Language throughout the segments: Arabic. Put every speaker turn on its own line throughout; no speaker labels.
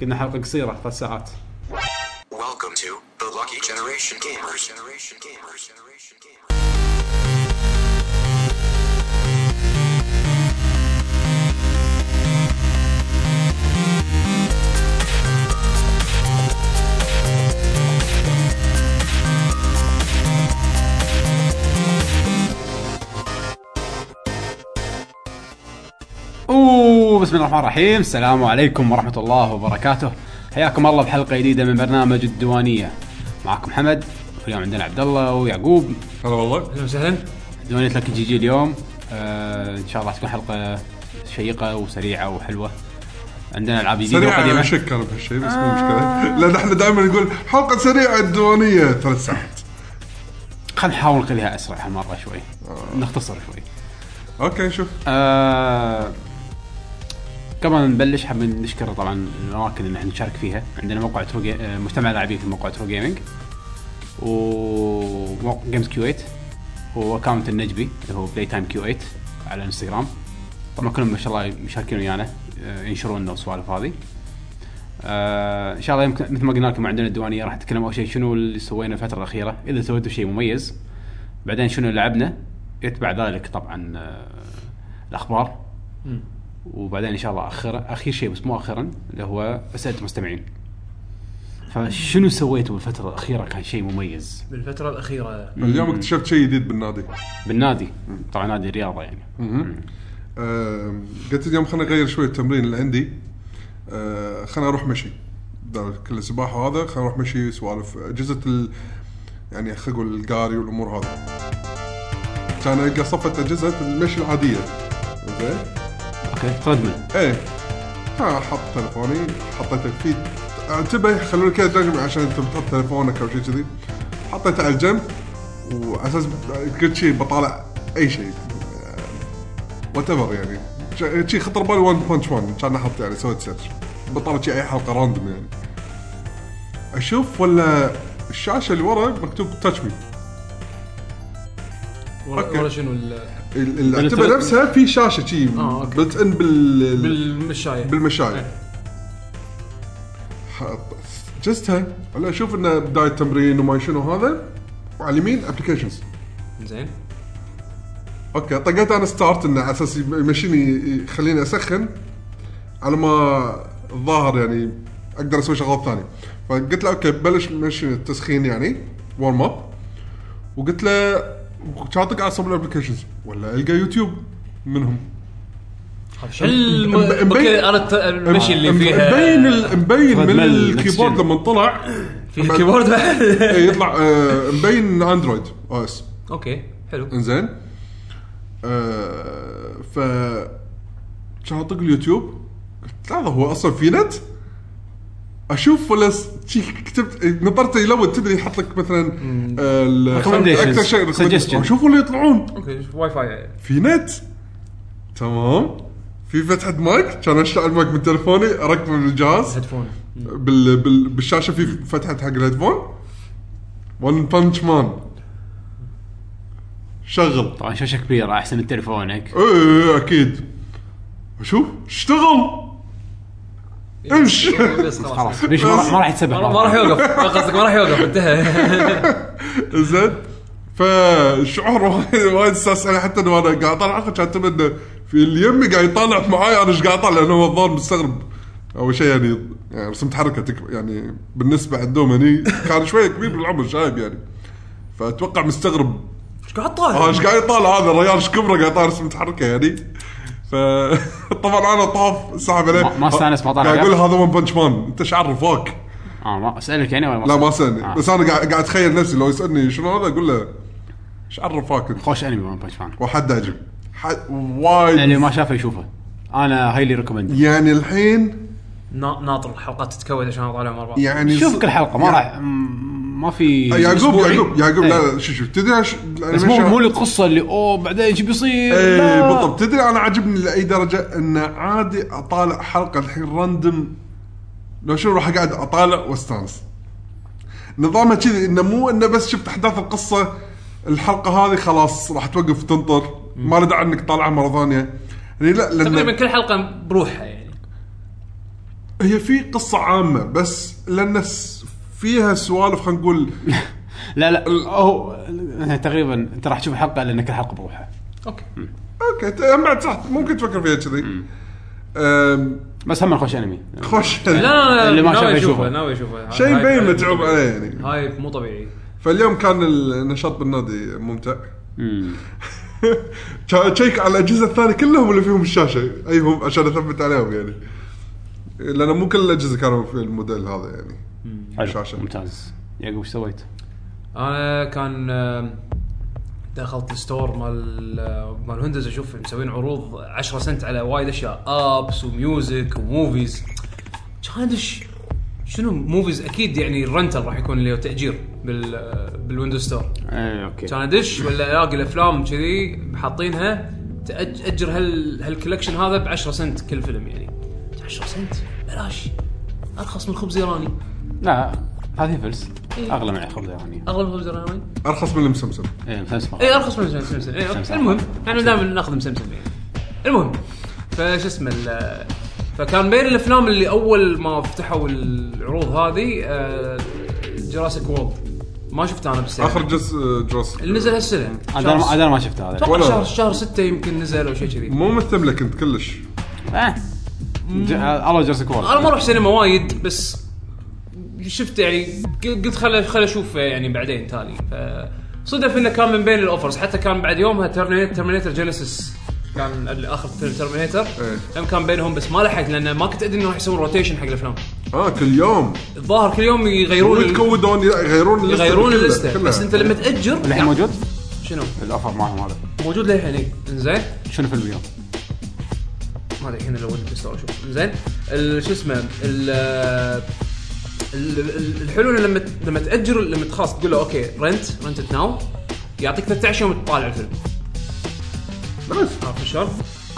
قلنا حلقه قصيره ثلاث ساعات
Welcome to the Lucky Generation Gamers. Generation Gamers. Generation Gamers.
اوه بسم الله الرحمن الرحيم السلام عليكم ورحمه الله وبركاته حياكم الله بحلقه جديده من برنامج الديوانيه معكم حمد واليوم عندنا عبد الله ويعقوب
هلا والله اهلا وسهلا
ديوانيه لك جي جي اليوم آه ان شاء الله تكون حلقه شيقه وسريعه وحلوه عندنا العاب جديده
سريعة
وقديمه
اشك انا بهالشيء بس مو مشكله لان احنا دائما نقول حلقه سريعه الديوانيه ثلاث ساعات
خلينا نحاول نخليها اسرع هالمره شوي نختصر شوي
اوكي شوف
آه، قبل ما نبلش حاب نشكر طبعا الاماكن اللي احنا نشارك فيها عندنا موقع ترو جي- آه، مجتمع لاعبين في موقع ترو جيمنج وموقع جيمز كيو 8 واكونت النجبي اللي هو بلاي تايم كيو 8 على انستغرام طبعا كلهم ما شاء الله مشاركين ويانا آه، ينشرون لنا والسوالف هذه آه ان شاء الله يمكن مثل ما قلنا لكم عندنا الديوانيه راح نتكلم اول شيء شنو اللي سوينا الفتره الاخيره اذا سويتوا شيء مميز بعدين شنو اللي لعبنا يتبع ذلك طبعا آه الاخبار وبعدين ان شاء الله اخر اخير شيء بس مو اخرا اللي هو اسئله المستمعين فشنو سويتوا بالفتره الاخيره كان شيء مميز
بالفترة الأخيرة
اليوم اكتشفت شيء جديد بالنادي
بالنادي طبعا نادي الرياضه يعني
آم، قلت اليوم خلينا نغير شوي التمرين اللي عندي آه، خلينا اروح مشي بدال كل سباحه وهذا خلينا نروح مشي سوالف اجهزه ال... يعني خلينا اقول القاري والامور هذا كان القى صفه اجهزه المشي العاديه زين
اوكي تردمل
ايه ها حط تلفوني حطيته في انتبه خلوني كذا جنب عشان انت بتحط تلفونك او شيء كذي حطيته على الجنب وعلى اساس كل شيء بطالع اي شيء وات ايفر يعني ش- شي خطر بالي وان بانش وان كان احط يعني سويت سيرش بطالع شي اي حلقه راندوم يعني اشوف ولا الشاشه اللي ورا مكتوب تاتش مي
ورا
أوكي.
ورا شنو ال-
اللي
بال-
اعتبر نفسها في شاشه شي
يعني آه، أوكي.
بلت ان بال
بالمشاية
بالمشاية
إيه.
حط- جستها ولا اشوف انه بدايه تمرين وما شنو هذا وعلى اليمين ابلكيشنز
زين
اوكي طقيت انا ستارت انه على اساس يمشيني يخليني اسخن على ما الظاهر يعني اقدر اسوي شغلات ثانيه فقلت له اوكي بلش مشي التسخين يعني وورم اب وقلت له كان اطق على صوب الابلكيشنز ولا القى يوتيوب منهم
الم...
مبين-
اوكي انا الت- المشي اللي
مبين
فيها
ال- مبين من
ريدمل
الكيبورد
نفس
لما طلع
فيها كيبورد بعد
إيه، يطلع آه، مبين اندرويد او اس
اوكي حلو
انزين آه، ف كان اطق اليوتيوب قلت لحظه هو اصلا في نت؟ اشوف ولا س- شي كتبت إيه، نظرت يلون تدري يحط لك مثلا آه، ال-
Recommendations.
اكثر شيء
Suggestion.
اشوف ولا يطلعون
اوكي واي فاي
في نت تمام في فتحه مايك كان اشتغل المايك من تلفوني اركب الجهاز
هيدفون
بال بال بالشاشه في فتحه حق الهيدفون ون بانش مان شغل
طبعا شاشه كبيره احسن من تلفونك
ايه إيه، اكيد شوف اشتغل امش
بس خلاص
خلاص ليش ما راح ما راح يتسبح
ما ما راح يوقف قصدك ما راح يوقف انتهى
زين فشعور وايد وايد استسأل حتى انه انا قاعد اطالع اخر كان أعتبر انه في اللي يمي قاعد يطالع معاي انا ايش قاعد اطالع لانه هو الظاهر مستغرب اول شيء يعني يعني رسمت حركه تك- يعني بالنسبه عندهم هني كان شويه كبير بالعمر شايب يعني فاتوقع مستغرب
ايش قاعد
اه
طالع؟
ايش قاعد يطالع هذا الرجال ايش كبره قاعد يطالع اسم متحركه يعني فطبعا انا طاف سحب عليه أه،
ما- ما استانس، ما طالع
قاعد اقول
قاعد؟
هذا ون بنش مان انت ايش عرفك؟
اه ما اسالك يعني ولا ما
لا ما
أسألك؟
سالني
آه.
بس انا قاعد قاعد اتخيل نفسي لو يسالني شنو هذا اقول له ايش عرفك انت؟
خوش انمي ون بانش مان
وحد اجيب حد وايد
اللي يعني ما شافه يشوفه انا هايلي ريكومند
يعني الحين
نا- ناطر الحلقات تتكود عشان اطالعهم مع بعض
يعني
شوف كل حلقه ما
يعني-
راح م- ما في
يعقوب
أسبوعي.
يعقوب يعقوب
إيه.
لا لا، شوف شوف تدري ايش
بس مو مو القصه اللي اوه بعدين ايش بيصير
ايه
لا.
بالضبط تدري انا عاجبني لاي درجه انه عادي اطالع حلقه الحين راندم لو شنو راح اقعد اطالع واستانس نظامها كذي انه مو انه بس شفت احداث القصه الحلقه هذه خلاص راح توقف تنطر ما له داعي انك تطالعها مره ثانيه يعني لا لان
تقريبا كل حلقه بروحها يعني
هي في قصه عامه بس لان الس- فيها سوالف خلينا نقول
لا لا هو تقريبا انت راح تشوف الحلقه لان كل حلقه بروحها
اوكي
إيه. اوكي ت- بعد صح ممكن تفكر فيها كذي أم،
بس هم خوش انمي
خوش
لا لا لا
اللي ما
ناوي
شافه
اشوفه
يشوفه.
ناوي اشوفه
شيء
هاي-
باين
هاي-
متعوب عليه يعني
هايب مو طبيعي
فاليوم كان النشاط بالنادي ممتع
مم.
شا- شيك على الاجهزه الثانيه كلهم اللي فيهم الشاشه ايهم عشان اثبت عليهم يعني لان مو كل الاجهزه كانوا في الموديل هذا يعني
حلو
شاشة.
ممتاز يعقوب ايش سويت؟
انا كان آم، دخلت الستور مال مال هندز اشوف مسوين عروض 10 سنت على وايد اشياء ابس وميوزك وموفيز كان ادش شنو موفيز اكيد يعني الرنتل راح يكون اللي هو تاجير بال آه، بالويندوز ستور
اي اوكي
كان ادش ولا الاقي الافلام كذي حاطينها تأج- اجر هال هالكولكشن هذا ب 10 سنت كل فيلم يعني 10 سنت بلاش ارخص من خبز ايراني
لا 30 فلس
إيه.
اغلى من يعني. إيه، الخبز الايراني
اغلى من خبز ايراني
ارخص من المسمسم
اي مسمسم
إيه.
اي ارخص إيه، من سمسم اي اوكي
سمسم.
المهم احنا دائما ناخذ مسمسم يعني المهم فش اسمه ال- فكان بين الافلام اللي اول ما فتحوا العروض هذه جراسيك وولد ما شفتها انا بالسينما
اخر جزء جروس
اللي نزل هالسنه
انا ما-
شهر-
أنا ما شفت هذا
اتوقع
ولا-
شهر شهر 6 يمكن نزل او شيء كذي
مو مستملك انت كلش
آه. ج- الله جرسك
انا ما
وورد
اروح سينما وايد بس شفت يعني قلت خل خل اشوف يعني بعدين تالي ف صدف انه كان من بين الاوفرز حتى كان بعد يومها ترمينيتر ترمينيتر جينيسيس كان ال- اخر فيلم ترمينيتر
إيه.
هم كان بينهم بس ما لحقت لان ما كنت ادري انه راح يسوون روتيشن حق الافلام
اه كل يوم
الظاهر كل يوم يغيرون ال-
ويتكودون يغيرون اللسته
يغيرون
كلها-
اللسته
كلها.
بس انت لما تاجر
الحين موجود
شنو
الاوفر معهم هذا
موجود للحين إيه. انزين
شنو في اليوم؟
ما ادري الحين لو ودي بس اشوف زين ال- شو اسمه ال- ال- ال- الحلو انه لما ت- لما تاجر لما خلاص تقول له اوكي رنت رنت ناو يعطيك 13 يوم تطالع الفيلم آه،
بس
عرفت شلون؟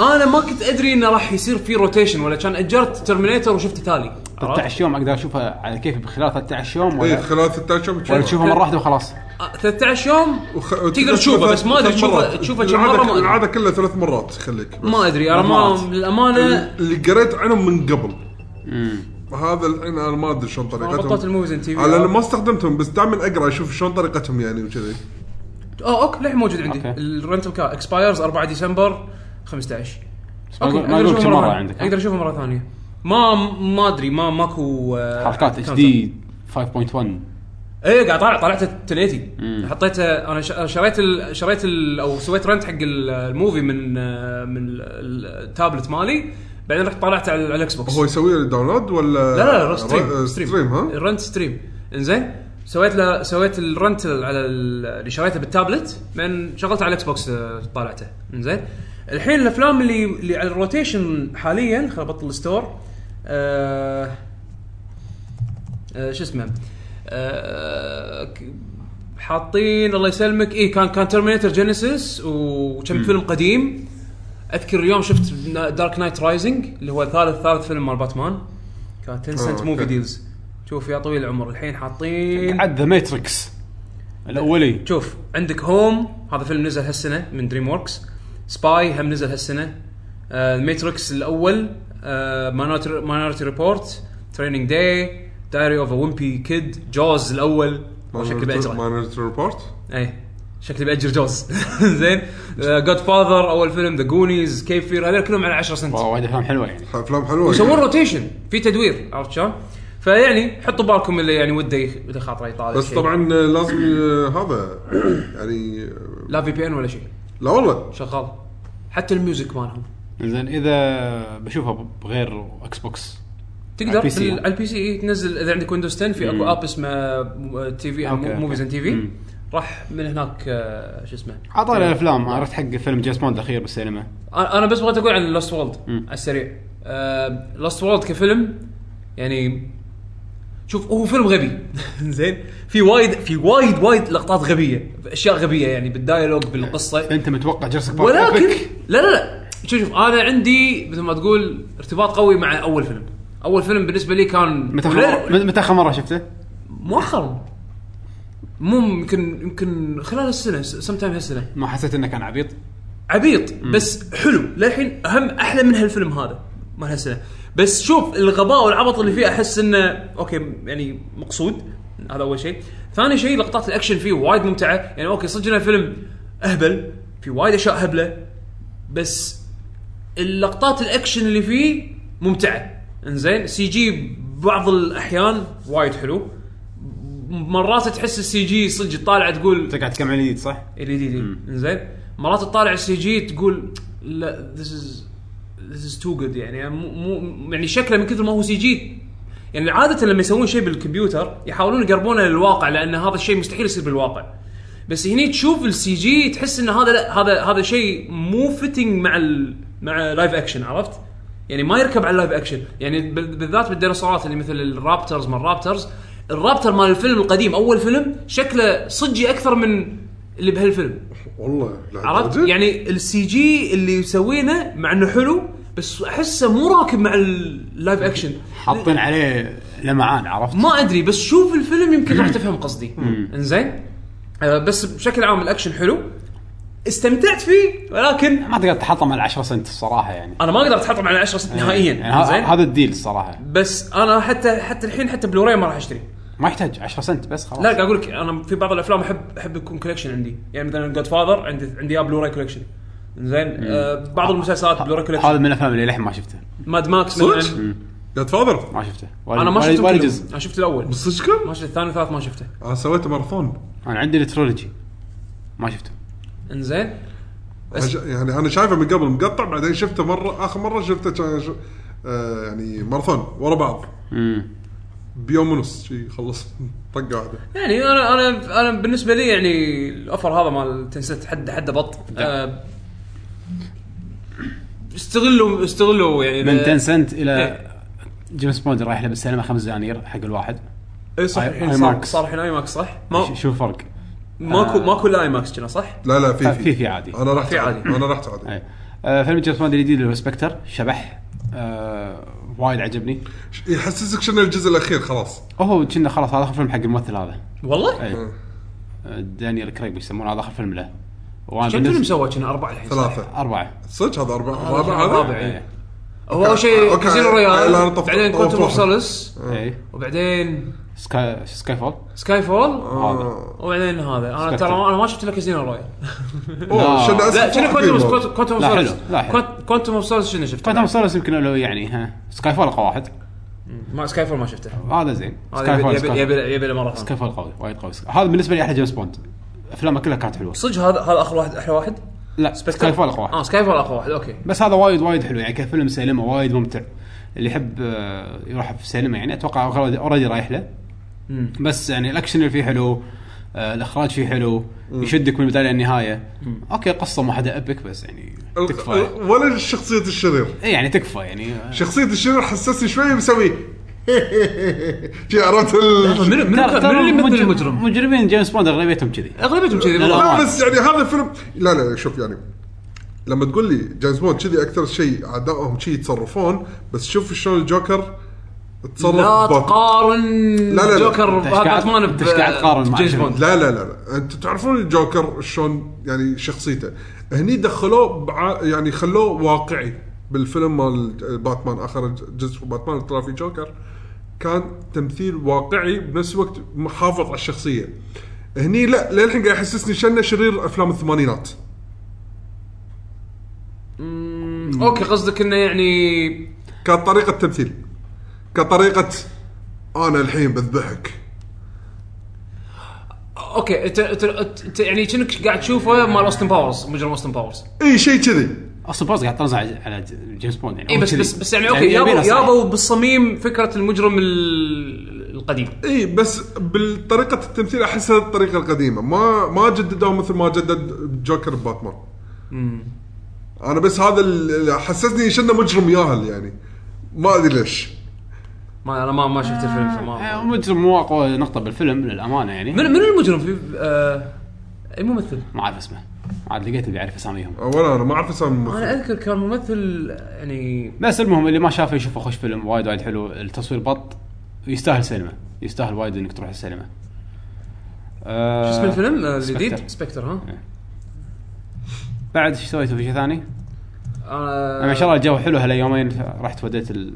انا ما كنت ادري انه راح يصير في روتيشن ولا كان اجرت ترمينيتر وشفت تالي
13 يوم اقدر اشوفها على كيفي خلال 13 يوم
إيه، آه،
ولا
خلال 13 يوم
ولا
تشوفه.
تشوفها مره واحده وخلاص
13 آه، يوم
وخ-
تقدر تشوفه بس ما ادري
ثلاث
تشوفه
مرات.
تشوفه كم
العادة-
مره ما أدري.
العاده كلها ثلاث مرات خليك بس.
ما ادري انا ما
مرات.
للامانه
اللي قريت عنهم من قبل هذا الحين انا ما ادري شلون
أنا بطلت
طريقتهم
الموفيز ان تي في
على انا ما استخدمتهم بس دائما اقرا اشوف شلون طريقتهم يعني وكذي
اه اوكي للحين موجود عندي
أوكي.
الرنتل كار اكسبايرز 4 ديسمبر 15
ما
اوكي
أقول-
اقدر
ما اقول
اشوفه
كم
مره
مره
ثانية.
عندك
اقدر
ها؟
اشوفه مره ثانيه ما ما ادري ما ماكو آه،
حركات اتش
counter.
دي 5.1
ايه قاعد طالع طلعت التليتي حطيته انا ش- آه، أنا شريت ال شريت ال او سويت رنت حق ال- الموفي من آه، من ال- ال- التابلت مالي بعدين رحت طلعت على على الاكس بوكس
هو يسوي داونلود ولا
لا لا لا
را-
ستريم
ستريم آه، ها
الرنت ستريم انزين سويت له سويت الرنت على ال- اللي شريته بالتابلت بعدين شغلته على الاكس بوكس آه، طالعته انزين الحين الافلام اللي اللي على الروتيشن حاليا خل ابطل الستور آه آه شو اسمه آه ك- حاطين الله يسلمك اي كان كان ترمينيتر جينيسيس وكم فيلم قديم اذكر اليوم شفت دارك نايت رايزنج اللي هو ثالث ثالث فيلم مال باتمان كان 10 سنت
آه،
موفي
أوكي.
ديلز شوف يا طويل العمر الحين
إيه.
حاطين
عاد ذا ماتريكس الاولي
شوف عندك هوم هذا فيلم نزل هالسنه من دريم وركس سباي هم نزل آه، هالسنه ماتريكس الاول آه، ماينورتي ريبورت تريننج داي دايري اوف ا ويمبي كيد جوز الاول شكلي بأجره
مانجر ريبورت
اي شكلي إيه، بأجر جوز زين جاد فاذر اول فيلم ذا جونيز كيفير هذول كلهم على 10 سنت
والله وايد افلام حلوه يعني
افلام حلوه
يسوون
يعني.
روتيشن في تدوير عرفت شلون؟ فيعني حطوا بالكم اللي يعني وده يخ- اللي خاطره يطالع
بس
شيء.
طبعا آه، لازم آه، هذا يعني آه،
لا في بي ان ولا شيء
لا والله
شغال حتى الميوزك مالهم
زين اذا بشوفها ب- بغير اكس بوكس
تقدر
على البي سي.
بال- على البي سي إيه تنزل اذا عندك ويندوز 10 في اكو اب اسمه آه، تي في يعني
أوكي، أوكي.
موفيز اند تي في
مم.
راح من هناك آه، شو اسمه
عطانا الافلام عرفت حق فيلم جيمس بوند الاخير بالسينما
انا أنا بس بغيت اقول عن لاست وولد
مم.
على السريع لاست وولد كفيلم يعني شوف هو فيلم غبي زين في وايد في وايد وايد لقطات غبيه اشياء غبيه يعني بالدايلوج بالقصه
انت متوقع جرسك
ولكن لا لا لا شوف شوف انا عندي مثل ما تقول ارتباط قوي مع اول فيلم اول فيلم بالنسبه لي كان
متى
لا،
آخر- متى اخر مره شفته؟
مؤخرا مو يمكن يمكن خلال السنه سم تايم هالسنه
ما حسيت انه كان عبيط؟
عبيط بس حلو للحين اهم احلى من هالفيلم هذا مال هالسنه بس شوف الغباء والعبط اللي فيه احس انه اوكي يعني مقصود هذا اول شيء ثاني شيء لقطات الاكشن فيه وايد ممتعه يعني اوكي صدق إنه فيلم اهبل في وايد اشياء هبله بس اللقطات الاكشن اللي فيه ممتعه انزين سي جي بعض الاحيان وايد حلو مرات تحس السي جي صدق طالع تقول
انت قاعد تتكلم عن الجديد صح؟
ال دي دي زين مرات تطالع السي جي تقول لا ذس از ذس از تو جود يعني مو مو- يعني شكله من كثر ما هو سي جي يعني عاده لما يسوون شيء بالكمبيوتر يحاولون يقربونه للواقع لان هذا الشيء مستحيل يصير بالواقع بس هني تشوف السي جي تحس ان هذا لا هذا هذا شيء مو فيتنج مع ال مع لايف اكشن عرفت؟ يعني ما يركب على اللايف اكشن يعني بال- بالذات بالديناصورات اللي مثل الرابترز ما الرابترز الرابتر مال الفيلم القديم اول فيلم شكله صجي اكثر من اللي بهالفيلم
والله
عرفت؟
لهالدرجة؟
يعني السي جي اللي يسوينه مع انه حلو بس احسه مو راكب مع اللايف اكشن إيه.
حاطين عليه لمعان عرفت؟
ما ادري بس شوف الفيلم يمكن راح تفهم قصدي انزين آه، بس بشكل عام الاكشن حلو استمتعت فيه ولكن
ما تقدر تحطم على 10 سنت الصراحه يعني
انا ما اقدر اتحطم على 10 سنت
يعني
نهائيا
ه-
إيه. زين
هذا الديل الصراحه
بس انا حتى حتى الحين حتى بلوراي ما راح اشتري
ما يحتاج 10 سنت بس خلاص
لا قاعد اقول لك انا في بعض الافلام احب احب يكون كولكشن عندي يعني مثلا جود فاذر عندي عندي بلوراي كولكشن زين آه بعض المسلسلات بلوراي
هذا
كولكشن
من الافلام اللي للحين ما شفته
ماد ماكس مثلا
صدق؟ جاد فاذر
ما شفته ولا-
انا ما
ولا-
شفت
ولا
كلهم.
جزء
انا شفت الاول
صدقكم؟
ما شفت الثاني والثالث ما شفته
انا سويت ماراثون
انا عندي الترولوجي ما شفته
انزين بس-
عش- يعني انا شايفه من قبل مقطع بعدين شفته مره اخر مره شفته كان ش- آه، يعني ماراثون ورا بعض
امم
بيوم ونص شي خلص طقه واحده
يعني انا انا انا بالنسبه لي يعني الاوفر هذا مال تنسيت حد حد بط
نعم.
آه، استغلوا استغلوا يعني
من تنسنت الى
إيه.
جيمس بوند رايح له بالسينما خمس دنانير حق الواحد
اي إيه، صح
آي-
الحين
آي
صار
ماكس. آه.
صار الحين اي ماكس صح؟ ما
ش- شو الفرق؟
ماكو ماكو الا اي ماكس كنا صح؟
لا لا في
في في عادي
انا رحت
في
عادي
عادي.
انا رحت عادي
أي. آه، فيلم جيمس بوند الجديد اللي هو سبكتر شبح آه، وايد عجبني
يحسسك شنو الجزء الاخير خلاص
هو كنا خلاص هذا اخر فيلم حق الممثل هذا
والله؟
أي. آه، دانيال كريج يسمونه هذا اخر فيلم له وانا
كم فيلم
بالنسبه
سوى كنا اربعه الحين صح؟
ثلاثه
اربعه
صدق هذا اربعه
هذا
الرابع
كان الرابع،
هذا
إيه.
اي
هو اول شيء
أوكي.
كازينو
لا،
رويال
طف-
بعدين
طف-
كوانتم
طف-
اوف سولس
اي
وبعدين
سكاي سكاي فول
سكاي فول
آه.
هذا
وبعدين هذا انا
سبكتر.
ترى انا ما شفت الا كازينو رويال
لا.
اوه شنو
لا
اسف
شنو كوانتم اوف كوانتم اوف
لا،
سولس
حلو، لا، حلو.
كوانتم اوف سولس شنو شفته؟
كوانتم سولس يمكن لو يعني ها سكاي فول اقوى واحد
ما سكاي فول ما شفته
هذا زين
هذا
سكاي
يبي-
فول
يبي
سكاي-
يبي يبي له مره ثانيه
سكاي فول قوي وايد قوي هذا بالنسبه لي احلى جيمس بوند افلامه كلها كانت حلوه
صدق هذا هذا اخر واحد احلى واحد
لا
سبكتر؟
سكاي فول اقوى واحد
اه سكاي فول اقوى واحد اوكي
بس هذا وايد وايد حلو يعني كفيلم سينما وايد ممتع اللي يحب آه، يروح في السينما يعني اتوقع اوريدي رايح له
مم.
بس يعني الاكشن اللي فيه حلو آه، الاخراج فيه حلو يشدك من البدايه للنهايه اوكي قصه ما حدا ابك بس يعني تكفى
ولا شخصيه الشرير
إيه يعني تكفى يعني آه،
شخصيه الشرير حسسني شوي مسوي شي عرفت ال...
منو منو
طيب، ترى-
كان-
ترى
منو اللي مثل
مجر-
المجرم؟
مجرمين جيمس بوند اغلبيتهم كذي
اغلبيتهم
لا،
كذي بالضبط.
لا بس يعني هذا فيلم لا لا شوف يعني لما تقول لي جيمس بوند كذي اكثر شيء اعدائهم كذي يتصرفون بس شوف شلون الجوكر تصرف
لا
بوند.
تقارن
لا، لا.
جوكر
أنت إيش قاعد-
باتمان
أنت إيش قاعد تقارن مع
جيمس
شنو؟
بوند
لا لا لا لا انتم تعرفون الجوكر شلون يعني شخصيته هني دخلوه بع... يعني خلوه واقعي بالفيلم مال باتمان اخر جزء في باتمان اللي طلع فيه جوكر كان تمثيل واقعي بنفس الوقت محافظ على الشخصيه هني لا للحين قاعد يحسسني شنه شرير افلام الثمانينات
اوكي قصدك انه يعني
كطريقه تمثيل كطريقه انا الحين بذبحك
اوكي انت انت أنت يعني كأنك قاعد تشوفه مال اوستن باورز مجرم اوستن باورز
اي شيء كذي
اصلا بوز قاعد تنزع على ج- جيمس بوند يعني
اي
هو
بس
كذي.
بس بس يعني اوكي
يبينا
يابوا
صحيح.
يابوا بالصميم فكره المجرم ال- القديم
اي إيه، بس بالطريقه التمثيل احسها الطريقه القديمه ما ما جددوها مثل ما جدد جوكر باتمان انا بس هذا اللي حسسني شنه مجرم ياهل يعني ما ادري ليش
ما انا ما ما شفت الفيلم فما
آه، مجرم مو اقوى نقطه بالفيلم للامانه يعني
من من المجرم في آه اي ممثل
ما اعرف اسمه عاد لقيت اللي يعرف اساميهم
ولا انا ما اعرف اسامي
انا
الممثل
اذكر كان ممثل يعني
بس المهم اللي ما شافه يشوفه خوش فيلم وايد وايد حلو التصوير بط يستاهل سينما يستاهل وايد انك تروح السينما آه
شو اسم الفيلم آه، الجديد
سبكتر.
سبكتر ها
بعد ايش سويتوا في شيء ثاني؟
انا
آه. انا ان شاء الله الجو حلو هالايامين رحت وديت ال-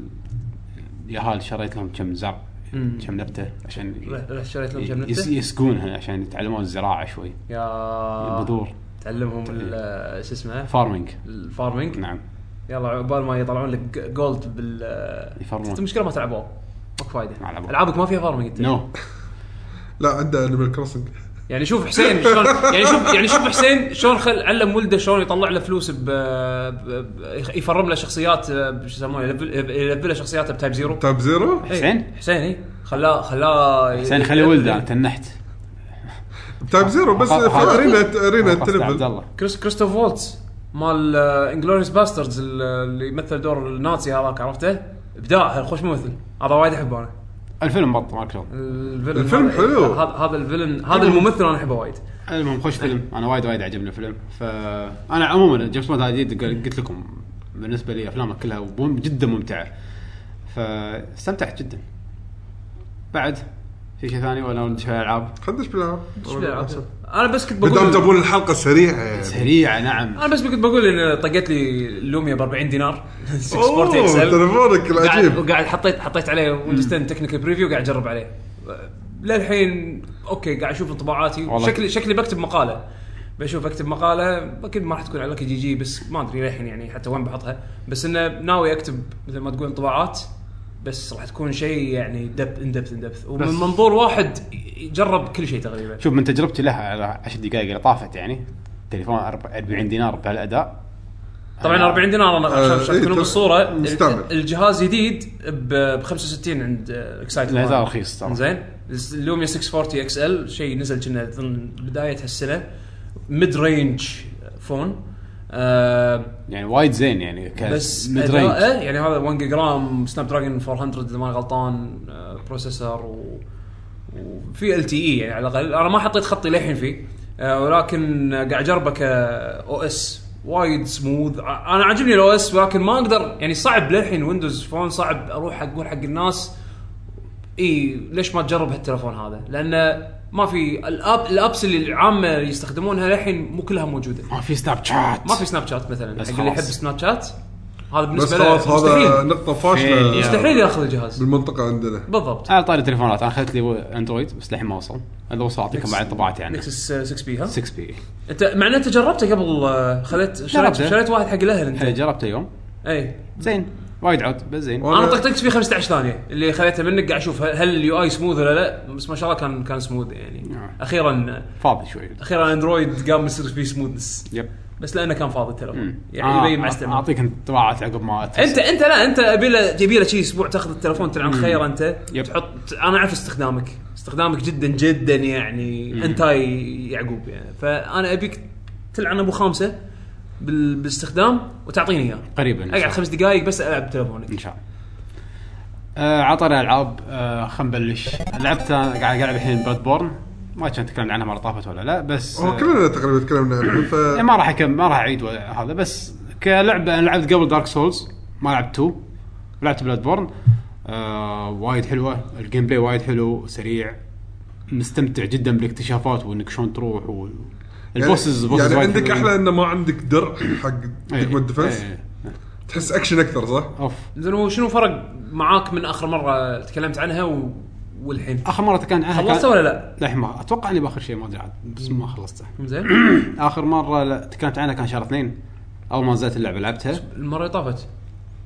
اليهال شريت لهم كم زرع كم نبته عشان
رحت- رحت شريت لهم كم
يس-
نبته
يسقونها عشان يتعلمون الزراعه شوي
يا
البذور
تعلمهم ال- شو اسمه
فارمنج
الفارمينج
طيب. نعم
يلا عقبال ما يطلعون لك ج- جولد بال
يفرمون.
أنت المشكله ما تلعبوا ماكو فايده
ما لعبوا.
العابك ما فيها فارمينج انت
نو
لا عنده انيمال كروسنج
يعني شوف حسين شلون يعني شوف يعني شوف حسين شلون خل علم ولده شلون يطلع له فلوس ب... ب... ب- يفرم له شخصيات ب- شو يسمونه يلفل يلفل له شخصياته بتايب زيرو
تايب زيرو
إيه،
حسين؟
حسين اي خلاه خلاه
حسين خلي ولده انا تنحت
تايب زيرو بس
هذا- هذا-
ارينا ارينا
قصد عبد
تلفل
الله
كريس كريستوف فولتس مال آه، انجلوريس باستردز اللي يمثل دور النازي هذاك عرفته ابداع خوش ممثل هذا وايد احبه انا
الفيلم بط ما شغل
الفيلن
الفيلم
هذا-
حلو. طيب،
هذا هذا الفيلن هذا الممثل انا احبه وايد
المهم خوش فيلم انا وايد وايد عجبني الفيلم فانا عموما جيمس بوند هذا جديد قل- قلت لكم بالنسبه لي افلامه كلها مم- جدا ممتعه فاستمتعت جدا بعد في شيء ثاني ولا ندش على الالعاب
خلنا ندش بالالعاب
إيش بيلعب؟ انا بس كنت
بدهم
بقول
تبون الحلقه السريعه
طيب.
يعني
سريعه نعم
انا بس كنت بقول ان طقت لي لوميا ب 40 دينار 6
أوه،
فورتي اكسل
تلفونك العجيب
وقاعد حطيت حطيت عليه ويندوز 10 تكنيكال بريفيو قاعد اجرب عليه للحين اوكي قاعد اشوف انطباعاتي
والله.
شكلي شكلي بكتب مقاله بشوف اكتب مقاله اكيد ما راح تكون على لك جي جي بس ما ادري للحين يعني حتى وين بحطها بس انه ناوي اكتب مثل ما تقول انطباعات بس راح تكون شيء يعني دبث ان دبث ان دبث ومن
بس.
منظور واحد يجرب كل شيء تقريبا
شوف من تجربتي لها على 10 دقائق اللي طافت يعني تليفون أرب- 40 دينار بهالاداء
طبعا
أنا-
40 دينار انا
آه،
عشان عشان
إيه،
تكونوا
ترى
بالصوره
مستعمل.
ال- الجهاز جديد ب 65 عند اكسايت
لا زال رخيص ترى.
زين اللوميا 640 اكس ال شيء نزل كنا اظن بدايه هالسنه ميد رينج فون آه
يعني وايد زين يعني ك
بس
mid-range.
اداءه يعني هذا 1 جرام سناب دراجون 400 اذا ماني غلطان آه بروسيسور و وفي ال تي اي يعني على الاقل انا ما حطيت خطي للحين فيه آه ولكن آه، قاعد اجربه ك او اس وايد سموث ع- انا عاجبني الاو اس ولكن ما اقدر يعني صعب للحين ويندوز فون صعب اروح اقول حق الناس اي ليش ما تجرب هالتلفون هذا؟ لان ما في الاب الابس اللي العامه يستخدمونها للحين مو كلها موجوده
ما في سناب شات
ما في سناب شات مثلا
بس
حق اللي يحب
خلاص.
سناب شات هذا
بس
بالنسبه له
خلاص هذا
نعم.
مستحيل
نقطه فاشله
فيل.
مستحيل ياخذ الجهاز
بالمنطقه عندنا
بالضبط
على طاري التليفونات انا اخذت لي اندرويد بس للحين ما وصل اذا وصل اعطيكم بعد طباعتي عنه
نكسس 6 بي ها
6 بي
انت مع ان انت جربته قبل آه، خذيت شريت
جربته.
شريت واحد حق إيه. الاهل
حلو
انت
جربته اليوم
اي
زين وايد عود بس زين
انا
وأنا-
طقطقت فيه 15 ثانيه اللي خذيته منك قاعد اشوف هل- هل اليو اي سموث ولا لا بس ما شاء الله كان كان سموث يعني
نعم.
اخيرا
فاضي شوي
اخيرا اندرويد قام يصير فيه سموثنس
يب
بس لانه كان فاضي التلفون يعني
آه،
يبين مع
أع-
استعمال
اعطيك انطباعات عقب ما أتفصل.
انت انت لا انت ابي له تبي له شيء اسبوع تاخذ التلفون تلعب خير انت
يب.
تحط انا اعرف استخدامك استخدامك جدا جدا يعني انتاي يعقوب يعني فانا ابيك تلعن ابو خامسه بال... باستخدام وتعطيني اياه
قريبا إن شاء
اقعد
الله.
خمس دقائق بس العب بتلفونك
ان شاء الله آه عطنا العاب آه خلينا نبلش لعبت أنا قاعد قاعد الحين بلاد بورن ما كان تكلمنا عنها مره طافت ولا لا بس
هو
آه،
كلنا تقريبا تكلمنا عنه ف
يعني ما راح اكمل ما راح اعيد ولا هذا بس كلعبه انا لعبت قبل دارك سولز ما لعبت 2 لعبت بلاد بورن آه وايد حلوه الجيم بلاي وايد حلو سريع مستمتع جدا بالاكتشافات وانك شلون تروح و... البوسز
يعني,
بوسز
يعني
وايد
عندك
حلوين.
احلى انه ما عندك درع حق
إيه،
تقوى الدفنس
إيه، إيه.
تحس اكشن اكثر صح؟
اوف
زين وشنو فرق معاك من اخر مره تكلمت عنها و... والحين
اخر مره كان عنها
خلصته
كان-
ولا لا؟
لا الحين ما اتوقع اني باخر شيء ما ادري عاد بس ما خلصته
زين
اخر مره لا تكلمت عنها كان شهر اثنين اول ما نزلت اللعبه لعبتها
المره اللي طافت إيه.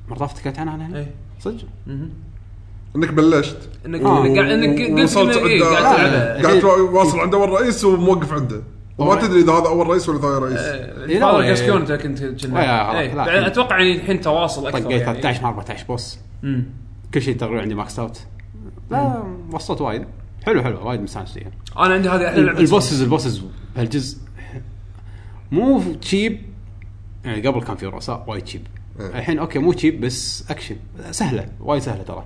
مره طافت تكلمت عنها أنا هنا
اي
صدق
انك بلشت
انك
آه.
قاعد انك قلت
وصلت
انك إيه،
عنده-
قاعد تلعبها
الحين-
قاعد تو- واصل عند اول رئيس وموقف عنده وما
والله.
تدري اذا هذا اول رئيس ولا ثاني رئيس
إيه، لا،
فاضل
إيه.
جاسكيون انت كنت كنا-
إيه، خلاص،
إيه،
خلاص.
بعد اتوقع يعني الحين تواصل اكثر
طقيت
يعني.
13 من 14 بوس
مم.
كل شيء تقريبا عندي ماكس اوت لا وصلت وايد حلو حلو وايد مستانس فيها
انا عندي هذه احلى لعبه
البوسز البوسز هالجزء مو تشيب يعني قبل كان في رؤساء وايد تشيب
إيه.
الحين اوكي مو تشيب بس اكشن سهله وايد سهله ترى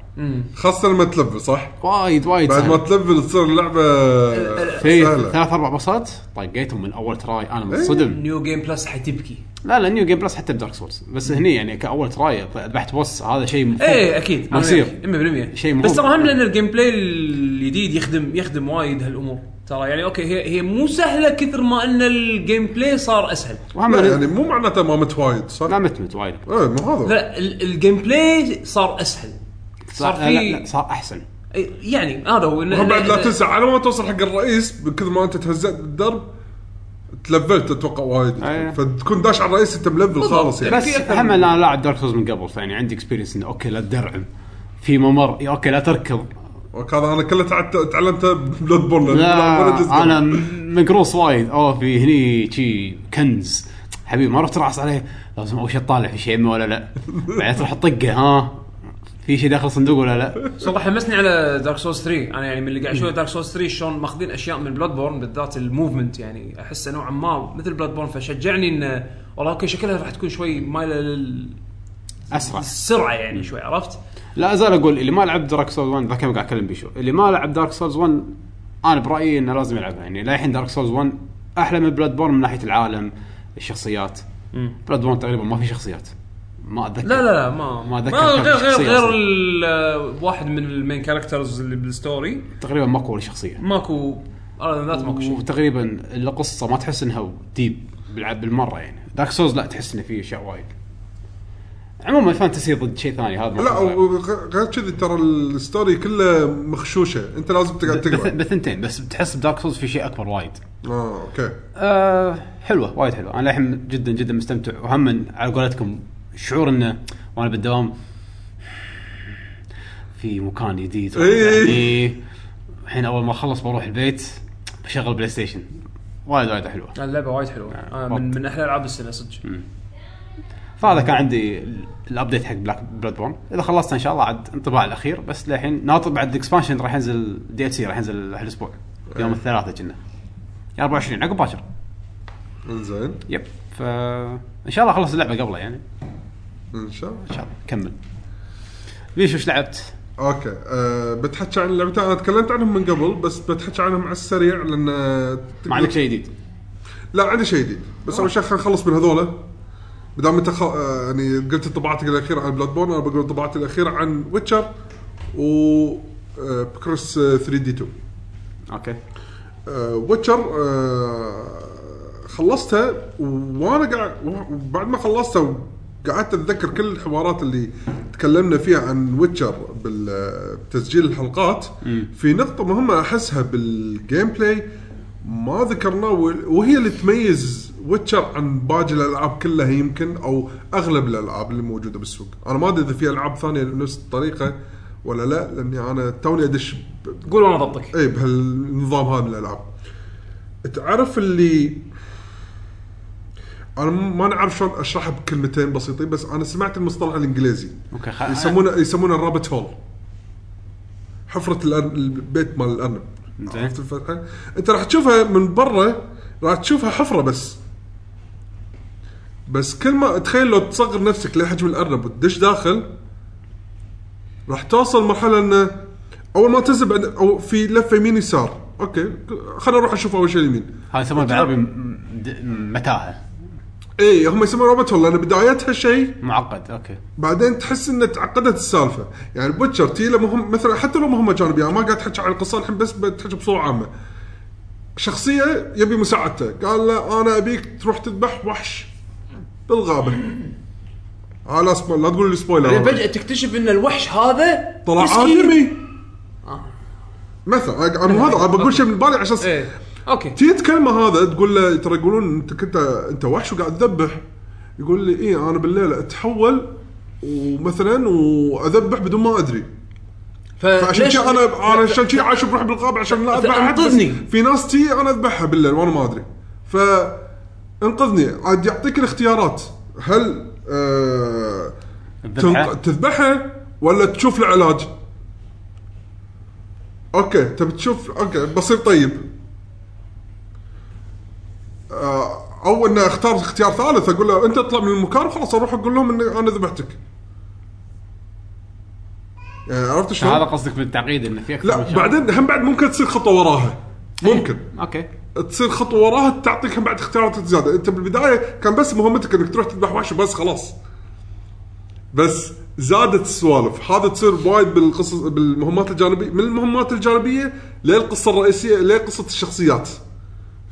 خاصه لما تلفل صح؟
وايد وايد
بعد ما
سهله
تلفل تصير اللعبه
إيه،
في
سهله
ثلاث اربع باصات طقيتهم من اول تراي
إيه.
انا منصدم
نيو جيم بلس حتبكي
لا لا نيو جيم بلس حتى بدارك سولز بس هني يعني كاول تراي ذبحت بوس هذا شيء مفروض.
ايه اكيد
ما يصير
100%
شيء مهم.
بس ترى هم لان الجيم بلاي الجديد يخدم يخدم وايد هالامور ترى يعني اوكي هي هي مو سهله كثر ما ان الجيم بلاي صار اسهل
وهم
لا، يعني مو معناته ما مت وايد صح؟
لا متمت وايد
ايه مو هذا
لا ال- الجيم بلاي صار اسهل صار
لا- لا- لا،
في
صار احسن
إي، يعني هذا هو إنه-
هم بعد لا
إنه-
تنسى على ما توصل حق الرئيس بكثر ما انت تهزأت بالدرب تلفلت اتوقع وايد
أيه.
فتكون داش على الرئيس انت ملفل خالص يعني
يعني
بس
في أكثر
هم
من-
انا لاعب دارك سولز من قبل فيعني عندي اكسبيرينس انه اوكي لا تدرعم في ممر يا اوكي لا تركض
وكان انا كله تعلمت تعلمته بلود بول
لا انا م- مقروص وايد اوه في هني شي كنز حبيبي ما رحت ترعص عليه لازم اول شيء تطالع في شيء ولا لا بعدين تروح تطقه ها في شيء داخل صندوق ولا لا
صراحه حمسني على دارك سولز 3 انا يعني من اللي قاعد اشوف دارك سولز 3 شلون ماخذين اشياء من بلاد بورن بالذات الموفمنت يعني احسه نوعا ما مثل بلاد بورن فشجعني انه والله اوكي شكلها راح تكون شوي مايله للسرعه
اسرع
يعني شوي عرفت؟
لا ازال اقول اللي ما لعب دارك سولز 1 ذاك اليوم قاعد اكلم بيشو اللي ما لعب دارك سولز 1 انا برايي انه لازم يلعبها يعني للحين دارك سولز 1 احلى من بلاد بورن من ناحيه العالم الشخصيات بلاد بورن تقريبا ما في شخصيات ما اتذكر
لا لا لا ما
ما
ما,
أتذكر
ما
كان
غير غير
شخصية
غير
أصلاً.
ال- آه، واحد من المين كاركترز اللي بالستوري
تقريبا ماكو ولا شخصيه
ماكو انا ذات ماكو شيء
وتقريبا القصه ما تحس انها ديب بالعب بالمره يعني دارك سولز لا تحس انه في اشياء وايد عموما فانتسي ضد شيء ثاني هذا ما
لا
في صعب.
وغ- غير كذي ترى الستوري كله مخشوشه انت لازم تقعد
بث-
تقرا
بثنتين بس بتحس بدارك سولز في شيء اكبر وايد
اه اوكي
آه حلوه وايد حلوه انا الحين جدا جدا مستمتع وهم على قولتكم شعور انه وانا بالدوام في مكان جديد
إيه.
يعني الحين اول ما اخلص بروح البيت بشغل بلاي ستيشن وايد وايد حلوه
اللعبه وايد حلوه آه من, من احلى العاب السنه صدق
فهذا كان عندي ال- الابديت حق بلاك بلاد بورن اذا خلصت ان شاء الله عاد انطباع الاخير بس للحين ناطر بعد الاكسبانشن راح ينزل دي ال سي راح ينزل هالاسبوع يوم الثلاثاء كنا يا 24 عقب باكر
انزين
يب فان شاء الله اخلص اللعبه قبله يعني
ان شاء الله
ان شاء الله كمل ليش وش لعبت؟
اوكي أه بتحكي عن لعبتين انا تكلمت عنهم من قبل بس بتحكي عنهم على السريع لان آه،
ما عندك شيء جديد
لا عندي شيء جديد بس اول شيء خلينا نخلص من هذولا ما دام انت خ... آه، يعني قلت طباعتك الاخيره عن بلاد بورن انا بقول طباعتي الاخيره عن ويتشر و آه، بكروس آه، 3 دي 2
اوكي
آه، ويتشر آه، خلصتها وانا قاعد بعد ما خلصتها وقعدت اتذكر كل الحوارات اللي تكلمنا فيها عن ويتشر بتسجيل الحلقات في نقطه مهمه احسها بالجيم بلاي ما ذكرناه وال- وهي اللي تميز ويتشر عن باقي الالعاب كلها يمكن او اغلب الالعاب اللي موجوده بالسوق انا ما ادري اذا في العاب ثانيه بنفس الطريقه ولا لا لاني انا توني ادش ب-
قول وانا ضبطك
اي إيه، بهالنظام هذا من الالعاب تعرف اللي انا ما نعرف شلون اشرحها بكلمتين بسيطين بس انا سمعت المصطلح الانجليزي
اوكي خ...
يسمونه يسمونه الرابت هول حفره الأر- البيت مال الارنب
زين.
عرفت الفرقه؟ انت راح تشوفها من برا راح تشوفها حفره بس بس كل ما تخيل لو تصغر نفسك لحجم الارنب وتدش داخل راح توصل مرحله انه اول ما تنزل بعد- او في لفه يمين يسار اوكي خلينا نروح نشوف اول شيء اليمين
هذا يسمونه بالعربي م- م- د- متاهه
اي إيه، هم يسمونه روبوت هول لان بدايتها شيء
معقد اوكي
بعدين تحس ان تعقدت السالفه يعني البوتشر تي له مهم مثلا حتى لو مهمه جانبيه انا ما قاعد احكي عن القصه الحين بس بتحكي بصوره عامه شخصيه يبي مساعدته قال له انا ابيك تروح تذبح وحش بالغابه آه لا سبويل لا تقول لي سبويلر
فجاه تكتشف ان الوحش هذا
طلع
إيه، مسكين.
ادمي مثلا أنا- أنا هذا بقول شيء من بالي عشان
ايه اوكي
تي تكلمه هذا تقول له ترى يقولون انت كنت انت وحش وقاعد تذبح يقول لي اي انا بالليل اتحول ومثلا واذبح بدون ما ادري فعشان
فليش-
شي انا انا عشان شي عايش بروح بالغابه عشان لا اذبح أحد، بس
فأنقذني.
في ناس تي انا اذبحها بالليل وانا ما ادري ف انقذني عاد يعطيك الاختيارات هل آه
الذبحة؟
تنق- تذبحها ولا تشوف له علاج اوكي تبي تشوف اوكي بصير طيب آه، او انه اختار اختيار ثالث اقول له انت اطلع من المكان وخلاص اروح اقول لهم اني انا ذبحتك يعني عرفت شلون؟
هذا قصدك بالتعقيد انه في اكثر من
لا
شغلة.
بعدين هم بعد ممكن تصير خطوه وراها ممكن
اوكي
تصير خطوه وراها تعطيك هم بعد اختيارات زياده انت بالبدايه كان بس مهمتك انك تروح تذبح وحش بس خلاص بس زادت السوالف هذا تصير وايد بالقصص بالمهمات الجانبيه من المهمات الجانبيه للقصه الرئيسيه لقصه الشخصيات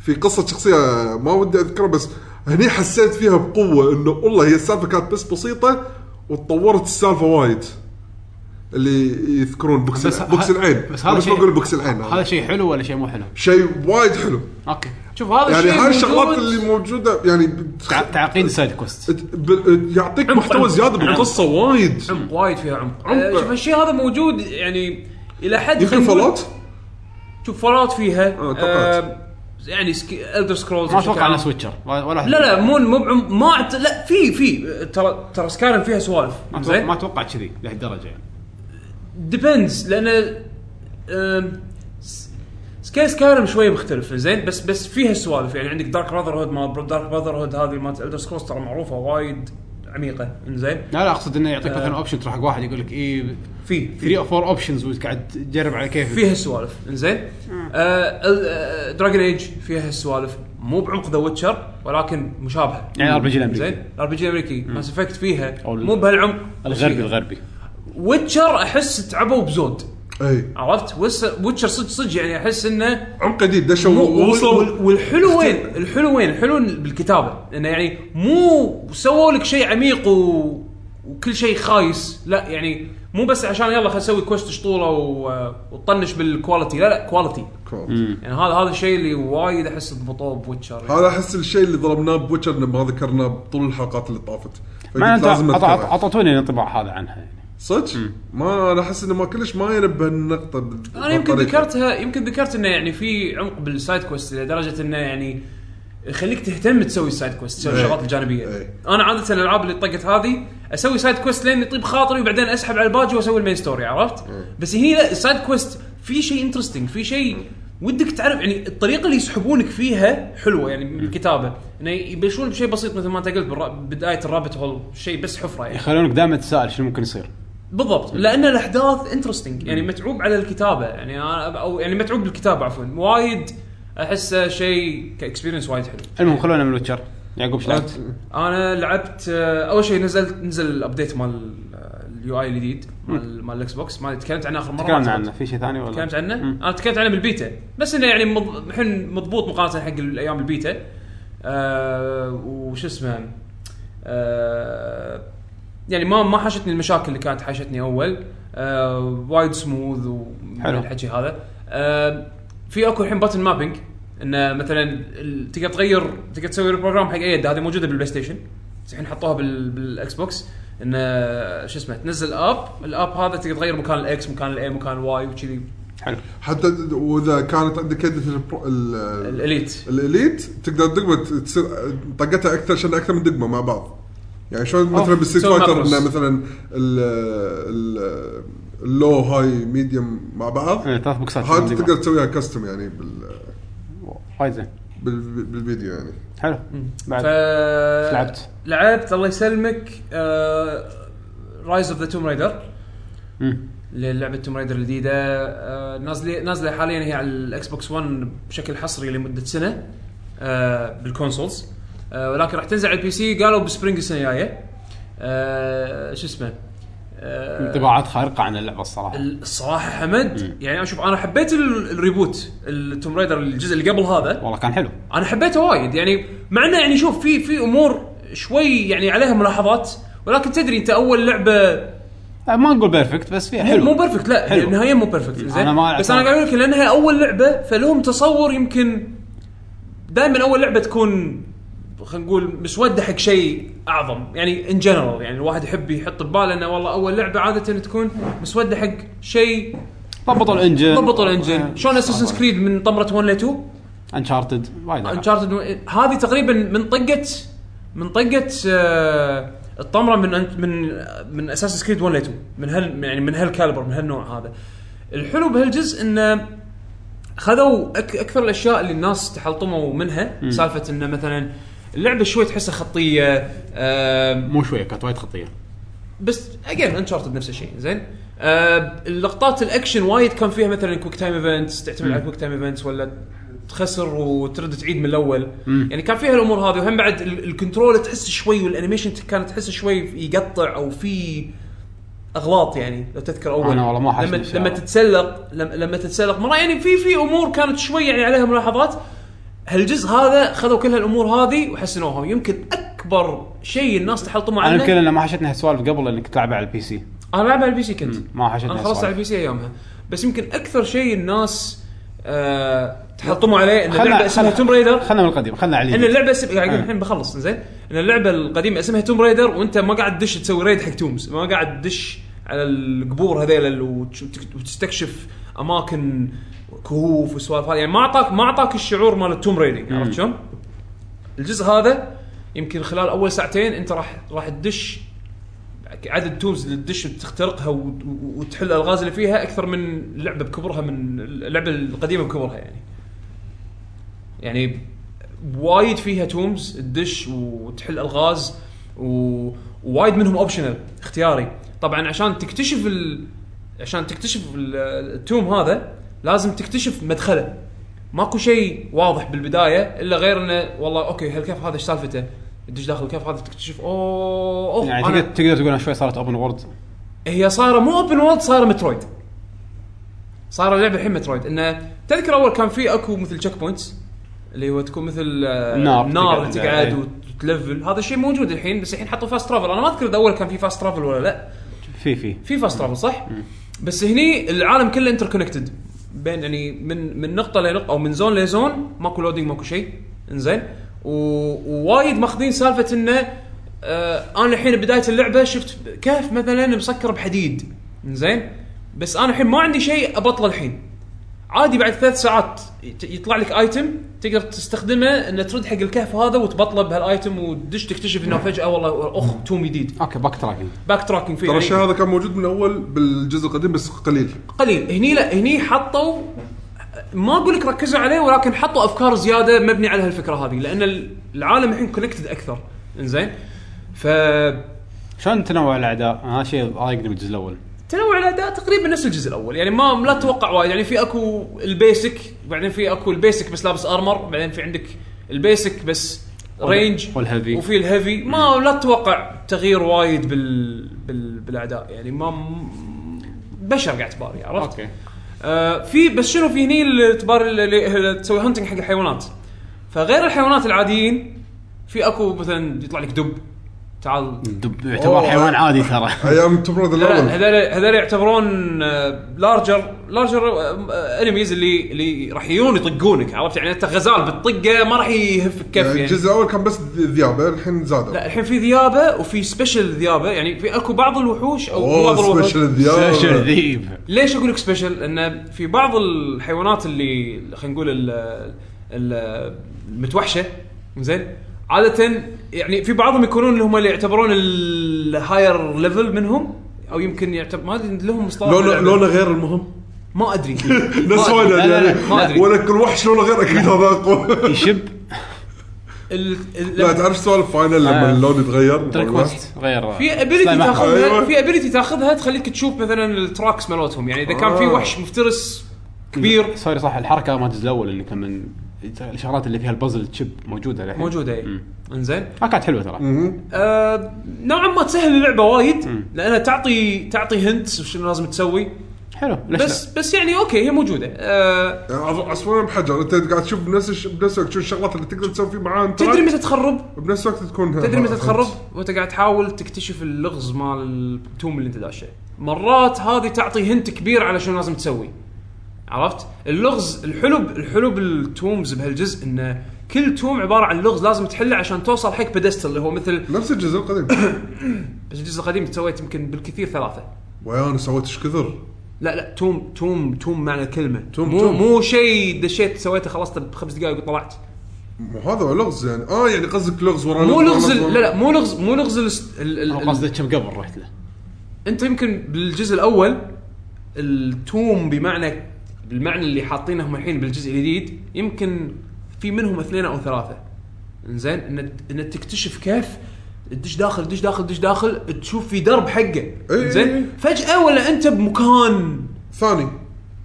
في قصه شخصيه ما ودي اذكرها بس هني حسيت فيها بقوه انه والله هي السالفه كانت بس بسيطه وتطورت السالفه وايد اللي يذكرون بوكس
بس
الع- بوكس
ه-
العين
بس هذا
بس
شيء
بقول بوكس العين
هذا
هذا
شيء حلو ولا شيء مو حلو؟
شيء وايد حلو
اوكي
شوف هذا
يعني
الشيء
هاي الشغلات
موجود.
اللي موجوده يعني بتخ-
تع- تعقيد سايد كوست
ب- يعطيك
عمق-
محتوى
عمق-
زياده بالقصه وايد
عمق وايد فيها عمق
عمق.
آه، شوف هالشيء هذا موجود يعني الى حد
يمكن
خلينا نقول-
فلات
شوف فولات فيها
آه، توقعت.
آه، يعني سكي... الدر سكرولز
ما اتوقع ناس ويتشر ولا
لا لا مو مو بعم... ما أعت- لا في في ترى ترى سكارن فيها سوالف
ما أتوقع-
زين
ما اتوقع كذي لهالدرجه يعني
ديبندز لان آم، س- سكيل سكارم شويه مختلف زين بس بس فيها سوالف يعني عندك دارك براذر هود ما دارك براذر هود هذه مالت الدر سكرولز ترى معروفه وايد عميقه زين
لا لا اقصد انه يعطيك مثلا اوبشن تروح حق واحد يقول لك إيه، اي
في
3 او 4 اوبشنز وقاعد تجرب على كيفك
فيها سوالف انزين آه دراجون ايج فيها سوالف مو بعمق ذا ويتشر ولكن مشابهه
يعني ار بي جي الامريكي
زين الار بي جي الامريكي ماس افكت فيها
أو ال-
مو بهالعمق
الغربي الغربي
ويتشر احس تعبوا بزود
اي
عرفت وس- ويتشر صدق صدق يعني احس انه
إيه. عمق جديد دشوا
مو وال-
ووصلوا
والحلو وين الحلو وين الحلو بالكتابه انه يعني مو سووا لك شيء عميق و... وكل شيء خايس لا يعني مو بس عشان يلا خلينا نسوي كوست شطوره و... وطنش بالكواليتي لا لا كواليتي يعني هذا هذا الشيء اللي وايد احس ضبطوه بويتشر
هذا احس الشيء اللي ضربناه بوتشر إنه ما ذكرناه بطول الحلقات اللي طافت فقلت
ما انت
لازم
عط- عط-
أذكره.
اعطتوني الانطباع هذا عنها يعني
صدق ما انا احس انه ما كلش ما ينبه النقطه بال-
انا يمكن
بالطريقة.
ذكرتها يمكن ذكرت انه يعني في عمق بالسايد كويست لدرجه انه يعني يخليك تهتم تسوي السايد كويست تسوي
إيه.
الشغلات الجانبيه
إيه.
انا عاده الالعاب اللي طقت هذه اسوي سايد كويست لين يطيب خاطري وبعدين اسحب على الباجي واسوي المين ستوري عرفت
إيه.
بس هني لا السايد كويست في شيء انترستنج في شيء ودك تعرف يعني الطريقه اللي يسحبونك فيها حلوه يعني من الكتابه انه يبلشون بشيء بسيط مثل ما انت قلت بالر- بدايه الرابت هول شيء بس حفره يعني
يخلونك دائما تسال شنو ممكن يصير
بالضبط لان الاحداث انترستنج يعني متعوب على الكتابه يعني أنا- او يعني متعوب بالكتابه عفوا وايد احسه شيء كاكسبيرينس وايد حلو
المهم خلونا من الوتشر يعقوب شو لعبت؟
انا لعبت آه، اول شيء نزلت نزل الابديت مال آه، اليو اي الجديد مال مال الاكس بوكس ما تكلمت عنه اخر مره
تكلمنا
ما
عنه في شيء ثاني ولا؟
تكلمت عنه؟
مم.
انا تكلمت عنه بالبيتا بس انه يعني مض- الحين مضبوط مقارنه حق الايام البيتا آه وش اسمه آه يعني ما ما حاشتني المشاكل اللي كانت حاشتني اول آه وايد سموث
حلو.
والحكي هذا آه في اكو الحين باتن مابينج انه مثلا ال- تقدر تغير تقدر تسوي البروجرام حق اي يد هذه موجوده بالبلاي ستيشن بس الحين حطوها بال بالاكس بوكس انه شو اسمه تنزل اب الاب هذا تقدر تغير مكان الاكس مكان الاي مكان الواي وكذي
حلو
حتى واذا كانت عندك يدة البرو- ال-
الاليت
الاليت تقدر دقمه تصير طقتها اكثر عشان اكثر من دقمه مع بعض يعني شلون مثلا
أوه،
بالستريت
تسوي
فايتر
مابرس.
انه مثلا ال- ال- اللو هاي ميديوم مع بعض
إيه، ثلاث بوكسات
هذه تقدر تسويها كاستم يعني بال
وايد زين
بال- بالفيديو يعني
حلو بعد
ف...
لعبت؟
لعبت الله يسلمك آه، رايز اوف ذا توم رايدر
مم.
لعبه توم رايدر الجديده آه، نازله نازله حاليا هي على الاكس بوكس 1 بشكل حصري لمده سنه آه، بالكونسولز آه، ولكن راح تنزل على البي سي قالوا بسبرينج السنه الجايه آه، شو اسمه آه،
انطباعات خارقه عن اللعبه الصراحه
الصراحه حمد يعني اشوف انا حبيت ال- الريبوت التوم رايدر الجزء اللي قبل هذا
والله كان حلو
انا حبيته وايد يعني مع انه يعني شوف في في امور شوي يعني عليها ملاحظات ولكن تدري انت اول لعبه
آه، ما نقول بيرفكت بس فيها حلو
مو بيرفكت لا
حلو.
نهائيا مو بيرفكت
أنا
زين
ما
بس انا
أعتبر-
قاعد اقول لك لانها اول لعبه فلهم تصور يمكن دائما اول لعبه تكون خلينا نقول مسوده حق شيء اعظم يعني ان جنرال يعني الواحد يحب يحط بباله انه والله اول لعبه عاده تكون مسوده حق شيء
ضبطوا الانجن
ضبطوا
آه،
الانجن شلون اساسن كريد من طمره 1 ل 2
انشارتد وايد ألعاب.
انشارتد هذه تقريبا من طقه من طقه آه، الطمره من من من اساس سكريد 1 ل 2 من هال يعني من هالكالبر من هالنوع هذا الحلو بهالجزء انه خذوا أك اكثر الاشياء اللي الناس تحلطموا منها سالفه انه مثلا اللعبه شوي تحسها خطيه آه،
مو شويه كانت وايد خطيه
بس اجين انشارتد نفس الشيء زين آه اللقطات الاكشن وايد كان فيها مثلا كويك تايم ايفنتس تعتمد على كويك تايم ايفنتس ولا تخسر وترد تعيد من الاول يعني كان فيها الامور هذه وهم بعد ال- الكنترول تحس شوي والانيميشن ت- كانت تحس شوي يقطع او في اغلاط يعني لو تذكر اول
أنا والله ما حاشني
لما
الشيء
لما
هذا.
تتسلق لما, لما تتسلق مره يعني في في امور كانت شوي يعني عليها ملاحظات هالجزء هذا خذوا كل هالامور هذه وحسنوها يمكن اكبر شيء الناس تحلطموا
انا
عنه
يمكن انا ما حشتني هالسوالف قبل انك تلعب على البي سي
انا العبها على البي سي كنت
ما حشتني
انا خلصت
الصراحة.
على البي سي ايامها بس يمكن اكثر شيء الناس آه تحطموا عليه ان اللعبه
خلنا
اسمها
خلنا
توم ريدر
خلنا من القديم خلنا على
ان
الجديد.
اللعبه اسم... قاعد أقول
آه.
الحين بخلص زين ان اللعبه القديمه اسمها توم ريدر وانت ما قاعد تدش تسوي ريد حق تومز ما قاعد تدش على القبور هذيل وت- وت- وتستكشف اماكن كهوف وسوالف هذه يعني ما اعطاك ما اعطاك الشعور مال التوم ريدنج عرفت شلون؟ الجزء هذا يمكن خلال اول ساعتين انت راح راح تدش عدد تومز اللي تدش وتخترقها وت- وتحل الالغاز اللي فيها اكثر من اللعبه بكبرها من اللعبه القديمه بكبرها يعني. يعني وايد فيها تومز تدش وتحل الغاز و- ووايد منهم اوبشنال اختياري طبعا عشان تكتشف ال... عشان تكتشف ال- التوم هذا لازم تكتشف مدخله ماكو شيء واضح بالبدايه الا غير انه والله اوكي هالكهف هذا ايش سالفته تدش داخل الكهف هذا تكتشف اوه اوه
يعني
أنا-
تقدر تقدر تقول أنا شوي صارت اوبن وورد
هي صايره مو اوبن وولد صايره مترويد صايره اللعبه الحين مترويد انه تذكر اول كان في اكو مثل تشيك بوينتس اللي هو تكون مثل آه،
نار
نار
تقعد-
تقعد
إيه.
وتلفل هذا الشيء موجود الحين بس الحين حطوا فاست ترافل انا ما اذكر اذا اول كان في فاست ترافل ولا لا
في في
في فاست ترافل صح؟ بس هني العالم كله انتر كونكتد بين يعني من من نقطه لنقطه او من زون لزون ماكو لودينج ماكو شيء انزين و- ووايد ماخذين سالفه انه آه انا الحين بدايه اللعبه شفت كهف مثلا مسكر بحديد انزين بس انا الحين ما عندي شيء ابطله الحين عادي بعد ثلاث ساعات يت- يطلع لك ايتم تقدر تستخدمه ان ترد حق الكهف هذا وتبطله بهالايتم وتدش تكتشف انه فجاه والله اخ توم جديد
اوكي باك تراكنج
باك تراكنج فيه
ترى
يعني-
الشيء هذا كان موجود من اول بالجزء القديم بس قليل
قليل هني لا هني حطوا ما اقول لك ركزوا عليه ولكن حطوا افكار زياده مبني على هالفكره هذه لان ال- العالم الحين كونكتد اكثر انزين ف
شلون تنوع الاعداء؟ أنا هذا شيء ضايقني بالجزء الاول
تنوع الاداء تقريبا نفس الجزء الاول يعني ما لا تتوقع وايد يعني في اكو البيسك بعدين في اكو البيسك بس لابس ارمر بعدين في عندك البيسك بس رينج
والهيفي.
وفي الهيفي ما لا تتوقع تغيير وايد بال, بال... بالاعداء يعني ما م- بشر قاعد تباري عرفت؟ آه، في بس شنو في هني اللي تبار اللي اللي تسوي هانتنج حق الحيوانات فغير الحيوانات العاديين في اكو مثلا يطلع لك دب تعال
الدب يعتبر حيوان عادي ترى
ايام توم ريدر الاول
هذول هذول يعتبرون آه، لارجر لارجر انميز آه، اللي اللي راح يجون يطقونك عرفت يعني انت غزال بالطقه ما راح يهفك كف يعني
الجزء الاول كان بس ذيابه الحين زادوا
لا الحين في ذيابه وفي سبيشل ذيابه يعني في اكو بعض الوحوش او بعض
اوه
الوحوش
سبيشل الذيابه
سبيشل ذيب
ليش اقول لك سبيشل؟ لان في بعض الحيوانات اللي خلينا نقول ال- ال- المتوحشه زين عاده يعني في بعضهم يكونون اللي هم اللي يعتبرون الهاير ليفل منهم او يمكن يعتبر ما ادري لهم مصطلح
لونه
باللعبة.
لونه غير المهم
ما ادري
نفس
ما أدري.
وينه
لا، لا،
يعني
ما أدري.
ولا كل وحش لونه غير اكيد هذا اقوى
يشب
ال- ال-
لا تعرف سوالف فاينل لما
آه.
اللون يتغير
تريك
والوحش.
ويست غير
في ابيلتي
سلايم أحمر.
تاخذها
أيوة.
في ابيلتي تاخذها تخليك تشوف مثلا التراكس مالتهم يعني اذا كان في
آه.
وحش مفترس كبير
سوري صح الحركه مالت الجزء الاول انك لما الشغلات اللي فيها البازل تشب موجوده الحين
موجوده اي
مم.
انزين
ما كانت حلوه ترى
مهم.
آه، نوعا ما تسهل اللعبه وايد لانها تعطي تعطي هنت شنو لازم تسوي
حلو ليش
بس بس يعني اوكي هي موجوده آه،
يعني عض- عصفورين بحجر انت قاعد تشوف بنفس الش- بنفس الوقت شو الشغلات اللي تقدر تسوي فيه معاه انت
تدري متى تخرب
بنفس الوقت تكون
تدري متى تخرب وانت قاعد تحاول تكتشف اللغز مال التوم اللي انت داشه مرات هذه تعطي هنت كبير على شنو لازم تسوي عرفت اللغز الحلو ب- الحلو بالتومز بهالجزء انه كل توم عباره عن لغز لازم تحله عشان توصل حق بدستل اللي هو مثل
نفس الجزء القديم
بس الجزء القديم سويت يمكن بالكثير ثلاثه
ويا انا سويت ايش كثر
لا لا توم توم توم معنى الكلمه توم
توم،
مو
توم.
مو شيء دشيت سويته خلصته بخمس دقائق وطلعت
مو هذا هو لغز يعني اه يعني قصدك لغز ورا
مو
ورا
لغز ال-
ورا-
لا لا مو لغز مو لغز ال- ال- ال-
أو قصدك كم قبل رحت له
انت يمكن بالجزء الاول التوم بمعنى بالمعنى اللي حاطينهم الحين بالجزء الجديد يمكن في منهم اثنين او ثلاثه انزين ان ان تكتشف كيف تدش داخل دش داخل دش داخل تشوف في درب حقه
إيه.
انزين فجاه ولا انت بمكان
ثاني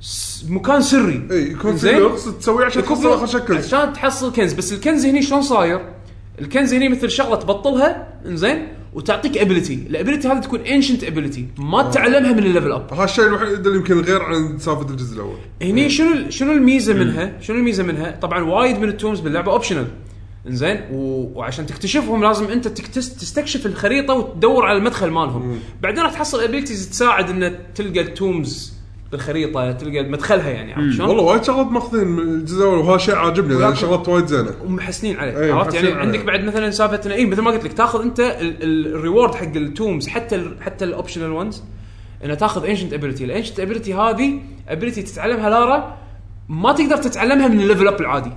س- مكان سري
اي إيه، يكون في
إنزين؟
لغز تسويه عشان
يكون
تحصل
في-
اخر شكل
عشان تحصل كنز بس الكنز هني شلون صاير؟ الكنز هني مثل شغله تبطلها انزين وتعطيك ابيلتي، الابيلتي هذه تكون انشنت ابيلتي ما تتعلمها من الليفل اب.
هذا الشيء الوحيد اللي يمكن غير عن سالفه الجزء الاول إيه.
هني شنو شنو الميزه منها؟ شنو الميزه منها؟ طبعا وايد من التومز باللعبه اوبشنال. انزين و... وعشان تكتشفهم لازم انت تكتس... تستكشف الخريطه وتدور على المدخل
إيه.
مالهم بعدين راح تحصل ابيلتيز تساعد ان تلقى التومز بالخريطه تلقى مدخلها يعني عرفت شلون؟
إيه. والله وايد شغلات ماخذين من الجزء الاول وهذا شيء عاجبني لان
ولكن-
شغلات وايد زينه
ومحسنين عليه
إيه،
عرفت يعني
محسنين عليه.
عندك بعد مثلا سالفه إن- اي إيه، مثل ما قلت لك تاخذ انت ال- ال- الريورد حق التومز حتى ال حتى الاوبشنال ونز انه تاخذ انشنت ابيلتي الانشنت ابيلتي هذه ابيلتي تتعلمها لارا ما تقدر تتعلمها من الليفل اب العادي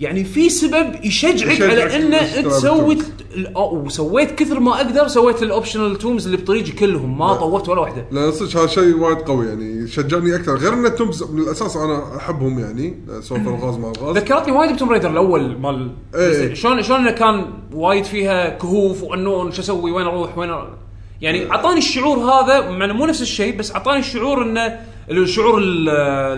يعني في سبب يشجعك
يشجعك
على انه
تشتغل
تسوي
بالتومز.
ال- أو- وسويت كثر ما اقدر سويت الاوبشنال تومز اللي بطريقي كلهم ما طورت ولا واحده
لان صدق هذا شيء وايد قوي يعني شجعني اكثر غير ان التومز من الاساس انا احبهم يعني سولفه الغاز مع الغاز
ذكرتني وايد بتوم ريدر الاول مال
إيه.
شلون شلون انه كان وايد فيها كهوف وانه شو اسوي وين اروح وين أروح.
إيه.
يعني اعطاني الشعور هذا مع إنه مو نفس الشيء بس اعطاني الشعور انه الشعور ال-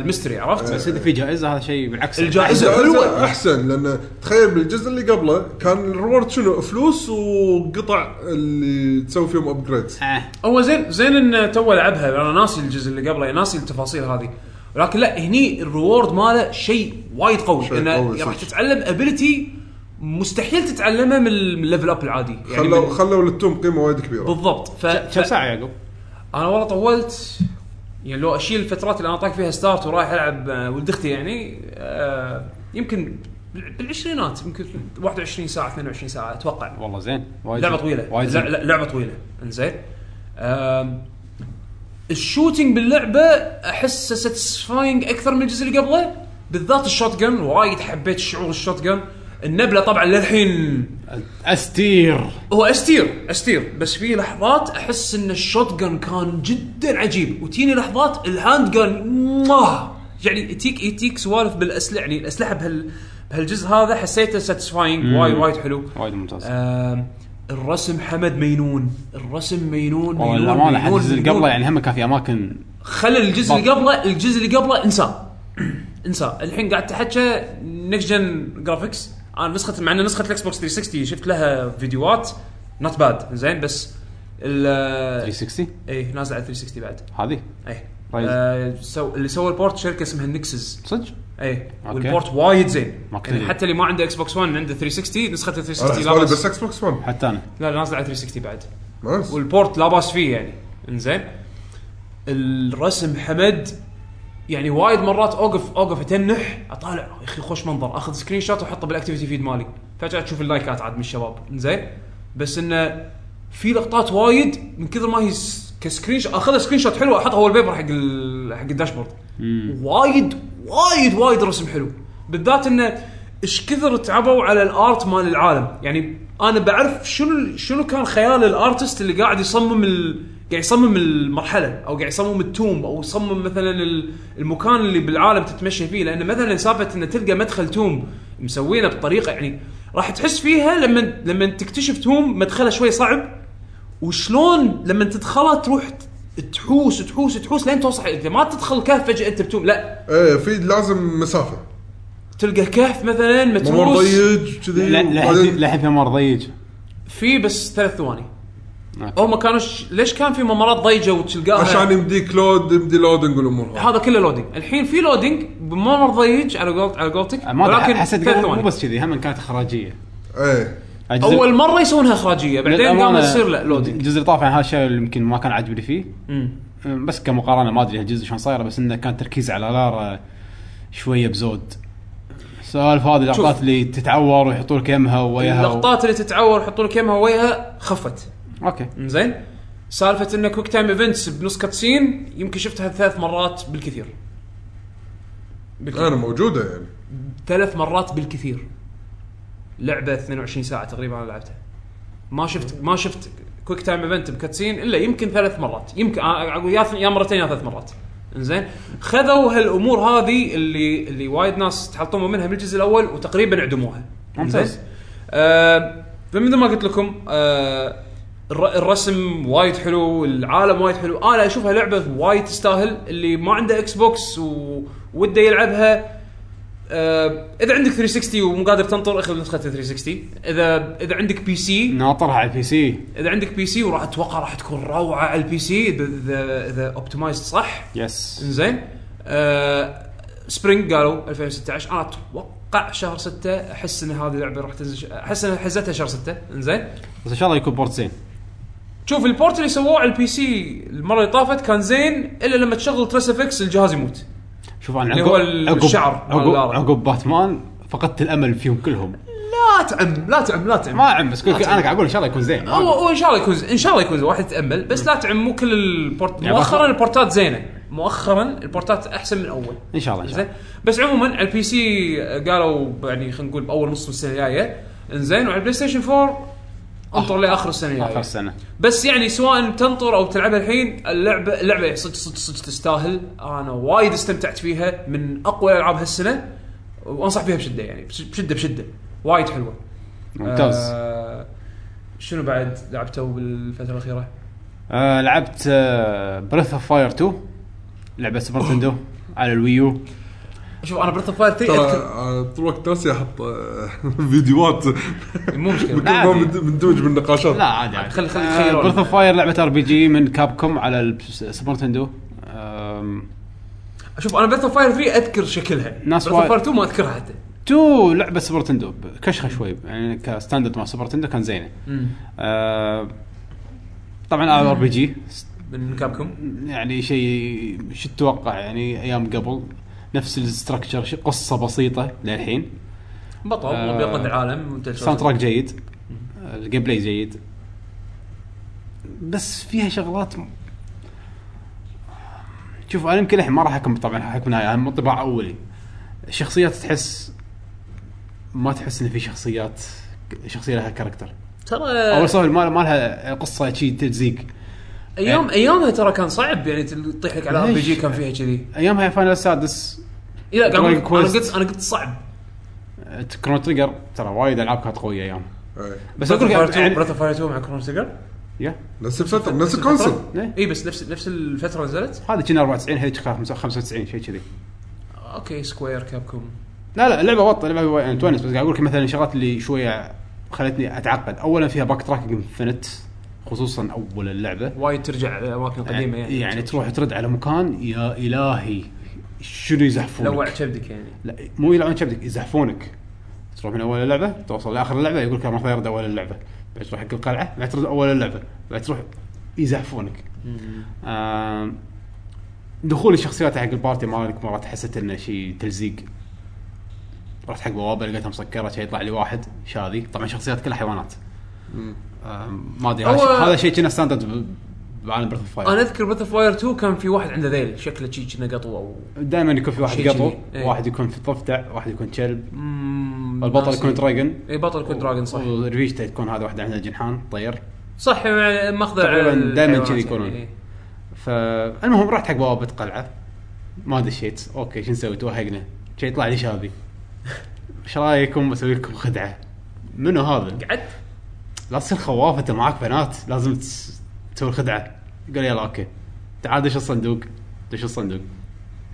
المستري
بس
إيه.
عرفت؟
اذا في جائزه هذا شيء بالعكس
الجائزة.
بس
حلوة.
احسن لان تخيل بالجزء اللي قبله كان الريورد شنو فلوس وقطع اللي تسوي فيهم ابجريدز
آه.
هو زين زين انه تو لعبها انا ناسي الجزء اللي قبله ناسي التفاصيل هذه لكن لا هني الريورد ماله شيء وايد قوي
شيء قوي،
انه راح
صدق.
تتعلم ابيلتي مستحيل تتعلمها من الليفل اب العادي يعني
خلوا
من-
خلوا للتوم قيمه وايد كبيره
بالضبط ف-
كم
ف-
ساعه يا يعقوب؟
انا والله طولت يعني لو اشيل الفترات اللي انا طاق فيها ستارت ورايح العب آه، ولد اختي يعني آه، يمكن بال- بالعشرينات يمكن 21 ساعه 22 ساعه اتوقع
والله زين وايد
لعبه
زين.
طويله
وايد
لا-
زين.
لا- لعبه طويله انزين آم، الشوتينج باللعبه احسه ساتسفاينج اكثر من الجزء اللي قبله بالذات الشوت جن وايد حبيت شعور الشوت جن النبله طبعا للحين
استير
هو استير استير بس في لحظات احس ان الشوت جن كان جدا عجيب وتجيني لحظات الهاند جن ماه يعني يتيك يتيك سوالف بالاسلحه يعني الاسلحه بهال بهالجزء هذا حسيته ساتيسفاينج وايد وايد حلو
وايد ممتاز
آه، آم، الرسم حمد مينون الرسم مينون
والله
مينون،
للامانه حتى
مينون،
الجزء اللي
مينون.
قبله يعني هم كان في اماكن
خلى الجزء
بط.
اللي قبله الجزء اللي قبله انساه انساه الحين قاعد تحكى نكست جن جرافيكس انا نسخه مع ان نسخه الاكس بوكس 360 شفت لها فيديوهات نوت باد زين بس ال
360
اي نازل على 360 بعد
هذه
اي
طيب.
آه سو اللي سوى البورت شركه اسمها نكسز
صدق
اي
أوكي.
والبورت وايد زين
ما كنت
يعني
أدري.
حتى اللي ما عنده اكس بوكس 1 عنده 360 نسخه
انا
360 لا
حسبالي
بأس-
آه، بس اكس بوكس 1
حتى انا
لا نازل على 360 بعد
نايس
والبورت لا باس فيه يعني انزين الرسم حمد يعني وايد مرات اوقف اوقف اتنح اطالع يا اخي خوش منظر اخذ سكرين شوت واحطه بالاكتيفيتي فيد مالي فجاه تشوف اللايكات عاد من الشباب انزين بس انه في لقطات وايد من كثر ما هي س- كسكرين شوت اخذها سكرين شوت حلو احطها اول بيبر حق ال... حق الداشبورد وايد وايد وايد رسم حلو بالذات انه ايش كثر تعبوا على الارت مال العالم يعني انا بعرف شنو شنو كان خيال الارتست اللي قاعد يصمم ال... قاعد يصمم المرحله او قاعد يصمم التوم او يصمم مثلا ال- المكان اللي بالعالم تتمشى فيه لان مثلا سالفه ان تلقى مدخل توم مسوينه بطريقه يعني راح تحس فيها لما لما تكتشف توم مدخله شوي صعب وشلون لما تدخلها تروح تحوس تحوس تحوس لين توصل اذا ما تدخل كهف فجاه انت بتوم لا
ايه في لازم مسافه
تلقى كهف مثلا
ممر
متروس
ضيق
إيه،
كذي
لا- لا
وبعدين-
للحين في ممر ضيق
في بس ثلاث ثواني
أوكي.
هم كانوا ش... ليش كان في ممرات ضيجه وتلقاها
عشان يمديك لود يمدي لودنج والامور هذه
هذا كله لودينج الحين في لودينج بممر ضيج على قولت على قولتك
أه، ما أدري،
ولكن
حسيت
ثلاث
قبل مو
ثواني
بس كذي هم كانت اخراجيه
ايه
الجزء-
اول مره يسوونها اخراجيه بعدين قام
للأمانة
يصير لا لودينج
الجزء اللي طاف عن هذا الشيء اللي يمكن ما كان عاجبني فيه
مم.
أم، بس كمقارنه ما ادري هالجزء شلون صايره بس انه كان تركيز على لارا شويه بزود السوالف هذه اللقطات
شوف.
اللي تتعور ويحطوا لك يمها وياها و...
اللقطات اللي تتعور يحطوا لك يمها ويها خفت
اوكي
زين سالفه ان كويك تايم ايفنتس بنص كاتسين يمكن شفتها ثلاث مرات بالكثير بالكثير
انا موجوده يعني
ثلاث مرات بالكثير لعبه 22 ساعه تقريبا انا لعبتها ما شفت ما شفت كويك تايم ايفنت بكاتسين الا يمكن ثلاث مرات يمكن أ- أ- يا يا مرتين يا ثلاث مرات انزين خذوا هالامور هذه اللي اللي وايد ناس تحطموا منها من الجزء الاول وتقريبا عدموها
ممتاز.
إنزين؟ آه فمثل ما قلت لكم آه الر- الرسم وايد حلو العالم وايد حلو آه، انا اشوفها لعبه وايد تستاهل اللي ما عنده اكس بوكس ووده يلعبها آه، اذا عندك 360 ومو قادر تنطر اخذ نسخه 360 اذا اذا عندك بي سي
ناطرها على البي سي
اذا عندك بي سي وراح اتوقع راح تكون روعه على البي سي اذا اذا, إذا اوبتمايزد صح
يس
انزين آه سبرينج قالوا 2016 انا اتوقع اتوقع شهر 6 احس ان هذه اللعبه راح تنزل ش- احس ان حزتها شهر 6 انزين
بس ان شاء الله يكون بورت زين
شوف البورت اللي سووه على البي سي المره اللي طافت كان زين الا لما تشغل تريس افكس الجهاز يموت
شوف انا
اللي
عقب-
هو ال-
عقب-
الشعر مال
عقب
لارا.
عقب باتمان فقدت الامل فيهم كلهم
لا تعم لا تعم لا تعم
ما عم بس كل انا قاعد اقول ان شاء الله يكون زين
هو هو ان شاء الله يكون ان شاء الله يكون واحد يتامل بس لا تعم مو كل البورت
يعني
مؤخرا
بأخر-
البورتات زينه مؤخرا البورتات احسن من اول
ان شاء الله ان شاء
زين
الله
بس عموما على البي سي قالوا يعني خلينا نقول باول نص السنه الجايه انزين وعلى البلاي ستيشن 4
آه،
انطر لاخر السنه
اخر
الجايه
السنه
بس يعني سواء تنطر او تلعبها الحين اللعبه اللعبه صدق صدق صدق تستاهل انا وايد استمتعت فيها من اقوى الالعاب هالسنه وانصح فيها بشده يعني بش- بشده بشده وايد حلوه
ممتاز
آه شنو بعد لعبته بالفتره الاخيره؟
آه لعبت آه، بريث اوف فاير 2 لعبه سوبر نتندو على الويو
شوف انا بريث اوف فاير 3
ترى
أذكر-
آه، طول الوقت ناسي احط آه، فيديوهات
مو مشكله
عادي.
ما مند- مندمج بالنقاشات
لا عادي آه، عادي
خلي- خلي يتخيلون.
بريث اوف فاير لعبه ار بي جي من كاب كوم على السوبر نتندو آم،
شوف انا بريث اوف فاير 3 اذكر شكلها
ناس
بريث اوف
وايد-
فاير 2 ما اذكرها حتى
تو لعبه سوبر تندو كشخه شوي يعني كستاندرد مع سوبر تندو كان زينه آه طبعا ار بي جي
من كابكم
يعني شيء شو تتوقع يعني ايام قبل نفس الاستراكشر قصه بسيطه للحين
بطل
آه،
وبيض العالم وانت
ساوند تراك جيد الجيم بلاي جيد بس فيها شغلات م... شوف انا يمكن الحين ما راح احكم طبعا احكم نهايه من انطباع اولي الشخصيات تحس ما تحس ان في شخصيات شخصيه لها كاركتر
ترى
اول سؤال ما ما لها قصه شي تلزيق
ايام ايامها ترى كان صعب يعني تل- تطيح لك على ار بي
إيه. ليش؟
جي كان فيها كذي
ايامها فاينل السادس
إيه، لا قاعد أقول لك،
Dragon
انا
Quest.
قلت انا قلت صعب
كرون تريجر ترى وايد العاب كانت قويه ايام
إيه.
بس اقول لك يعني
بريث اوف فاير 2 مع كرون سيجر
يا
نفس الفتره نفس الكونسل
إيه.
اي بس نفس نفس الفتره نزلت
هذه كنا 94 هذيك 95 شيء كذي
اوكي سكوير كابكم
لا لا اللعبه وطه اللعبه وايد- يعني تونس بس قاعد اقول لك مثلا الشغلات اللي شويه خلتني اتعقد اولا فيها باك تراكنج انفنت خصوصا اول اللعبه
وايد ترجع لاماكن قديمه يعني
يعني تروح ترد على مكان يا الهي شنو يزحفونك
لوع كبدك يعني
لا مو يلعبون شبدك يزحفونك تروح من اول اللعبه توصل لاخر اللعبه يقول لك المفروض يرد اول اللعبه بعد تروح حق القلعه بعد ترد اول اللعبه بعد تروح يزحفونك آم، دخول الشخصيات حق البارتي مالك مرات حسيت انه شيء تلزيق رحت حق بوابه لقيتها مسكره شي يطلع لي واحد شاذي طبعا شخصيات كلها حيوانات آم، ما ادري هذا
هو-
شيء- هذا شيء كنا ستاندرد ب- بعالم بريث اوف
انا
فاير
اذكر بريث اوف فاير 2 كان في واحد عنده ذيل شكله شي كنا قطوه او
دائما يكون في واحد
شيء
قطو
كذي. إيه.
واحد يكون في ضفدع واحد يكون كلب
مم،
البطل
ناسي.
يكون دراجون
اي بطل يكون دراجون صح
وريفيجتا تكون هذا واحده عندها جنحان طير
صح يعني ماخذه على
تقريباً
الحيوانات
دايماً
يعني.
كذي يكونون.
إيه.
فالمهم رحت حق بوابه قلعه ما دشيت اوكي شو نسوي توهقنا شي يطلع لي شاذي ايش رايكم بسوي لكم خدعه منو هذا؟
قعدت
لا تصير خواف انت معاك بنات لازم تس- تسوي الخدعه يقول يلا اوكي تعال دش الصندوق دش الصندوق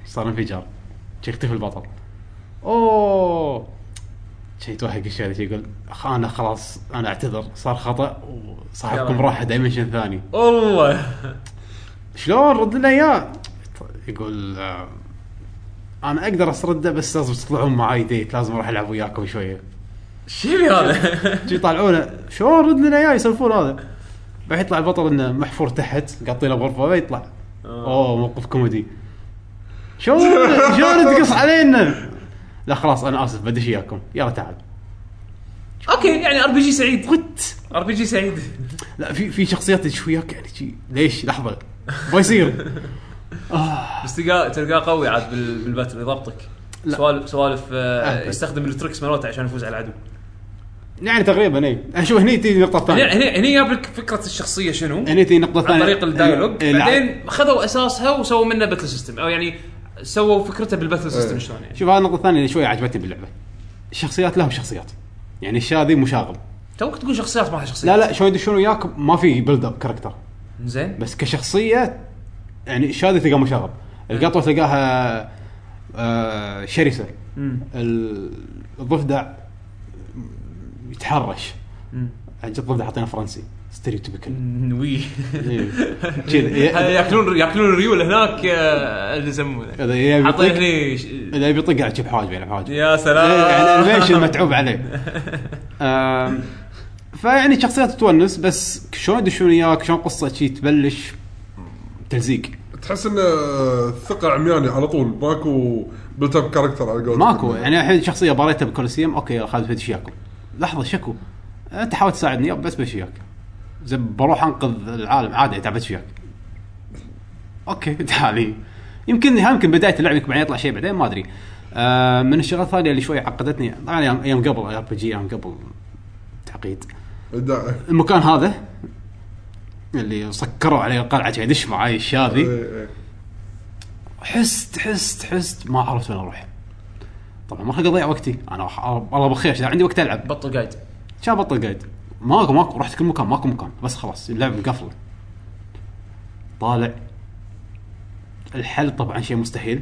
صار انفجار شي يختفي البطل اوه شي يتوهق الشاذي شي يقول "أخ، انا خلاص انا اعتذر صار خطا وصاحبكم
يلا.
راح دايمنشن ثاني
والله
شلون رد لنا اياه؟ يقول آه، انا اقدر اسرده بس لازم تطلعون معاي ديت لازم اروح العب وياكم شويه
شيلي هذا
جي يطالعونه شلون رد لنا اياه يسولفون هذا بعدين يطلع البطل انه محفور تحت قاطينه بغرفه ما يطلع اوه موقف كوميدي شلون شلون تقص علينا؟ لا خلاص انا اسف بدش اياكم يلا تعال
اوكي يعني ار بي جي سعيد
وات
ار بي جي سعيد
لا في في شخصيات تدش وياك يعني شي ليش لحظه ما يصير
بس تلقاه تلقاه قوي عاد بال- بالباتل يضبطك
لا.
سوالف سوالف آه،
أهبل.
يستخدم التريكس مالته عشان يفوز على العدو
يعني تقريبا اي شوف هني تجي نقطه
هنا
ثانيه
هنا هنا جاب لك فكره الشخصيه شنو
هني تجي نقطه
عن
ثانيه
طريق الدايلوج
الع-
بعدين خذوا اساسها وسووا منه باتل سيستم او يعني سووا فكرته بالباتل
إيه.
سيستم شلون يعني
شوف هذه النقطه الثانيه اللي شويه عجبتني باللعبه الشخصيات لهم شخصيات يعني الشاذي مشاغب
توك تقول شخصيات ما لها شخصيات
لا لا شلون يدشون وياك ما في بيلد اب كاركتر
زين
بس كشخصيه يعني الشاذي تلقاه مشاغب القطوه تلقاها آه شرسه ال- الضفدع يتحرش
مم.
عجب الضفدع حاطينه فرنسي ستيريوتيبكال
وي
كذا
ياكلون ياكلون الريول هناك آه، اللي يسمونه
اذا يبي
حاطين
يطق
هني ش-
اذا يبي يطق على شي بحواجبه يلعب بحواجبه
يا
إيه. يعني
سلام
الانيميشن متعوب عليه آم، فيعني شخصيات تونس بس شلون يدشون اياك شلون قصه شي تبلش تلزيق
تحس انه ثقه عمياني على طول ماكو بلت اب كاركتر على قولتك
ماكو يعني الحين شخصيه باريتها بالكولوسيوم اوكي خالد فيدي شياكو لحظه شكو انت حاول تساعدني يب، بس بمشي وياك زين بروح انقذ العالم عادي تعبت وياك اوكي تعالي يمكن ها يمكن بدايه اللعبه يمكن بعدين يطلع شيء بعدين ما ادري آه من الشغلات الثانيه اللي شوي عقدتني طبعا أيام- ايام قبل ار بي جي ايام قبل تعقيد
دا-
المكان هذا اللي سكروا عليه القلعه قاعد يدش معاي الشاذي
إيه، إيه.
حست حست حست ما عرفت وين اروح طبعا ما راح اضيع وقتي انا راح الله بالخير اذا عندي وقت العب
بطل قايد
كان بطل قايد ماكو ماكو رحت كل مكان ماكو مكان بس خلاص اللعب مقفله طالع الحل طبعا شيء مستحيل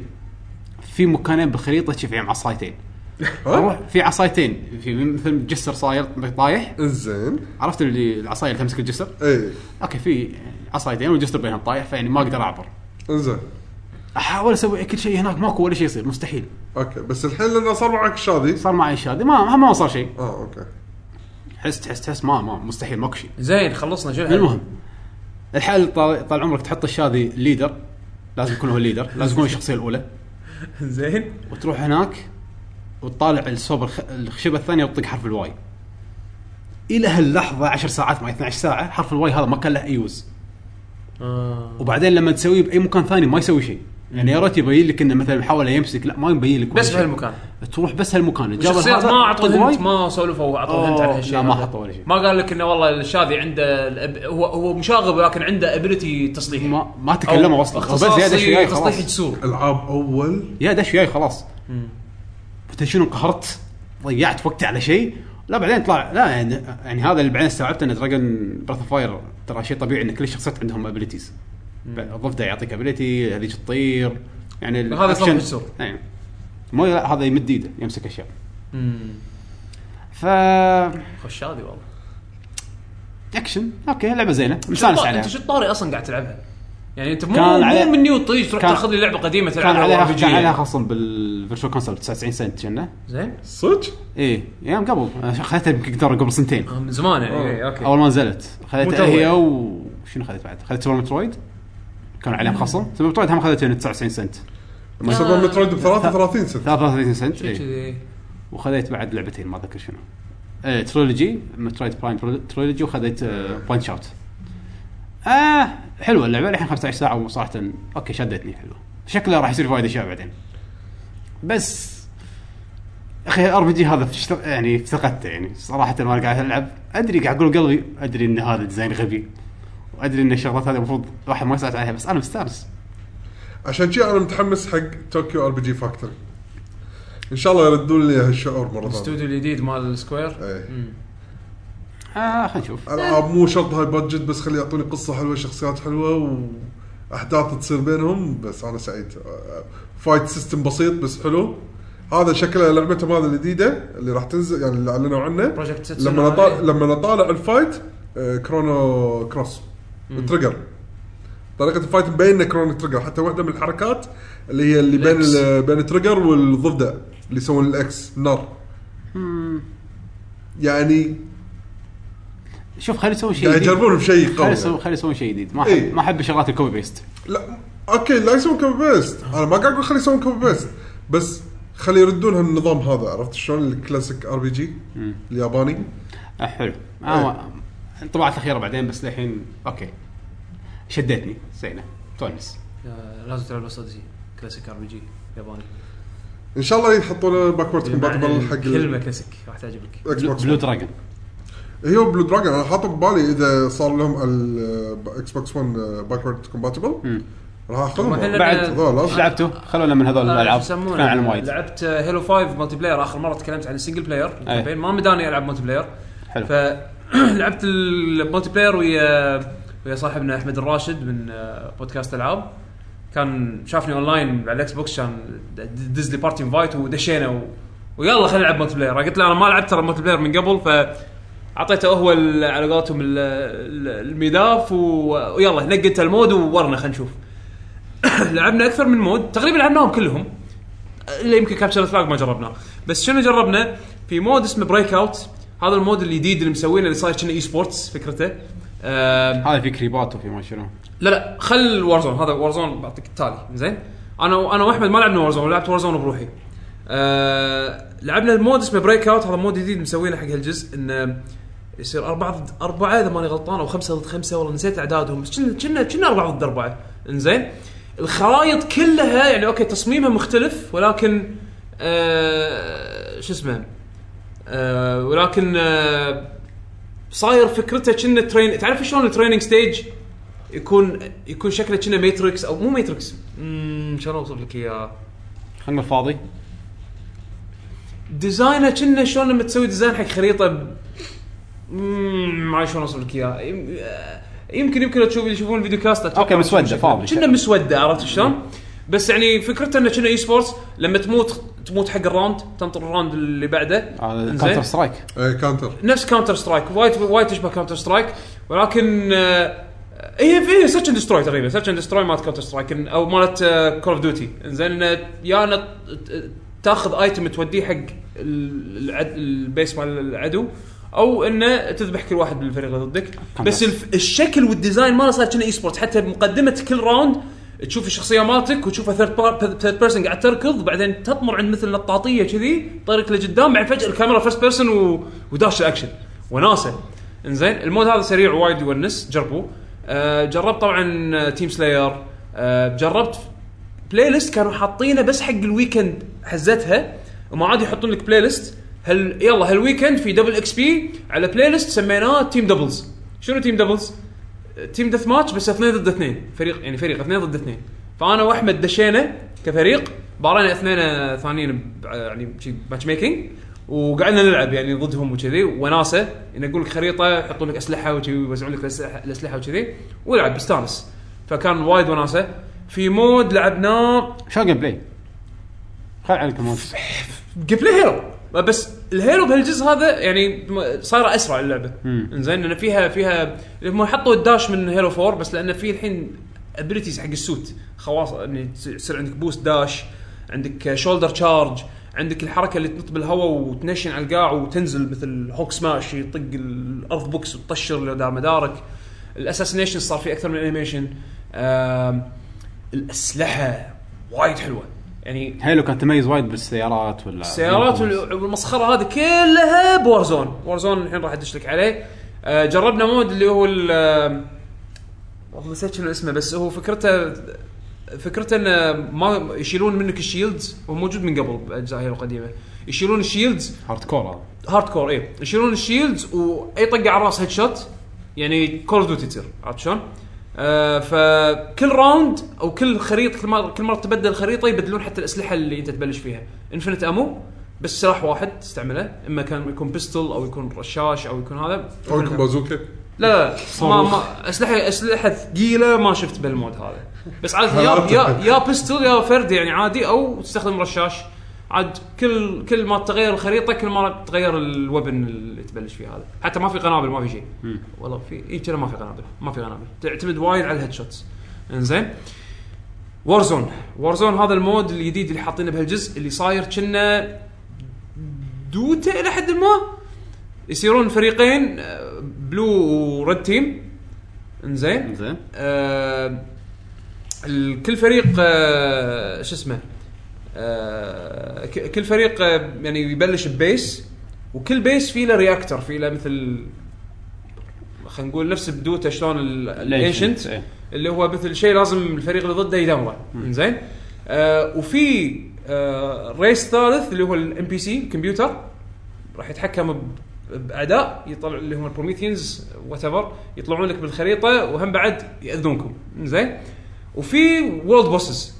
في مكانين بالخريطه تشوف فيهم عصايتين اروح في عصايتين في مثل جسر صاير طايح
انزين
عرفت اللي العصايه اللي تمسك الجسر
اي
اوكي في عصايتين والجسر بينهم طايح فيعني ما اقدر اعبر
انزين
احاول اسوي كل شيء هناك ماكو ولا شيء يصير مستحيل
اوكي بس الحين لانه صار معك شادي
صار معي شادي ما ما صار شيء
اه اوكي
حس تحس تحس ما ما مستحيل ماكو شيء
زين خلصنا شو الحل؟
المهم الحل طال, طال عمرك تحط الشاذي ليدر لازم يكون هو الليدر لازم يكون الشخصيه الاولى
زين
وتروح هناك وتطالع الصوب الخ... الخشبه الثانيه وتطق حرف الواي الى هاللحظه 10 ساعات ما 12 ساعه حرف الواي هذا ما كان له اي يوز
آه.
وبعدين لما تسويه باي مكان ثاني ما يسوي شيء يعني يا ريت يبين لك انه مثلا حاول يمسك لا ما يبين لك ولا
بس
شيء.
بهالمكان
تروح بس هالمكان الجبل
الشخصيات
هذا
ما اعطوا
طق واي.
هنت ما سولفوا اعطوا هنت عن
طيب، أوه،
هالشيء
لا، ما
هذا.
حطوا ولا شيء.
ما قال لك انه والله الشاذي عنده الأب... هو هو مشاغب ولكن عنده ابيلتي تسطيحي
ما ما تكلموا اصلا بس يا دش
إيه،
وياي خلاص
تسطيحي جسور
العاب اول
يا دش وياي خلاص انت شنو انقهرت ضيعت وقتي على شيء لا بعدين طلع لا يعني, يعني هذا اللي بعدين استوعبت ان دراجون براث فاير ترى شيء طبيعي ان كل الشخصيات عندهم ابيلتيز الضفدع يعطيك ابيلتي هذيك تطير يعني ال
هذا صار
action-
بالسوق.
يعني مو لا هذا يمد ايده يمسك اشياء ف
خش شاذي والله
اكشن اوكي لعبه زينه مستانس عليها
انت شو الطاري اصلا قاعد تلعبها؟ يعني انت مو
كان عليه-
مو مني وتطيش تروح
كان-
تاخذ لي لعبه قديمه
كان
تلعبها
عليها
RPG.
كان عليها خصم بالفيرشوال كونسول 99 سنت كنا
زين
صدق؟
ايه ايام قبل أنا خذيتها بمقدار قبل سنتين
آه، من زمان يعني
أوه.
إيه، اوكي
اول ما نزلت خذيتها
متوي.
هي وشنو خذيت بعد؟ خذيت سوبر مترويد كان عليهم خصم سوبر مترويد هم خذيته 99 سنت
لما
آه،
سوى مترويد ب 33 سنه
33 سنت إيه. اي
كذي
وخذيت بعد لعبتين ما اذكر شنو ايه ترولوجي مترويد برايم ترولوجي وخذيت آه، بانش اوت اه حلوه اللعبه الحين 15 ساعه وصراحه اوكي شدتني حلوه شكلها راح يصير فايده اشياء بعدين بس اخي الار بي جي هذا في شت- يعني في ثقته يعني صراحه وانا قاعد العب ادري قاعد اقول قلبي ادري ان هذا ديزاين غبي وادري ان الشغلات هذه المفروض الواحد ما يساعد عليها بس انا مستانس
عشان شي انا متحمس حق طوكيو ار بي جي فاكتوري ان شاء الله يردون لي هالشعور مره ثانيه
الاستوديو الجديد مال سكوير
إيه.
مم.
آه خلينا نشوف
العاب مو شرط هاي بادجت بس خلي يعطوني قصه حلوه شخصيات حلوه واحداث تصير بينهم بس انا سعيد آه، فايت سيستم بسيط بس حلو هذا شكله لعبتهم هذه الجديده اللي راح تنزل يعني اللي اعلنوا عنه
Project Setsuno
لما نطالع
هذه.
لما نطالع الفايت آه، كرونو كروس تريجر طريقه الفايت مبينه كرونو تريجر حتى واحده من الحركات اللي هي اللي بين
الإكس.
ال- بين التريجر والضفدع اللي يسوون الاكس نار يعني
شوف خلينا نسوي شيء
قاعد
جديد.
يجربون بشيء
خلي
قوي
يسوي خلي يسوون شيء جديد ما
إيه.
احب ما احب الشغلات الكوبي بيست
لا اوكي لا يسوون كوبي بيست انا ما قاعد اقول خلي يسوون كوبي بيست بس خلي يردون هالنظام هذا عرفت شلون الكلاسيك ار بي جي الياباني
آه حلو آه طبعت الاخيره بعدين بس للحين اوكي شدتني زينه تونس
آه، لازم تلعب الاستوديو كلاسيك ار بي جي ياباني
ان شاء الله يحطون باكورد
إيه،
كومباتبل حق
كلمه كلاسيك راح تعجبك
الاكس
بلو,
بوكس
بلو دراجون
هي بلو دراجون انا حاطه ببالي اذا صار لهم الاكس بوكس 1 باكورد كومباتبل آه، راح اخذهم
وحنا-
بعد
هذول
ايش
لازم.
لعبتوا؟ خلونا من هذول
آه،
الالعاب
شو يسمونه؟
تكلمنا عنهم وايد
لعبت آه، هيلو 5 مالتي بلاير اخر مره تكلمت عن السنجل بلاير
إيه.
الكامبين. ما مداني العب مالتي بلاير
حلو.
فلعبت المالتي بلاير ويا ويا صاحبنا احمد الراشد من آه، بودكاست العاب كان شافني اونلاين على الاكس بوكس كان د- دز لي بارتي انفايت ودشينا و... ويلا خلينا نلعب مالتي بلاير أنا قلت له انا ما لعبت ترى مالتي بلاير من قبل ف اعطيته هو ال- على قولتهم ال- ال- المداف و- ويلا نق انت المود وورنا خلينا نشوف لعبنا اكثر من مود تقريبا لعبناهم كلهم اللي يمكن كابتشر فلاج ما جربناه بس شنو جربنا في مود اسمه بريك اوت هذا المود الجديد اللي مسوينه اللي صاير كنا اي سبورتس فكرته آم،
هذا في كريبات وفي ما شنو
لا لا خل وارزون هذا وارزون بعطيك التالي زين انا انا واحمد ما لعبنا وارزون لعبت وارزون بروحي آه لعبنا المود اسمه بريك اوت هذا مود جديد مسوينه حق هالجزء انه يصير أربعة ضد أربعة إذا ماني غلطان أو خمسة ضد خمسة والله نسيت أعدادهم بس كنا- كنا كنا أربعة ضد أربعة إنزين الخرائط كلها يعني أوكي تصميمها مختلف ولكن آه شو اسمه آه ولكن آه صاير فكرته كنا ترين تعرف شلون التريننج ستيج يكون يكون شكله كنا ماتريكس او مو ماتريكس امم شلون اوصف لك اياه
خلنا الفاضي
ديزاينه كنا شلون لما تسوي ديزاين حق خريطه ب... مم، ما أدري شلون اوصف لك اياه يم- آه، يمكن يمكن لو تشوف يشوفون الفيديو كاست أتوقع
أوكي، مسودة،
شكله.
فاضي.
كنا مسوده عرفت شلون؟ بس يعني فكرته انه كنا اي سبورتس لما تموت تموت حق الراوند تنطر الراوند اللي بعده
كانتر سترايك
اي كانتر
نفس كاونتر سترايك وايد وايد تشبه كاونتر سترايك ولكن آه، هي في سيرش اند دستروي تقريبا سيرش اند دستروي مالت كاونتر سترايك إن- او مالت آه، كول اوف ديوتي زين يا إنه ت- تاخذ ايتم توديه حق ال- العد- البيس مال العدو او انه تذبح كل واحد بالفريق اللي ضدك بس الف- الشكل والديزاين ماله صار كنا اي سبورت حتى بمقدمه كل راوند تشوف الشخصيه مالتك وتشوفها ثيرد بيرسون قاعد تركض بعدين تطمر عند مثل نطاطيه كذي طريق لقدام بعد فجاه الكاميرا فيرست بيرسون و... وداش الاكشن وناسه انزين المود هذا سريع وايد يونس جربوه آه جربت طبعا تيم سلاير آه جربت بلاي ليست كانوا حاطينه بس حق الويكند حزتها وما عاد يحطون لك بلاي ليست هل يلا هالويكند في دبل اكس بي على بلاي ليست سميناه تيم دبلز شنو تيم دبلز؟ تيم دث ماتش بس اثنين ضد اثنين فريق يعني فريق اثنين ضد اثنين فانا واحمد دشينا كفريق بارينا اثنين ثانيين ب- يعني ماتش ميكنج وقعدنا نلعب يعني ضدهم وكذي وناسه يعني اقول لك خريطه يحطون لك اسلحه وكذي ويوزعون لك الأسلحة- الاسلحه وكذي والعب استانس فكان وايد وناسه في مود لعبناه
شلون جيم بلاي؟ خل عليك المود
جيم بلاي هيرو بس الهيرو بهالجزء هذا يعني م- صايره اسرع اللعبه انزين لان فيها فيها هم حطوا الداش من هيرو 4 بس لان في الحين ابيلتيز حق السوت خواص يعني يصير عندك بوست داش عندك شولدر تشارج عندك الحركه اللي تنط بالهواء وتنشن على القاع وتنزل مثل هوك سماش يطق الارض بوكس وتطشر لدار مدارك الاساسنيشن صار فيه اكثر من انيميشن الاسلحه وايد حلوه يعني
هيلو كان تميز وايد بالسيارات ولا
السيارات وال- والمسخره هذه كلها بوارزون وارزون الحين راح ادش لك عليه آه، جربنا مود اللي هو ال آه، والله نسيت شنو اسمه بس هو فكرته فكرته انه ما يشيلون منك الشيلدز هو موجود من قبل باجزاء هيرو القديمه يشيلون الشيلدز
هارد كور هذا
هارد كور اي إيه. يشيلون الشيلدز واي طقه على الراس هيد شوت يعني كول دوتي تصير عرفت شلون؟ آه فكل راوند او كل خريط كل مره كل مره تبدل الخريطه يبدلون حتى الاسلحه اللي انت تبلش فيها انفنت امو بس سلاح واحد تستعمله اما كان يكون بيستل او يكون رشاش او يكون هذا
او يكون بازوكا
لا ما ما اسلحه اسلحه ثقيله ما شفت بالمود هذا بس عاد يا يا يا بيستول يا فرد يعني عادي او تستخدم رشاش عاد كل كل ما تغير الخريطه كل ما تغير الوبن اللي تبلش فيه هذا حتى ما في قنابل ما في شيء والله في اي كذا ما في قنابل ما في قنابل تعتمد وايد على الهيد شوتس انزين وارزون وارزون هذا المود الجديد اللي حاطينه بهالجزء اللي صاير كنا دوته الى حد ما يصيرون فريقين آه، بلو وريد تيم انزين
زين
آه ال- كل فريق آه شو اسمه آه ك- كل فريق آه يعني يبلش ببيس وكل بيس فيه له رياكتر فيه له مثل خلينا نقول نفس بدوته شلون
Ancient،
الايشنت
إيه.
اللي هو مثل شيء لازم الفريق اللي ضده يدمره زين آه وفي آه ريس ثالث اللي هو الام بي سي الكمبيوتر راح يتحكم ب- باعداء يطلع اللي هم البروميثيانز وات يطلعون لك بالخريطه وهم بعد ياذونكم زين وفي وورلد بوسز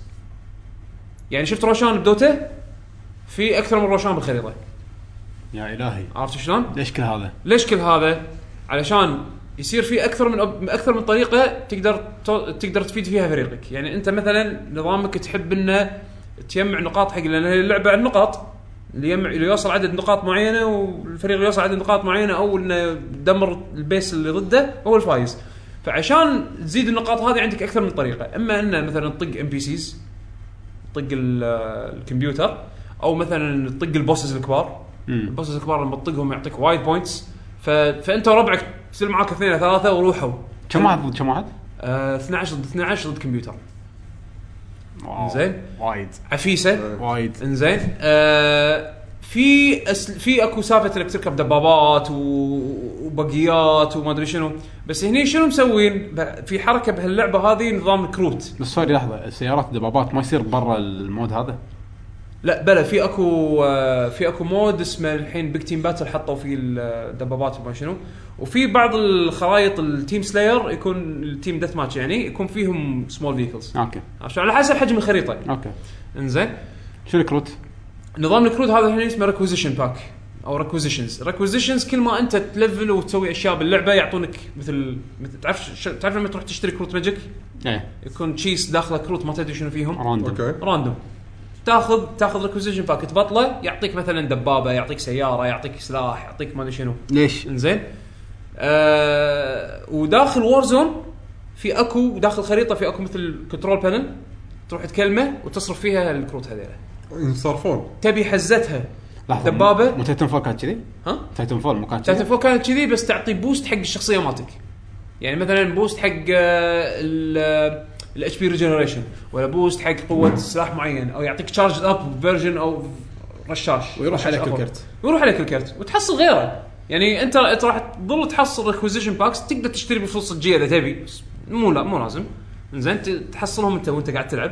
يعني شفت روشان بدوته في اكثر من روشان بالخريطه
يا الهي
عرفت شلون؟
ليش كل هذا؟
ليش كل هذا؟ علشان يصير في اكثر من أب- اكثر من طريقه تقدر تو- تقدر تفيد فيها فريقك، يعني انت مثلا نظامك تحب انه تجمع نقاط حق لان هي اللعبه عن نقاط اللي يجمع اللي يوصل عدد نقاط معينه والفريق اللي يوصل عدد نقاط معينه او انه يدمر البيس اللي ضده هو الفايز فعشان تزيد النقاط هذه عندك اكثر من طريقه اما انه مثلا تطق ام بي سيز طق ال- الكمبيوتر او مثلا تطق البوسز الكبار
مم.
البوسز الكبار لما تطقهم يعطيك وايد بوينتس ف... فانت وربعك تصير معاك اثنين أو ثلاثه وروحوا
كم واحد ضد كم واحد؟
آه 12 ضد 12 ضد كمبيوتر
واو.
زين.
وايد
عفيسه
وايد
انزين آه في أس... في اكو سالفه انك تركب دبابات و... وبقيات وما ادري شنو بس هني شنو مسوين ب- في حركه بهاللعبه هذه نظام الكروت
بس سوري لحظه السيارات الدبابات ما يصير برا المود هذا
لا بلا في اكو آه، في اكو مود اسمه الحين بيج تيم باتل حطوا فيه آه، الدبابات وما شنو وفي بعض الخرائط التيم سلاير يكون التيم ديث ماتش يعني يكون فيهم سمول فيكلز
اوكي
على حسب حجم الخريطه
اوكي
انزين
شو الكروت؟
نظام الكروت هذا الحين اسمه ريكوزيشن باك او ريكوزيشنز ريكوزيشنز كل ما انت تلفل وتسوي اشياء باللعبه يعطونك مثل, مثل تعرف ش- تعرف لما تروح تشتري كروت ماجيك
ايه
يكون تشيس داخله كروت ما تدري شنو فيهم
راندوم
اوكي
راندوم تاخذ تاخذ ريكوزيشن باك تبطله يعطيك مثلا دبابه يعطيك سياره يعطيك سلاح يعطيك ما ادري شنو
ليش؟
انزين آه وداخل وورزون في اكو داخل خريطه في اكو مثل كنترول بانل تروح تكلمه وتصرف فيها الكروت هذيلا
ينصرفون
تبي حزتها
لحظه
دبابة.
مو تايتن فول كانت كذي؟
ها
تايتن فول مو كانت
تايتن
كذي؟
فول كانت كذي بس تعطي بوست حق الشخصيه مالتك يعني مثلا بوست حق آه، الاتش بي ريجنريشن ولا بوست حق قوه سلاح معين او يعطيك تشارج اب فيرجن او رشاش
ويروح
رشاش
عليك
أفضل.
الكرت.
ويروح عليك الكرت وتحصل غيره يعني انت انت راح تظل تحصل ريكوزيشن باكس تقدر تشتري بفلوس صجيه اذا تبي بس مو لا مو لازم زين تحصلهم انت وانت قاعد تلعب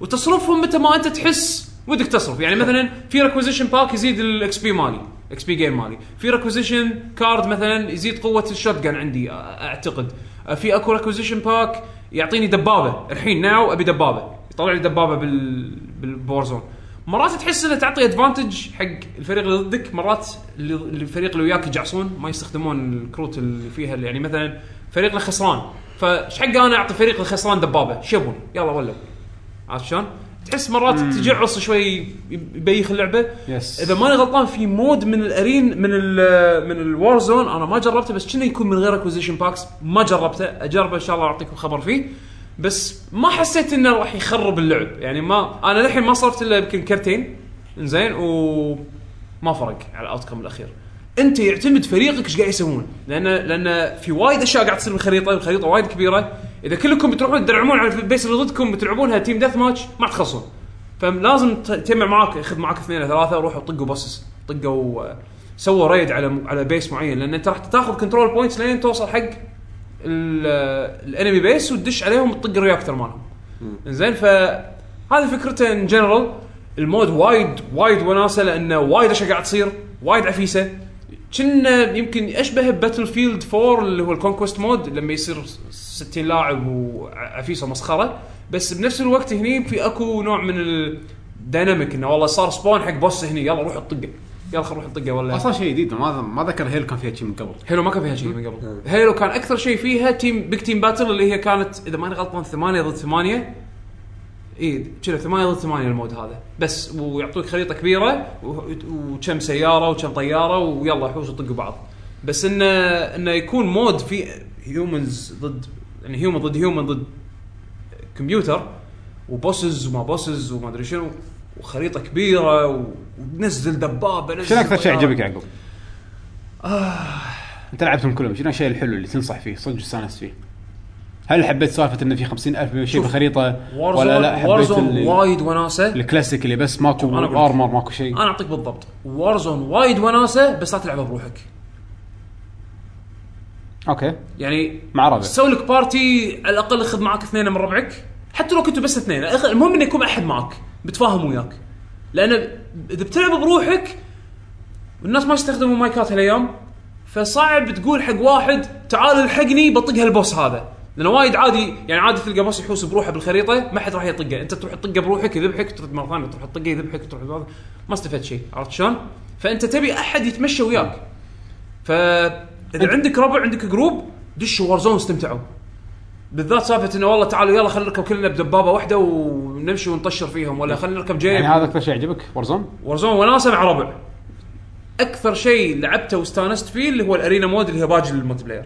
وتصرفهم متى ما انت تحس ودك تصرف يعني مثلا في ريكوزيشن باك يزيد الاكس بي مالي اكس بي جيم مالي في ريكوزيشن كارد مثلا يزيد قوه الشوت جن عندي أ- اعتقد في اكو ريكوزيشن باك يعطيني دبابه الحين ناو ابي دبابه يطلع لي دبابه بال بالبورزون مرات تحس انه تعطي ادفانتج حق الفريق اللي ضدك مرات اللي الفريق اللي وياك يجعصون ما يستخدمون الكروت اللي فيها اللي يعني مثلا فريقنا خسران فش حق انا اعطي فريق الخسران دبابه شبون يلا ولوا عرفت شلون؟ تحس مرات تجعص شوي يبيخ اللعبه
يس.
اذا ماني غلطان في مود من الارين من ال من الوار زون انا ما جربته بس كنا يكون من غير اكوزيشن باكس ما جربته اجربه ان شاء الله اعطيكم خبر فيه بس ما حسيت انه راح يخرب اللعب يعني ما انا للحين ما صرفت الا يمكن كرتين زين وما فرق على الاوتكم الاخير انت يعتمد فريقك ايش قاعد يسوون لان لان في وايد اشياء قاعد تصير بالخريطه الخريطه وايد كبيره اذا كلكم بتروحون تدرعمون على البيس اللي ضدكم بتلعبونها تيم ديث ماتش ما راح تخلصون فلازم ت- تجمع معاك خذ معاك اثنين أو ثلاثه روحوا طقوا بوسس طقوا آه، سووا ريد على م- على بيس معين لان انت راح تاخذ كنترول بوينتس لين توصل حق ال- آه، الانمي بيس وتدش عليهم وتطق الرياكتر مالهم زين فهذه فكرته ان جنرال المود وايد وايد وناسه لانه وايد اشياء قاعد تصير وايد عفيسه كنا يمكن اشبه باتل فيلد 4 اللي هو الكونكوست مود لما يصير 60 لاعب وعفيسه مسخره بس بنفس الوقت هني في اكو نوع من الديناميك انه والله صار سبون حق بوس هني يلا روح طقه يلا خل نروح طقه ولا
اصلا شيء جديد ما ما ذكر هيل كان فيها شيء من قبل
هيلو ما كان فيها شيء من قبل هيلو كان اكثر شيء فيها تيم بيك تيم باتل اللي هي كانت اذا ماني غلطان ثمانية ضد ثمانية اي كذا ثمانية ضد ثمانية المود هذا بس ويعطوك خريطة كبيرة و- وكم سيارة وكم طيارة ويلا حوش وطقوا بعض بس انه انه يكون مود فيه هيومنز ضد يعني هيومن ضد هيومن ضد كمبيوتر وبوسز وما بوسز وما ادري شنو وخريطة كبيرة و- ونزل دبابة نزل
شنو اكثر
آه.
شيء
طيارة.
عجبك يعني؟ يعقوب؟ انت لعبتهم كلهم شنو الشيء الحلو اللي تنصح فيه صدق استانست فيه؟ هل حبيت سالفه انه في 50000 شيء
شوف،
بالخريطه ولا
وارزون
لا حبيت
وارزون
ال-
وايد وناسه
الكلاسيك اللي بس ماكو
أنا أقول لك.
ارمر ماكو شيء
انا اعطيك بالضبط وارزون وايد وناسه بس لا تلعبها بروحك
اوكي
يعني
مع ربع
سوي لك بارتي على الاقل خذ معك اثنين من ربعك حتى لو كنتوا بس اثنين أخ- المهم انه يكون احد معك بتفاهم وياك لان اذا بتلعب بروحك الناس ما يستخدموا مايكات هالايام فصعب تقول حق واحد تعال الحقني بطق هالبوس هذا لانه وايد عادي يعني عادي تلقى بوس يحوس بروحه بالخريطه ما حد راح يطقه انت تروح تطقه بروحك يذبحك ترد مره ثانيه تروح تطقه يذبحك تروح تطقه ما استفدت شيء عرفت شلون؟ فانت تبي احد يتمشى وياك فاذا عندك ربع عندك جروب دشوا وارزون استمتعوا بالذات سالفه انه والله تعالوا يلا خلينا نركب كلنا بدبابه واحده ونمشي ونطشر فيهم ولا خلينا نركب جيب
يعني هذا اكثر شيء يعجبك ورزون
ورزون وناسه مع ربع اكثر شيء لعبته واستانست فيه اللي هو الارينا مود اللي هي باج الملتي بلاير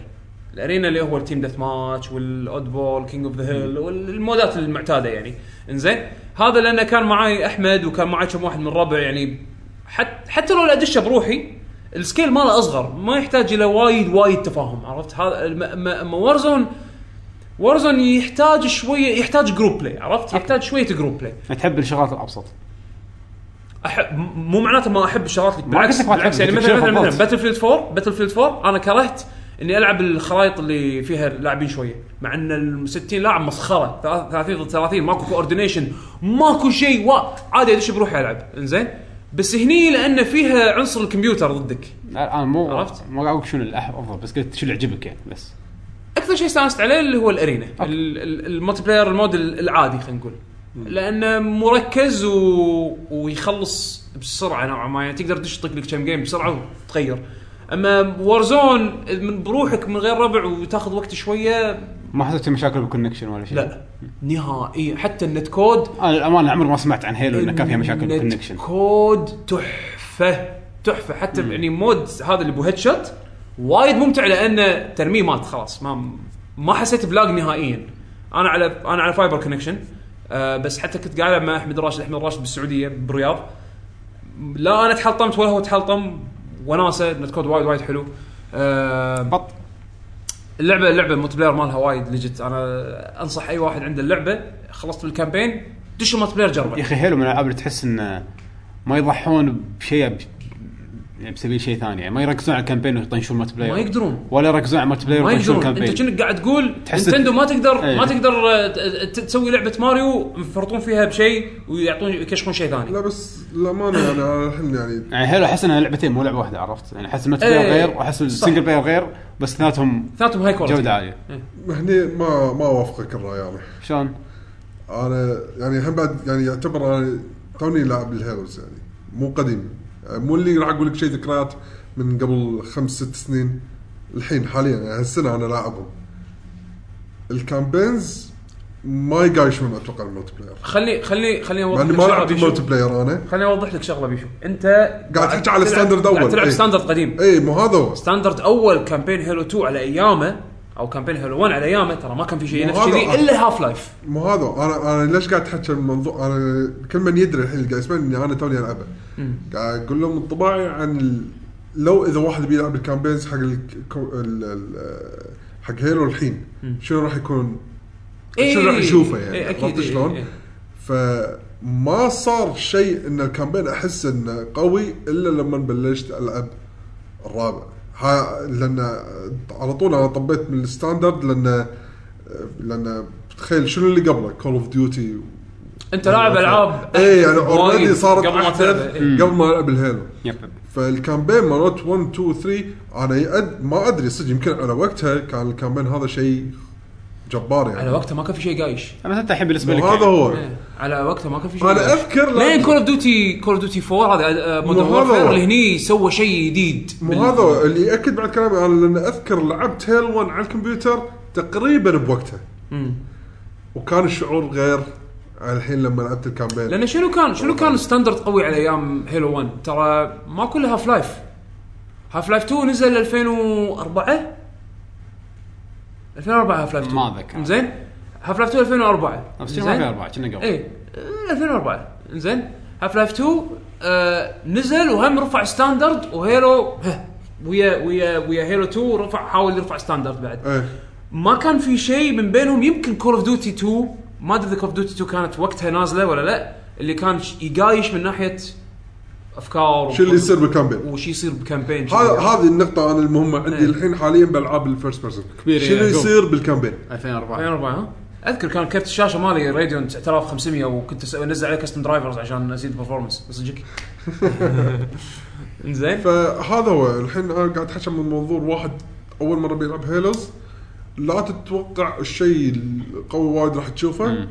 الارينا اللي هو التيم ديث ماتش والاود بول كينج اوف ذا هيل والمودات المعتاده يعني انزين هذا لانه كان معاي احمد وكان معاي كم واحد من ربع يعني حتى حتى لو ادشه بروحي السكيل ماله اصغر ما يحتاج الى وايد وايد تفاهم عرفت هذا الم- م- اما وارزون وارزون يحتاج شويه يحتاج جروب بلاي عرفت يحتاج شويه جروب بلاي
تحب الشغلات الابسط
احب م- مو معناته ما احب الشغلات اللي
ما
بالعكس
قلت لك ما
بالعكس
تحب،
يعني
قلت
مثلا
شنو
مثلا مثلا
فضلت.
باتل فيلد 4 باتل فيلد 4 انا كرهت اني العب الخرائط اللي فيها لاعبين شويه مع ان ال 60 لاعب مسخره ثلاث- 30 ضد 30 ماكو كوردينيشن ماكو شيء وا- عادي ادش بروحي العب انزين بس هني لان فيها عنصر الكمبيوتر ضدك
لا، انا مو
عرفت؟
ما قاعد اقول شنو الأح- افضل بس قلت شنو اللي يعجبك يعني بس
اكثر شيء استانست عليه اللي هو الارينا
أوكي.
ال- ال- الملتي بلاير المود ال- العادي خلينا نقول لانه مركز و... ويخلص بسرعه نوعا ما يعني تقدر تدش تطق لك كم جيم بسرعه وتغير اما وارزون من بروحك من غير ربع وتاخذ وقت شويه
ما حسيت في مشاكل بالكونكشن ولا شيء
لا نهائيا حتى النت كود
انا الامانه عمري ما سمعت عن هيلو انه كان فيها مشاكل
النت
بالكونكشن
كود تحفه تحفه حتى يعني مود هذا اللي بو هيدشوت وايد ممتع لانه ترميه مات خلاص ما ما حسيت بلاج نهائيا انا على انا على فايبر كونكشن آه بس حتى كنت قاعد ألعب مع احمد راشد احمد راشد بالسعوديه بالرياض لا انا تحلطمت ولا هو تحلطم وناسه نت كود وايد وايد حلو آه
بط
اللعبه اللعبه الملتي بلاير مالها وايد ليجت انا انصح اي واحد عنده اللعبه خلصت بالكامبين دش الملتي بلاير جربه
يا اخي هيلو من الالعاب اللي تحس انه ما يضحون بشيء ب- يعني بسبيل شيء ثاني يعني ما يركزون على الكامبين ويطنشون ملتي بلاير
ما يقدرون.
ولا يركزون على ملتي بلاير
ما
ويطنشون
يقدرون
كامبين
انت كأنك قاعد تقول
تحس
نتندو ما تقدر
إيه.
ما تقدر آه، ت- ت- تسوي لعبه ماريو يفرطون فيها بشيء ويعطون يكشفون شيء ثاني
لا بس للامانه يعني أنا الحين يعني
يعني هيلو احس انها لعبتين مو لعبه واحده عرفت يعني احس الملتي
إيه.
بلاير غير واحس
صح.
السنجل بلاير غير بس اثنيناتهم
ثلاثهم هاي كواليتي
جوده عاليه
هني ما يعني. ما اوافقك الراي انا
شلون؟
انا يعني هم بعد يعني يعتبر انا توني لاعب الهيروز يعني مو قديم يعني مو اللي راح اقول لك شيء ذكريات من قبل خمس ست سنين الحين حاليا يعني هالسنه انا لاعبهم الكامبينز ما يقايشون اتوقع الملتي بلاير
خلي خلي خليني
مع
اوضح
اني
لك
يعني ما
شغله
لعبت
بيشو
الملتي بلاير انا
خليني اوضح لك شغله بيشو انت
قاعد تحكي على
تلعب-
الستاندرد أول.
قاعد تلعب
إيه.
ستاندرد قديم
اي مو هذا هو
ستاندرد اول كامبين هيلو 2 على ايامه او كامبين هيلو 1 على ايامه ترى ما كان في شيء
مو
نفس
هذا
كذي
أصلاً.
الا هاف لايف
مو هذا انا انا ليش قاعد احكي الموضوع انا كل من يدري الحين اللي قاعد يسمعني اني انا توني العبه قاعد اقول لهم انطباعي عن ال... لو اذا واحد بيلعب الكامبينز حق ال... ال... ال... حق هيلو الحين شنو راح يكون شنو راح يشوفه يعني
إيه اكيد
عرفت
إيه،
شلون؟
إيه.
فما صار شيء ان الكامبين احس انه قوي الا لما بلشت العب الرابع ها لان على طول انا طبيت من الستاندرد لان لان تخيل شنو اللي قبله كول اوف ديوتي
انت لاعب العاب
اي انا اوريدي
وايد
إيه، يعني صارت
قبل ما
احدث
تلعب إيه.
قبل ما العب الهيلو
يب
فالكامبين مالت 1 2 3 انا يأد ما ادري صدق يمكن على وقتها كان الكامبين هذا شيء جبار يعني
على وقتها ما كان في شيء قايش
انا انت الحين بالنسبه لك
وهذا
يعني.
هو
إيه، على وقتها ما كان في شيء
انا اذكر
لين
لما-
كول اوف ديوتي كول اوف ديوتي 4 هذا مودرن
مو هذا
وورفير
هو.
اللي آه، هني سوى شيء جديد
مو هذا اللي ياكد بعد كلامي انا لان اذكر لعبت هيل 1 على الكمبيوتر تقريبا بوقتها وكان الشعور غير عن الحين لما لعبت الكامبين
لان شنو كان شنو كان ستاندرد قوي على ايام هيلو 1 ترى ما كلها هاف لايف هاف لايف 2 نزل 2004 2004 هاف لايف 2
ما أذكر.
زين هاف لايف 2 2004
بس شنو
إنزين؟
ما في اربعه كنا قبل
اي 2004 انزين هاف لايف 2 آه نزل وهم رفع ستاندرد وهيلو ها، ويا ويا ويا هيلو 2 رفع حاول يرفع ستاندرد بعد
ايه
ما كان في شيء من بينهم يمكن كول اوف ديوتي 2 ما ادري اذا كول اوف ديوتي 2 كانت وقتها نازله ولا لا اللي كان ش- يقايش من ناحيه افكار
شو اللي يصير بالكامبين
وش يصير بكامبين
هذا- هذه النقطة أنا المهمة عندي
إيه. يعني،
الحين حاليا بألعاب الفيرست بيرسون
كبير،
شنو
إيه،
يصير بالكامبين؟
2004
2004 ها اذكر كان كرت الشاشه مالي راديون 9500 وكنت أس- انزل عليه كاستم درايفرز عشان ازيد برفورمانس صدقك زين
فهذا هو الحين انا قاعد احكي من منظور واحد اول مره بيلعب هيلوز لا تتوقع الشيء القوي وايد راح تشوفه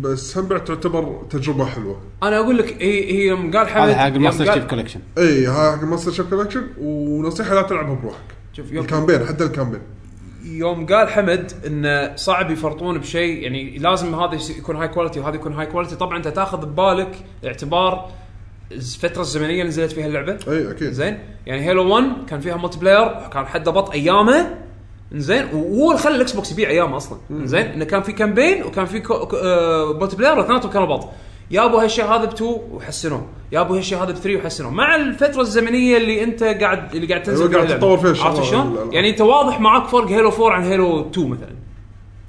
بس هم بعد تعتبر تجربه حلوه
انا اقول لك هي هي يوم قال حمد
هذا حق
يوم
الماستر
قال-
شيف كولكشن
إيه، اي ها ماستر شيف كولكشن ونصيحه لا تلعبها بروحك
شوف يوم
الكامبين حتى الكامبين
يوم قال حمد انه صعب يفرطون بشيء يعني لازم هذا يس- يكون هاي كواليتي وهذا يكون هاي كواليتي طبعا انت تاخذ ببالك اعتبار الفتره الزمنيه اللي نزلت فيها اللعبه
اي اكيد
زين يعني هيلو 1 كان فيها ملتي بلاير كان حده بط ايامه زين وهو اللي خلى الاكس بوكس يبيع ايامه اصلا زين انه كان في كامبين وكان في كو- كو- آه، ملتي بلاير واثنيناتهم كانوا بط يابوا هالشيء هذا ب2 وحسنوه يابوا هالشيء هذا ب3 وحسنوه مع الفتره الزمنيه اللي انت قاعد اللي قاعد تنزل
أيوة، قاعد
اللعبة.
تطور فيها
عرفت
الشغل.
شلون؟
الألعاب.
يعني انت واضح معاك فرق هيلو 4 عن هيلو 2 مثلا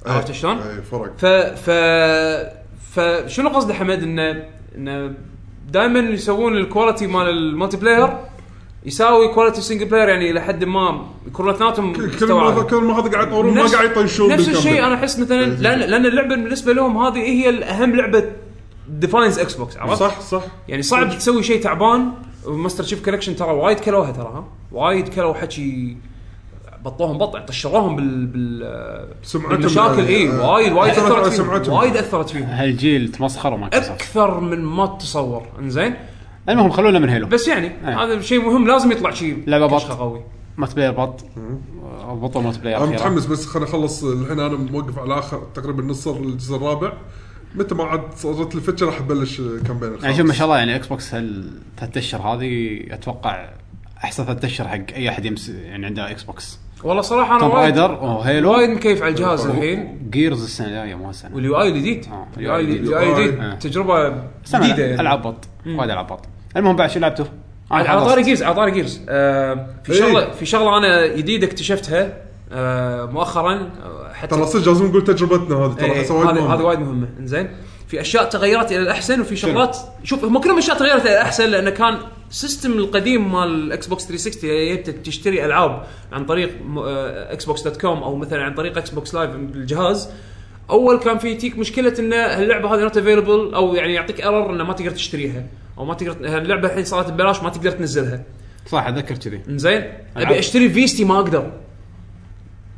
عرفت شلون؟
اي إيه، فرق
ف ف فشنو قصد حمد انه انه دائما يسوون الكواليتي مال المالتي بلاير يساوي كواليتي سنجل بلاير يعني الى حد ما يكونون اثنيناتهم
كل
مستوى
ما
عالي.
كل ما هذا قاعد يطورون ما
نفس-
قاعد يطيشون
نفس
بالكامل. إيه.
الشيء انا احس مثلا لان لان اللعبه بالنسبه لهم هذه هي الاهم لعبه ديفاينز اكس بوكس عرفت؟
صح صح
يعني صعب تسوي شيء تعبان ماستر شيف كولكشن ترى وايد كلوها ترى ها وايد كلوا حكي بطوهم بط يعني طشروهم بال بال
سمعتهم
بالمشاكل
يعني.
اي
آه.
وايد وايد
أثرت على
اثرت فيهم
سمعتهم.
وايد اثرت فيهم
هالجيل تمسخروا مايكروسوفت
اكثر من ما تتصور انزين
المهم خلونا من هيلو
بس يعني هذا شيء مهم لازم يطلع شيء
إيه. لعبة بط.
كشخة قوي
مالتي بلاير بط بطل مالتي بلاير
انا
أخيراً.
متحمس بس خليني اخلص الحين انا موقف على اخر تقريبا نص الجزء الرابع متى ما عاد صارت الفتشه راح ابلش كامبين
يعني شوف ما شاء الله يعني اكس بوكس هال- ثلاث اشهر هذه اتوقع احسن ثلاث اشهر حق اي احد يمس يعني عنده اكس بوكس
والله صراحه انا
توم
وايد
رايدر وهيلو
وايد مكيف على الجهاز الحين
جيرز السنه الجايه مو السنه
واليو اي الجديد
آه،
اليو اي الجديد اليو
آه.
اي الجديد تجربه جديده يعني
العب بط وايد العب بط المهم بعد شو لعبته؟
على على طاري جيرز على طاري جيرز آه في
إيه.
شغله في شغله انا جديده اكتشفتها آه مؤخرا آه، حتى
ترى صدق لازم نقول تجربتنا هذه ترى
إيه،
حسها وايد
هذه هذه
مهمة.
وايد مهمه انزين في اشياء تغيرت الى الاحسن وفي شغلات شوف هم كلهم اشياء تغيرت الى الاحسن لانه كان السيستم القديم مال الاكس بوكس 360 اللي هي بت- تشتري العاب عن طريق م- آه، اكس بوكس دوت كوم او مثلا عن طريق اكس بوكس لايف بالجهاز اول كان في تيك مشكله ان اللعبه هذه نوت افيلبل او يعني يعطيك ارر انه ما تقدر تشتريها او ما تقدر اللعبه الحين صارت ببلاش ما تقدر تنزلها
صح اتذكر كذي
زين
ألعاب.
ابي اشتري فيستي ما اقدر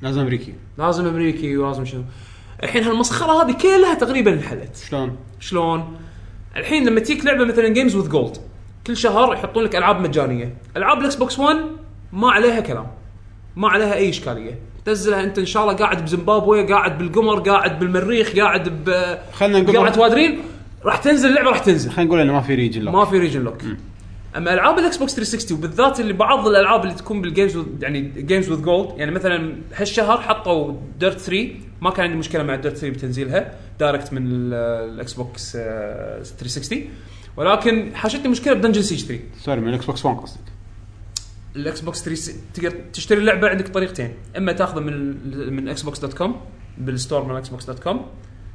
لازم امريكي
لازم امريكي ولازم شنو الحين هالمسخره هذه كلها تقريبا انحلت
شلون؟
شلون؟ الحين لما تجيك لعبه مثلا جيمز وذ جولد كل شهر يحطون لك العاب مجانيه، العاب الاكس بوكس 1 ما عليها كلام. ما عليها اي اشكاليه، تنزلها انت ان شاء الله قاعد بزيمبابوي، قاعد بالقمر، قاعد بالمريخ، قاعد ب
خلنا نقول-
قاعد وادرين راح تنزل اللعبه راح تنزل.
خلينا نقول انه ما في ريجن لوك
ما في ريجن لوك اما العاب الاكس بوكس 360 وبالذات اللي بعض الالعاب اللي تكون بالجيمز with- يعني جيمز وذ جولد يعني مثلا هالشهر حطوا ديرت 3 ما كان عندي مشكله مع ديرت 3 بتنزيلها دايركت من ال- الاكس بوكس آه، 360 ولكن حاشتني مشكله بدنجن سيج 3
سوري من الاكس بوكس 1 قصدك
الاكس بوكس 360 تقدر تشتري اللعبه عندك طريقتين اما تاخذها من ال- من اكس بوكس دوت كوم بالستور من اكس بوكس دوت كوم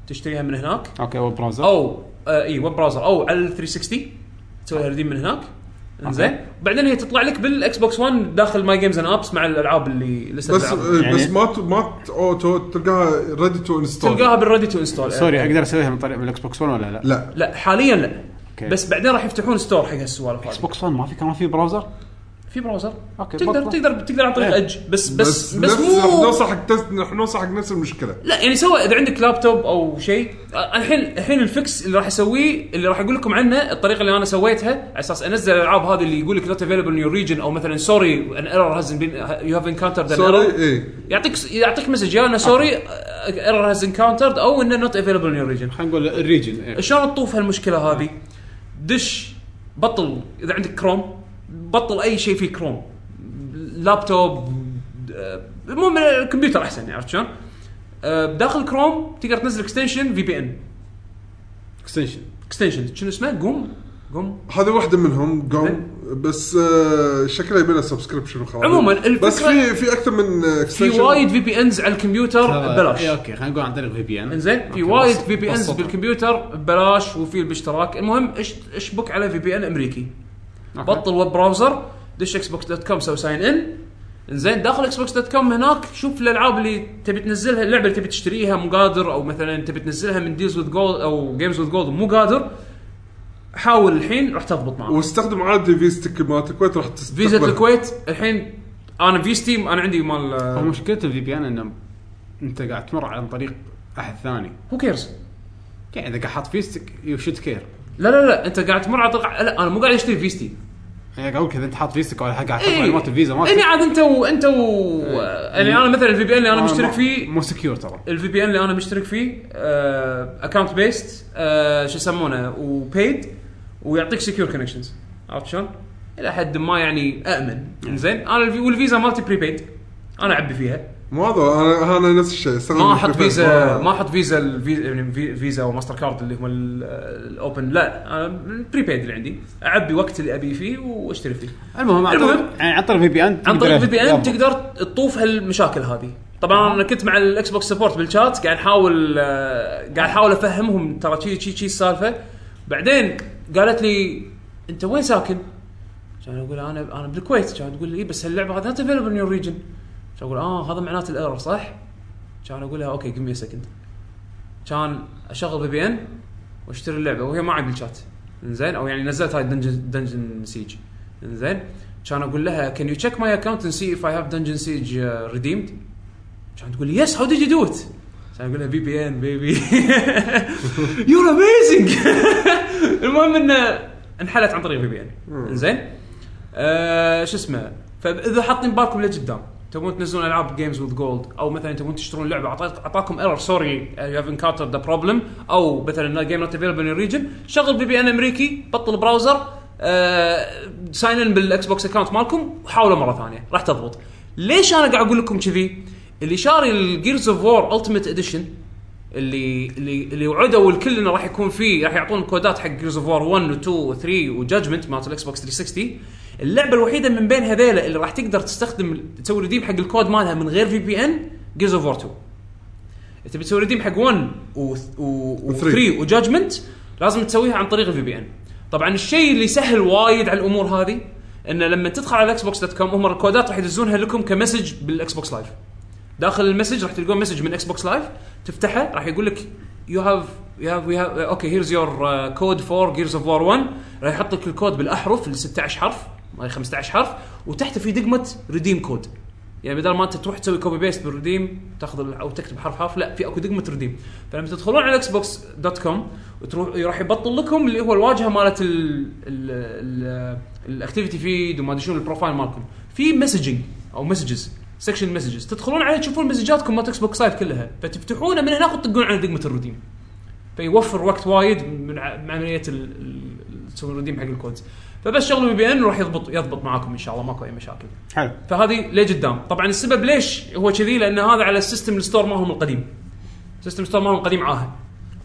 تشتريها من هناك
اوكي هو براوزر
او آه اي ويب براوزر او على ال 360 تسوي لها ريديم من هناك انزين بعدين هي تطلع لك بالاكس بوكس 1 داخل ماي جيمز اند ابس مع الالعاب اللي لسه
بس
بلعبها.
إيه، بس
يعني-
ما ت- ما ت- أو تو- تلقاها ريدي تو انستول
تلقاها بالريدي تو انستول
سوري اقدر اسويها من طريق من الاكس بوكس 1 ولا لا؟
لا
يعني. لا حاليا لا
أوكي.
بس بعدين راح يفتحون ستور حق هالسوالف
اكس
هذه
بوكس 1 ما في كان في براوزر
في براوزر
أوكي،
تقدر
بطلع.
تقدر تقدر عن طريق
إيه.
ايدج بس بس بس
نفس- راح
مو
نوصل حق تس- راح نوصل حق نفس المشكله
لا يعني سواء اذا عندك لابتوب او شيء آه، الحين الحين الفكس اللي راح اسويه اللي راح اقول لكم عنه الطريقه اللي انا سويتها على اساس انزل الالعاب هذه اللي يقول لك نوت افيلبل ان يور ريجن او مثلا سوري ان ايرور هاز بين يو هاف انكاونترد ان
سوري إيه.
ايرور
اي
يعطيك يعطيك مسج يا انه سوري ايرور هاز انكاونترد او انه نوت افيلبل ان يور ريجن
خلينا نقول الريجن إيه.
شلون تطوف هالمشكله هذه؟ دش بطل اذا عندك كروم بطل اي شيء فيه كروم لابتوب آه، المهم الكمبيوتر احسن يعني، عرفت شلون؟ آه، بداخل كروم تقدر تنزل اكستنشن في بي ان
اكستنشن
اكستنشن شنو اسمه؟ قوم قوم
هذه واحده منهم قوم
إيه.
بس آه، شكلها يبي لها سبسكربشن وخلاص
عموما
بس
الفكرة-
في في اكثر من آه،
في
extension.
وايد في بي انز على الكمبيوتر ببلاش
إيه، اوكي خلينا نقول عن طريق في بي ان
انزين في وايد في بي انز بالكمبيوتر ببلاش وفي باشتراك المهم اش- اشبك على في بي ان امريكي بطل ويب براوزر دش اكس بوكس دوت كوم سو ساين ان انزين داخل اكس بوكس دوت كوم هناك شوف الالعاب اللي تبي تنزلها اللعبه اللي تبي تشتريها مو قادر او مثلا تبي تنزلها من ديلز وذ جولد او جيمز وذ جولد مو قادر حاول الحين راح تضبط معك
واستخدم عادي فيزتك مالت الكويت راح تستقبل
فيزا الكويت الحين انا في ستيم انا عندي مال
مشكله الفي بي ان انه انت قاعد تمر عن طريق احد ثاني
هو كيرز
يعني اذا قاعد حاط فيستك يو شوت كير
لا لا لا انت قاعد تمر على طريق لا انا مو قاعد اشتري فيستي
يعني
هي قبل كذا انت حاط فيستك ولا حاجه قاعد تحط
إيه.
معلومات الفيزا مالتك
يعني عاد انت وانت و... يعني انا مثلا الفي بي ان اللي انا
آه،
مشترك
مو-
فيه
مو سكيور ترى
الفي بي ان اللي انا مشترك فيه آه، اكونت بيست آه، شو يسمونه وبيد ويعطيك سكيور كونكشنز عرفت شلون؟ الى حد ما يعني امن زين انا الفي... والفيزا مالتي بري بيد انا اعبي فيها
مو هذا انا انا نفس الشيء استخدم آه.
ما احط
البريفير.
فيزا ما احط فيزا الفيزا يعني في- فيزا وماستر كارد اللي هم ال- الاوبن لا انا البريبيد اللي عندي اعبي وقت اللي ابي فيه واشتري فيه
المهم عن
المهم.
طريق- يعني عن طريق في بي ان
عن طريق الفي بي ان تقدر تطوف هالمشاكل هذه طبعا انا كنت مع الاكس بوكس سبورت بالشات قاعد احاول آه، قاعد احاول افهمهم ترى شي شي شي السالفه بعدين قالت لي انت وين ساكن؟ كان اقول انا انا بالكويت كانت تقول لي إيه، بس هاللعبه هذا نوت افيلبل ان يور ريجن كان اقول اه هذا معناته الايرور صح؟ كان اقول لها اوكي جيف مي سكند كان اشغل في بي ان واشتري اللعبه وهي ما عندي الشات انزين او يعني نزلت هاي دنجن دنجن سيج انزين كان اقول لها كان يو تشيك ماي اكونت اند سي اف اي هاف دنجن سيج ريديمد كان تقول لي يس هاو ديد يو دو ات كان اقول لها في بي ان بيبي يور اميزنج المهم انه انحلت عن طريق في بي ان انزين آه، شو اسمه فاذا حاطين بالكم لقدام تبون تنزلون العاب جيمز وذ جولد او مثلا تبون تشترون لعبه أعطاك- اعطاكم ايرور سوري يو هاف انكاونترد ذا بروبلم او مثلا جيم نوت افيلبل ان ريجن شغل بي بي ان امريكي بطل آه، براوزر ساين ان بالاكس بوكس اكونت مالكم وحاولوا مره ثانيه راح تضبط ليش انا قاعد اقول لكم كذي اللي شاري الجيرز اوف وور التيمت اديشن اللي اللي اللي وعدوا الكل انه راح يكون فيه راح يعطون كودات حق جيرز اوف وار 1 و2 و3 وجادجمنت مالت الاكس بوكس 360 اللعبه الوحيده من بين هذيلا اللي راح تقدر تستخدم تسوي ريديم حق الكود مالها من غير في بي ان جيرز اوف وار 2 تبي تسوي ريديم حق 1 و
وثري.
3 وجادجمنت لازم تسويها عن طريق الفي بي ان طبعا الشيء اللي سهل وايد على الامور هذه انه لما تدخل على الاكس بوكس دوت كوم هم الكودات راح يدزونها لكم كمسج بالاكس بوكس لايف داخل المسج راح تلقون مسج من اكس بوكس لايف تفتحه راح يقول لك يو هاف يو هاف وي هاف اوكي هيرز يور كود فور جيرز اوف وار 1 راح يحط لك الكود بالاحرف ال 16 حرف ما هي 15 حرف وتحته في دقمه ريديم كود يعني بدل ما انت تروح تسوي كوبي بيست بالريديم تاخذ ال- او تكتب حرف حرف لا في اكو دقمه ريديم فلما تدخلون على اكس بوكس دوت كوم وتروح راح يبطل لكم اللي هو الواجهه مالت ال- ال الاكتيفيتي فيد وما ادري شنو البروفايل مالكم في مسجنج او مسجز سكشن مسجز تدخلون عليه تشوفون مسجاتكم مالت اكس بوكس لايف كلها فتفتحونه من هناك وتطقون على دقمه الريديم فيوفر وقت وايد من ع- من عمليه ال- ال- تسوي الريديم حق الكودز فبس شغله بي بي ان راح يضبط يضبط معاكم ان شاء الله ماكو اي مشاكل
حلو
فهذه لقدام طبعا السبب ليش هو كذي لان هذا على السيستم الستور مالهم القديم سيستم ستور مالهم القديم عاهد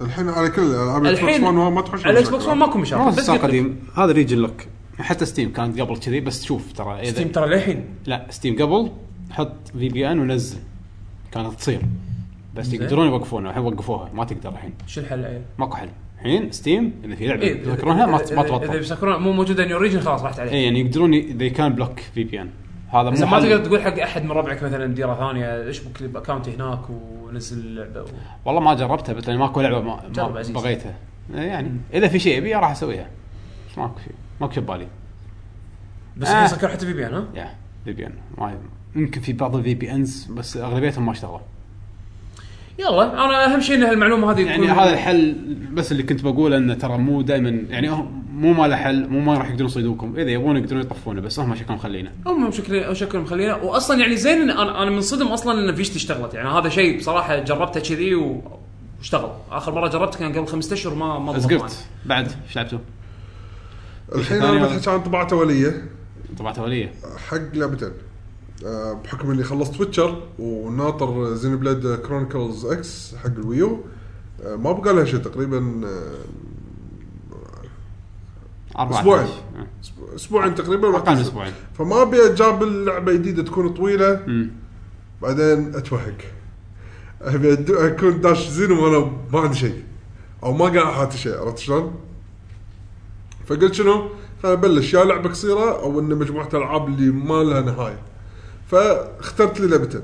الحين على كل العاب الاكس بوكس
الحين
1 ما تحوش
على الاكس بوكس ماكو مشاكل
ما هو
بس
ستار
قلت لك.
قديم هذا ريجن لوك حتى ستيم كانت قبل كذي بس شوف ترى اذا
ستيم ترى للحين
لا ستيم قبل حط في بي ان ونزل كانت تصير بس
زين.
يقدرون يوقفونها الحين وقفوها ما تقدر الحين
شو الحل ايه
ماكو حل الحين ستيم اذا في لعبه
إيه،
يذكرونها ما
إذا-
ما
إذا- اذا
تبطل
بيسكرونها مو موجوده ان اوريجن خلاص راحت عليه
اي يعني يقدرون اذا كان بلوك في بي ان هذا
اذا
مو
ما
حل.
تقدر تقول حق احد من ربعك مثلا ديره ثانيه اشبك لي باكونتي هناك ونزل اللعبه و...
والله ما جربتها بس لأن ماكو لعبه ما, ما
جرب عزيز.
بغيتها يعني اذا في شيء ابيه راح اسويها بس ماكو شيء ماكو شيء ببالي
بس
آه.
آه. سكر حتى في بي ان ها
يا في بي ان ما يمكن في بعض الفي بي انز بس اغلبيتهم ما اشتغلوا
يلا انا اهم شيء ان هالمعلومه هذه
يعني
تكون-
هذا الحل بس اللي كنت بقوله انه ترى مو دائما يعني هم مو ما له حل مو ما راح يقدرون يصيدوكم اذا يبون يقدرون يطفونه بس هم شكلهم خلينا
هم شكلي شكلهم مخلينا واصلا يعني زين إن انا انا منصدم اصلا ان فيشتي اشتغلت يعني هذا شيء بصراحه جربته كذي و- واشتغل اخر مره جربته كان قبل خمسة اشهر ما ما ضبط معي.
زقرت بعد ايش لعبتوا؟
الحين
ثانية
انا
ولا-
بحكي عن طباعه اوليه
طبعت اوليه
حق لعبتين آه، بحكم اني خلصت ويتشر وناطر زين بلاد كرونيكلز اكس حق الويو آه، ما بقى لها شيء آه، تقريبا
أربعة
أسبوعين.
آه.
آه، اسبوعين تقريبا راح
أقل من
تنزل.
أسبوعين.
فما ابي اجاب لعبه جديده تكون طويله
أمم.
بعدين اتوهق ابي أد- اكون داش زين وانا ما عندي شيء او ما قاعد احاتي شيء عرفت شلون؟ فقلت شنو؟ خليني ابلش يا لعبه قصيره او ان مجموعه العاب اللي ما لها نهايه. فاخترت لي لعبتين.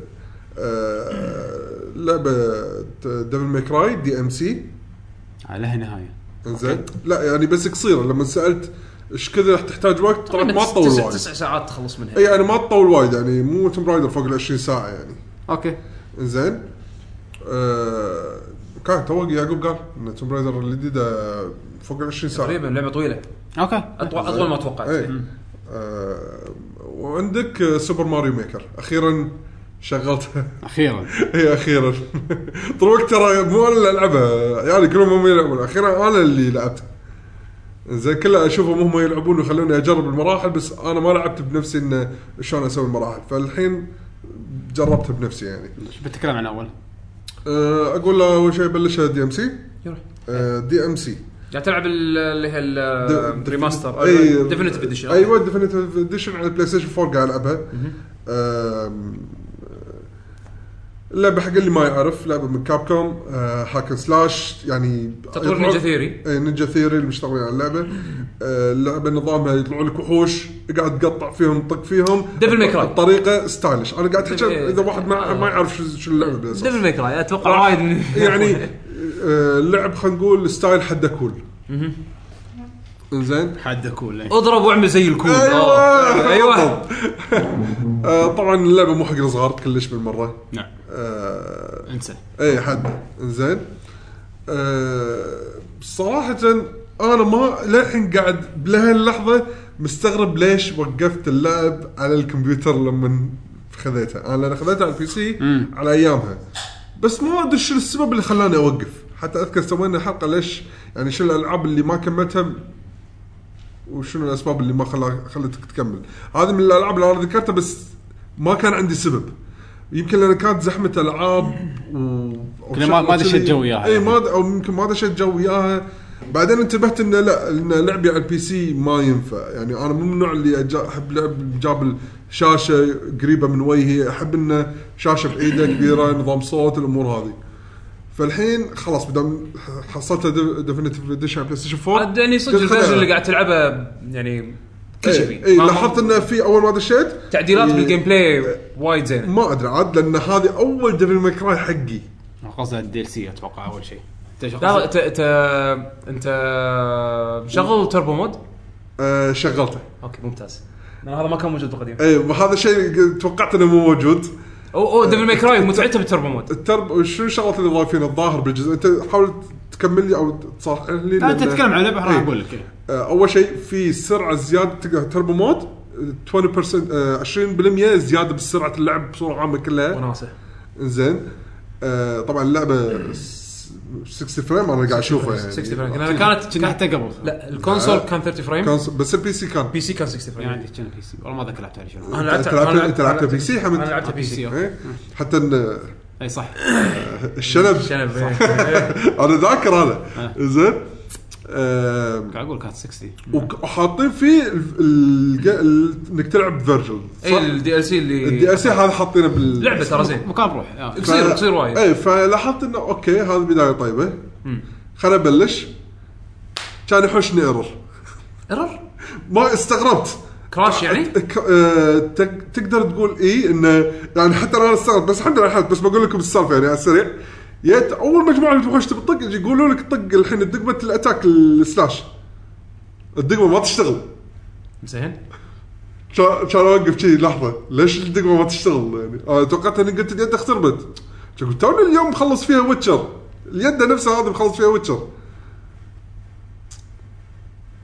آه، لعبه دبل ميك راي دي ام سي
آه، لها نهايه
انزين لا يعني بس قصيره لما سالت ايش كذا راح تحتاج وقت طلعت ما
تس-
تطول
تسع-
وايد.
تسع ساعات تخلص منها
اي يعني ما تطول وايد يعني مو توم رايدر فوق ال 20 ساعه يعني.
اوكي
زين آه كان تو يعقوب قال ان توم رايدر الجديده فوق ال 20 ساعه
تقريبا لعبه طويله
اوكي
اطول اطول ما توقعت
اي إيه. آه، وعندك آه، سوبر ماريو ميكر اخيرا شغلتها
اخيرا
اي اخيرا إيه، طول الوقت ترى مو انا اللي العبها عيالي كلهم هم يلعبون اخيرا انا اللي لعبتها زين كله اشوفهم هم يلعبون ويخلوني اجرب المراحل بس انا ما لعبت بنفسي انه شلون اسوي المراحل فالحين جربتها بنفسي يعني
شو بتتكلم عن اول؟
أه، اقول له اول شيء بلشها دي ام سي
يروح
دي ام سي
قاعد تلعب ال- اللي هي
د-
Um, الريماستر
اي
ديفينيتيف اديشن
ايوه ديفينيتيف اديشن على البلاي ستيشن 4 قاعد العبها آم، اللعبه حق اللي ما يعرف لعبه من uh, كاب كوم هاكن سلاش يعني
تطوير
يطلع-
نينجا ثيري.
اي نينجا ثيري اللي مشتغلين على اللعبه آه، اللعبه نظامها يطلعوا لك وحوش قاعد تقطع فيهم طق فيهم
Devil May Cry.
بطريقه ستايلش انا قاعد احكي
Devil-
اذا واحد ما, ما يعرف شو- شو اللعبه بالاساس
ديفل ميك راي اتوقع وايد من
آه. يعني آه، اللعب خلينا نقول ستايل حده كول زين
حد كول
اضرب واعمل زي الكود
ايوه
ايوه
آه، طبعا اللعبه مو حق الصغار كلش بالمره
نعم
آه،
انسى
اي حد زين صراحة انا ما للحين قاعد بلهاللحظة مستغرب ليش وقفت اللعب على الكمبيوتر لما خذيتها، انا لأن خذيتها على البي سي على ايامها بس ما ادري شنو السبب اللي خلاني اوقف، حتى اذكر سوينا حلقة ليش يعني شنو الالعاب اللي ما كملتها وشنو الاسباب اللي ما خلا خلتك تكمل هذه من الالعاب اللي انا ذكرتها بس ما كان عندي سبب يمكن لان كانت زحمه العاب و
كنا ما- ما دشيت جو وياها.
اي ما د- او يمكن ما دشيت جو وياها بعدين انتبهت انه لا ان لعبي على البي سي ما ينفع يعني انا مو من النوع اللي أجا- احب لعب جاب الشاشه قريبه من وجهي احب انه شاشه بعيده كبيره نظام صوت الامور هذه فالحين خلاص بدام حصلت ديفينيتيف اديشن على بلاي ستيشن 4
يعني صدق
قلت خليني
الفيرجن اللي
ألعب.
قاعد تلعبه يعني كل شيء فيه
اي
ما-
إيه، لاحظت انه في اول ما دشيت
تعديلات
إيه،
بالجيم بلاي وايد زينه
ما ادري عاد لان هذه اول ديفل ماكراي حقي
قصدها الدي ال سي اتوقع اول شيء أنت شو
لا
قصدك؟
انت انت انت شغل تربو مود
آه شغلته
اوكي ممتاز لأن هذا ما كان موجود بالقديم
اي وهذا شيء توقعت انه مو موجود
او او ديفل ميك راي متعته بالتربو مود
الترب شو الشغلات اللي ضايفين الظاهر بالجزء انت حاول تكمل لي او تصحح لي
لا
لأن-
انت تتكلم عن لعبه راح
إيه.
اقول لك إيه.
آه اول شيء في سرعه زياده تقدر تربو مود آه، 20% آه، 20% زياده بسرعه اللعب بصوره عامه كلها
وناسه
زين آه طبعا اللعبه س- 60 فريم انا قاعد اشوفها يعني
60 فريم لأن كانت
كنا
كان-
حتى قبل
لا الكونسول كان 30 فريم
كان س- بس البي سي كان
بي سي كان 60 فريم
يعني كنا بي سي والله ما ذكرت على شنو
انا لعبت
أنت لعبت-
أنا لعبت-
أنت لعبت
أنا
بي سي حمد؟
انا لعبت بي سي
إيه؟ حتى ان
اي صح
الشنب
شنب
انا ذاكر انا زين آم،
قاعد اقول كانت 60
وك- وحاطين فيه ال- ال- ال- انك تلعب فيرجل
اي الدي إيه، ال سي
الدي
اللي
اس هذا حاطينه بال
لعبه ترى زين
مكان بروح آه.
ف-
قصير قصير وايد
اي فلاحظت انه اوكي هذه بدايه طيبه خليني ابلش كان يحوشني ايرور
ايرور
ما استغربت
كراش يعني
ك- آه، تق- تقدر تقول اي انه يعني حتى انا استغربت بس الحمد لله لحقت بس بقول لكم السالفه يعني على السريع جت اول مجموعه من الوحوش تبي تطق يجي يقولوا لك طق الحين الدقمه الاتاك السلاش الدقمه ما تشتغل
زين
كان كان اوقف شي لحظه ليش الدقمه ما تشتغل يعني انا توقعت اني قلت اليد اختربت شو قلت توني اليوم مخلص فيها ويتشر اليد نفسها هذه مخلص فيها ويتشر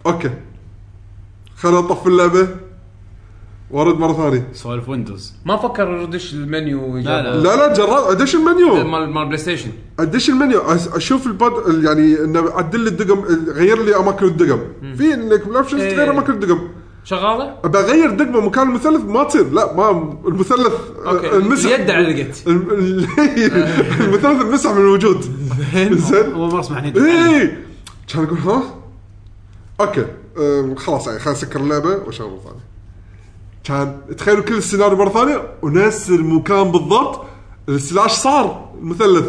اوكي خليني اطفي اللعبه وارد مره ثانيه
سوالف ويندوز
ما فكر ردش المنيو
لا، لا.
لا لا جربت ادش المنيو
إيه، مال مال بلاي ستيشن
ادش المنيو أس- اشوف الباد ال- يعني انه عدل لي الدقم غير لي اماكن الدقم في انك بالاوبشنز
إيه.
تغير اماكن الدقم
شغاله
ابى اغير دقمه مكان المثلث ما تصير لا ما المثلث آه،
اوكي
المسح-
اليد علقت
الم- ال- المثلث المسح من الوجود زين
اول مره اسمع هني
إيه.
اي كان اقول ها اوكي أم، خلاص يعني خلينا نسكر اللعبه واشغل مره ثانيه كان تخيلوا كل السيناريو مره ثانيه ونفس المكان بالضبط السلاش صار المثلث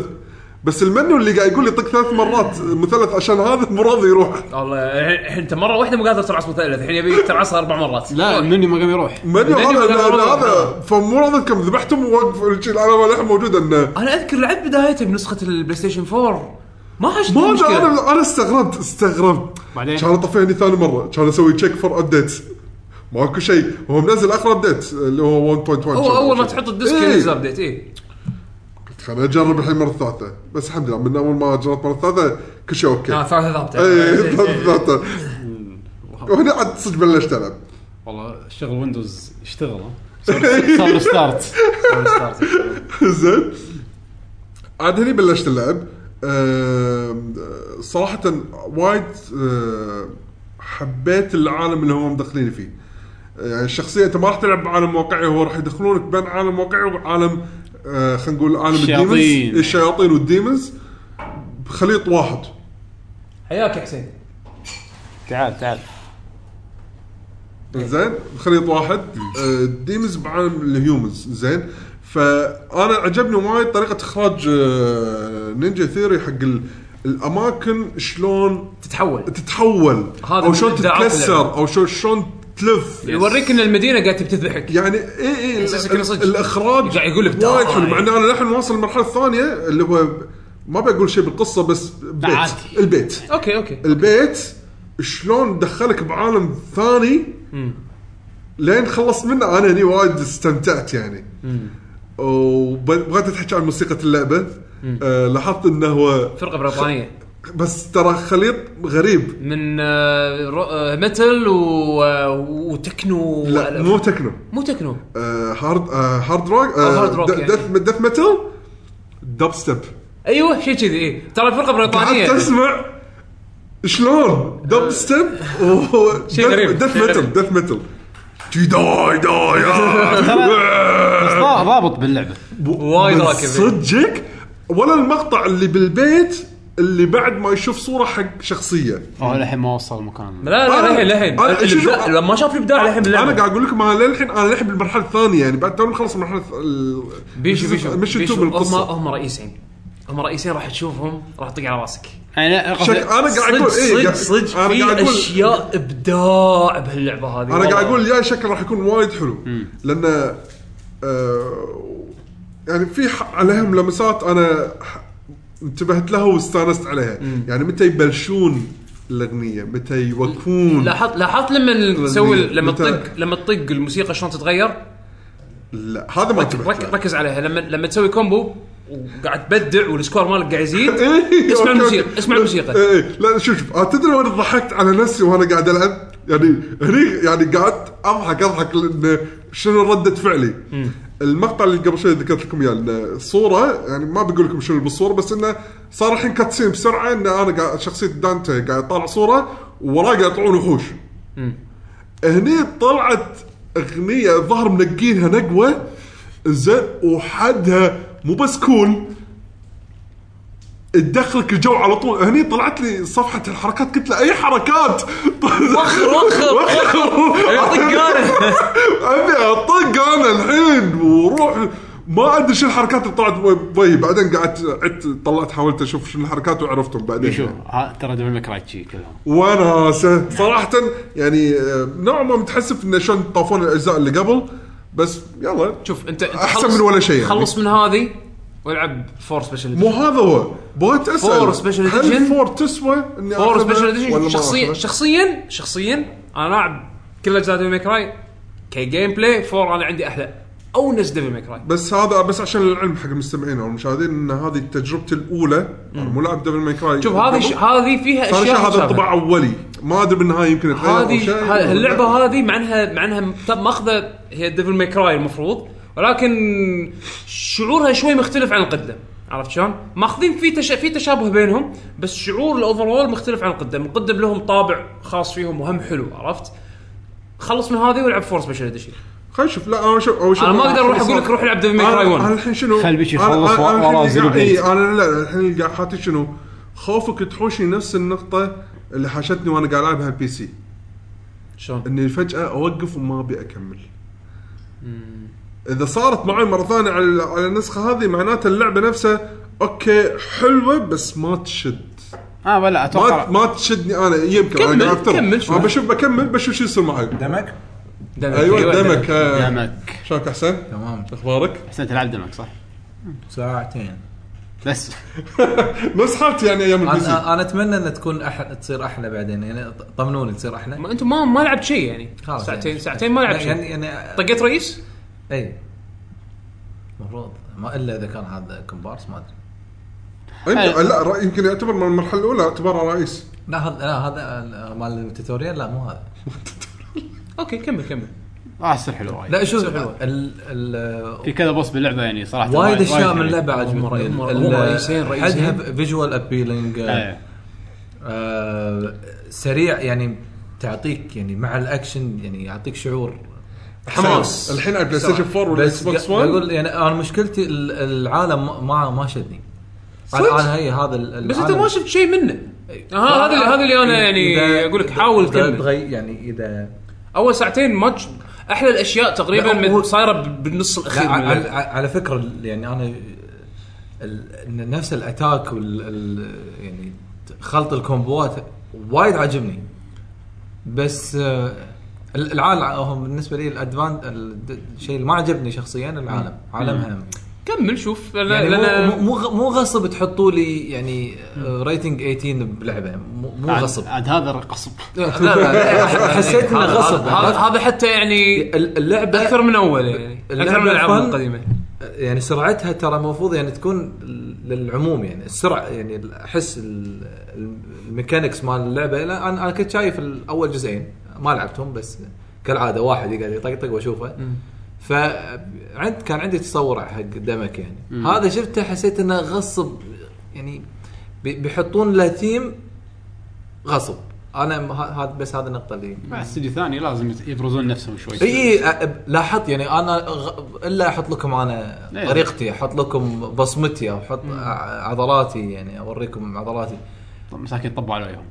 بس المنيو اللي قاعد يقول لي طق ثلاث مرات مثلث عشان هذا مو راضي يروح
والله الحين- الحين انت مره واحده مو قادر ترعص مثلث الحين يبيك ترعصها اربع مرات
لا مني ما قام يروح
منيو
المنيو
هذا
قاعد يقول
هذا-
راضي.
هذا فمو راضي كم ذبحتم ووقف العلامه للحين موجوده انه
انا اذكر لعبت بدايته بنسخه البلاي ستيشن 4 ما عشت
ما أدري،
مشكله
انا انا استغربت استغربت
بعدين؟
كان اطفيني ثاني مره كان اسوي تشيك فور ابديتس ماكو شيء هو منزل اخر ابديت اللي هو 1.1
هو اول ما تحط الديسك ينزل
إيه.
ابديت اي
خليني اجرب الحين مره ثالثه بس الحمد لله من اول ما جربت مره ثالثه كل شيء
آه،
إيه، اوكي
ثالثه ثابته
اي ثالثه وهنا عاد صدق بلشت العب
والله شغل ويندوز اشتغل ها. صار- صار له ستارت
زين عاد هني بلشت اللعب آم، صراحة وايد آم، حبيت العالم اللي هم مدخلين فيه يعني الشخصية انت ما راح تلعب بعالم واقعي هو راح يدخلونك بين عالم واقعي وعالم آه، خلينا نقول عالم الديمونز
الشياطين.
الشياطين والديمونز بخليط واحد
حياك يا حسين
تعال تعال
إيه.
زين خليط واحد آه، ديمز بعالم الهيومنز زين فانا عجبني وايد طريقه اخراج آه، نينجا ثيري حق ال- الاماكن شلون
تتحول
تتحول
هذا
او شلون
من إبداعات اللعبة.
تتكسر او شلون شلون تلف
يوريك ان المدينه قاعده بتذبحك
يعني اي اي
إحساسك إنه صدق.
الاخراج
قاعد يقول لك يعني.
وايد
تعال.
حلو مع ان انا الحين واصل للمرحله الثانيه اللي هو ما بقول شيء بالقصه بس بيت
عادي.
البيت
اوكي اوكي
البيت شلون دخلك بعالم ثاني لين خلصت منه انا هني وايد استمتعت يعني وبغيت تحكي عن موسيقى اللعبه آه لاحظت انه هو
فرقه بريطانيه
بس ترى خليط غريب
من آه، رو- آه، ميتال و- آه، وتكنو
لا مو تكنو
مو تكنو
آه هارد آه هارد روك
آه، هارد روك
آه
يعني.
دث دث ميتال دب ستيب
ايوه شيء كذي اي ترى فرقه بريطانيه
قعدت اسمع شلون دب ستيب و
آه. شيء غريب،
دث
شيء
ميتال
غريب.
دث ميتال تي داي داي آه.
بس ضا- ضابط باللعبه
وايد
بس
راكب
صدقك ولا المقطع اللي بالبيت اللي بعد ما يشوف صوره حق شخصيه
هو الحين ما وصل مكان
لا لا
أنا-
للحين للحين
أنا- شوف-
الإبداع- لما شاف الابداع للحين
انا
باللعبه
قاعد اقول لكم انا للحين انا للحين بالمرحله الثانيه يعني بعد توني مخلص المرحله ال-
بيشو بيشو
مش
بيشو،
تو
هم
بالقصه
هم رئيسين هم رئيسين راح تشوفهم راح تطق على راسك
يعني
شك- انا
آه.
قاعد اقول ايه
صدق
قاعد-
صدق
انا قاعد
في
اقول
اشياء ابداع بهاللعبه هذه
انا قاعد اقول يا شكله راح يكون وايد حلو لان آه، يعني في ح- عليهم لمسات انا ح- انتبهت لها واستانست عليها يعني متى يبلشون الاغنيه متى يوقفون
لاحظت لاحظت لما تسوي لما
متى-
تطق لما تطق الموسيقى شلون تتغير
لا هذا ما انتبهت
رك-
له.
ركز عليها لما لما تسوي كومبو وقاعد تبدع والسكور مالك قاعد يزيد
إيه،
اسمع
أوكي،
الموسيقى
أوكي.
اسمع
لا،
الموسيقى
إيه، إيه، لا شوف شوف آه، تدري وين ضحكت على نفسي وانا قاعد العب يعني هني يعني قعدت اضحك اضحك لان شنو ردة فعلي المقطع اللي قبل شوي ذكرت لكم اياه إنه صوره يعني ما بقول لكم شنو بالصوره بس انه صار الحين كاتسين بسرعه ان انا قاعد شخصيه دانتي قاعد طالع صوره ووراه قاعد يطلعون وحوش هني طلعت اغنيه الظهر منقينها نقوه زين وحدها مو بس كول تدخلك الجو على طول هني طلعت لي صفحه الحركات قلت له اي حركات
وخر وخر طق انا
ابي اطق انا الحين وروح ما ادري شو الحركات اللي طلعت بوي بعدين قعدت عدت طلعت حاولت اشوف شو الحركات وعرفتهم بعدين
شوف ها ترى دبل مكراي شي كلهم
وناسه صراحه يعني آه، نوعا ما متحسف انه شلون طافون الاجزاء اللي قبل بس يلا
شوف انت أنت
أحسن
خلص-
من ولا شيء يعني.
خلص من هذه والعب فور سبيشال
مو هذا هو بغيت اسال
فور سبيشل
هل
إديشن؟
فور تسوى اني
فور
آخذها
سبيشال
ولا ما
اديشن شخصيا
آخذها؟
شخصيا شخصيا انا لاعب كل اجزاء ديفل ميك راي كجيم بلاي فور انا عندي احلى اونس ديفل ميك راي
بس هذا بس عشان العلم حق المستمعين او المشاهدين ان هذه تجربتي الاولى انا مو لاعب دبل ماي كراي
شوف هذه ش- هذه فيها
فانا
اشياء
شايف هذا
مشابهة.
انطباع اولي ما ادري بالنهايه يمكن يتغير أو
هذه
شيء.
ه- اللعبه هذه مع انها مع انها مت- ماخذه هي ديفل ماي كراي المفروض ولكن شعورها شوي مختلف عن القدم عرفت شلون؟ ماخذين في تش... في تشابه بينهم بس شعور الاوفرول مختلف عن القدم، القدم لهم طابع خاص فيهم وهم حلو عرفت؟ خلص من هذه والعب فور سبيشل اديشن.
خلينا نشوف لا انا شوف اول شيء
انا ما اقدر اروح اقول لك روح العب ديفل ماي كراي
انا
1
الحين شنو
خل بيشي
أنا-
يخلص
أنا- أنا
ورا
الحين
زيرو
قاعد-
بليد.
إي، انا لا الحين اللي قاعد حاطط شنو خوفك تحوشني نفس النقطه اللي حاشتني وانا قاعد العبها البي سي
شلون؟
اني فجاه اوقف وما ابي اكمل اذا صارت معي مره ثانيه على على النسخه هذه معناته اللعبه نفسها اوكي حلوه بس ما تشد
اه ولا
ما
اتوقع
ما تشدني انا يمكن
كمل،
انا قاعد أفترض.
كمل شوي.
انا بشوف بكمل بشوف شو يصير معي
دمك
أيوة، دمك
أيوة،
ايوه دمك آه.
دمك
شلونك احسن؟
تمام
اخبارك؟
احسن تلعب دمك صح
ساعتين
بس
نفس حالتي يعني ايام البي سي
انا انا اتمنى ان تكون أح... تصير احلى بعدين يعني ط- طمنوني تصير احلى
ما انتم ما ما لعبت شيء يعني
خلاص
ساعتين
يعني.
ساعتين ما لعبت
يعني
شيء
يعني
طقيت رئيس؟
اي المفروض ما الا اذا كان هذا كومبارس ما ادري
أنت- لا رأي- يمكن يعتبر من المرحله الاولى اعتبار رئيس
لا هذا لا هذا آه، مال التوتوريال لا مو هذا
اوكي كمل كمل
راح تصير آه، حلو وايد
لا شوف
حلوة.
ال ال
في كذا بوس باللعبه يعني صراحه
وايد يعني. اشياء من
حلوة.
اللعبه
مرة-
عجبتني
مرة- مرة رئيسين- رئيسين.
حدها فيجوال ابيلينج
إيه.
آه، سريع يعني تعطيك يعني مع الاكشن يعني يعطيك شعور
حماس.
الحين على بلاي ستيشن 4 والاكس
بس
بوكس
ق-
1
اقول يعني انا مشكلتي ال- العالم ما- ما ما شدني
صدق؟
انا انا هي هذا ال-
بس انت
العالم-
ما شفت شيء منه ها آه، هذا اللي هذا اللي انا يعني
إيه، إذا-
اقول لك حاول
إذا
تكمل
تغي- يعني اذا
اول ساعتين ماتش احلى الاشياء تقريبا
لا، هو-
من- صايره ب- بالنص
لا،
الاخير من
على,
اللعبة.
على, على فكره ال- يعني انا ال- إن نفس الاتاك وال ال- يعني خلط الكومبوات وايد عاجبني بس آه، ال- العالم هو بالنسبه لي الادفان ال- الشيء اللي ما عجبني شخصيا العالم عالمها
كمل شوف لأن-
يعني
لأن-
مو- مو مو- مو غصب تحطوا لي يعني آه، ريتنج 18 بلعبه مو مو
عاد-
غصب
عاد هذا غصب
لا لا حسيت انه
هذا-
غصب
هذا- هذا هذا حتى يعني
ال- اللعبه
اكثر من اول يعني اكثر
اللعبة
من الالعاب
fun.
القديمه
يعني سرعتها ترى المفروض يعني تكون للعموم يعني السرعه يعني احس ال- الميكانكس مال اللعبه لا انا انا كنت شايف الاول جزئين ما لعبتهم بس كالعاده واحد يقعد يطقطق واشوفه فعند كان عندي تصور حق دمك يعني هذا شفته حسيت انه غصب يعني بي- بيحطون له ثيم غصب انا م- ه- هذا بس هذه النقطه اللي
مع استديو ثاني لازم يبرزون نفسهم شوي
اي اي أ- لاحظت يعني انا غ... الا احط لكم انا
إيه.
طريقتي احط لكم بصمتي او احط ع- عضلاتي يعني اوريكم عضلاتي
طب مساكين طبوا عليهم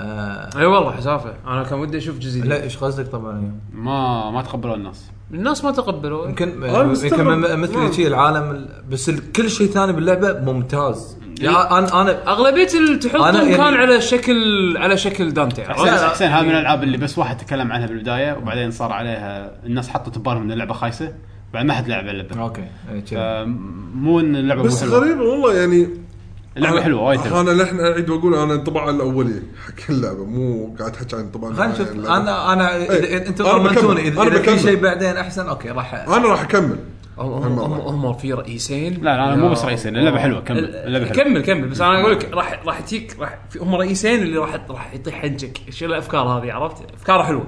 آه...
اي والله حسافه انا كان ودي اشوف جزء جديد
لا ايش قصدك طبعا
ما ما تقبلوا الناس
الناس ما تقبلوا
يمكن
أنا
يمكن
مستغرب. نعم.
م- مثل شيء العالم ال- بس ال- كل شيء ثاني باللعبه ممتاز
إيه.
يعني انا انا
اغلبيه اللي
أنا
تحطهم
يعني-
كان على شكل على شكل دانتي
حسين
لا، لا.
حسين هذا من الالعاب اللي بس واحد تكلم عنها بالبدايه وبعدين صار عليها الناس حطت ببالهم ان اللعبه خايسه بعد ما حد لعب اللعبه
اوكي إيه،
آه،
كذي.
مو ان اللعبه مو
بس
حلوه
غريب والله يعني
اللعبه
أنا-
حلوه وايد حلوه
انا لحن اعيد واقول انا الطبعه الاوليه حق اللعبه مو قاعد احكي عن الطبعه
خلينا نشوف انا انا
إيه.
إذا- انتم
أنا بكمل.
ضمنتوني
أنا
اذا إذا في
بكمل.
شيء بعدين احسن اوكي راح
انا راح اكمل
هم هم- هم هم في رئيسين
لا، لا، أنا مو بس
يا
رئيسين، اللعبة
الله.
حلوة، كمل،
ال-
اللعبة حلوة.
كمل كمل بس انا اقول لك راح راح تجيك راح في- هم رئيسين اللي راح راح يطيح حجك شو الافكار هذه عرفت؟ افكاره حلوه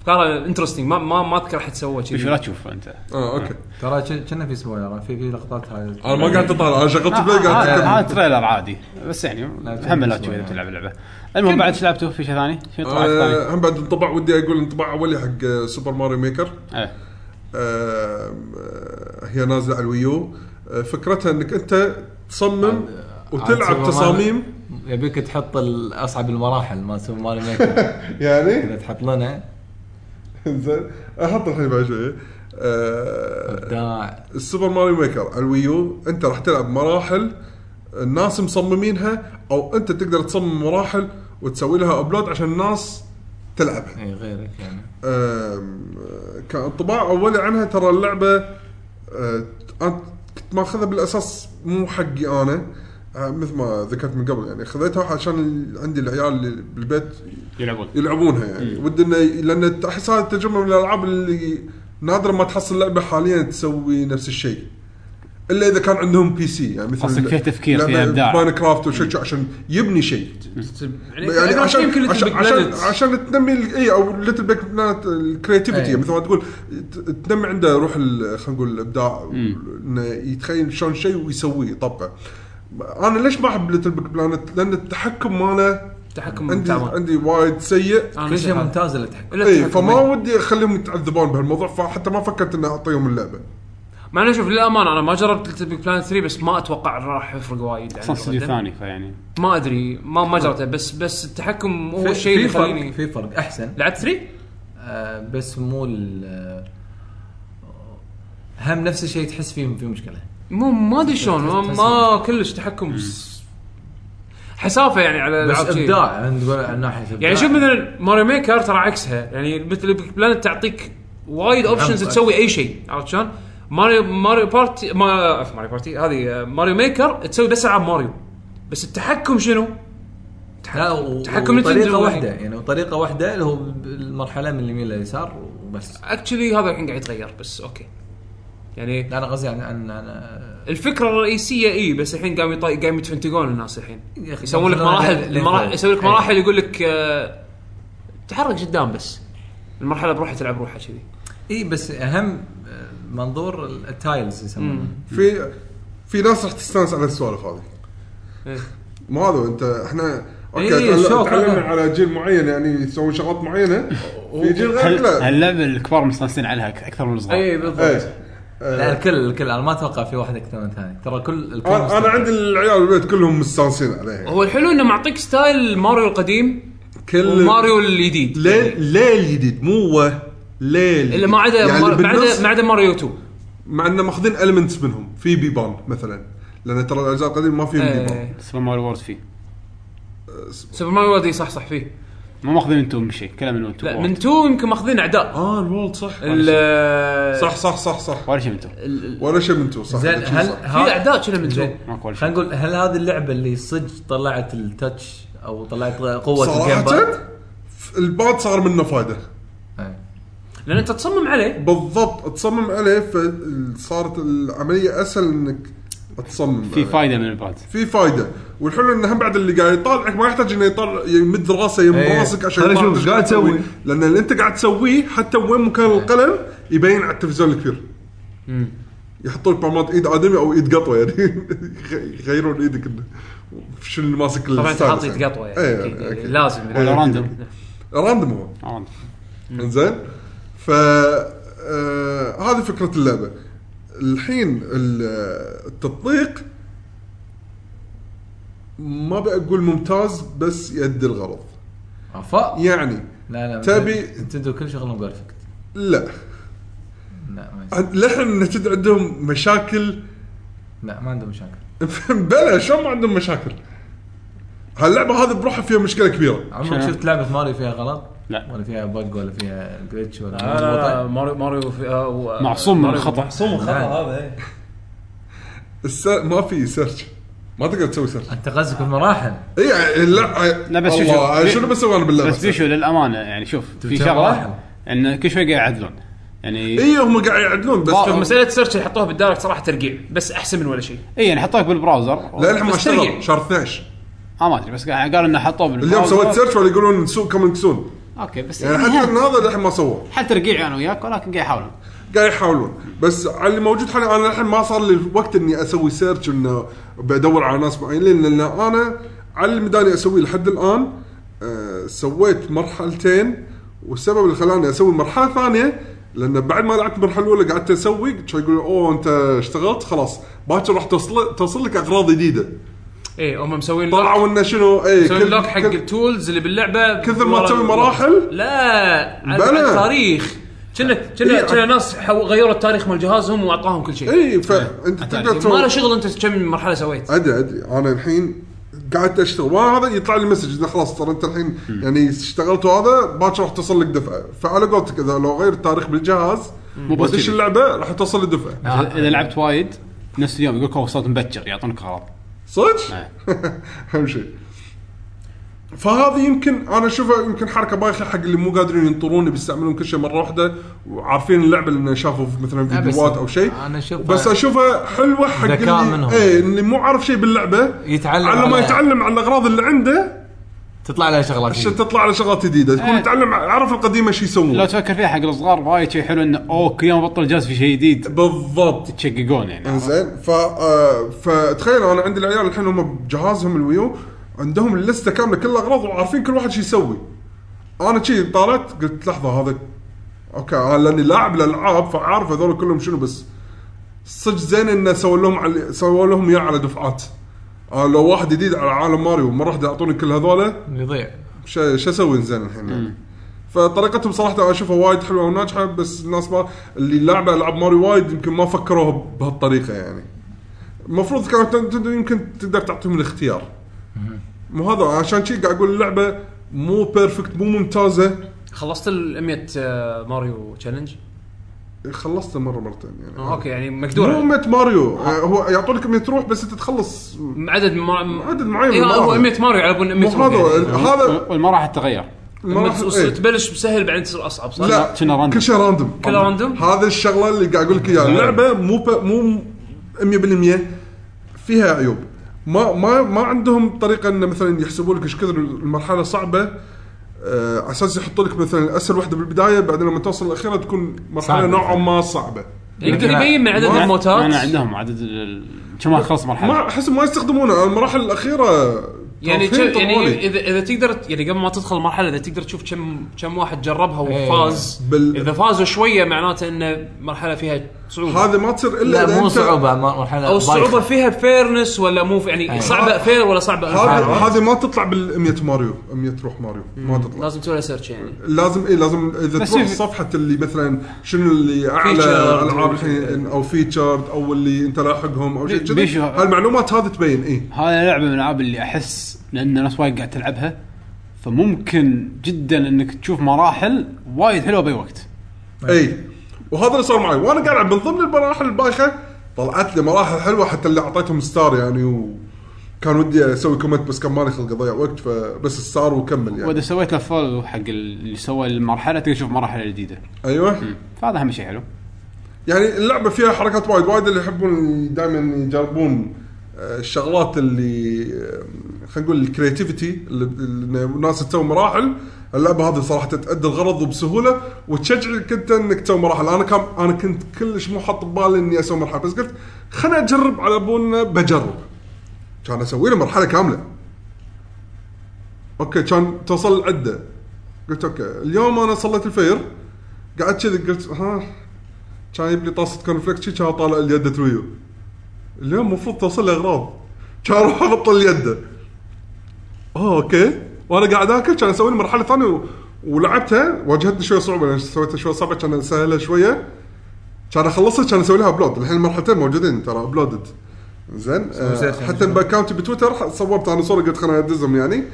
افكاره انترستنج ما ما ما اذكر راح تسوى
شوف
كذي
لا تشوف انت
اه اوكي
آه.
ترى ك- كنا في سبويلر في في لقطات هاي
انا ما قاعد اطالع انا شغلت بلاي
هذا
قاعد
آه، هذا
اكمل
تريلر عادي بس يعني
تشوف
هم لا تشوف اذا
شوي.
بتلعب اللعبه المهم بعد ايش لعبتوا في شيء ثاني؟ شنو طلعت ثاني؟
آه، هم بعد انطباع ودي اقول انطباع اولي حق آه، سوبر ماريو ميكر
إيه.
آه، هي نازله على الويو آه، فكرتها انك انت تصمم وتلعب تصاميم
يبيك تحط ال- اصعب المراحل ما سوبر ماري ميكر
يعني
اذا تحط لنا
زين احط الحين بعد شويه آه،
ابداع
السوبر ماريو ميكر على الويو انت راح تلعب مراحل الناس مصممينها او انت تقدر تصمم مراحل وتسوي لها ابلود عشان الناس تلعبها
اي غيرك يعني
أم، كان انطباع اولي عنها ترى اللعبه أه، انا كنت ماخذها بالاساس مو حقي انا أه، مثل ما ذكرت من قبل يعني خذيتها عشان ال- عندي العيال اللي بالبيت
يلعبون
يلعبونها يعني ودي انه لان احس هذا تجمع من الالعاب اللي نادرا ما تحصل لعبه حاليا تسوي نفس الشيء الا اذا كان عندهم بي سي يعني مثل
قصدك فيها تفكير، فيها إبداع.
ماين كرافت وشيء عشان يبني شيء يعني
أقرب شيء
عشان
يمكن
عشان
Little Big
عشان,
Planet.
عشان تنمي ال- إيه، اي او ليتل بيك بلانت الكريتيفيتي
أي.
مثل ما تقول ت- تنمي عنده روح ال- خلينا نقول الابداع انه يتخيل شلون شيء ويسويه يطبقه انا ليش ما احب ليتل بيك بلانت؟ لان التعكم ماله
تحكم
عندي
تعبان.
عندي وايد سيء
أنا
كل شيء
نسيت هذا.
ممتاز اللي تحكي
إلا
اي
التحكم
إيه، فما
بينهم.
ودي اخليهم يتعذبون بهالموضوع فحتى ما فكرت اني اعطيهم اللعبه
مع انه شوف للامانه انا ما جربت ليتل بيج بلان 3 بس ما اتوقع إنه راح يفرق وايد عن
اصلا استديو
القدم.
ثاني فيعني
ما ادري ما ما جربته بس بس التحكم هو الشيء اللي
في فرق
يخليني
في فرق احسن
لعبت 3
آه بس مو ال- هم نفس الشيء تحس فيه في مشكله
مو ما ادري شلون ما, ما كلش تحكم س- حسافه يعني على
بس
الألعاب شي.
ابداع عند عن ناحيه إبداع.
يعني شوف مثلا ماريو ميكر ترى عكسها يعني مثل بيك بلانت تعطيك وايد اوبشنز
أكثر.
تسوي اي شيء عرفت شلون؟ ماريو ماريو بارتي ما عفوا، ماريو بارتي هذه آه، ماريو ميكر تسوي بس العاب ماريو بس التحكم شنو؟
لا و-
تحكم
وطريقه
نتندو
واحده
يعني.
يعني وطريقه واحده اللي هو المرحله من اليمين لليسار وبس
اكشلي هذا الحين قاعد يتغير بس اوكي يعني
لا انا قصدي عن عن عن-
الفكره الرئيسيه اي إيه، بس الحين قام يطي... قام يتفنتقون الناس الحين
يا أخي،
يسوون لك
خلونا
مراحل
لين
مراحل
فوق.
يسوي لك
إيه.
مراحل يقول لك آه، تحرك قدام بس المرحله بروحها تلعب روحها كذي
اي بس اهم آه، منظور التايلز يسمونه
في في ناس راح تستانس على السوالف هذه
إيه.
ما هذا انت احنا اوكي
إيه،
تعل-
الشوق
تعلمنا
هذا.
على جيل معين يعني يسوون شغلات معينه في جيل غير
هال-
لا
هاللعبه الكبار مستانسين عليها أك- اكثر من الصغار
اي بالضبط
إيه.
لا
آه،
الكل الكل انا ما اتوقع في واحد اكثر من الثاني ترى كل الكل
انا أنا عندي العيال البيت كلهم مستانسين عليها
هو الحلو انه معطيك ستايل ماريو القديم
كل
وماريو الجديد
ليل ليل جديد مو هو ليل
الا ما عدا
يعني
مار- ما
بالنص-
عدا ما عدا ماريو 2
مع انه ماخذين المنتس منهم في بيبان مثلا لان ترى الاجزاء القديمه ما فيهم بيبان
إيه.
سوبر ماريو وورد فيه
سوبر ماريو وادي صح صح فيه
ما ماخذين انتم من شيء كله من انتم
لا من 2 يمكن ماخذين اعداء
اه الولد صح
ال-
صح صح صح صح
ولا شيء من انتم
ال- ال-
ولا شيء منتو صح
زين
هذا شيء
هل
صح.
في اعداء كنا من 2
زين
ماكو ولا شيء.
خلينا نقول هل هذه اللعبه اللي صدق طلعت التاتش او طلعت قوه الجيم
صراحه
باد؟
الباد صار منه فايده
إيه.
لان انت تصمم عليه
بالضبط تصمم عليه فصارت العمليه اسهل انك تصمم
في
عليه.
فايده من الباد
في فايده والحلو انه هم بعد اللي قاعد يطالعك ما يحتاج انه يطلع يمد راسه يم
إيه.
راسك عشان
خليني
يطالع
أشوف
إيش
قاعد تسوي.
لان اللي انت قاعد تسويه حتى وين مكان القلم يبين على التلفزيون الكبير يحطوا لك بالمرات ايد ادمي او ايد قطوه يعني يغيرون ايدك انه شنو اللي ماسك
طبعا انت
السادس
حاطط
يعني.
قطوه يعني
إيه،
أكيد،
أكيد.
لازم
ولا
يعني.
راندوم
راندوم هو
راندوم.
انزين ف آه، هذه فكره اللعبه الحين ال- آه، التطبيق ما بقول ممتاز بس يؤدي الغرض
عفا
يعني
لا لا
تبي-
نتندو كل شغلهم بيرفكت
لا
لا ما يصير.
عن- لحن نتد عندهم مشاكل
لا ما عندهم مشاكل
بلا شلون ما عندهم مشاكل هاللعبه هذه بروحها فيها مشكله كبيره
عمرك
شنو؟
شفت لعبه ماريو فيها غلط؟
لا.
ولا فيها بج ولا فيها جلتش ولا
لا لا لا ماريو ماريو في- آه، و-
معصوم من
ماريو-
الخطا
صوم خطا
نعم.
هذا إيه.
الس... ما في سيرش ما تقدر تسوي سيرش
انت قصدك المراحل
اي يعني لا
لا، بس شوف-
الله،
شوف-
آه، شنو بسوي انا باللعبه
بس بيشو للامانه يعني شوف في
تبتدي مراحل.
شغله انه كل شوي قاعد يعدلون يعني
اي إيه، هم قاعد يعدلون بس
شوف مساله سيرش يحطوها بالدايركت صراحه ترقيع بس احسن من ولا شيء
اي يعني حطوك بالبراوزر
لا الحين ما
بس
اشتغل
ترقع.
شهر 12
اه ما ادري بس قاعد- قالوا انه حطوه بالبراوزر
اليوم سويت سيرش ولا يقولون سو كومينج سون
اوكي بس
يعني
إيه.
يعني
حتى
هم-
إن هذا للحين ما سووه
حتى رقيع انا وياك ولكن قاعد يحاولون
قاعد يحاولون بس على اللي موجود حاليا انا الحين ما صار لي الوقت اني اسوي سيرش انه بدور على ناس معينين لان انا على اللي مداني اسويه لحد الان آه سويت مرحلتين والسبب اللي خلاني اسوي مرحله ثانيه لان بعد ما لعبت المرحله الاولى قعدت اسوي كانوا يقولون اوه انت اشتغلت خلاص باكر راح توصل توصل لك اغراض جديده
ايه هم مسوين لوك
طلعوا انه شنو إيه، اي
مسوين لوك حق التولز اللي باللعبه
كثر ما
ورا-
تسوي مراحل؟
لا على
بلى.
على التاريخ كنا كنا
إيه،
كنا ناس حو- غيروا التاريخ مال جهازهم واعطاهم كل شيء
اي
طيب،
فانت إيه، تقدر
ما له
تسوي
شغل انت كم مرحله سويت
ادري ادري انا الحين قاعد اشتغل وانا هذا يطلع لي مسج انه خلاص ترى انت الحين يعني اشتغلت وهذا باكر راح توصل لك دفعه فعلى قولتك اذا لو غير التاريخ بالجهاز
بس
وادش
كذي.
اللعبه راح توصل لي دفعه
اذا إذا لعبت وايد نفس اليوم يقول لك "أوه، وصلت مبكر يعطونك غلط
صدق؟
إيه.
نعم.
اهم شيء فهذه يمكن انا اشوفها يمكن حركه بايخه حق اللي مو قادرين ينطرون بيستعملون كل شيء مره واحده وعارفين اللعبه لان شافوا مثلا
لا، بس
فيديوهات او شيء
أنا أشوفها-
بس اشوفها حلوه حق
ذكاء
اللي
منهم.
اي اللي مو عارف شيء باللعبه
يتعلم
على ما
على-
يتعلم على الاغراض اللي عنده
تطلع لها شغلات
عشان تطلع على شغلات جديده تكون
إيه.
يتعلم عرف القديمه شو
لو
يسوون
تفكر فيها حق الصغار وايد شيء حلو انه اوه كل يوم بطل الجهاز في شيء جديد
بالضبط
تشققون يعني
انزين ف آه، فتخيل انا عندي العيال الحين هم بجهازهم الويو عندهم اللسته كامله كل الاغراض وعارفين كل واحد شو يسوي انا شي طالعت قلت لحظه هذا اوكي أنا لاني لاعب الالعاب فعارف هذول كلهم شنو بس صدق زين انه سووا لهم على سووا لهم اياه على دفعات أنا لو واحد جديد على عالم ماريو ما راح يعطوني كل هذول
يضيع
شو شو اسوي زين الحين يعني فطريقتهم صراحه انا اشوفها وايد حلوه وناجحه بس الناس ما اللي لعبوا العاب ماريو وايد يمكن ما فكروها بهالطريقه يعني المفروض كانت نتندو يمكن تقدر تعطيهم الاختيار مو هذا عشان شي قاعد اقول اللعبه مو بيرفكت مو ممتازه
خلصت ال 100 آه، ماريو تشالنج
خلصتها مره مرتين يعني
اوكي يعني
مو
مقدور
100 ماريو آه، هو يعطونك 100 روح بس انت تخلص
عدد ما...
عدد معين من
إيه هو
المراحل.
100 ماريو على بون 100
مو هذا
ماريو
ال-
آه.
هذا
والمراحل تتغير
يعني.
المراحل-
بس-
إيه.
تبلش بسهل بعدين تصير اصعب صح؟
لا
كنا راندوم.
كل شيء راندوم
كله راندوم؟
هذا الشغله اللي قاعد اقول لك اياها اللعبه مو ب... مو 100% فيها عيوب ما ما ما عندهم طريقه انه مثلا يحسبوا لك ايش كثر المرحله صعبه آه، على اساس يحطوا لك مثلا اسهل واحده بالبدايه بعدين لما توصل الاخيره تكون مرحله
صعبة.
نوعا ما صعبه
يقدر
لا.
يبين من عدد
ما-
الموتات
انا عندهم عدد ال- كم واحد خلص
ما
مرحله
احس ما يستخدمونه المراحل الاخيره
يعني
توفين
شو- يعني
طوالي.
اذا اذا تقدر ت- يعني قبل ما تدخل المرحله اذا تقدر تشوف كم كم واحد جربها
إيه.
وفاز
بال-
اذا فازوا شويه معناته انه مرحله فيها صعوبه
هذه ما تصير الا
لا
إذا
مو
أنت-
صعوبه ما- مرحله
او الصعوبه
بايخة.
فيها فيرنس ولا مو في-
إيه.
يعني صعبه فير ولا صعبه
هذه
unfair.
هذه ما تطلع بال 100 ماريو 100 روح ماريو ما تطلع
لازم تسوي سيرش يعني
لازم اي لازم اذا
بس
تروح
في-
صفحه اللي مثلا شنو اللي اعلى
Featured.
العاب الحين او فيتشرد او اللي انت لاحقهم او شيء
بي-
كذي
بيشو-
هالمعلومات هذه تبين إيه. اي
هاي لعبه من الالعاب اللي احس لان ناس وايد قاعد تلعبها فممكن جدا انك تشوف مراحل وايد حلوه باي وقت
اي إيه. وهذا اللي صار معي وانا قاعد ألعب من ضمن المراحل البايخه طلعت لي مراحل حلوه حتى اللي اعطيتهم ستار يعني وكان ودي اسوي كومنت بس كان مالي خلق اضيع وقت فبس ستار وكمل
واذا
يعني
سويت له فولو حق اللي سوى المرحله تقدر تشوف مراحل جديده
ايوه
فهذا اهم شيء حلو
يعني اللعبه فيها حركات وايد وايد اللي يحبون دائما يجربون آه، الشغلات اللي آه، خلينا نقول الكريتيفيتي اللي اللي الناس تسوي مراحل اللعبه هذه صراحه تأدي الغرض وبسهوله وتشجعك انت انك تسوي مراحل انا كان انا كنت كلش مو حاط ببالي اني اسوي مرحله بس قلت خليني اجرب على بون بجرب كان اسوي له مرحله كامله اوكي كان توصل العده قلت اوكي اليوم انا صليت الفير قعدت كذي قلت ها كان يبلي طاسه كونفليكت شي كان طالع اليد ويو اليوم المفروض توصل لي اغراض كان اروح احط اليد اه اوكي وانا قاعد اكل كان اسوي لي مرحله ثانيه و... ولعبتها واجهتني شويه صعوبه لان سويتها شويه صعبه كان اسهلها شويه كان اخلصها كان اسوي لها ابلود الحين المرحلتين موجودين ترى ابلودد زين آه
زين.
حتى باكاونتي بتويتر ح- صورت انا صوره قلت خليني ادزهم يعني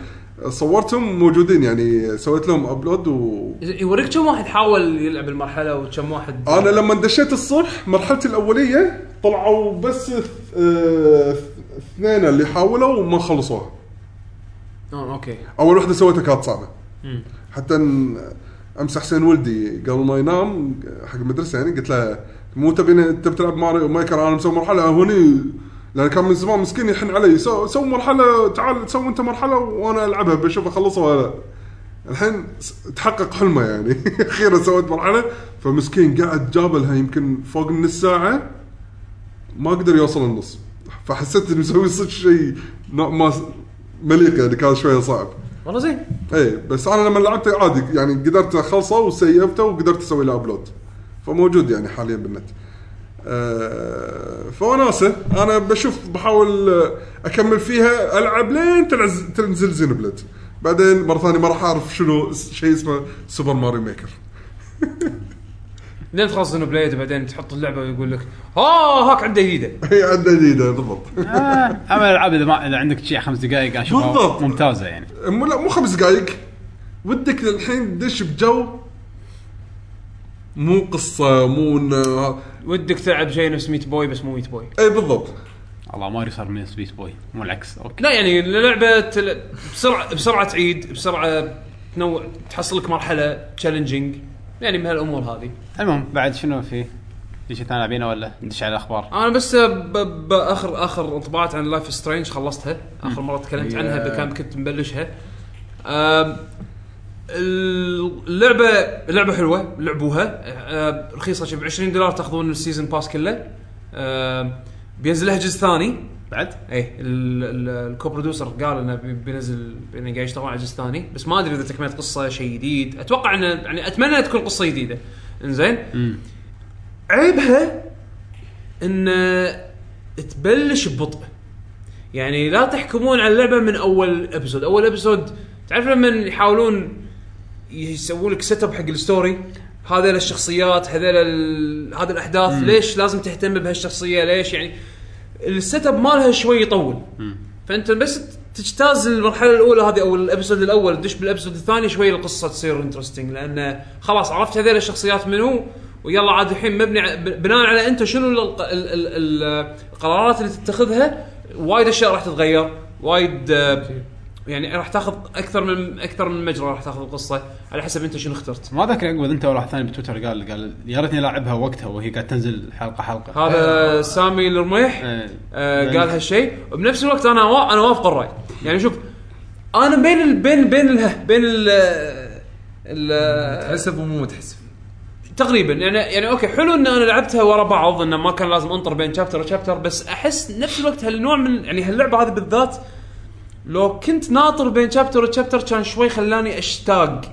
صورتهم موجودين يعني سويت لهم ابلود و
يوريك كم واحد حاول يلعب المرحله وكم واحد
انا لما دشيت الصبح مرحلتي الاوليه طلعوا بس ث- آه، اثنين اللي حاولوا وما خلصوها
آه، اوكي
اول وحده سويتها كانت صعبه حتى إن امس حسين ولدي قبل ما ينام حق المدرسه يعني قلت له مو تبين تبي تلعب ماريو ميكر انا مسوي مرحله هوني لان كان من زمان مسكين يحن علي سو, سو مرحله تعال سو انت مرحله وانا العبها بشوف اخلصها ولا لا. الحين س- تحقق حلمه يعني اخيرا سويت مرحله فمسكين قاعد جابلها يمكن فوق النص ساعه ما قدر يوصل النص فحسيت اني مسوي صدق شيء نوع ما س- مليق يعني كان شويه صعب
والله زين
ايه بس انا لما لعبته عادي يعني قدرت اخلصه وسيفته وقدرت اسوي له ابلود فموجود يعني حاليا بالنت آه فوناسه انا بشوف بحاول آه، اكمل فيها العب لين تنعز- تنزل زينبلد بعدين مره ثانيه ما راح اعرف شنو س- شيء اسمه سوبر ماريو ميكر
لين تخلص انه بليد وبعدين تحط اللعبه ويقول لك ها هاك عده جديده
هي عندها جديده بالضبط
آه، اما الالعاب اذا ما اذا عندك شيء خمس دقائق اشوفها
بالضبط.
ممتازه يعني
مو لا مو خمس دقائق ودك للحين تدش بجو مو قصه مو انه
ودك تلعب شيء نفس ميت بوي بس مو ميت بوي
اي إيه، بالضبط
الله ماري صار من سبيس بوي مو العكس اوكي
لا يعني اللعبه تل... بسرعه بسرعه تعيد بسرعه تنوع تحصل لك مرحله تشالنجينج يعني من هالامور هذه
المهم بعد شنو في في شيء ثاني لاعبينه ولا ندش على الاخبار
انا بس ب... ب... اخر اخر انطباعات عن لايف سترينج خلصتها اخر مره تكلمت عنها ب- كان كنت مبلشها أم... اللعبه اللعبه حلوه لعبوها أم... رخيصه شي ب 20 دولار تاخذون السيزون باس كله أم... بينزل لها جزء ثاني
بعد
ايه ال- ال- الكو برودوسر قال انه بي- بينزل انه قاعد يشتغل على جزء ثاني بس ما ادري اذا تكمله قصه شيء جديد اتوقع انه يعني اتمنى تكون قصه جديده انزين عيبها ان تبلش ببطء يعني لا تحكمون على اللعبه من اول ابيسود اول ابيسود تعرف لما يحاولون يسوون لك سيت اب حق الستوري هذول الشخصيات هذول ال- هذه الاحداث ليش لازم تهتم بهالشخصيه ليش يعني السيت اب مالها شوي يطول فانت بس تجتاز المرحله الاولى هذه او الابسود الاول تدش بالابسود الثاني شوي القصه تصير انترستنج لان خلاص عرفت هذول الشخصيات منو ويلا عاد الحين مبني ع- ب- بناء على انت شنو ال- ال- ال- ال- القرارات اللي تتخذها وايد اشياء راح تتغير وايد آه، يعني راح تاخذ اكثر من اكثر من مجرى راح تاخذ القصه على حسب انت شنو اخترت
ما ذكر عقب انت ولا واحد ثاني بتويتر قال قال يا ريتني لاعبها وقتها وهي قاعد تنزل حلقه حلقه
هذا سامي الرميح
إيه.
آه،
يعني-
قال هالشيء وبنفس الوقت انا وا- انا وافق الراي يعني شوف انا بين ال بين بين ال بين ال ال-
تحسب ومو متحسب
تقريبا يعني يعني اوكي حلو ان انا لعبتها ورا بعض انه ما كان لازم انطر بين شابتر وشابتر بس احس نفس الوقت هالنوع من يعني هاللعبه هذه بالذات لو كنت ناطر بين شابتر وشابتر كان شوي خلاني اشتاق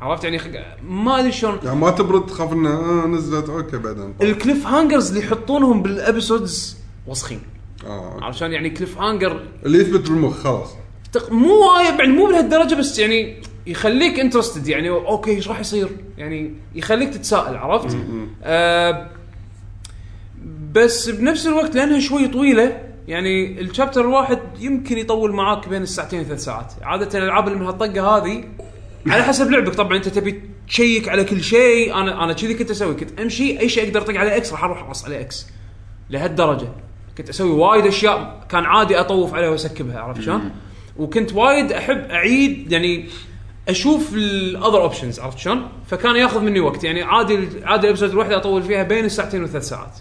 عرفت يعني خ- ما ادري شلون
يعني ما تبرد تخاف انها آه نزلت اوكي بعدين طيب.
الكليف هانجرز اللي يحطونهم بالابيسودز وسخين
اه أوكي.
علشان يعني كليف هانجر
اللي يثبت بالمخ خلاص
تق... مو وايد يعني مو لهالدرجه بس يعني يخليك انترستد يعني اوكي ايش راح يصير؟ يعني يخليك تتساءل عرفت؟ آه بس بنفس الوقت لانها شوي طويله يعني الشابتر الواحد يمكن يطول معاك بين الساعتين ثلاث ساعات، عاده الالعاب اللي من هالطقه هذه على حسب لعبك طبعا انت تبي تشيك على كل شيء انا انا كذي كنت اسوي كنت امشي اي شيء اقدر اطق عليه اكس راح اروح اقص عليه اكس لهالدرجه كنت اسوي وايد اشياء كان عادي اطوف عليها واسكبها عرفت شلون؟ وكنت وايد احب اعيد يعني اشوف الاذر اوبشنز عرفت شلون؟ فكان ياخذ مني وقت يعني عادي عادي الابسود الواحده اطول فيها بين الساعتين وثلاث ساعات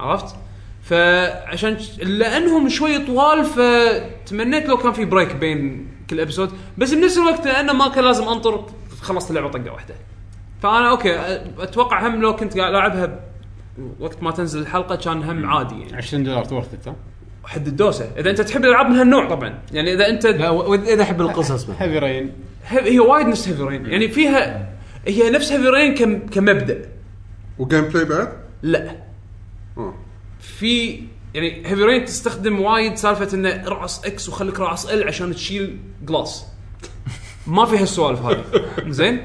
عرفت؟ فعشان ش- لانهم شوي طوال فتمنيت لو كان في بريك بين كل ابسود بس بنفس الوقت لانه ما كان لازم انطر خلصت اللعبه طقه واحده. فانا اوكي أ- اتوقع هم لو كنت قاعد العبها ب- وقت ما تنزل الحلقه كان هم عادي يعني
20 دولار تورثت ها
حد الدوسه اذا انت تحب الالعاب من هالنوع طبعا يعني اذا انت
لا و- واذا احب القصص بعد
هيفي رين
هي هي وايد نفس هيفي رين يعني فيها هي نفس هيفي رين كم كمبدا
وجيم بلاي بعد؟
لا
آه.
في يعني هيفي رين تستخدم وايد سالفه انه رعص اكس وخليك رعص ال عشان تشيل جلاس ما في هالسوالف هذه زين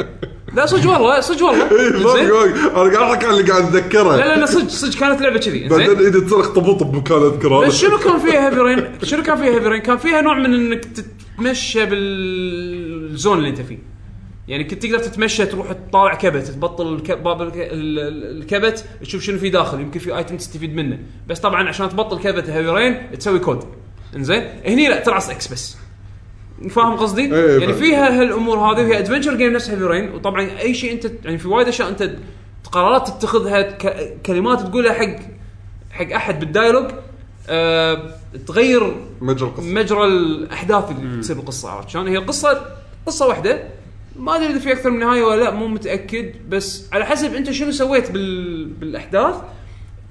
لا صدق والله صدق والله
إيه، ما في
إيه، زين
وقت. انا قاعد احكي عن اللي قاعد اتذكره
لا لا لا صدق صدق كانت لعبه كذي
بعدين
زين
ايدي تصير اخطبوط بمكان اذكره
بس شنو كان فيها هيفي رين شنو كان فيها هيفي رين كان فيها نوع من انك تتمشى بالزون اللي انت فيه يعني كنت تقدر تتمشى تروح تطالع كبت تبطل الك- باب الك- ال- ال- الكبت تشوف شنو في داخل يمكن في ايتم تستفيد منه بس طبعا عشان تبطل كبت هيفرين تسوي كود انزين هني لا ترعس اكس بس فاهم قصدي؟
إيه،
يعني
فاهم.
فيها هالامور هذه وهي ادفنشر جيم نفس هيفرين وطبعا اي شيء انت يعني في وايد اشياء انت قرارات تتخذها ك- كلمات تقولها حق حق احد بالدايلوج أه تغير
مجرى القصه
مجرى الاحداث اللي تصير بالقصه عرفت شلون؟ هي القصه قصه واحده ما ادري اذا في اكثر من نهايه ولا لا مو متاكد بس على حسب انت شنو سويت بال... بالاحداث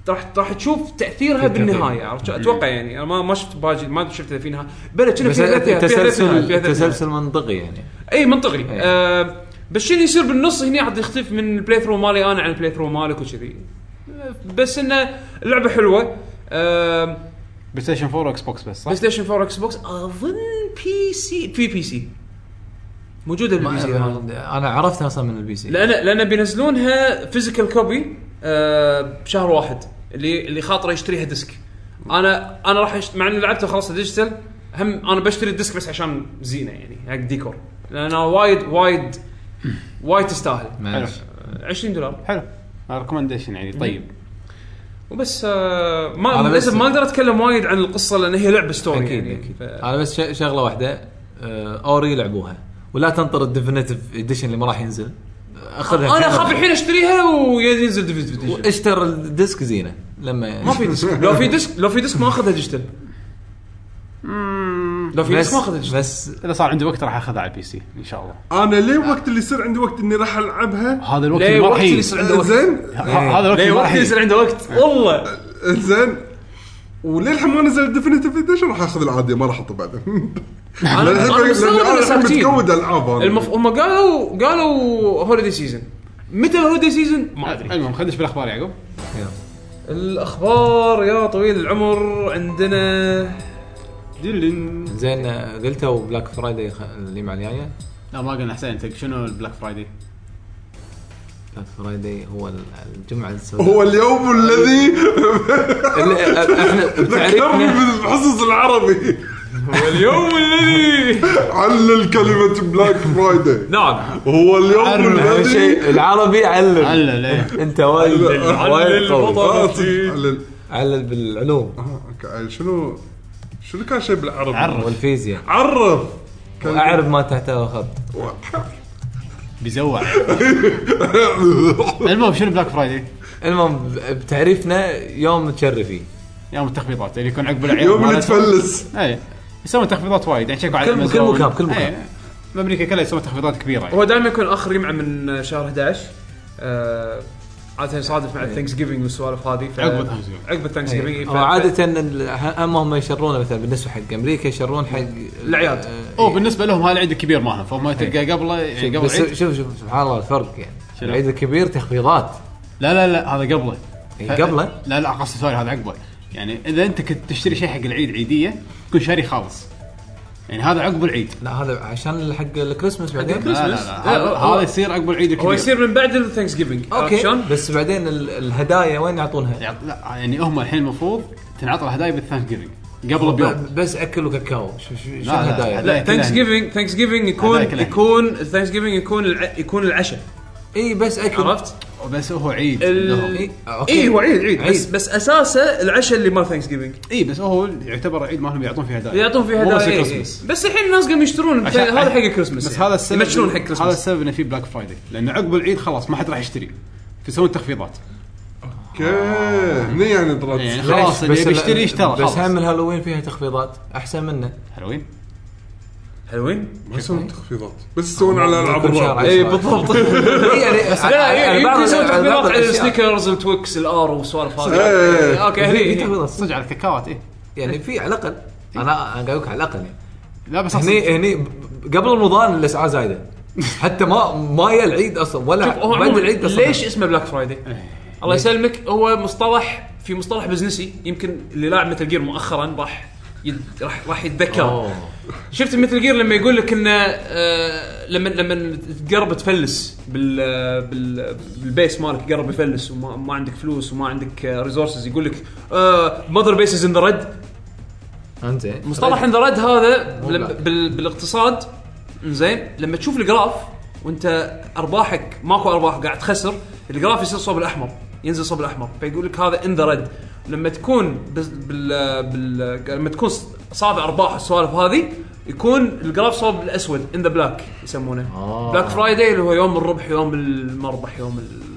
راح راح تشوف تاثيرها بالنهايه عرفت شلون؟ اتوقع يعني انا ما ما شفت باجي ما شفت اذا في نهايه بلى كنا
بس
في أحداث- فيها أحداث نهاية، فيها
تسلسل
أحداث نهاية.
تسلسل منطقي يعني
اي منطقي آه بس شنو يصير بالنص هنا عاد يختلف من البلاي ثرو مالي انا عن البلاي ثرو مالك وكذي بس انه اللعبه حلوه آه
بلاي ستيشن 4 واكس بوكس بس صح؟
بلاي ستيشن 4 اكس بوكس اظن بي سي في بي سي موجوده
ما-
البي سي هذا.
انا عرفتها اصلا من البي سي
لان لان بينزلونها فيزيكال كوبي آه بشهر واحد اللي اللي خاطره يشتريها ديسك انا انا راح أشت... مع اني لعبتها خلاص ديجيتال هم انا بشتري الديسك بس عشان زينه يعني حق ديكور لان وايد وايد وايد تستاهل
معلش
20 دولار
حلو ريكومنديشن يعني طيب
وبس آه ما
أنا بس-
للاسف ما اقدر اتكلم وايد عن القصه لان هي لعبه ستوري
اكيد
يعني
اكيد
ف-
انا بس ش- شغله واحده آه، اوري لعبوها ولا تنطر الديفينيتيف اديشن اللي ما راح ينزل اخذها
انا اخاف الحين اشتريها وينزل ديفيد
اشتر الديسك زينه لما
ما في ديسك لو في ديسك لو في ديسك ما اخذها ديجيتال لو في ديسك
بس
ما اخذها ديجيتال
بس
اذا صار عندي وقت راح اخذها على البي سي ان شاء الله
انا ليه وقت اللي يصير عندي وقت اني راح العبها
هذا الوقت
ليه
اللي ما
وقت
راح
اللي
يجي.
يصير عنده وقت
زين
ه- هذا الوقت
ليه
اللي ما راح
وقت يصير
يجي.
عنده وقت والله
زين وللحين ما نزل الديفينيتيف اديشن راح اخذ العاديه ما راح احطه بعدين
أنا-
لأن
أنا
الحين- لأن
مستغرب إنه
الحين
ساكتين.
متكود العاب انا
المف... هم قالوا قالوا هوليدي سيزون متى هوليدي سيزون ما ادري
المهم خلينا نشوف الاخبار يعقوب
الاخبار يا طويل العمر عندنا
دلن
زين آه، قلتوا بلاك فرايداي خ- اللي مع الجايه
لا ما قلنا حسين انت شنو البلاك فرايدي؟
بلاك فرايداي هو ال- الجمعه السوداء
هو اليوم الذي
اللي- آه، احنا
ذكرني
بتعريفنا
بالحصص العربي
واليوم الذي
علل كلمه بلاك فرايداي
نعم
هو اليوم
اهم
الذي
شيء العربي علم
هلا ليه؟
انت وايد وايد قوي.
الوطن.
آه، صدق، علل
علل بالعلوم
آه، أوكي. شنو شنو كان شيء بالعربي؟
والفيزياء
عرف كان-
اعرف ما تحتوي خط
بيزوع المهم شنو بلاك فرايدي؟
المهم بتعريفنا يوم تشرفي
يوم التخفيضات اللي
إيه،
يكون عقب العيد
يوم اللي تفلس
اي إيه. يسوون تخفيضات وايد يعني شيكوا على
كل- كل
Amazon.
مكان- كل مكان.
إي. امريكا كلها يسوون تخفيضات كبيره يعني.
هو دائما يكون اخر يمعه من شهر 11 آه، عاده يصادف مع الثانكس جيفنج والسوالف هذه ف-
إيه. عقب Thanksgiving. إيه.
عقب الثانكس جيفنج
هو عادة ال- همهم يشرونه مثلا بالنسبة حق امريكا يشرون حق
الأعياد.
آه،
او بالنسبه لهم هذا العيد الكبير مالهم
إيه.
فما تلقى قبله يعني قبل
بس
العيد
شوف شوف سبحان الله الفرق يعني
شنو؟
العيد الكبير تخفيضات
لا لا لا هذا قبله
إيه، قبله؟
لا لا قصدي سوري هذا عقبه يعني اذا انت كنت تشتري شيء حق العيد عيديه تكون شاري خالص يعني هذا عقب العيد
لا هذا عشان حق الكريسماس بعدين
لا لا
Christmas.
لا
لا،
هذا-
هو-
هذا يصير عقب العيد الكبير
هو يصير من بعد الثانكس جيفنج عرفت شلون؟
اوكي آه، بس بعدين ال- الهدايا وين يعطونها؟
يعني- لا يعني هم الحين المفروض تنعطى الهدايا بالثانك جيفنج قبل بيوم
ب- بس اكل وكاكاو شو شو شو
لا، لا،
الهدايا؟
لا.
ثانكس جيفنج ثانكس جيفنج يكون
هذاك الأهم.
يكون الثانكس جيفنج يكون الع- يكون العشاء
اي بس اكل
عرفت؟
بس هو عيد
ال-
لهم
إيه، أوكي.
اي هو عيد عيد بس
عيد.
بس اساسه العشاء اللي مال ثانكس جيفنج
اي إيه، بس هو يعتبر عيد مالهم يعطون فيه هدايا
يعطون فيه
مو بس
هدايا إيه،
الكريسماس.
إيه. بس الحين الناس قاموا يشترون بس
عشان-
طيب، هذا حق الكريسماس
بس هذا السبب
يمشون حق
هذا
كريسماس
السبب انه في بلاك فرايداي لانه عقب العيد خلاص ما حد راح يشتري فيسوون تخفيضات
اوكي هني يعني
يعني
درات
خلاص اللي
بس ال-
بيشتري اشترى
بس
خلاص
هم الهالوين فيها تخفيضات احسن منه
حلوين
حلوين
ما يسوون تخفيضات بس يسوون على العاب
كل شهر
الرعب
عشرة.
اي بالضبط
إيه، يعني على-
لا
على
إيه،
بعض
يمكن يسوون
ال- على بعض
تخفيضات على
الأشياء.
السنيكرز التويكس الار والسوالف
إيه.
هذه اوكي
في
هني
تخفيضات صدق.
صدق على الكاكاوات إيه. اي
يعني في على الاقل انا انا قاعد على الاقل يعني
لا بس
هني هني ب- قبل رمضان الاسعار زايده حتى ما ما يا العيد اصلا ولا
شوف هو
بعد
عموماً
العيد اصلا
ليش اسمه بلاك فرايداي؟ الله يسلمك هو مصطلح في مصطلح بزنسي يمكن اللي لاعب مثل جير مؤخرا راح يد- راح راح يتذكر
أوه.
شفت مثل جير لما يقول لك انه آه، لما لما تقرب تفلس بال بال بالبيس مالك قرب يفلس وما ما عندك فلوس وما عندك ريسورسز يقول لك آه، ماذر بيسز ان ذا ريد
انزين
مصطلح ان ذا ريد هذا
طيب. مو
لم-
بلاك.
بال- بالاقتصاد زين لما تشوف الجراف وانت ارباحك ماكو ارباح قاعد تخسر الجراف يصير صوب الاحمر ينزل صوب الاحمر فيقول لك هذا ان ذا ريد لما تكون بس- بال بال لما تكون ص- صابع ارباح السوالف هذه يكون الجراف صوب الاسود ان ذا بلاك يسمونه
آه.
بلاك فرايداي اللي هو يوم الربح يوم المربح يوم ال-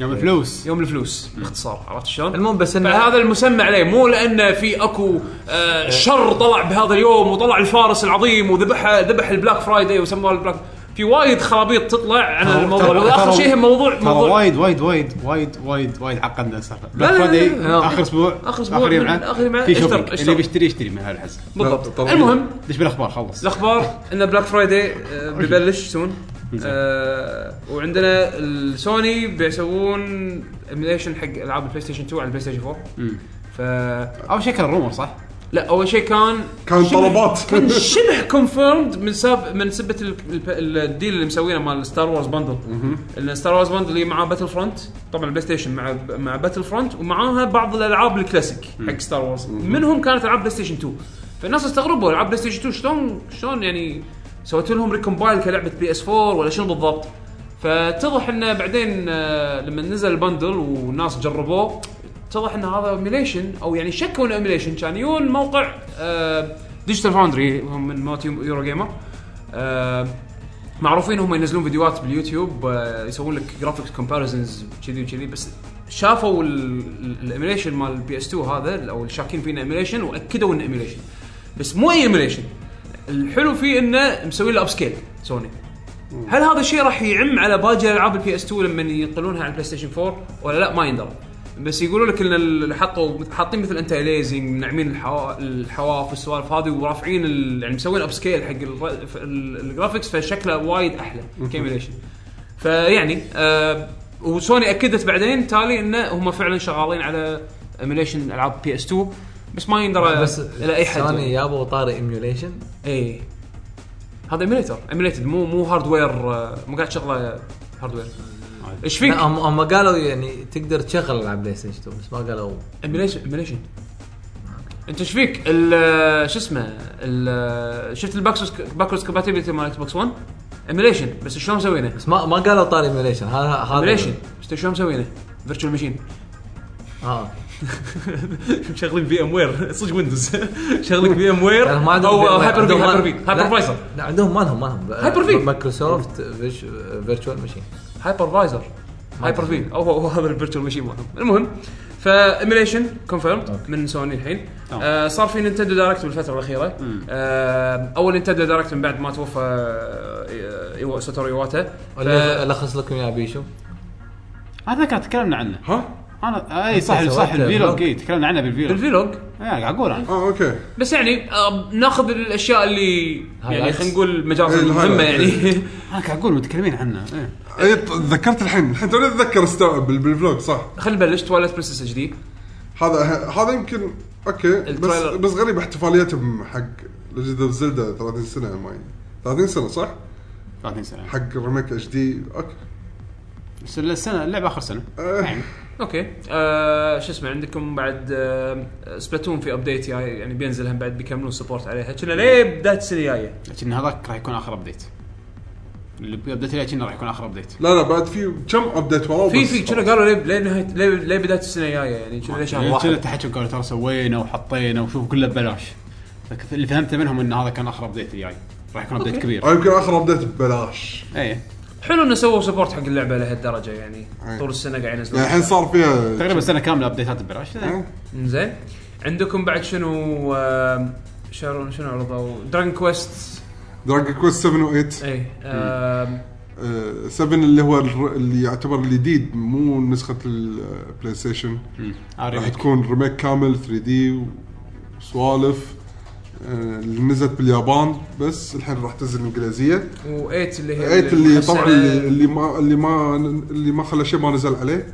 يوم الفلوس
يوم الفلوس باختصار عرفت شلون؟
المهم بس انه
فهذا المسمى عليه مو لانه في اكو
إيه.
آه شر طلع بهذا اليوم وطلع الفارس العظيم وذبح ذبح البلاك فرايداي وسموه البلاك في وايد خرابيط تطلع عن الموضوع واخر شيء هم موضوع
ترى
موضوع
وايد وايد وايد وايد وايد وايد عقدنا السالفه
لا، لا،
بلاك
لا، لا، لا.
فرايداي اخر اسبوع
آخر أسبوع من-
يمعة،
آخر يمعة،
في
اشتر-
شوبينج
اشتر.
اللي بيشتري يشتري من هالحزه
بالضبط
طبعاً.
المهم
دش بالاخبار خلص
الاخبار ان بلاك فرايداي ببلش سون آه وعندنا السوني بيسوون ايميليشن حق العاب البلاي ستيشن 2 على البلاي ستيشن 4 ف
اول شيء كان رومر صح؟
لا اول شيء كان
كان
شبه-
طلبات.
كان شبه كونفيرمد من ساب من سبه ال- ال- الديل اللي مسوينه مال ستار وورز بندل الستار وورز بندل اللي معاه باتل فرونت طبعا البلاي ستيشن مع مع باتل فرونت ومعاها بعض الالعاب الكلاسيك حق ستار وورز منهم كانت العاب بلاي ستيشن 2 فالناس استغربوا العاب بلاي ستيشن 2 شلون شلون يعني سويت لهم ريكومبايل كلعبه بي اس 4 ولا شنو بالضبط فتضح انه بعدين آه، لما نزل البندل والناس جربوه اتضح ان هذا ايميليشن او يعني شكوا انه ايميليشن كان يون موقع ديجيتال فاوندري هم من موت يورو جيمر آه، معروفين هم ينزلون فيديوهات باليوتيوب آه، يسوون لك جرافيكس كومباريزنز كذي وكذي بس شافوا الايميليشن مال البي اس 2 هذا او الشاكين فيه انه ايميليشن واكدوا انه ايميليشن بس مو اي ايميليشن الحلو فيه انه مسوي له اب سكيل سوني هل هذا الشيء راح يعم على باقي العاب البي اس 2 لما ينقلونها على البلاي ستيشن 4 ولا لا ما يندرى بس يقولوا لك ان اللي حطوا حاطين مثل انت اليزنج منعمين الحوا- الحواف والسوالف هذه ورافعين ال- يعني مسوين اب سكيل حق الر- ف- ال- الجرافكس فشكله وايد احلى كيميليشن فيعني آه وسوني اكدت بعدين تالي انه هم فعلا شغالين على ايميليشن العاب بي اس 2 بس ما يندرى
بس
الى اي حد
سوني يابوا طاري ايميوليشن
اي إيه. هذا ايميليتر ايميليتد مو مو هاردوير آه، مو قاعد شغله هاردوير ايش فيك؟
هم هم قالوا يعني تقدر تشغل العاب بلاي ستيشن 2 بس ما قالوا
ايميليشن ايميليشن انت ايش فيك؟ ال- آه، شو اسمه ال- آه، شفت الباكس باكورز كومباتيبلتي مال اكس بوكس 1 ايميليشن بس شلون مسوينه؟
بس ما ما قالوا طاري ايميوليشن هذا هذا
ايميليشن بس شلون مسوينه؟ فيرتشوال ماشين
اه
مشغلين في ام وير صدق ويندوز شغلين في ام وير
يعني ما عندهم
او هايبر بي
عندهم-
هايبر بي
لا،
هايبر فايزر
لا عندهم مالهم مالهم
هايبر في.
مايكروسوفت فيرتشوال ماشين
Oh, هايبر فايزر هايبر في او هو هو هذا الفيرتشوال ماشين مالهم المهم فايميليشن كونفيرمد
أوكي.
من سوني الحين
تمام.
آه صار في نينتندو دايركت بالفتره الاخيره آه اول نينتندو دايركت من بعد ما توفى آه، إيوا- ساتوري واتا
ولا الخص لكم يا بيشو
هذا كان تكلمنا عنه
ها
انا
إيه،
اي صح صح الفيلوج اي تكلمنا عنه بالفيلوج
بالفيلوج
إيه، قاعد اقول انا
اه اوكي
بس يعني آه ناخذ الاشياء اللي يعني
Highlights.
خلينا نقول المجال
إيه،
المهمه
الhighlights.
يعني
انا قاعد اقول متكلمين عنه إيه.
اي تذكرت الحين الحين توني اتذكر استوعب بال- بالفلوج صح
خلينا نبلش تواليت برنسس الجديد
هذا هذا يمكن اوكي بس
التريلر.
بس غريب احتفاليتهم حق ليجند اوف زلدا 30 سنه ماي 30 سنه صح؟
30 سنه
حق ريميك اتش دي اوكي
بس السنه اللعبه اخر سنه
آه،
اوكي آه شو اسمه عندكم بعد آه سبلاتون في ابديت يعني يعني بينزل هم بعد بيكملون سبورت عليها كنا ليه بدايه السنه الجايه
لكن هذاك راح يكون اخر ابديت اللي بديت عليه كنا راح يكون اخر ابديت
لا لا بعد في كم ابديت وراه
في
بس
في كنا قالوا ليه ليه نهايه ليه, ليه بدايه السنه الجايه يعني كنا ليه شهر
كنا
واحد
تحكي إيه، قالوا ترى سوينا وحطينا وشوف كله ببلاش لكن اللي فهمته منهم ان هذا كان اخر ابديت الجاي راح يكون ابديت كبير إيه.
او يمكن اخر ابديت ببلاش
اي
حلو انه سووا سبورت حق اللعبه لهالدرجه يعني طول السنه قاعد ينزلون
يعني الحين صار فيها
تقريبا سنه كامله ابديتات
أه.
ببلاش إيه.
زين عندكم بعد شنو آه شنو شنو عرضوا دراجون كويست
دراجون كويست 7 و8
اي آه
7 اللي هو الر- اللي يعتبر الجديد مو نسخه البلاي ستيشن
آه،
راح
ريميك.
تكون ريميك كامل 3 دي وسوالف آه، اللي نزلت باليابان بس الحين راح تنزل انجليزيه
و8 اللي هي
ايت اللي
السنة-
طبعا اللي, اللي ما اللي ما اللي ما خلى شيء ما نزل عليه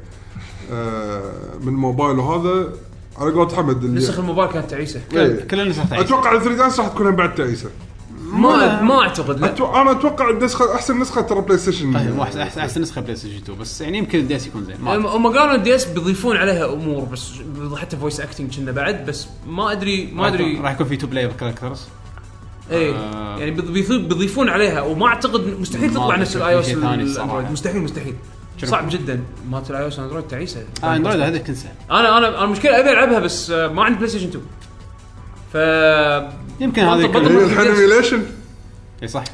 آه، من موبايل وهذا على قولة حمد اللي
نسخ الموبايل كانت تعيسه
إيه.
كل- كل الناس راح
طيب.
تعيش.
اتوقع ال 3 دي اس راح تكون بعد تعيسه
ما ما اعتقد لا
أتو- انا اتوقع النسخه احسن نسخه ترى بلاي ستيشن
طيب، مو أحسن- احسن احسن نسخه بلاي ستيشن 2 بس يعني يمكن الديس يكون زين ما
هم
أدري.
هم قالوا الدي اس بيضيفون عليها امور بس حتى فويس اكتنج كنا بعد بس ما ادري ما ادري
راح يكون في تو بلاير كاركترز
اي
آه.
يعني بيضيف- بيضيفون عليها وما اعتقد مستحيل
ما
تطلع
أدري
نفس
شو
الاي او اس
في شيء ثاني
الاندرويد
الصراحة. يعني.
مستحيل مستحيل صعب جدا مالت الاي او اس اندرويد تعيسه
آه، اندرويد هذا تنسى
انا انا انا المشكله ابي العبها بس آه، ما عندي بلاي ستيشن 2 ف
يمكن هذا
بطل-
يكون
بطل-
هي الحين ايميليشن
اي صح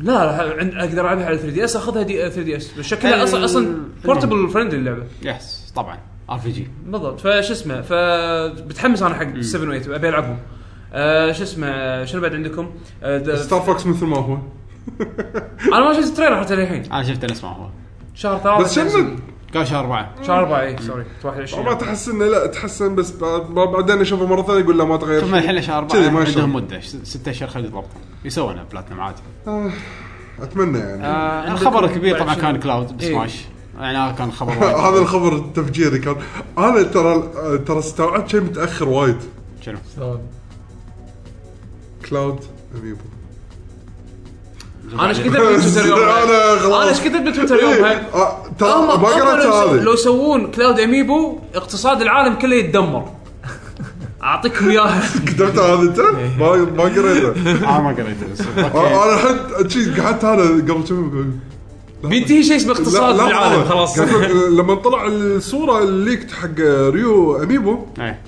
لا لا عند- اقدر العبها على 3 دي اس اخذها دي 3 دي اس شكلها
ال-
اصلا اصلا
المهم.
بورتبل فريندلي اللعبه
يس طبعا ار بي جي
بالضبط فشو اسمه فبتحمس انا حق 7 و 8 ابي العبهم آه شو اسمه شنو بعد عندكم؟ آه د-
ستار فوكس مثل ما هو
انا ما شفت التريلر حتى للحين
انا شفته اسمه هو
شهر ثلاثة
بس شنو
قال شهر اربعه
شهر إيه، 4 اي سوري
ما
21
تحس انه لا تحسن بس بعد- بعدين اشوفه مره ثانيه يقول لا ما تغير
ثم الحين شهر
كذي ما
اربعه عندهم
شاء.
مده ش- ستة اشهر خلي يضبطون يسوونها بلاتنم عادي
اتمنى آه، يعني
آه
عندكم
الخبر الكبير
بعد
طبعا
شنو؟
كان كلاود
إيه.
بسماش يعني هذا كان خبر وايد.
هذا الخبر التفجيري كان انا ترى ترى استوعبت شيء متاخر وايد
شنو؟
كلاود اميبو
انا ايش كتبت بتويتر يومها؟
انا
انا
خلاص
ايش كتبت بتويتر يومها؟
آه، ترى
هم
ما قرأت
هم لو- لو
هذا
يسوون كلاود اميبو اقتصاد العالم كله يتدمر اعطيكم اياها
كتبت هذا انت
إيه.
ما ما قريته
انا ما قريته بس
آه، انا حد شي قعدت انا قبل كم يوم أقول،
بينتهي شيء اسمه
لا-
اقتصاد
لا،
العالم
والله.
خلاص
قلت لك، لما طلع الصوره الليكت حق ريو اميبو
إيه.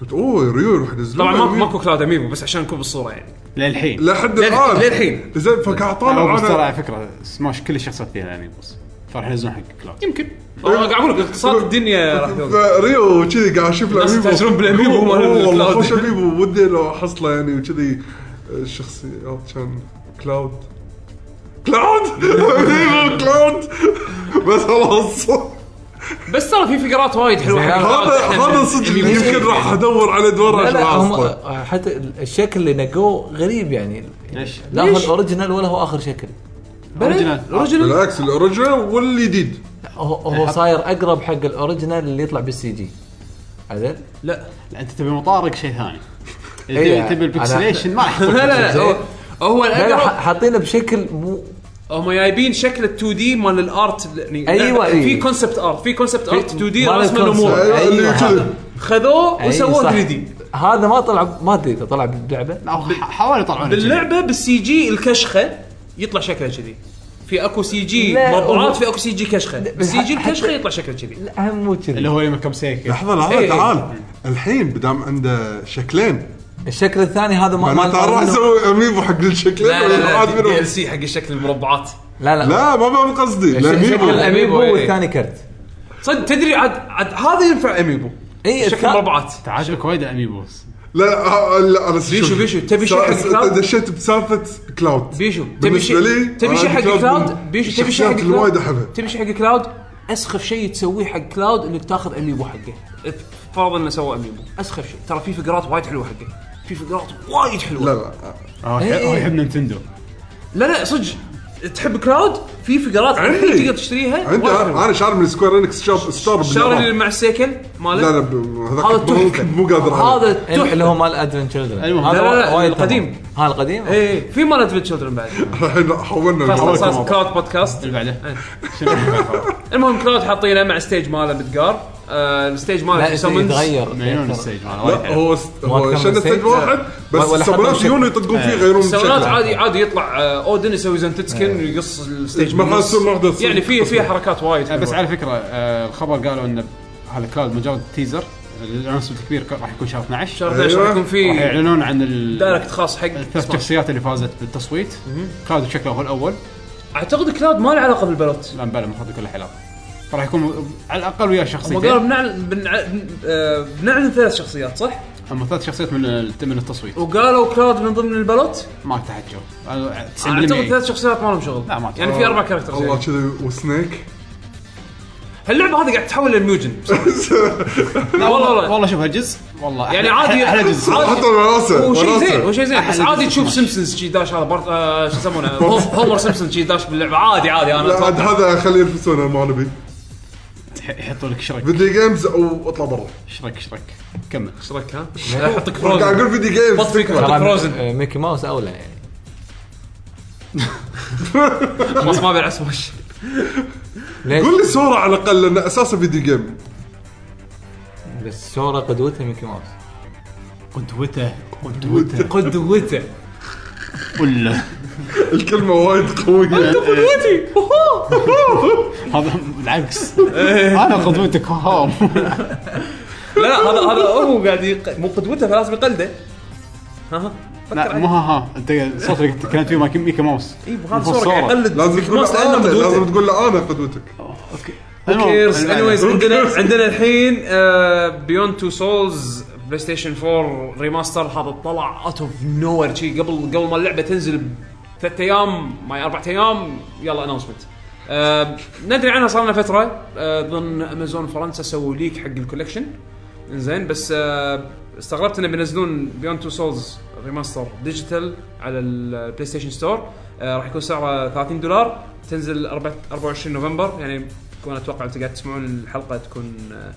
قلت اوه ريو راح ينزلون
طبعا ما-
أميبو.
ماكو كلاود اميبو بس عشان نكون بالصوره يعني
للحين
لحد
للحين-
الان
للحين.
زين فقاعد
أنا
طالع
بس ترى على
انا
فكره سماش كل الشخصيات فيها يعني، اميبوس فراح ينزلون حق كلاود
يمكن هو قاعد اقول لك اقتصاد الدنيا راح يوقف
فريو كذي قاعد اشوف
الناس يستأجرون بالأميبو مال
والله والله
الكلاود.
خوش اميبو ودي لو احصله يعني وكذي الشخصيات كان كلاود كلاود اميبو كلاود بس خلاص
بس ترى في فقرات وايد حلوه
زين.
هذا هذا صدق اللي يمكن راح ادور على ادوار
لا لا
اشباه
هم
اصلا
آه، حتى ال- الشكل اللي نقوه غريب يعني
ليش؟
لا هو الاوريجنال ولا هو اخر شكل
اوريجينال
اوريجنال
بالعكس الاوريجنال والجديد
هو, هو صاير اقرب حق الاوريجنال اللي يطلع بالسي جي عدل؟
لا
لا، انت تبي مطارق شيء ثاني
إيه،
إذا تبي
أنا-
البكسليشن ما راح
لا
يكون
لا
زين.
لا هو- هو
لا لا
الاقرب
ح- حاطينه بشكل مو
هم جايبين شكل ال 2 دي مال الارت ال- يعني
أيوة،
لا، في
أيوة.
كونسبت ارت في كونسبت ارت 2 دي
مال
رسم
الكونسول.
الامور
أيوة، اللي كذي.
خذوه
أي
وسووه
صح.
3 دي
هذا ما طلع ما ادري اذا طلع باللعبه
لا، هو ح- حاولوا يطلعون
باللعبه بالسي جي الكشخه يطلع شكله كذي في اكو سي جي
لا، هو-
مربعات في اكو سي جي كشخه بالسي جي
حتى-
الكشخه يطلع شكله كذي
لا هم مو
اللي
كذي
هو يوم كمسيك
لحظه لحظه
إيه.
تعال الحين بدام عنده شكلين
الشكل الثاني هذا ما ما-
معناته راح اسوي اميبو حق الشكلين
لا لا
واحد
لا دي
منهم.
ال سي حق الشكل المربعات
لا لا
لا ما فاهم قصدي
الش- شكل
الاميبو
الأميبو،
الاميبو
إيه.
والثاني كرت
صدق تدري عاد عاد هذا ينفع اميبو
اي
شكل مربعات
تعجبك وايد اميبوس
لا آه، لا انا
بيشو-
شوف.
بيشو، تبي شيء
سا-
حق
سا-
كلاود؟
دشيت بسالفه كلاود
بيشو تبي
بالنسبة لي،
شيء تبي
أنا
شيء حق
كلاود
كلاود
من
بيشو تبي شيء حق
الشخصيات اللي
كلاود
وايد أحبها.
تبي شيء حق كلاود اسخف شيء تسويه حق كلاود انك تاخذ اميبو حقه فرض انه إيه، سوى اميبو اسخف شيء ترى في فقرات وايد حلوه حقه في فقرات وايد حلوه
لا لا
هو يحب-
إيه.
هو يحب نينتندو
لا لا صدق تحب كلاود في فقرات
عندي.
تقدر تشتريها
عندي
وايد
انا
حلوة.
أنا شاري من سكوير انكس شوب ستور
الشارع اللي
باليابان.
مع السيكل ماله
لا لا ب-
هذا
هذاك مو-
تحفه
مو أيوة. قادر عليه.
هذا
إيه، اللي
تحفه
هو مال ادفنت تشلدرن
المهم.
لا، لا، لا، القديم.
ها القديم؟ إيه.
اي إيه، في مال ادفنت تشلدرن بعد
الحين حولنا
خلاص
الموضوع.
خلاص خلاص كلاود بودكاست
اللي
إيه.
بعده شنو الفرق؟
المهم كلاود حاطينه مع ستيج ماله بتقار آه، الستيج
لا
ماله في summons.
يتغير
مليون الستيج ماله وايد
لا
حلو.
هو س-
ما
هو
كان
شن
مستيج.
ستيج واحد بس
ولا حتى
السبونات
بالشكل.
يجون يتطقون فيه يغيرون
السبونات
شكله.
إيه. عادي عادي يطلع آه، اودن يسوي زنتتسكن
إيه.
ويقص الستيج
مرة
بالنص.
تصير واحدة تصير.
يعني في في حركات وايد
بس
أيوة.
حلوة.
على فكره آه، الخبر قالوا ان هذا كلاود مجرد تيزر الانونسمنت الكبير ك- راح يكون شهر 12
شهر 12
أيوة.
راح يكون
راح
في
يعلنون عن ال-
دايركت خاص حق
الثلاث
سماش.
شخصيات اللي فازت بالتصويت كلاود بشكله هو الاول
اعتقد كلاود ما له علاقه بالبلوت
لا بلا ماخذ كل حلقه فراح يكون على الاقل ويا
هم قالوا
شخصيتين
بنعلن بنع... بن- آه، بنعلن ثلاث شخصيات صح؟
هم ثلاث شخصيات من ال- من التصويت
وقالوا كلاود من ضمن البلوت
ما تحجوا آه، أنا- 90%
اعتقد ثلاث شخصيات ما لهم شغل
لا، ما أعتقد.
يعني في اربع كاركترز
الله
يعني.
كذا وسنيك
هاللعبه هذه قاعد تحول للميوجن
لا،
والله-
والله
والله.
والله شوف هالجزء والله
يعني
أحلى-
عادي-
احلى جزء
عادي.
حتى وراسه
هو شيء زين هو
وراسه
شيء زين بس
أحلى
عادي
جزء
تشوف
سماش.
سيمبسونز شي داش هذا بارت- آه، شو يسمونه هوم- هومر سيمبسونز شي داش باللعبه عادي عادي انا
لا عاد
أتوقع.
هذا خليه يلبسونه ما نبي
يحطوا لك شرك
فيديو جيمز او اطلع برا
شرك شرك كمل
ايش رايك ها؟ احطك
قاعد
فروزن
اقول فيديو
بط
جيمز
فيك احطك فروزن
آه، ميكي ماوس اولى يعني
خلاص ما بيلعب سماش
ليش؟
قول لي سورة على الاقل لان اساسا فيديو جيم
بس سورا قدوتها ميكي ماوس
قدوته قدوته
قدوته
قله
الكلمه وايد قويه
قدوتي
هذا العكس
إيه.
انا قدوتك هام
لا لا هذا هذا هو قاعد يق- مو قدوته فلازم يقلده ها ها
لا مو ها ها انت صوتك اللي تكلمت فيه ماكي- ميكي ماوس
اي هذا صوره إيه، قاعد يقلد
لازم
ميكي
تقول
ماوس
له
لانه
انا
قدوته
لازم تقول له انا قدوتك
اوكي
كيرز انيويز
Who
عندنا
cares؟
عندنا الحين آه، بيوند تو سولز بلاي ستيشن 4 ريماستر هذا طلع اوت اوف نو وير شي قبل قبل ما اللعبه تنزل ثلاث ايام ما اربع ايام يلا اناونسمنت ندري عنها صار لنا فتره آه، اظن امازون فرنسا سووا ليك حق الكولكشن زين بس آه، استغربت انه بينزلون بيوند تو سولز ريماستر ديجيتال على البلاي ستيشن ستور آه، راح يكون سعره 30 دولار تنزل 4 24 نوفمبر يعني تكون اتوقع انتم قاعد تسمعون الحلقه تكون آه،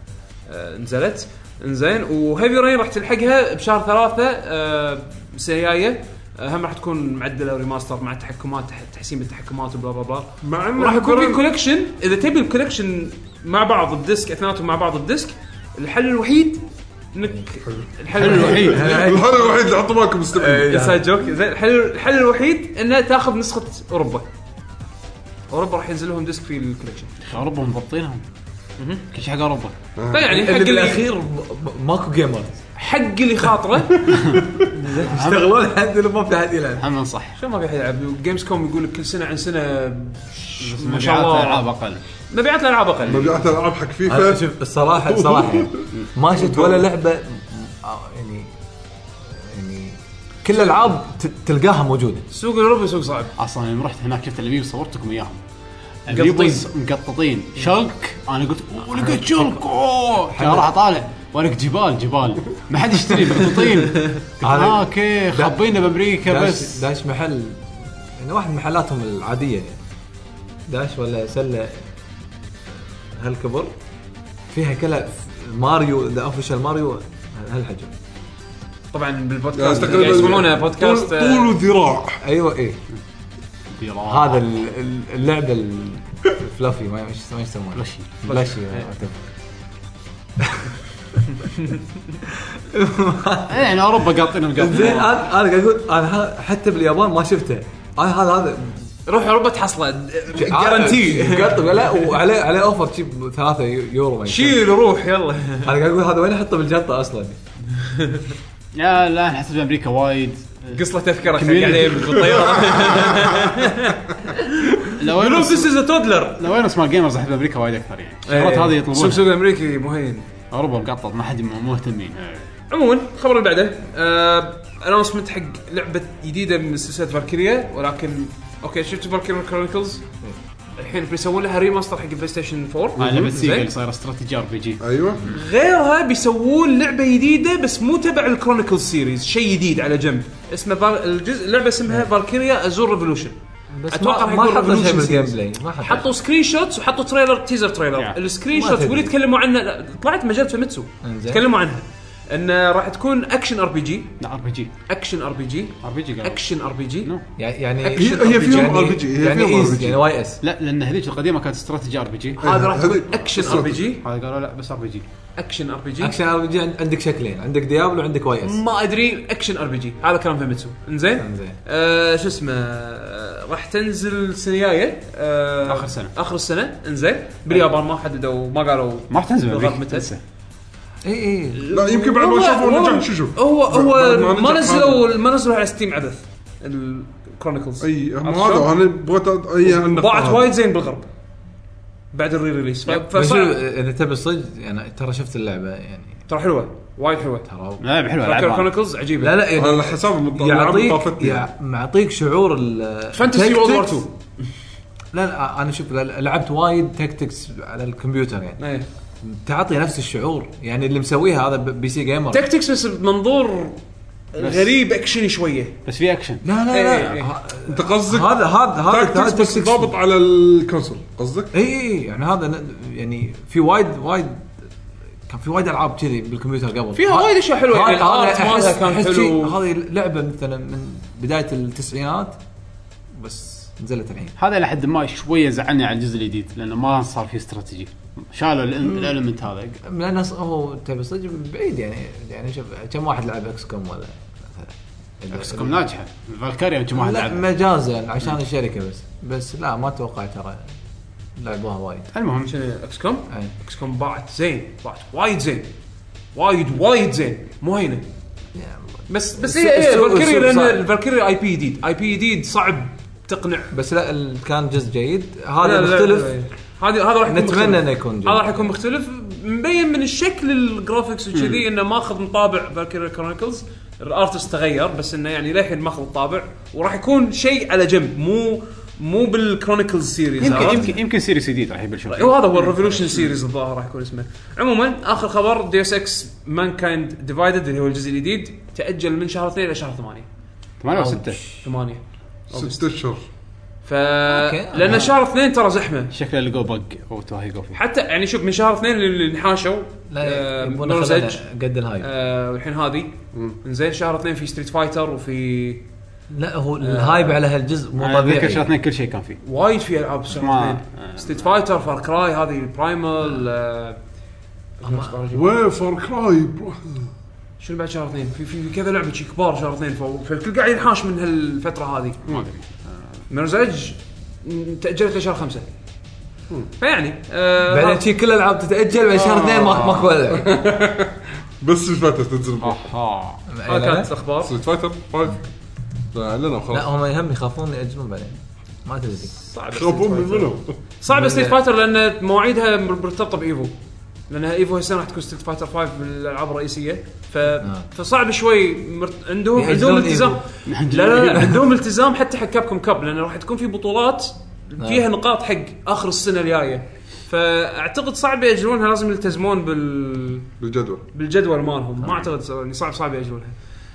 آه، نزلت انزين وهيفي رين راح تلحقها بشهر ثلاثة آه، السنه الجايه آه، هم راح تكون معدله ريماستر مع تحكمات تح- تحسين بالتحكمات وبلا بلا بلا
مع انه
راح يكون في
ترى-
كولكشن اذا تبي الكولكشن مع بعض الديسك اثنيناتهم مع بعض الديسك الحل الوحيد انك الحل الوحيد
هذا الوحيد يعني. اللي حطوا بالكم مستمعين
انسايد جوك زين الحل الحل الوحيد انه تاخذ نسخه اوروبا اوروبا راح ينزل لهم ديسك في الكولكشن
اوروبا مضبطينهم كل شيء حق اوروبا
فيعني طيب، يعني حق
اللي
اللي
بالاخير ب- ب- ماكو جيمر
حق اللي خاطره
يشتغلون الحمد لله ما في احد يلعب
هم صح
شو ما في احد يلعب جيمز كوم يقول لك كل سنه عن سنه ما شاء
مبيعات العاب
الله
اقل
مبيعات الالعاب اقل
مبيعات العاب حق
أنا
فيفا
شوف الصراحه الصراحه يعني ما شفت ولا لعبه آه، يعني يعني كل الالعاب ت- تلقاها موجوده
السوق الاوروبي سوق صعب
اصلا يوم رحت هناك شفت الاميب صورتكم اياهم الاميبوس مقططين شلك انا قلت اوه لقيت شلك اوه أنا راح اطالع ورق جبال جبال ما حد يشتري مقططين قلت، آه، اوكي خبينا بامريكا
داش
بس
داش محل يعني واحد من محلاتهم العاديه يعني داش ولا سله هالكبر فيها كلها ماريو ذا اوفيشال ماريو هالحجم
طبعا
يعني
بالبودكاست
تقريباً
قاعد يسمعونه
طول-
بودكاست آه،
طول وذراع
ايوه ايه
ديرام.
هذا ال- ال- اللعبه ال- الفلافي ما ما يسمونها يسمونها
بلشي.
بلاشي
إيه، يعني اوروبا قاطينهم
زين
قاطينهم
آه. انا انا قاعد اقول انا ه- حتى باليابان ما شفته انا هذا هذا
روح اوروبا تحصله
جارنتي لا وعليه عليه اوفر شيب 3 يورو ما يمكن.
شيل وروح يلا
انا قاعد اقول هذا وين احطه بالجنطه اصلا
لا لا أنا حسب امريكا وايد
قص له تذكره حق
كمية.
عليه بالطياره يقولون
الاويرنس
ذيس از ترودلر
الاويرنس مال جيمرز الحين بامريكا وايد اكثر يعني الشغلات هذه
السوق
يطلبونها
إيه. سوق امريكي مهين
اوروبا مقطط ما حد مو مهتمين
عموما الخبر اللي بعده اناونسمنت حق لعبه جديده من سلسله فالكيريا ولكن اوكي شفت فالكيريا كرونيكلز الحين بيسوون لها ريماستر حق البلاي ستيشن 4
آه،
هاي لعبه
زين.
سيجل صايره استراتيجي ار بي جي
ايوه
غيرها بيسوون لعبه جديده بس مو تبع الكرونيكل سيريز شيء جديد على جنب اسمه فال... الجزء اللعبه اسمها فالكيريا ازور ريفولوشن
بس
أتوقع
ما-
حيكون
ما حطوا شيء
Revolution
بالجيم
Series.
بلاي ما
حطوا سكرين شوتس وحطوا تريلر تيزر تريلر
Yeah.
السكرين
ما
شوتس
تدري.
واللي تكلموا عنه لا، طلعت مجله فيميتسو
إنزين.
تكلموا عنها انه راح تكون اكشن ار بي جي
لا ار بي جي
اكشن ار بي جي
ار بي جي
اكشن ار بي جي
No.
يعني
هي- هي فيهم RPG. هي
يعني
فيهم
إيز،
RPG.
يعني واي اس
لا لان هذيك القديمه كانت استراتيجي ار بي جي
هذا راح
هذي-
تكون اكشن ار بي جي
هذا قالوا لا بس ار بي جي
اكشن ار بي جي
اكشن ار بي جي عندك شكلين عندك ديابلو وعندك واي اس
ما ادري اكشن ار بي جي هذا كلام فيميتسو انزين
إنزين.
آه شو اسمه آه، راح تنزل السنه الجايه آه
آخر سنة.
اخر السنه انزين باليابان ما حددوا ما قالوا
ما راح تنزل
بالضبط
أمريكا.
متى
اي اي
لا يمكن بعد ما
والله-
شافوا
والله
نجح نشوف
إيه، هو هو
بعد
ما
نجح
نزلوا ما نزلوا على ستيم عبث الكرونيكلز
اي هم هذا انا بغيت أ- اي النقطة
ضاعت
هذه.
وايد زين بالغرب بعد الري ريليس ف-
بس شوف،
فصعب
اذا تبي صدق يعني ترى شفت اللعبه يعني
ترى حلوه وايد حلوه
ترى
لعبه حلوه
فالكير
لعبة.
كرونيكلز عجيبه
لا لا
انا
يعني
على حساب المط- الألعاب اللي
يعطيك
طافتني يعني.
يع- معطيك شعور ال
فانتسي وورد وور 2
لا لا انا شوف ل- لعبت وايد تكتكس على الكمبيوتر يعني
ايه
تعطي نفس الشعور يعني اللي مسويها هذا ب- بي سي جيمر لا
تكتكس بس بمنظور غريب اكشني شويه
بس في اكشن
لا
إيه، إيه.
لا ه-
انت قصدك
هذا هذا هذا
تاكتكس بس
تكتكس
ضابط على الكونسول قصدك؟
اي اي يعني هذا ن- يعني في وايد وايد كان في وايد العاب كذي بالكمبيوتر قبل
فيها
ه-
وايد أشياء حلوة، يعني
هذا- هذا
الآرت مالها
أحس-
كان
أحس
حلو.
شيء- هذه لعبه مثلا من بدايه التسعينات بس نزلت الحين
هذا الى حد ما شويه زعلني على الجزء الجديد لانه ما صار فيه استراتيجي شالوا الالمنت هذا
لان ص- هو تبي صدق بعيد يعني يعني شوف كم واحد لعب اكس كوم ولا
بس كم ناجحه فالكاريا يمكن ما حد
لا
لعبها.
مجازا عشان الشركه بس بس لا ما اتوقع ترى لعبوها وايد
المهم
شنو اكس كوم؟
أي.
اكس كوم باعت زين باعت وايد زين وايد وايد زين مو هينه
يعني
بس بس
السوق-
هي هي
السوق-
فالكيريا
السوق
لان
صعب.
الفالكيريا اي بي جديد اي بي جديد صعب تقنع
بس لا ال- كان جزء جيد
لا، لا،
هذا مختلف
لا. هذا هذا راح يكون
نتمنى
مختلف.
إنه يكون جيد.
هذا راح يكون مختلف مبين من الشكل الجرافكس وكذي انه ماخذ طابع فالكيريا كرونيكلز الارتست تغير بس انه يعني للحين ماخذ الطابع وراح يكون شيء على جنب مو مو بالكرونيكلز سيريز
يمكن
عرفت؟
يمكن يمكن سيريس جديد راح يبلشون
طيب.
فيه.
وهذا هو الريفولوشن سيريز الظاهر راح يكون اسمه عموما اخر خبر دي اس اكس مان كايند ديفايدد اللي هو الجزء الجديد تاجل من شهر 2 الى شهر 8
ثمانية وستة
8
ست اشهر
ف لان شهر 2 ترى زحمه
شكله لقوا بق او توهي جو فيه
حتى يعني شوف من شهر اثنين اللي نحاشوا
لا
آه،
يبون
Mirror's
يخلونها
Edge،
قد الهايب
آه، والحين هذه زين شهر اثنين في ستريت فايتر وفي
لا هو
آه.
الهايب على هالجزء مو
اتذكر شهر
طبيعي
اثنين كل شيء كان فيه
وايد في العاب شهر
ما-
اثنين ستريت فايتر فار كراي هذه برايمال آه،
وفور كراي برو.
شنو بعد شهر اثنين في في في كذا لعبه شي كبار شهر اثنين ف- فالكل قاعد ينحاش من هالفتره هذه
ما ادري
مرزج تاجلت لشهر خمسه فيعني آه،
بعدين شي كل الالعاب تتاجل بعد شهر اثنين ما- ماكو ولا
بس ستريت فايتر تنزل
اها
هذه آه، كانت الاخبار
ستريت فايتر 5 اعلنوا
لا
خلاص
هم يهم يخافون ياجلون بعدين ما تدري
صعب
خربون من منهم
صعبه ستريت فايتر لان مواعيدها مرتبطه بايفو لانها ايفو هالسنه راح تكون ستريت فايتر 5 من الالعاب الرئيسيه ف... فصعب شوي مرت... عندهم عندهم
يعجلون
التزام لا لا, لا عندهم التزام حتى حق كابكم كاب لان راح تكون في بطولات فيها نقاط حق اخر السنه الجايه فاعتقد صعب ياجلونها لازم يلتزمون بال
بالجدول
بالجدول مالهم ما اعتقد ص- يعني صعب صعب ياجلونها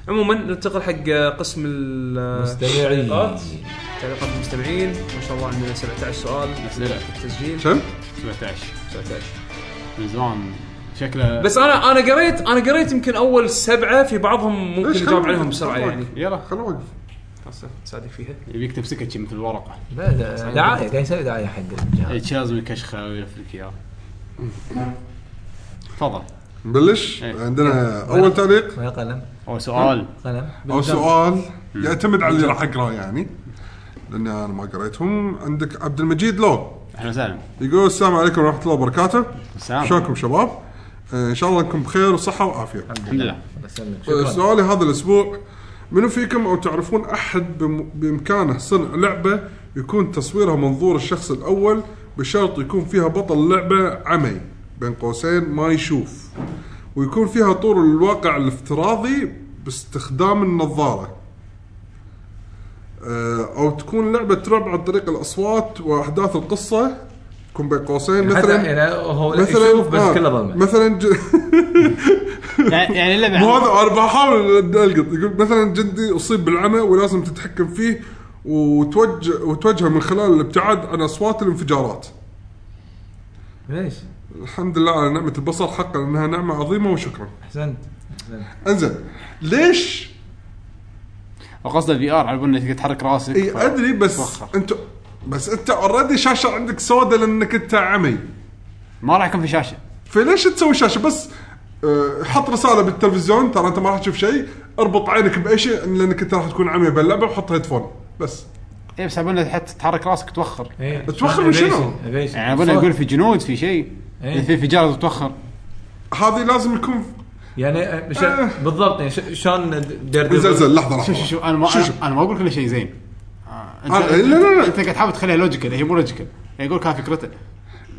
عموما ننتقل حق قسم المستمعين
مستمعين.
التعليقات تعليقات المستمعين ما شاء الله عندنا 17 سؤال
اسئله
تسجيل
كم؟
17
19
من زمان شكله
بس انا انا قريت انا قريت يمكن اول سبعه في بعضهم ممكن
ليش
نجاوب
خلونا-
عليهم بسرعه
خلونا
يعني
نوقف.
يلا
خلنا نوقف
صادق فيها
يبيك تمسكها شي مثل ورقه
لا لا دعايه قاعد يسوي دعايه حق
إيه.
الجهاز
إيه، شي لازم يكشخه ويلف لك اياه تفضل
نبلش
إيه.
عندنا اول تعليق
وين قلم؟
اول سؤال
قلم
او سؤال يعتمد على اللي راح اقراه يعني لاني انا ما قريتهم عندك عبد المجيد لو
اهلا وسهلا
يقول السلام عليكم ورحمه الله وبركاته
نعم.
السلام.
شلونكم شباب؟ آه، ان شاء الله انكم بخير وصحه وعافيه
الحمد لله
آه، سؤالي هذا الاسبوع منو فيكم او تعرفون احد بم- بامكانه صنع لعبه يكون تصويرها منظور الشخص الاول بشرط يكون فيها بطل اللعبه عمي بين قوسين ما يشوف ويكون فيها طور الواقع الافتراضي باستخدام النظاره آه، او تكون لعبه رعب عن طريق الاصوات واحداث القصه تكون بين قوسين
حتى
مثلا
يعني هو يشوف بس
آه،
كله ظلمه
مثلا ج...
يعني يعني اللعبه
مو
عن-
هذا انا بحاول القط يقول مثلا جندي اصيب بالعمى ولازم تتحكم فيه وتوجه وتوجهه من خلال الابتعاد عن اصوات الانفجارات.
ليش؟
الحمد لله على نعمه البصر حقا انها نعمه عظيمه وشكرا.
احسنت احسنت
انزين ليش؟
قصد الفي ار على بالنا تقدر تحرك راسك
اي
ف-
ادري بس
توخر.
انت بس انت اوريدي شاشه عندك سوداء لانك انت عمي.
ما راح يكون في شاشه
فليش تسوي شاشه بس آه، حط رساله بالتلفزيون ترى انت ما راح تشوف شيء اربط عينك باي شيء لانك انت راح تكون عمي باللعبه وحط هيدفون بس
اي إيه، بس على بالنا حتى تحرك راسك توخر
إيه.
توخر من شنو؟
يعني على بالنا يقول في جنود في شيء
إيه.
في انفجار توخر
هذه لازم يكون
يعني آه، مش- بالضبط يعني ش- شلون دير
زلزل لحظه لحظه
شوف شوف شوف انا ما
شوف شوف.
انا ما اقول كل شيء زين آه،
آه، لا، لا، لا.
انت قاعد تحاول تخليها لوجيكال هي مو لوجيكال يعني يقول كان فكرته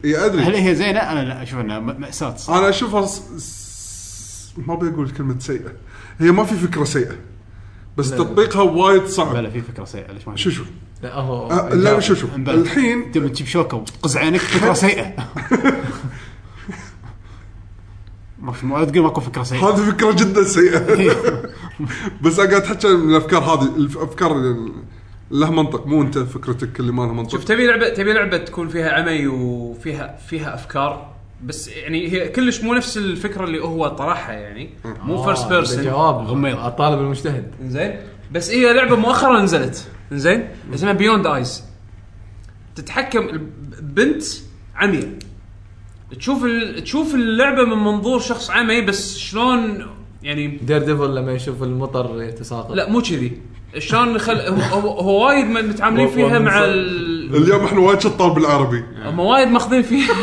اي ادري
إيه؟
هل هي زينه انا لا اشوف انها م- ماساه صح.
انا اشوفها س... س... ما ابي اقول كلمه سيئه هي ما في فكره سيئه بس
لا.
تطبيقها وايد صعب
بلا في فكره سيئه ليش ما
شو شو
لا هو
آه، لا شو شو الحين
تبي تجيب شوكه وتقز عينك فكره سيئه ما في ما تقول ماكو فكره سيئه
هذه فكره جدا سيئه بس انا قاعد احكي من الافكار هذه الافكار اللي لها منطق مو انت فكرتك اللي ما لها منطق
شوف تبي لعبه تبي لعبه تكون فيها عمي وفيها فيها افكار بس يعني هي كلش مو نفس الفكره اللي هو طرحها يعني مو
آه،
فيرست بيرسون
جواب غميض الطالب المجتهد
زين بس إيه، هي لعبه مؤخرا نزلت زين اسمها بيوند ايز تتحكم الب- بنت عمية تشوف ال... تشوف اللعبه من منظور شخص عمي بس شلون يعني
دير ديفل لما يشوف المطر يتساقط
لا مو كذي شلون خل... هو, هو, هو وايد من- متعاملين فيها مع ال...
اليوم احنا وايد شطار بالعربي
هم وايد ماخذين فيها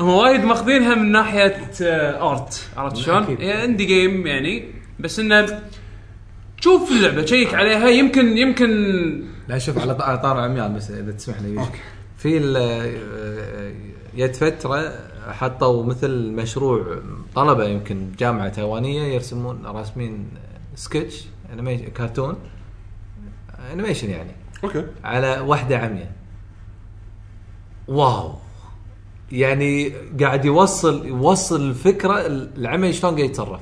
هم وايد ماخذينها من ناحيه آه، ارت عرفت شلون؟
أكيد.
هي اندي جيم يعني بس انه شوف اللعبه شيك عليها يمكن يمكن
لا شوف على ط- على طار عميان بس اذا تسمح لي يوشك. في ال- آه، يد فتره حطوا مثل مشروع طلبه يمكن جامعه تايوانيه يرسمون راسمين سكتش انيميشن كرتون انيميشن يعني
اوكي
على واحده عمية واو يعني قاعد يوصل يوصل الفكره العمي شلون قاعد يتصرف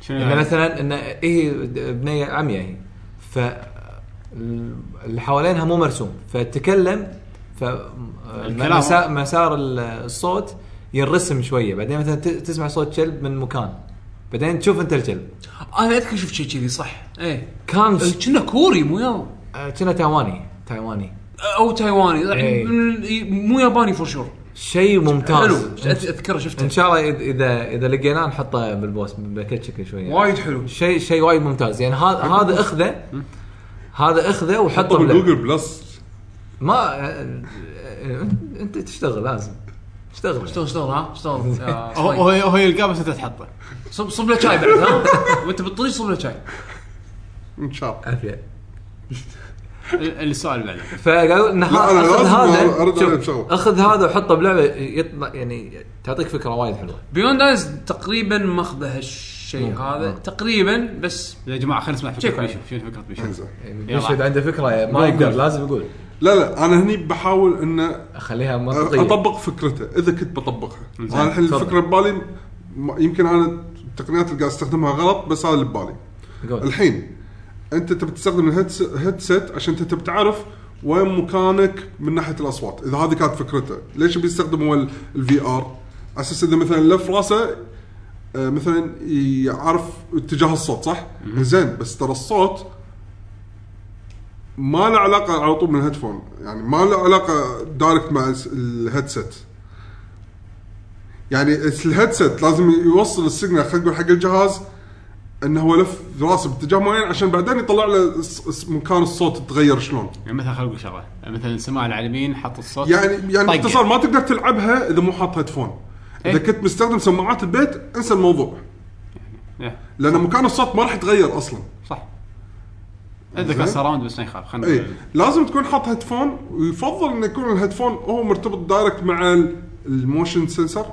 شنو
نعم.
يعني
يعني؟
مثلا ان هي بنيه عمية هي ف اللي حوالينها مو مرسوم فتكلم ف
الكلام.
مسا- مسار ال- الصوت ينرسم شويه بعدين مثلا ت- تسمع صوت كلب من مكان بعدين تشوف انت الكلب
انا اذكر شفت شيء كذي صح ايه
كان ش-
كنا كوري مو يابا
آه، كنا تايواني تايواني
او تايواني يعني
إيه.
من- مو ياباني فور شور
شيء ممتاز
حلو أت- اذكره
ان
شفته
شاء الله إذ- اذا اذا لقيناه نحطه بالبوست باكيت شكل شويه
وايد حلو
شيء شيء وايد ممتاز يعني هذا هذا اخذه هذا اخذه وحطه
حطه
بلعبة.
بالجوجل بلس
ما انت تشتغل لازم تشتغل
اشتغل اشتغل ها اشتغل آه،
هو هو هو يلقاه بس انت تحطه
صب صب له شاي بعد ها وانت بالطريق صب له شاي
ان شاء الله
عافيه
ال- السؤال بعده
فقالوا ان
لا، أنا
هذا اخذ
لازم أرد
هذا
عليه
شوف،
بشغل.
اخذ هذا وحطه بلعبه يطلع يعني تعطيك فكره وايد حلوه
بيوند ايز تقريبا ماخذه هالشيء هذا تقريبا بس
يا جماعه خلينا نسمع
شيك
فكره
عليه.
بيشو شنو فكره
أه.
بيشو
انزين
يعني
يلا.
بيشهد عنده فكره ما يقدر لازم يقول
لا لا انا هني بحاول ان
اخليها منطقيه
اطبق فكرته اذا كنت بطبقها انا الحين الفكره ببالي م- يمكن انا التقنيات اللي قاعد استخدمها غلط بس هذا اللي ببالي
قول.
الحين انت تبي تستخدم الهيدس- الهيدسيت عشان انت تبي تعرف وين مكانك من ناحيه الاصوات اذا هذه كانت فكرته ليش بيستخدم هو الفي ار اساس اذا مثلا لف راسه آه، مثلا يعرف اتجاه الصوت صح زين بس ترى الصوت ما له علاقه على طول من الهيدفون يعني ما له علاقه دايركت مع الس- الهيدسيت يعني الهيدسيت لازم يوصل السيجنال خلينا نقول حق الجهاز انه هو لف راسه باتجاه معين عشان بعدين يطلع له الص- الص- مكان الصوت تغير شلون
يعني مثلا خلينا نقول شغله يعني مثلا سماع العالمين حط الصوت
يعني يعني
طقه.
طيب.
باختصار ما تقدر تلعبها اذا مو حاط هيدفون اذا
إيه.
كنت مستخدم سماعات البيت انسى الموضوع
إيه،
لان مكان الصوت ما راح يتغير اصلا
صح
اتذكر سراوند بس ما يخالف
اي
خلينا
إيه. لازم تكون حاط هيدفون ويفضل انه يكون الهيدفون هو مرتبط دايركت مع ال- الموشن سنسر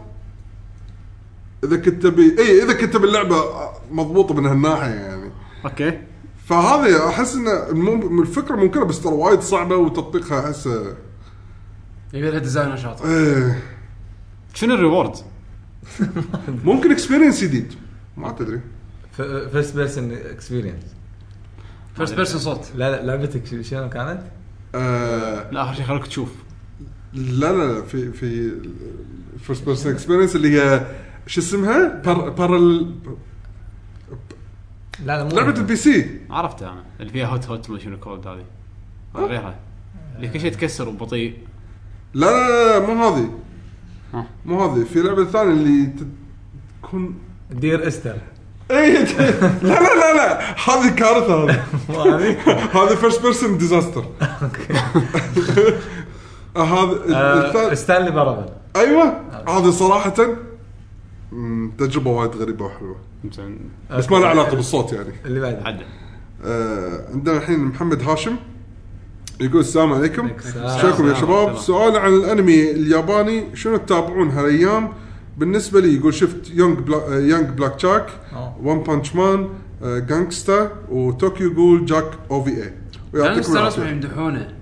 اذا كنت تبي اي اذا كنت باللعبه مضبوطه من هالناحيه يعني
اوكي
فهذه احس ان المم- الفكره ممكنه بس ترى وايد صعبه وتطبيقها احسه
يبي لها ديزاينر شاطر
ايه
شنو الريورد؟
ممكن اكسبيرينس جديد ما تدري
فيرست بيرسون اكسبيرينس
فيرست بيرسون صوت
لا لا لعبتك ش- شنو كانت؟
آه
لا اخر شيء خلوك تشوف
لا لا لا في في فيرست بيرسون اكسبيرينس اللي هي شو اسمها؟ بار بارل
لا لا مو
لعبه البي سي
عرفتها انا اللي فيها هوت هوت ما شنو كولد هذه ولا غيرها اللي كل شيء تكسر وبطيء
لا لا لا مو هذه
ها.
مو هذه في لعبه ثانيه اللي ت- تكون
دير استر
اي ت- لا لا لا لا هذه كارثه هذه
مو هذه؟
هذه فيرست بيرسون ديزاستر هذا
آه،
الثاني-
ستانلي بارابل
ايوه هذه صراحه مم، تجربه وايد غريبه وحلوه
زين،
بس ما له
نعم.
علاقه بالصوت يعني
اللي بعده
عدل
آه، عندنا الحين محمد هاشم يقول السلام عليكم
السلام.
شكرا يا
السلام.
شباب سؤال عن الانمي الياباني شنو تتابعون هالايام بالنسبه لي يقول شفت آه، يونج بلا يونج بلاك جاك
أوه.
ون بانش مان جانكستا وطوكيو جول جاك او في اي ويعطيكم
لانستر اسمه
العافيه
يمدحونه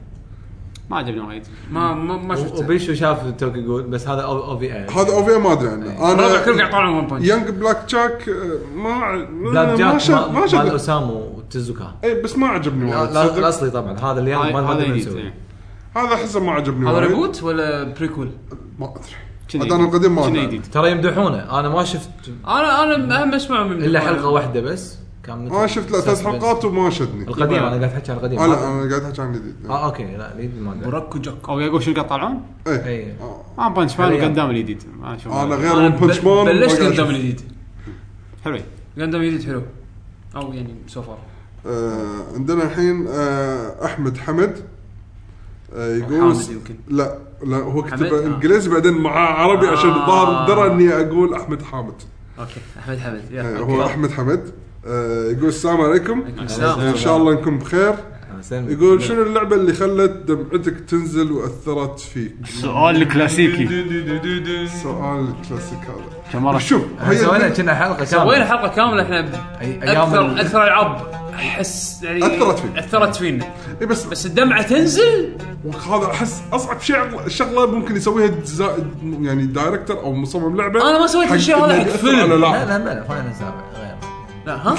ما عجبني وايد
ما ما ما شفته
وبيشو شاف توكي جول بس هذا او في إيه. اي
هذا او في اي ما ادري عنه
الرابع كله قاعد
انا
يطلعون ون بانش
يونج بلاك جاك آه، ما
بلاك
ما
جاك
شف
ما-
ما
مال
شف
اوسامو وتزوكا
اي إيه، بس ما عجبني
لا-
وايد
لا-
صدق.
الاصلي طبعا هذا اللي
هاي-
ما ما
هذا
ادري
جديد
مسوي
إيه.
هذا احسه ما عجبني
هذا
وايد.
ريبوت ولا بريكول؟
ما ادري
شنو
عاد أنا
جديد؟
القديم ما
شنو
أدري.
جديد؟
ترى يمدحونه انا ما شفت
انا انا اهم اسمع من
الا حلقه واحده بس كان مثل-
ما شفت لا ثلاث
سسبنس.
حلقات وما شدني
القديم انا قاعد احكي عن القديم
آه لا انا قاعد احكي عن جديد
آه.
اه اوكي لا الجديد ما إيه. ادري
بركو جاك
او يقول شنو قاعد يطلعون؟
ايه
اي
ما بانش مان
حلو.
قدام آه، الجديد ما أشوف.
انا غير
انا
ون بنش مان
بل- بلشت
وما قاعد
قدام
أشوف.
الجديد
حلوين
قدام الجديد حلو او يعني سوفر
آه، عندنا الحين آه، احمد حمد آه، يقول
حامد يمكن.
لا لا هو
حمد؟
كتب
آه.
انجليزي بعدين معاه عربي عشان
آه.
الظاهر درى اني اقول احمد حامد
اوكي احمد حمد
آه،
يلا
هو احمد حمد آه، يقول السلام عليكم
السلام.
ان شاء الله انكم بخير
آه،
يقول شنو اللعبه اللي خلت دمعتك تنزل واثرت فيك؟
سؤال كلاسيكي
سؤال كلاسيك هذا
كم مره
شوف هي
سوينا كنا حلقه
سوينا
كامله
حلقه كامله احنا
أي-
ب-
أيام
اكثر
ال-
اكثر العاب احس يعني
أثرت فينا.
اثرت فينا
إيه بس
بس الدمعه تنزل
هذا احس اصعب شيء شغله ممكن يسويها دزا... يعني دايركتر او مصمم لعبه
أنا ما سويت
حق
هالشيء هذا
إنه
حق
يأثر
فيلم.
على لاعب.
لا لا لا خلينا نتابع غير
لا ها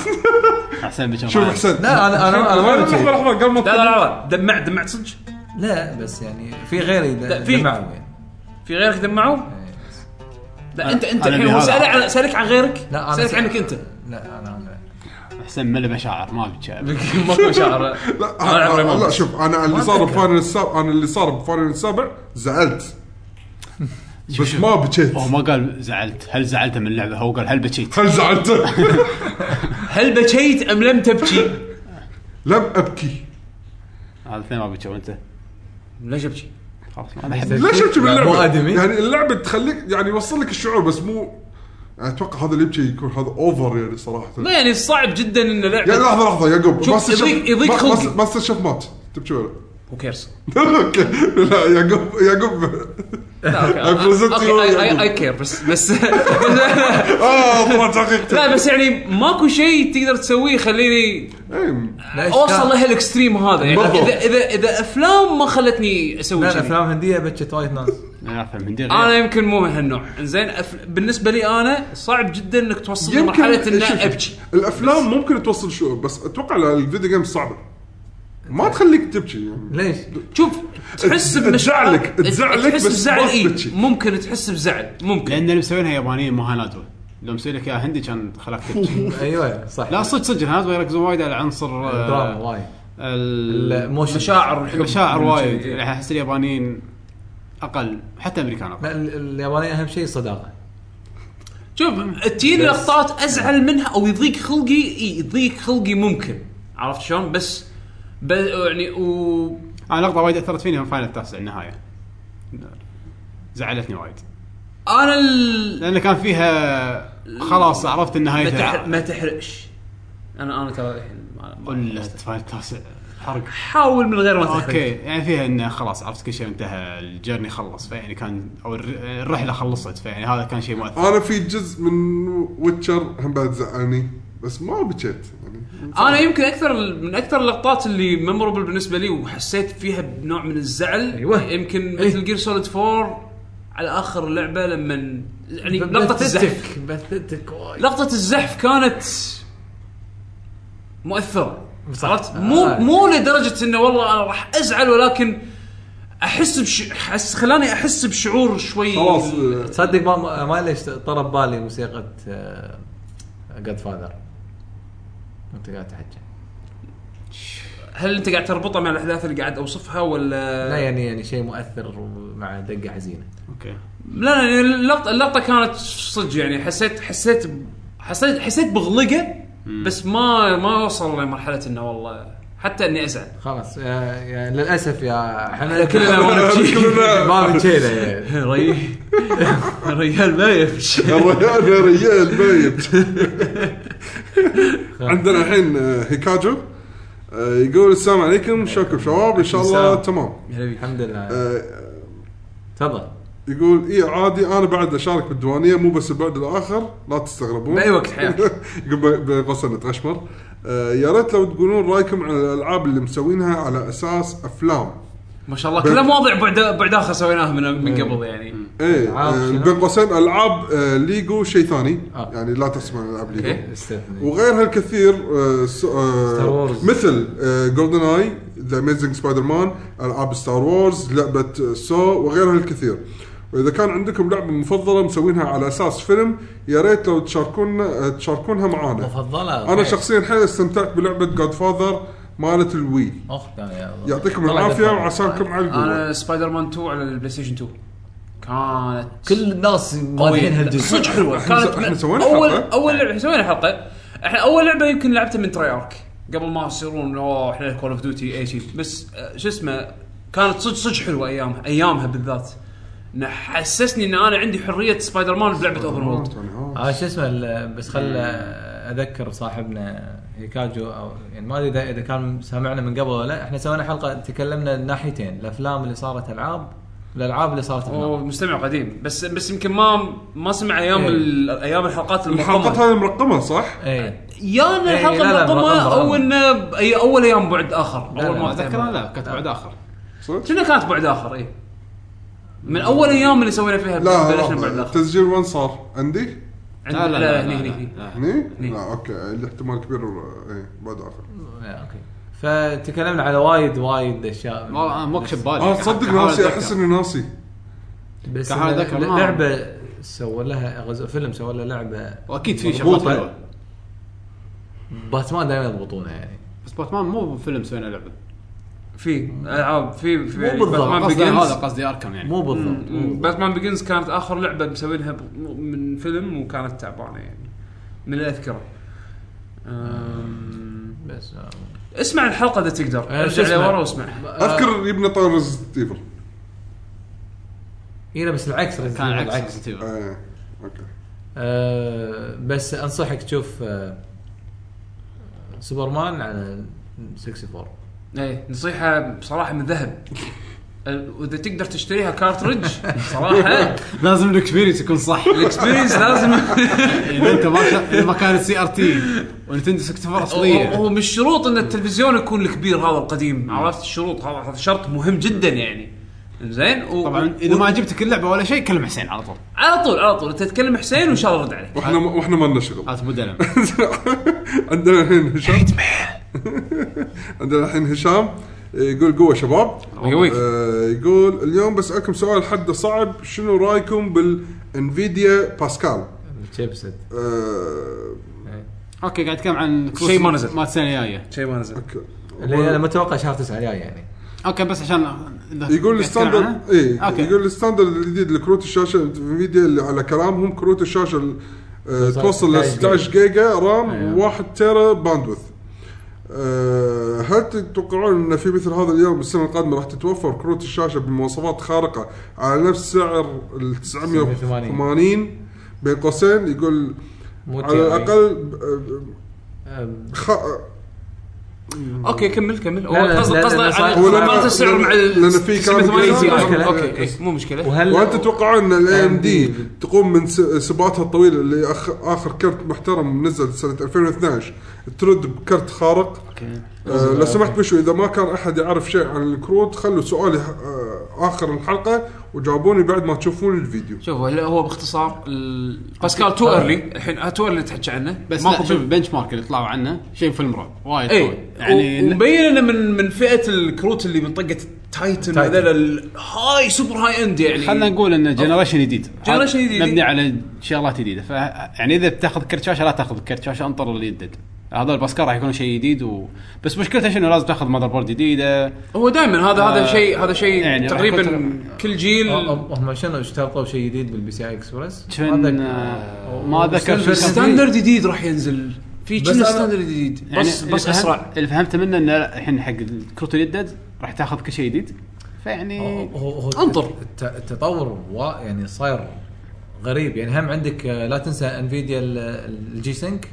احسن بشوف
شوف
معايا.
حسين
لا انا انا انا ما
لحظه
بتشي.
لحظه قبل ما
لا لا
تكمل.
لا دمعت دمعت صدق
لا بس يعني في غيري
لا، في.
دمعوا يعني.
في غيرك دمعوا؟ لا انت انت
أنا
الحين هو
بهذا.
سألك عن سألك عن غيرك؟
لا، أنا
سألك
س-
عنك انت
لا انا انا
احسن ملي بشاعر ما بتشعر
ماكو شعر
لا
أنا عمري ما
آه، لا
بس.
شوف انا اللي صار بفاينل السابع انا اللي صار بفاينل السابع زعلت بس ما بكيت
هو ما قال زعلت هل زعلت من اللعبه هو قال هل بكيت
هل زعلت؟
هل بكيت ام لم تبكي؟
لم ابكي
هذا اثنين ما بتشوف انت
ليش ابكي؟
خلاص ما بحب
ليش ابكي
لا، مو
باللعبه؟
آدمي.
يعني اللعبه تخليك يعني يوصل لك الشعور بس مو يعني اتوقع هذا اللي يبكي يكون هذا اوفر يعني صراحه
لا يعني صعب جدا ان لعبه
يعني لحظه لحظه يعقوب
شوف،
ماستر شيف-
يضيق- يضيق
ما-
خلقي.
ماستر- ماستر شيف مات تبكي ولا؟
هو كيرس
اوكي لا يعقوب يعقوب present you
اوكي
يعني.
اي كير بس بس
اه طلعت حقيقته
لا بس يعني ماكو شيء تقدر تسويه يخليني
إيه.
لا
اوصل
إشكال.
لهالاكستريم هذا يعني
بالضبط.
اذا اذا اذا افلام ما خلتني اسوي
لا لا،
كذي
افلام هنديه بكت وايد ناس
انا افهم من دير
إيه.
انا يمكن مو من هالنوع زين أف... بالنسبه لي انا صعب جدا انك توصل
يمكن
لمرحله ان
شوف،
ابكي
الافلام ممكن توصل شعور بس اتوقع لا، الفيديو جيم صعبه ما تخليك تبكي يعني
ليش؟
شوف تحس
تز-
بمشاعر
تزعلك- تزعلك
تحس
بس
بزعل
ما
اي
تبكي.
ممكن تحس بزعل ممكن
لان اللي مسوينها يابانيين مو هانادو لو مسوي لك اياها هندي كان خلاك تبكي
ايوه صح
لا صدق صدق هانادو يركزون وايد على عنصر آه،
دراما وايد
ال-
الموشن
مشاعر الحب
المشاعر وايد
إيه.
يعني احس اليابانيين اقل حتى الامريكان اقل
لا ال- اليابانيين اهم شيء الصداقه
شوف تجيني لقطات ازعل منها او يضيق خلقي اي يضيق خلقي ممكن عرفت شلون بس ب... يعني و
انا لقطه وايد اثرت فيني من فاينل التاسع النهايه زعلتني وايد
انا ال...
لان كان فيها خلاص عرفت
ما,
النهايه
تحر... ما تحرقش انا انا ترى الحين
ما- ما-
ولا الفايل التاسع حرق
حاول من غير ما تحرق
اوكي يعني فيها انه خلاص عرفت كل شيء انتهى الجيرني خلص فيعني كان او الر- الرحله خلصت فيعني هذا كان شيء مؤثر
انا في جزء من ويتشر هم بعد زعلني بس ما بكيت يعني
انا يمكن اكثر من اكثر اللقطات اللي ميموربل بالنسبه لي وحسيت فيها بنوع من الزعل
أيوة.
يمكن مثل جير سوليد 4 على اخر لعبه لما يعني لقطه الزحف
بثتك بثتك وايد.
لقطه الزحف كانت مؤثره
صح.
عرفت مو
آه.
مو لدرجه انه والله انا راح ازعل ولكن احس بش حس خلاني احس بشعور شوي
خلاص آه.
تصدق ما- ما ما ليش طرب بالي موسيقى آه، جاد فاذر وانت قاعد تحكي
هل انت قاعد تربطها مع الاحداث اللي قاعد اوصفها ولا
لا يعني يعني شيء مؤثر مع دقه حزينه
اوكي
لا لا يعني اللقطه اللقطه كانت صدق يعني حسيت حسيت ب- حسيت حسيت بغلقه بس ما ما وصل لمرحله انه والله حتى اني ازعل
خلاص يا يا للاسف يا احنا
كلنا ما نبكي.
ما بكينا يعني.
ري ريال ما يفش
الرجال يا رجال ميت عندنا الحين آه، هيكاجو آه، يقول السلام عليكم شكرا شباب ان شاء الله
السلام.
تمام
الحمد لله
آه،
تفضل
يقول اي عادي انا بعد اشارك بالديوانيه مو بس البعد الاخر لا تستغربون
بأي وقت حياك.
يقول ب- بين قوسين نتغشمر آه، يا ريت لو تقولون رايكم عن الالعاب اللي مسوينها على اساس افلام
ما شاء الله كله مواضيع بعد بعد اخر سويناها من من قبل يعني
ايه
ألعاب
آه،
شنو؟
بين قوسين العاب آه، ليجو شيء ثاني
آه.
يعني لا تحسب عن العاب ليجو
اوكي
استثني
وغيرها الكثير آه، س- آه،
ستار وورز.
مثل آه، جولدن اي ذا اميزنج سبايدر مان العاب ستار وورز لعبه آه، سو وغيرها الكثير واذا كان عندكم لعبه مفضله مسوينها على اساس فيلم يا ريت لو تشاركونا آه، تشاركونها معانا
مفضله
انا شخصيا حيل استمتعت بلعبه جاد فاذر مالت الوي
اخ
يعطيكم العافيه وعساكم على القوه
انا سبايدر مان 2 على البلاي ستيشن 2 كانت
كل الناس مالين هالجزء
صدق حلوه
إحنا-
كانت
إحنا سوينا
اول
حلقة.
اول لعبه سوينا حلقه احنا اول لعبه يمكن لعبتها من تريارك قبل ما يصيرون اوه احنا كول اوف ديوتي اي شيء بس آه، شو اسمه كانت صدق صدق حلوه ايامها ايامها بالذات إنه حسسني ان انا عندي حريه سبايدر مان بلعبه اوفر وورلد
آه،
اه شو اسمه ال- بس خل اذكر صاحبنا هيكاجو او يعني ما ادري اذا اذا كان سامعنا من قبل ولا لا احنا سوينا حلقه تكلمنا الناحيتين الافلام اللي صارت العاب الالعاب اللي صارت
هو
افلام
مستمع قديم بس بس يمكن ما ما سمع ايام
إيه.
ال- ايام الحلقات
الحلقات
المرقمه
هذه مرقمه صح؟
اي
يا ان
إيه،
الحلقه
لا، لا،
المرقمه
مرقمة،
او
مرقمة.
انه بأي- اول ايام بعد اخر
لا،
اول
لا،
ما
اتذكر أنا لا كانت بعد اخر
صدق؟
كنا كانت بعد اخر اي من اول ايام اللي سوينا فيها
لا
بلشنا بعد
لحظة،
اخر
تسجيل وين صار؟ عندي؟
عند-
لا لا لا
هني هني
لا،
هني
لا.
هني؟
هني.
لا اوكي الاحتمال كبير آه، ايه بعد اخر
اوكي آه، فتكلمنا على وايد وايد اشياء
والله آه، انا موكش ببالي
آه،
اه تصدق ناسي احس اني ناسي
بس
كان هذا ذكر ما-
لعبه سووا لها غز- فيلم سووا لها لعبه
واكيد في شغلات
مضبوطة.
حلوه
باتمان دائما يضبطونها يعني
بس باتمان مو فيلم سوينا لعبه
في العاب في في
مو بالضبط.
باتمان
قصدي هذا
بيجنز
قصدي اركم يعني
مو بالضبط مو بالضبط.
باتمان بيجنز كانت اخر لعبه مسوينها ب- من فيلم وكانت تعبانه يعني من اللي اذكره أم،
بس آه.
اسمع الحلقه اذا تقدر
أه،
ارجع
شو اسمه؟
لورا واسمع
آه.
اذكر يبنى طير ريزنت ايفل
اي لا بس العكس
كان العكس Resident Evil.
ايه اوكي
آه، بس انصحك تشوف آه، سوبرمان على 64
ايه نصيحه بصراحه من ذهب أه، واذا تقدر تشتريها كارترج صراحه
لازم الاكسبيرينس يكون صح
الاكسبيرينس لازم
اذا انت ما شا- إذا ما كانت سي ار تي ونتندو 64
هو
اصليه
هو مش شروط ان التلفزيون يكون الكبير هذا القديم عرفت الشروط هذا هذا شرط مهم جدا يعني زين و...
طبعا اذا ما عجبتك اللعبه ولا شيء كلم حسين على طول
على طول على طول انت تكلم حسين وان شاء الله رد عليك
واحنا واحنا ما لنا شغل
هات بدلم
عندنا الحين هشام عندنا الحين هشام آه، يقول قوه شباب
يقويك.
آه، يقول اليوم بسالكم سؤال حده صعب شنو رايكم بالانفيديا باسكال؟
الشيبسيت
آه،
اوكي قاعد اتكلم عن كروس
شيء ما نزل.
مال السنه الجايه
شيء ما نزل
اوكي
اللي انا متوقع شهر 9 جاي يعني
اوكي بس عشان
يقول الستاندرد اي
اوكي
يقول الستاندرد الجديد لكروت الشاشه انفيديا اللي على كلامهم كروت الشاشه ال- آه،
توصل
توصل ل
16
16 جيجا رام 1 تيرا باندوث آه، هل تتوقعون ان في مثل هذا اليوم بالسنه القادمه راح تتوفر كروت الشاشه بمواصفات خارقه على نفس سعر ال 980 بين قوسين يقول
مو
على
TI.
الاقل آه،
آه،
خ...
اوكي كمل كمل هو
لا، لا،
قصد
لا،
قصد
لا، لا،
على-
هو
لأن-
مالت السعر
لأن-
مع
لأن في كلام
كلام
كثير.
اوكي إيه، مو مشكله
وهل
وهل تتوقعون ان الاي ام دي تقوم من س- سباقاتها الطويله اللي أخ... اخر كرت محترم نزل سنه 2012 ترد بكرت خارق آه لو سمحت بشو اذا ما كان احد يعرف شيء عن الكروت خلوا سؤالي آه اخر الحلقه وجاوبوني بعد ما تشوفون الفيديو
شوف هلا هو باختصار ال- باسكال تو ايرلي الحين آه، تو ايرلي تحكي عنه
بس
ماكو
لا شوف البنش مارك اللي طلعوا عنه شيء فيلم رعب وايد
اي
قوي.
يعني
يعني
ومبين انه من من فئه الكروت اللي من طقه التايتن هذول الهاي سوبر هاي اند يعني
خلينا نقول انه جنريشن جديد
جنريشن جديد. إيه.
مبني على شغلات جديده ف يعني اذا بتاخذ كرت شاشه لا تاخذ كرت شاشه انطر اللي يدد هذول الباسكال راح يكون شيء جديد و... بس مشكلته شنو لازم تاخذ ماذر بورد جديده
هو دائما هذا
آه،
هذا شيء هذا شيء
يعني راح
تقريبا
يكون-
كل جيل
هم هم شنو اشترطوا شيء جديد بالبي سي اي اكسبرس؟
شن- ما أتذكر شو كان
ستاندرد
ستاندرد جديد راح ينزل في
بس
كنا
أنا-
ستاندرد جديد
يعني
بس
اللي
بس
فهم-
اسرع
اللي فهمته منه انه لا، الحين حق الكروت اللي يدد راح تاخذ كل شيء جديد فيعني
انطر.
الت- التطور وا- يعني صاير غريب يعني هم عندك آه، لا تنسى انفيديا الجي سينك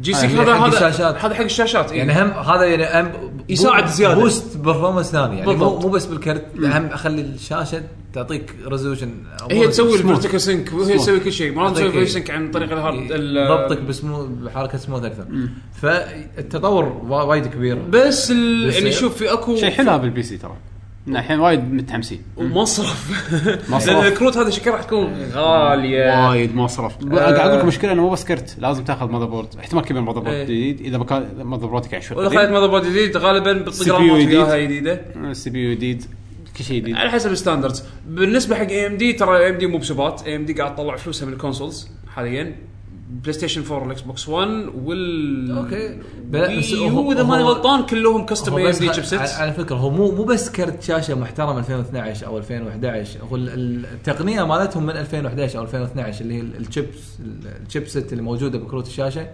جي
آه،
سي
يعني
هذا
حق
هذا
الشاشات.
هذا حق الشاشات إيه.
يعني هم هذا يعني هم بو-
يساعد زيادة.
بوست برفورمانس ثاني يعني مو
بالضبط.
مو بس بالكرت هم اخلي الشاشه تعطيك ريزولوشن
هي تسوي الفيرتيكال سينك وهي تسوي كل شيء ما تسوي سينك عن طريق الهارد ال-
إيه، ضبطك بسمو بحركه سموث اكثر فالتطور وا- وايد كبير
بس ال-
بس
يعني
هي-
شوف في اكو
شيء حلو هذا بالبي سي ترى إن الحين وايد متحمسين
مصرف
مصرف.
لان الكروت هذا شكله راح تكون غاليه
وايد مصرف قاعد اقول لك مشكله انه مو بس كرت لازم تاخذ ماذر بورد احتمال كبير ماذر بورد
إيه.
جديد اذا بكا- ماذر بوردك يعني شوي
واذا خذيت ماذر بورد جديد غالبا بتصير
CPU
رامات
جديد.
وياها جديده
آه، السي بي يو جديد كل شيء جديد
على حسب الستاندردز بالنسبه حق اي ام دي ترى اي ام دي مو بسبات اي ام دي قاعد تطلع فلوسها من الكونسولز حاليا بلاي ستيشن 4 والاكس بوكس 1 وال
أوكي. بس
هو
هو-
اذا
هو-
ماني غلطان كلهم كاستم
هو
اي ام
بس
دي
خ-
شيب
على-
سيتس
على فكره هو مو مو بس كرت شاشه محترم 2012 او 2011 هو ال- ال- التقنيه مالتهم من 2011 او 2012 اللي هي ال- الشيبس ال- الشيبسيت اللي موجوده بكروت الشاشه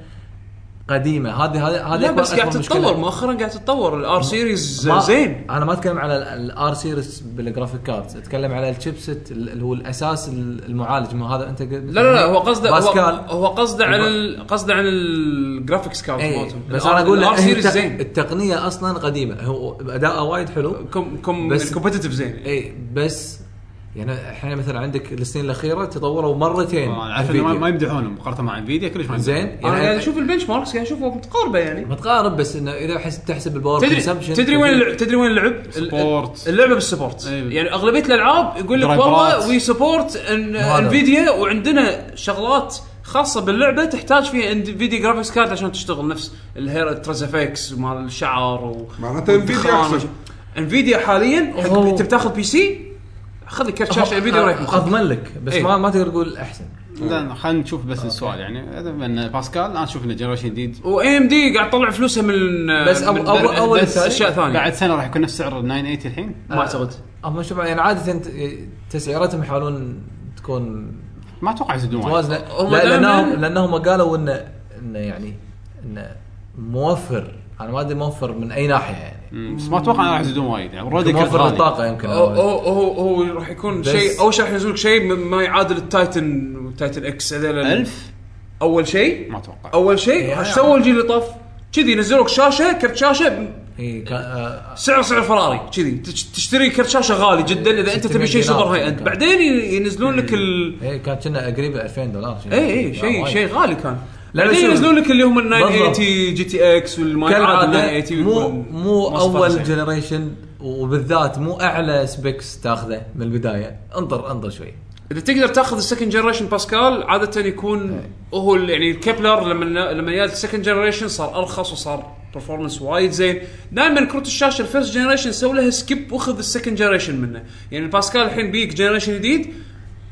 قديمه هذه هذه هذه
لا
أكبر-
بس قاعد
أكبر مشكلة.
تتطور مؤخرا قاعد تتطور الار سيريز
ما-
زين
انا ما اتكلم على الار سيريس بالجرافيك كاردز اتكلم على الشيبسيت ال- اللي هو الاساس ال- المعالج ما هذا انت
لا لا لا هو قصده هو,
باسكال
هو قصده عن
الب-
ال- قصده عن الجرافيكس كارد
اي
مالتهم
إيه، بس انا اقول
الار
لك
سيريز
التق-
زين
التقنيه اصلا قديمه هو اداؤه وايد حلو
كم كم
بس-
كومبتتف زين
اي بس يعني احنا مثلا عندك السنين الاخيره تطوروا مرتين
أنا عارف انه آه، ما-
NVIDIA.
ما يمدحونهم مقارنه مع انفيديا كلش ما يمدحونهم.
زين
انا قاعد
يعني
اشوف البنش ماركس قاعد اشوفها متقاربه يعني
متقارب بس انه اذا حس تحسب الباور
تدري
consumption
تدري وين اللعب تدري وين اللعب
سبورت.
اللعبه بالسبورت
أيوة.
يعني اغلبيه الالعاب يقول لك
درايفرات.
والله وي سبورت
هذا.
انفيديا وعندنا شغلات خاصه باللعبه تحتاج فيها انفيديا جرافيكس كارد عشان تشتغل نفس الهير ترازافيكس مال الشعر و
معناته NVIDIا أحسن.
انفيديا حاليا حق-
أوه.
انت بتاخذ بي سي خذ كرت شاشه انفيديا ورايح مخ.
اضمن لك بس
إيه.
ما ما تقدر تقول احسن
زين خلينا نشوف بس السؤال يعني إذا من باسكال انا اشوف انه جنريشن جديد
واي ام دي قاعد تطلع فلوسها من
بس أول-
من-
أول- أول
بس
ثاني.
اشياء ثانيه
بعد سنه راح يكون نفس سعر ال 980 الحين
ما اعتقد
اما شوف يعني عاده ت- تسعيراتهم يحاولون تكون
ما اتوقع يزيدون وايد
متوازنه
هم
لا
دايماً-
لانهم لانهم قالوا انه انه يعني انه موفر انا ما ادري موفر من اي ناحيه يعني
مم، بس ما اتوقع انه راح يزيدون وايد يعني اوريدي كرت
موفر
غالي
للطاقه يمكن
هو هو هو- هو راح يكون
آه. بس-
شيء اول شيء راح ينزل لك شيء ما يعادل التايتن والتايتن اكس هذول ال-
1000
اول شيء
ما اتوقع
اول شيء ايش سووا الجيل اللي طاف؟ كذي نزلوا لك شاشه كرت شاشه
اي كان- آه،
سعر سعر فراري كذي تش- تشتري كرت شاشه غالي جدا اذا انت تبي شيء
600
سوبر
دينار.
هاي اند بعدين ي- ينزلون لك ال
اي كان كنا قريب 2000 دولار شيء
اي اي
يعني
إيه، شيء
وايد.
شيء غالي كان
لا،
بعدين
شوف.
ينزلون لك اللي هم ال
بالضبط.
980 جي تي اكس والما يعادل
كالعاده
980
مو
ويكون
مو
مواصفات
اول
زينة.
جنريشن وبالذات مو اعلى سبيكس تاخذه من البدايه انطر انطر شوي
اذا تقدر تاخذ السكند جنريشن باسكال عاده
إيه.
يكون هو ال- يعني الكبلر لما لما جاء السكند جنريشن صار ارخص وصار برفورمانس وايد زين دائما كروت الشاشه الفيرست جنريشن سوي لها سكيب واخذ السكند جنريشن منه يعني الباسكال الحين بيك جنريشن جديد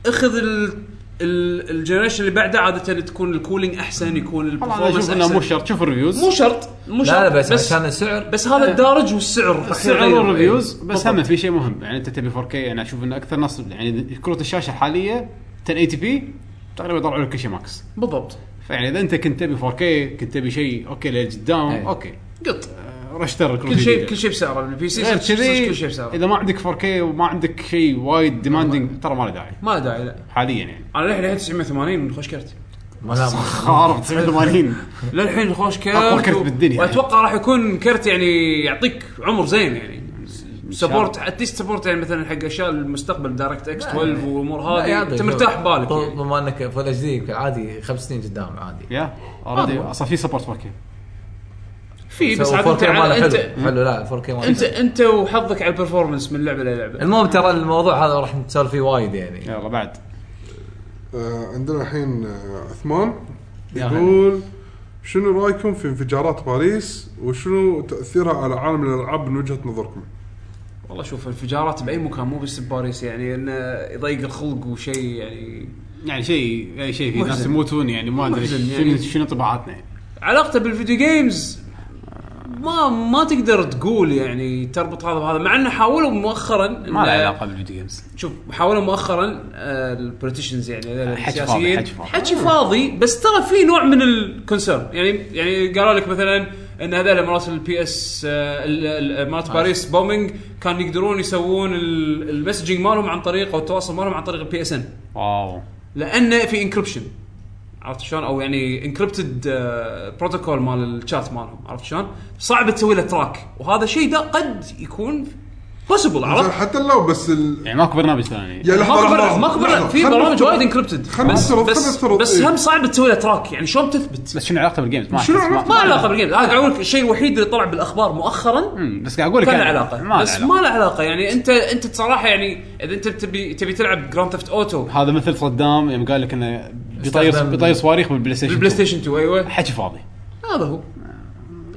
اخذ ال ال- الجنريشن اللي بعده عاده تكون الكولينج احسن يكون
والله انا
البرفورمانس
اشوف انه مو
احسن
شرط شوف الريفيوز
مو شرط مو شرط
لا لا بس,
بس,
عشان السعر
بس
إيه.
هذا الدارج والسعر راح
السعر
يغير.
والريفيوز بس هم
إيه. بالضبط.
في شيء مهم يعني انت تبي 4K انا اشوف انه اكثر ناس يعني كروت الشاشه الحاليه 1080 بي تقريبا يطلعوا لك كل شيء ماكس
بالضبط
فيعني اذا انت كنت تبي 4K كنت تبي شيء اوكي لقدام
إيه.
اوكي
قط
آه، روح اشتري الكروت
كل شيء
الجديدة.
كل شيء بسعره البي سي
غير إيه، كذي
كل شيء بسعره
اذا ما عندك 4K وما عندك شيء وايد ديماندنج ترى ما له داعي
ما له داعي لا
حاليا يعني
انا للحين لحيت 980 خوش كرت
خارب 89
للحين خوش كرت
أقوى
و-
كرت بالدنيا. يعني.
واتوقع راح يكون كرت يعني يعطيك عمر زين يعني سبورت اتليست سبورت يعني مثلا حق اشياء المستقبل دايركت اكس
يعني.
12 والامور هذه انت مرتاح بالك يعني.
بما انك فول اتش دي يمكن عادي خمس سنين قدام عادي
يا اوريدي
آه.
اصلا في سبورت 4K
في بس
سو
عاد
4K
انت
ماله
انت
حلو حلو لا 4K ماله
انت
حلو.
انت وحظك على البرفورمنس من لعبه للعبه
المهم ترى الموضوع هذا راح نتسولف فيه وايد يعني
يلا بعد
آه، عندنا الحين آه، عثمان
يا هلا.
يقول شنو رايكم في انفجارات باريس وشنو تاثيرها على عالم الالعاب من وجهه نظركم؟
والله شوف انفجارات باي مكان مو بس بباريس يعني انه يضيق الخلق وشيء يعني
يعني شيء يعني شيء في ناس
محزن.
يموتون يعني ما ادري
محزن
شنو
يعني.
شنو طباعاتنا يعني
علاقته بالفيديو جيمز ما ما تقدر تقول يعني تربط هذا بهذا مع انه حاولوا مؤخرا
ما له علاقه بالفيديو جيمز
شوف حاولوا مؤخرا آه، البوليتيشنز يعني هذول
حكي فاضي،
السياسيين
حكي فاضي.
حكي فاضي بس ترى في نوع من الكونسيرن يعني يعني قالوا لك مثلا ان هذول مرات البي اس آه،
آه.
مرات باريس بومينج كان يقدرون يسوون ال- المسجنج مالهم عن طريق او التواصل مالهم عن طريق البي اس ان
واو
لانه في انكربشن عرفت شلون او يعني انكربتد بروتوكول مال الشات مالهم عرفت شلون صعب تسوي له تراك وهذا الشيء ده قد يكون بوسيبل
زين،
عرفت
حتى لو بس ال...
يعني ماكو برنامج ثاني
يا
ما كبرنا ما كبرنا في
خلنا
برامج
نفترض-
وايد انكربتد
خلنا
بس
نفترض- خلنا
بس,
نفترض،
بس
إيه.
هم صعب تسوي له تراك يعني شلون بتثبت
بس شنو علاقته بالجيمز ما
شنو
أحس-
علاقته؟
ما له علاقه بالجيم هذا اقول لك الشيء الوحيد اللي طلع بالاخبار مؤخرا
مم، بس قاعد اقول لك
كان له
يعني
علاقه
ما
بس ما له علاقه يعني انت انت بصراحه يعني اذا انت تبي تبي تلعب جراند ثيفت اوتو
هذا مثل صدام يوم قال لك انه بيطير
استخدم-
بيطير صواريخ بالبلاي ستيشن
بالبلاي ستيشن 2 ايوه
حكي فاضي
هذا هو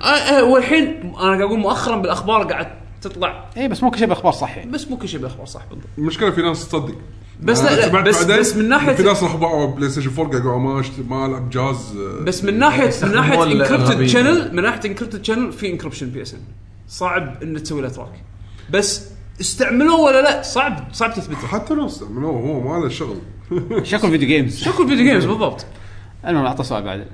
آه، آه، والحين انا قاعد اقول مؤخرا بالاخبار قاعد تطلع
اي إيه، بس مو كل شيء باخبار صح يعني
بس مو كل شيء بالاخبار صح بالضبط
المشكله في ناس تصدق
بس لا, لا بس بس من
في
ناحيه
ناس راح باعوا بلاي ستيشن 4 قاعد يقولوا "آه، ما أشت- ما العب جهاز آه،
بس من ناحيه من ناحيه
يستخدمون
انكربتد
الأغلبية.
شانل من ناحيه انكربتد شانل في انكربشن بي اس ان صعب ان تسوي له تراك بس استعملوه ولا لا صعب صعب تثبته
حتى لو استعملوه هو ما له شغل
شكل فيديو جيمز
شكو الفيديو جيمز بالضبط
المهم اعطى سؤال بعد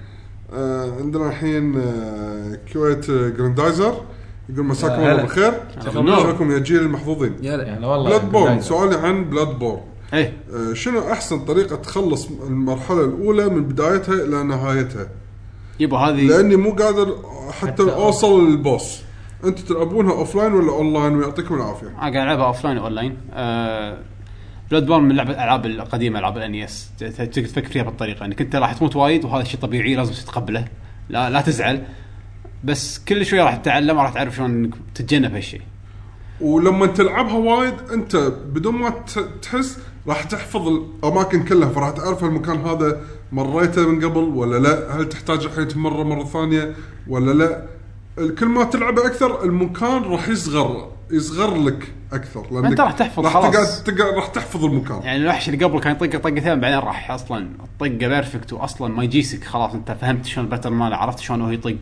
آه، عندنا الحين آه، كويت آه، جراندايزر يقول
آه،
مساكم
هلا.
الله بالخير
بالنور.
شلونكم يا جيل المحظوظين
يا لا
يعني والله
بلاد بورن سؤالي عن بلاد بورن
ايه
آه، شنو احسن طريقه تخلص المرحله الاولى من بدايتها الى نهايتها
يبا هذه
لاني مو قادر حتى اوصل للبوس انتم تلعبونها اوف لاين ولا اون لاين ويعطيكم العافيه
انا قاعد العبها اوف لاين واون لاين بلاد بورن آه، من لعبه الالعاب القديمه العاب الان اس تقدر تفكر فيها بالطريقه انك انت راح تموت وايد وهذا شيء طبيعي لازم تتقبله لا لا تزعل بس كل شوي راح تتعلم راح تعرف شلون إنك تتجنب هالشيء
ولما تلعبها وايد انت بدون ما ت- تحس راح تحفظ الاماكن كلها فراح تعرف المكان هذا مريته من قبل ولا لا هل تحتاج الحين تمره مره ثانيه ولا لا كل ما تلعبه اكثر المكان راح يصغر يصغر لك اكثر لانك
انت راح تحفظ
راح
خلاص.
تقعد تقعد راح تحفظ المكان
يعني الوحش اللي قبل كان يطق طقتين بعدين راح اصلا الطقه بيرفكت واصلا ما يجيسك خلاص انت فهمت شلون الباترن ماله عرفت شلون هو يطق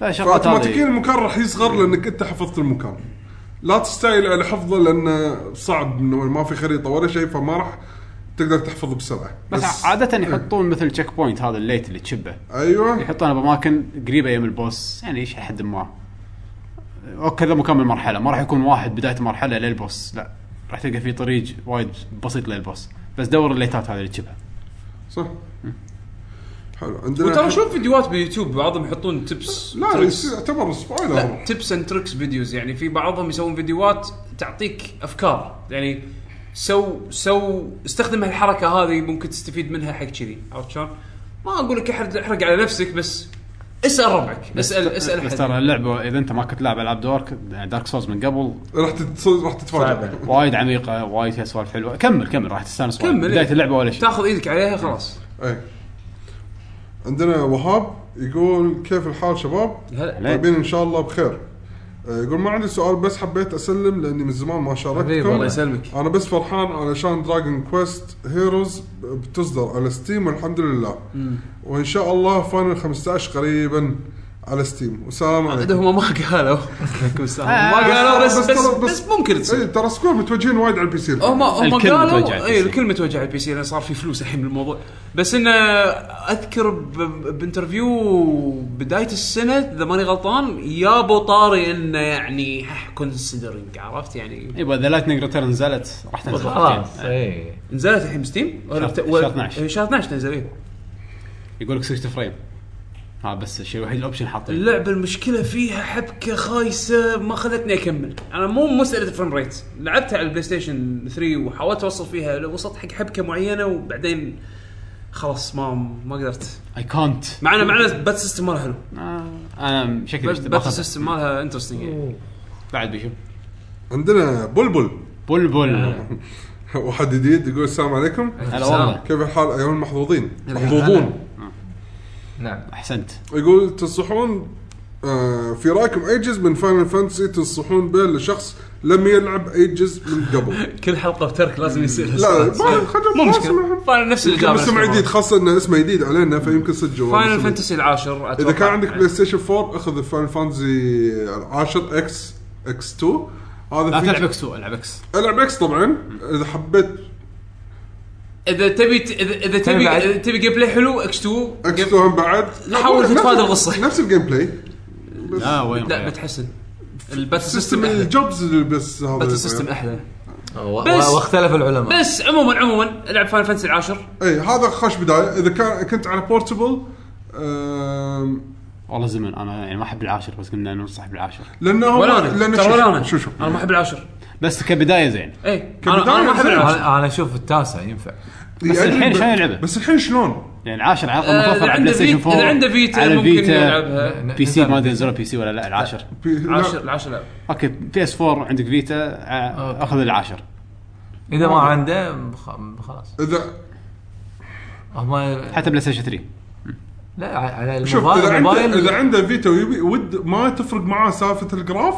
فشغلات
فاوتوماتيكيا
هذه
المكان راح يصغر لانك انت حفظت المكان لا تستعجل على حفظه لانه صعب انه ما في خريطه ولا شيء فما راح تقدر تحفظ بسرعه
بس, عاده يحطون مثل تشيك بوينت هذا الليت اللي تشبه
ايوه
يحطونه باماكن قريبه يم البوس يعني ايش حد ما او كذا مكان من المرحله ما راح يكون واحد بدايه المرحله للبوس لا راح تلقى في طريق وايد بسيط للبوس بس دور الليتات هذه اللي تشبهها
صح حلو عندنا
وترى شوف فيديوهات بيوتيوب بعضهم يحطون تبس
لا يصير- يعتبر سبويلر
تبس اند تريكس فيديوز يعني في بعضهم يسوون فيديوهات تعطيك افكار يعني سو سو استخدم هالحركه هذه ممكن تستفيد منها حق كذي عرفت شلون؟ ما اقول لك احرق احرق على نفسك بس اسال ربعك اسال اسال
بس
حد
ترى اللعبه اذا انت ما كنت لاعب العاب دارك دارك سولز من قبل
راح تتص- راح تتفاجئ
صعبة.
وايد عميقه وايد فيها سوالف حلوه كمل كمل راح تستانس وايد.
كمل، إيه.
بدايه اللعبه ولا شيء
تاخذ ايدك عليها خلاص
اي عندنا وهاب يقول كيف الحال شباب؟
هلا.
طيبين ان شاء الله بخير آه، يقول ما عندي سؤال بس حبيت اسلم لاني من زمان ما
حبيبي،
شاركتكم
الله
يسلمك.
انا بس فرحان علشان دراجون كويست هيروز بتصدر على ستيم والحمد لله وان شاء الله فاينل 15 قريبا على ستيم والسلام
عاد
عليكم
هم ما قالوا عليكم السلام.
آه.
ما قالوا بس بس بس ممكن تصير
اي إيه، ترى سكور متوجهين وايد على البي سي
هم هم
الكل متوجه على
قالوا إيه،
البي سي.
اي الكل متوجه على البي سي لان صار في فلوس الحين بالموضوع بس انه اذكر ب- بانترفيو بدايه السنه اذا ماني غلطان يابو طاري انه يعني كونسيدرنج عرفت يعني
يبا ذا لايتنج ريتيرن نزلت راح تنزل
خلاص إيه، اي
نزلت الحين بستيم
شهر- شهر 12.
شهر 12 تنزل إيه.
يقول لك 60 فريم ها بس الشيء الوحيد الاوبشن حاطينه
اللعبه المشكله فيها حبكه خايسه ما خلتني اكمل انا مو مساله الفريم ريت لعبتها على البلاي ستيشن 3 وحاولت اوصل فيها وصلت حق حبكه معينه وبعدين خلاص ما ما قدرت
اي كانت
معنا معنا بات سيستم مالها حلو
انا آه، شكلي بشت-
بات
باخذ
سيستم مالها انترستنج يعني
بعد بشوف
عندنا بلبل
بلبل
آه،
واحد جديد يقول السلام عليكم
هلا والله
كيف الحال ايها المحظوظين محظوظون
نعم
احسنت
يقول تنصحون آه، في رايكم اي جزء من فاينل فانتسي تنصحون به لشخص لم يلعب اي جزء من قبل
كل حلقه بترك لازم يصير
لا ما خلينا نسمع.
فاينل نفس
يمكن
الاجابه
اسمه جديد خاصه انه اسمه جديد علينا فيمكن صدق هو
فاينل
اسمه-
فانتسي العاشر اتوقع
اذا كان عندك بلاي ستيشن 4 اخذ فاينل فانتسي 10 اكس اكس 2 هذا
لا
في-
تلعب اكس العب اكس
العب اكس طبعا اذا حبيت
اذا تبي ت- اذا إذا تبي
بعد.
إذا تبي جيم بلاي حلو اكس 2
اكس 2 هم بعد لا،
حاول
نفس-
تتفادى القصة.
نفس الجيم بلاي
لا وين
لا
لا
بتحسن الباتل
سيستم
سيستم احلى
الجوبز اللي بس هذا
الباتل سيستم احلى
آه.
بس-
واختلف العلماء
بس عموما عموما العب فاينل فانتسي العاشر
اي إيه، هذا خش بدايه اذا كان كنت على بورتبل آم،
والله زمن انا يعني ما احب العاشر بس كنا ننصح بالعاشر
لانه هو-
ولا انا
لأنه
ترى
شوف-
ولا انا
شوف شوف
انا ما احب العاشر
بس كبدايه زين
اي أنا- انا
كبداية
ما احب
زين.
العاشر
انا أنا اشوف التاسع ينفع
بس
الحين شلون يلعبه؟
يعني بس الحين شلون؟
يعني العاشر على
آه،
الاقل
اذا
متوفر على بلاي
عنده
ستيشن
فيتا
4
اذا عنده فيتا
على
ممكن
الفيتا،
يلعبها
بي سي ما ادري نزلوا بي سي ولا لا العاشر
في- لا،
العاشر العاشر لا
اوكي بي اس 4 عندك فيتا آه، اخذ العاشر
اذا ما عنده خ- خلاص
اذا
هم
حتى بلاي ستيشن 3
لا على
شوف اذا عنده
الموبايل
اذا عنده فيتا ويبي ود ما تفرق معاه سالفه الجراف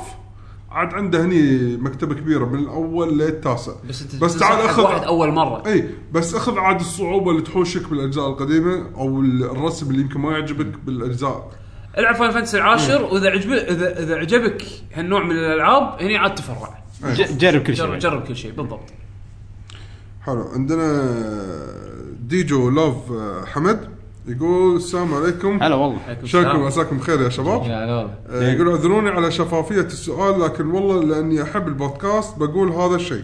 عاد عنده هني مكتبه كبيره من الاول للتاسع
بس انت
بس تعال
تنصح حق
اخذ
واحد اول مره
اي بس اخذ عاد الصعوبه اللي تحوشك بالاجزاء القديمه او الرسم اللي يمكن ما يعجبك بالاجزاء
العب فاينل فانتسي العاشر واذا عجب اذا اذا عجبك هالنوع من الالعاب هني عاد تفرع
ج- جرب كل
يعني.
جرب
شيء
جرب كل شيء بالضبط
حلو عندنا ديجو لوف آه، حمد يقول السلام عليكم
هلا والله
شكرا مساكم بخير يا شباب
لا لا
آه، يقول اعذروني على شفافيه السؤال لكن والله لاني احب البودكاست بقول هذا الشيء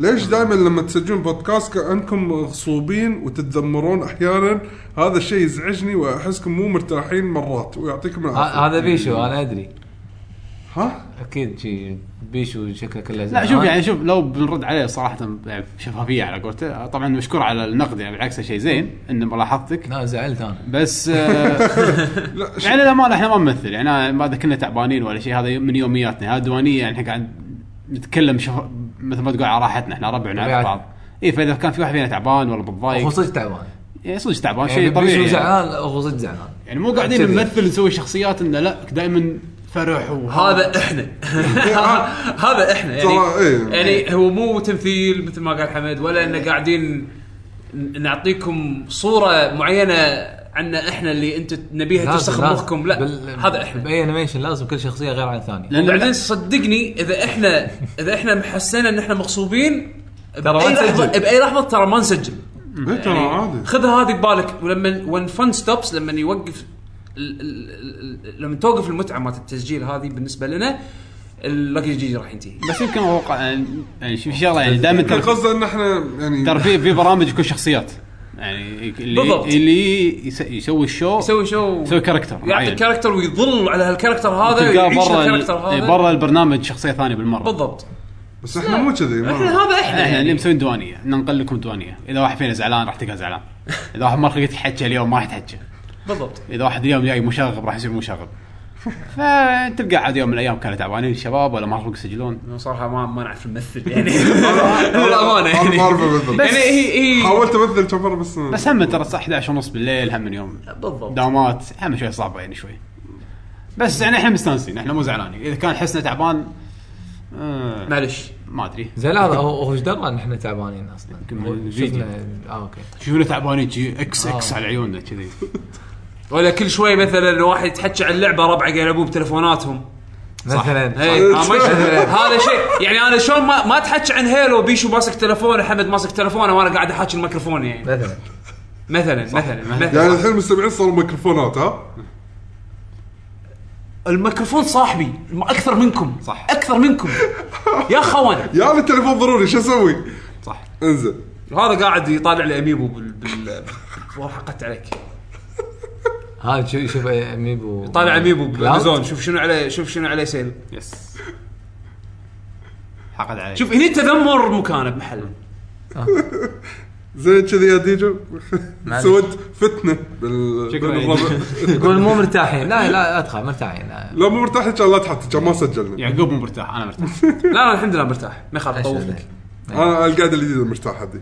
ليش دائما لما تسجلون بودكاست كانكم مغصوبين وتتذمرون احيانا هذا الشيء يزعجني واحسكم مو مرتاحين مرات
آه،
ويعطيكم العافيه
ه- هذا بيشو انا ادري
ها
اكيد شي بيشو شكله كله
لا
زعلان.
شوف يعني شوف لو بنرد عليه صراحه يعني شفافيه على قولته طبعا مشكور على النقد يعني بالعكس شيء زين ان ملاحظتك
لا زعلت انا
بس آه يعني للامانه احنا ما نمثل يعني ما إذا كنا تعبانين ولا شيء هذا من يومياتنا هذا ديوانيه يعني احنا قاعد نتكلم شف... مثل ما تقول على راحتنا احنا ربعنا على
طبيعتنا.
بعض اي فاذا كان في واحد فينا تعبان ولا
هو
متضايق
صدق تعبان
يعني صدق تعبان
يعني
شيء طبيعي
بيشو
يعني.
زعلان هو صدق زعلان
يعني مو قاعدين
اعتذر.
نمثل نسوي شخصيات انه لا دائما فرح وهذا
هذا احنا هذا احنا
ترى
يعني
إيه.
يعني هو مو تمثيل مثل ما قال حمد ولا
إيه.
ان قاعدين ن- نعطيكم صوره معينه عنا احنا اللي انت نبيها
لازم-
ترسخ
لازم.
مخكم لا
بال-
هذا احنا
باي انيميشن لازم كل شخصيه غير عن الثانيه
لأن-
بعدين صدقني اذا احنا اذا احنا حسينا ان احنا مغصوبين
ترى ما
باي لحظه
نسجل.
باي لحظه ترى ما نسجل
إيه ترى عادي
خذها هذه ببالك ولما وان فن ستوبس لما يوقف ال- ال- ال- ال- لما توقف المتعه مالت التسجيل هذه بالنسبه لنا اللاكي جي راح ينتهي
بس يمكن اتوقع يعني- يعني شوف شغله يعني دائما
كان
ترى
قصده ان احنا يعني
ترى في في برامج يكون شخصيات يعني اللي
بالضبط.
اللي يس- يسوي الشو
يسوي شو
يسوي كاركتر معين.
يعطي كاركتر ويظل على هالكاركتر هذا
تلقاه
ويعيش
برا ال- إيه،
الكاركتر هذا
برا البرنامج شخصيه ثانيه بالمره
بالضبط
بس احنا مو كذي
احنا
ما-
هذا احنا
احنا اللي
يعني
مسويين دوانيه ننقل لكم دوانيه اذا واحد فينا زعلان راح تلقاه زعلان اذا واحد ما رقيت يتحكى اليوم ما راح يتحكى
بالضبط
اذا واحد اليوم جاي مشاغب راح يصير مشاغب فتلقى عاد يوم من الايام كانوا تعبانين الشباب ولا ما رفقوا يسجلون
صراحه ما ما نعرف نمثل يعني للامانه
أنا ما
يعني
اعرف امثل
يعني هي هي
حاولت امثل كم مره بس
بس هم ترى الساعه 11 ونص بالليل هم من يوم
بالضبط
دوامات هم شوي صعبه يعني شوي بس يعني احنا مستانسين احنا مو زعلانين اذا كان حسنا تعبان آه،
معلش
ما ادري
زين هذا هو هو ايش درى ان احنا تعبانين اصلا
الفيديو.
شفنا اه اوكي
شوفنا تعبانين جي اكس اكس على عيوننا كذي
ولا كل شوي مثلا واحد يتحكى عن اللعبه ربعه قاعد يلعبون بتلفوناتهم
مثلا
هي، آه، ما يش- هذا شيء يعني انا شلون ما ما اتحكى عن هيلو بيشو ماسك تلفونه حمد ماسك تلفونه وانا قاعد احكي الميكروفون يعني
مثلا
مثلا مثلا مثلا
يعني الحين المستمعين صاروا ميكروفونات ها
الميكروفون صاحبي الم- اكثر منكم صح اكثر منكم يا خون
يا يعني التليفون ضروري شو اسوي؟ صح انزل
هذا قاعد يطالع لي اميبو بال بال والله حقدت عليك
هذا شوف شوف اميبو
طالع اميبو بالامازون
بالامازون
شوف شنو عليه شوف شنو عليه سيل
يس حقد عليك
شوف هني التذمر مكانه بمحله
زين كذي يا ديجو
معلش.
سويت فتنه بال
شكراً.
بالربع.
يقول مو مرتاحين لا لا ادخل مرتاحين لا.
لا مو مرتاح ان شاء الله تحط كان ما سجلنا
يعقوب مو مرتاح انا مرتاح
لا انا الحمد لله مرتاح ما يخاف اطوف لك
انا القاعده الجديده المرتاحه دي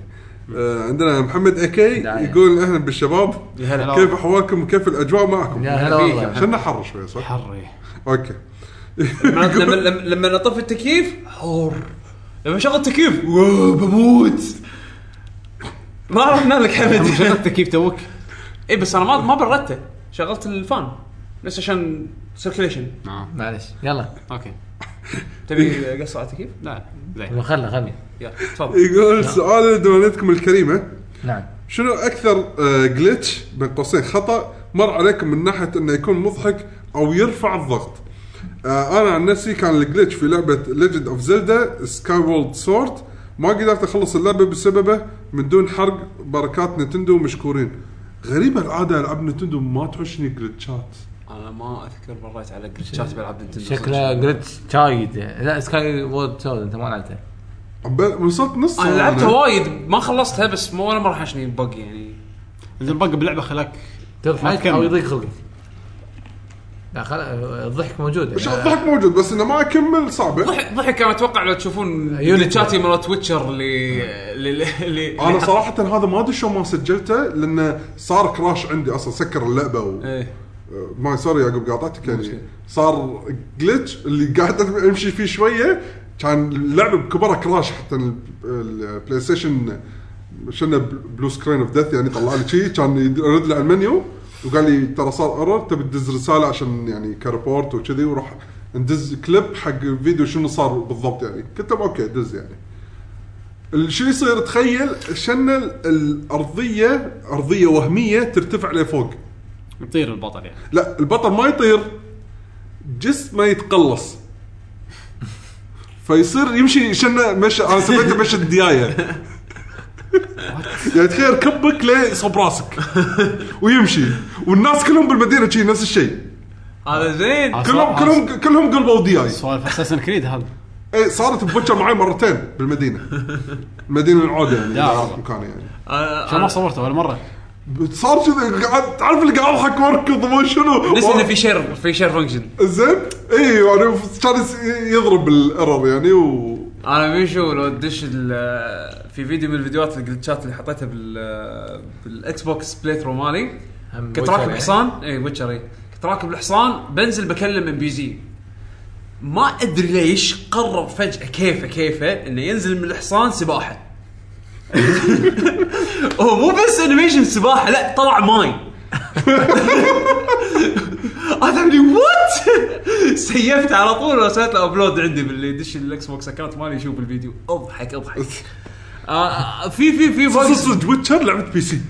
آه، عندنا محمد اكي يقول اهلا بالشباب
هلا.
كيف احوالكم كيف الاجواء معكم؟
يا هلا والله
عشان حر شوي صح؟
حري
اوكي
لما لما- لما اطفي التكييف حور لما شغل التكييف واو، بموت ما رحنا لك حمد
شغلت التكييف توك
اي بس انا ما ما بردته شغلت الفان بس عشان سيركليشن
معلش يلا
اوكي
تبي قصه على التكييف؟
لا زين
والله خلنا خلنا
يلا تفضل
يقول سؤال دولتكم الكريمه
نعم
شنو آه، اكثر جلتش بين قوسين خطا مر عليكم من ناحيه انه يكون مضحك او يرفع الضغط آه، انا عن نفسي كان الجلتش في لعبه ليجند اوف زلدا سكاي وولد سورد ما قدرت اخلص اللعبه بسببه من دون حرق بركات نتندو مشكورين غريبه العاده العاب نتندو ما تحوشني جلتشات
انا ما اذكر مريت على جلتشات بلعب نتندو
شكله جريت شايد لا سكاي وورد شايد انت ما لعبته
عبال- وصلت نص
انا لعبتها
أنا.
وايد ما خلصتها بس مو ولا مره حشني بق يعني
البق باللعبه خلاك ما
تضحك
تكمل.
او يضيق خلقك لا خل... الضحك موجود
ش- الضحك موجود بس انه ما اكمل صعبه
ضحك ضحك انا اتوقع لو
آه،
تشوفون
يونيتي.
جلتشاتي مرات ويتشر اللي اللي- اللي
انا صراحه هذا ما ادري شلون ما سجلته لانه صار كراش عندي اصلا سكر اللعبه و...
إيه.
آه، ما سوري يعقوب قاطعتك يعني صار جلتش اللي قاعد امشي فيه شويه كان اللعبه بكبرها كراش حتى ال- البلاي ستيشن شلنا بل- بلو سكرين اوف ديث يعني طلع لي شيء كان يرد لي على المنيو وقال لي ترى صار ايرور تبي تدز رساله عشان يعني كريبورت وكذي وراح ندز كليب حق فيديو شنو صار بالضبط يعني قلت له اوكي دز يعني شو يصير تخيل شن الارضيه ارضيه وهميه ترتفع لفوق
يطير البطل يعني
لا البطل ما يطير جسمه يتقلص فيصير يمشي شنه مشى انا سميته مشى الديايه يعني تخيل كبك ليه صوب راسك ويمشي والناس كلهم بالمدينه شي نفس الشيء
هذا
آه.
زين
كلهم كلهم كلهم قلبوا دياي
سوالف اساسن كريد هذا
اي صارت بوجه معي مرتين بالمدينه مدينه العوده يعني
لا والله.
مكان يعني
آه،
شو ما صورته ولا مره
صار كذا قاعد تعرف اللي قاعد اضحك واركض وما شنو
بس انه في شير في شير فانكشن
زين اي يعني كان يضرب الايرور يعني و
انا ميشو لو تدش ال- في فيديو من الفيديوهات الجلتشات اللي حطيتها بال بالاكس بوكس بلاي ثرو مالي
هم
كنت
ويتشر
راكب
يعني.
حصان اي ويتشر اي كنت راكب الحصان بنزل بكلم ام بي زي ما ادري ليش قرر فجاه كيفه كيفه انه ينزل من الحصان سباحه هو مو بس انيميشن سباحه لا طلع ماي انا مني وات سيفت على طول وسويت له ابلود عندي باللي يدش الاكس بوكس اكونت مالي يشوف الفيديو اضحك اضحك آه في في في
صدق
فويس
صدق ويتشر لعبه بي سي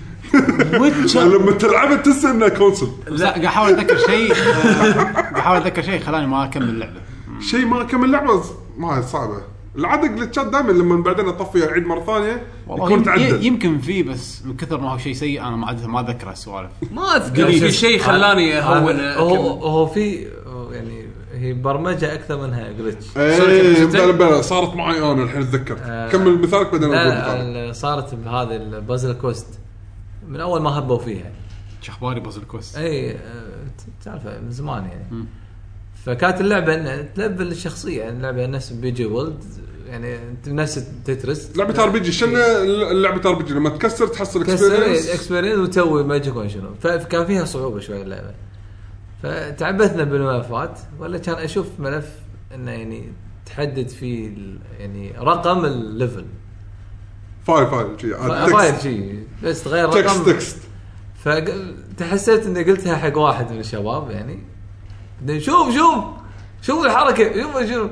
ويتشر
لما تلعبها تنسى انها كونسل
لا قاعد احاول اتذكر شيء آه، قاعد احاول اتذكر شيء خلاني ما اكمل اللعبه
شيء ما كمل لعبه ما صعبه العاده جلتشات دائما لما بعدين اطفي اعيد مره ثانيه يكون
والله يم-
تعدل
يمكن في بس من كثر ما هو شيء سيء انا ما عاد ما اتذكر السوالف
ما
يعني
اذكر في شيء خلاني اهون
هذا- آه، هو
أكمل.
هو في يعني هي برمجه اكثر منها جلتش
ايه بلا بلا صارت معي انا الحين اتذكر كمل مثالك بعدين اقول مثالك
آه. لا آه. صارت بهذه البازل كوست من اول ما هبوا فيها
شو اخباري بازل كويست
اي آه، ت- تعرفه من زمان يعني فكانت اللعبه إن تلبل الشخصيه يعني اللعبه نفس بيجي وولد يعني أنت نفس تترس
لعبه ار بي جي شنو لعبه ار بي جي لما تكسر تحصل
كسر
اكسبيرينس
اكسبيرينس وتسوي ماجيك وما شنو فكان فيها صعوبه شوي اللعبه فتعبثنا بالملفات ولا كان اشوف ملف انه يعني تحدد فيه ال- يعني رقم الليفل
فايل فايل شي آه، عاد
غير
تكست
شيء بس تغير
تكست
رقم
تكست
فتحسيت اني قلتها حق واحد من الشباب يعني بعدين شوف شوف شوف الحركه شوف شوف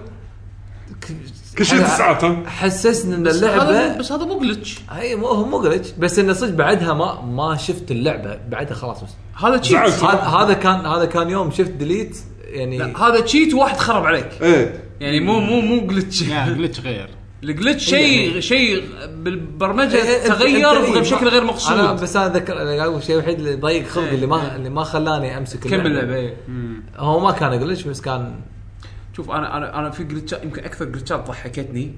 كل شيء تسعات ها
حسسني ان
هذا
اللعبه
بس هذا مو جلتش
هي مو هو مو glitch، بس انه صدق بعدها ما ما شفت اللعبه بعدها خلاص بس
هذا تشيت
زعلت.
هذا هذا كان هذا كان يوم شفت ديليت يعني
هذا تشيت واحد خرب عليك
ايه
يعني مو مو مو جلتش
لا جلتش غير
الجلتش شيء
يعني-
شيء بالبرمجه
إيه، إنت-
تغير
إنت إيه،
بشكل
ما-
غير
انا
مقصود إيه،
بس انا اتذكر أنا أقول الشيء الوحيد اللي ضيق خلقي اللي ما اللي ما خلاني امسك
كمل اللعبه إيه.
هو ما كان جلتش بس كان
شوف انا انا انا في جلتشات يمكن اكثر جلتشات ضحكتني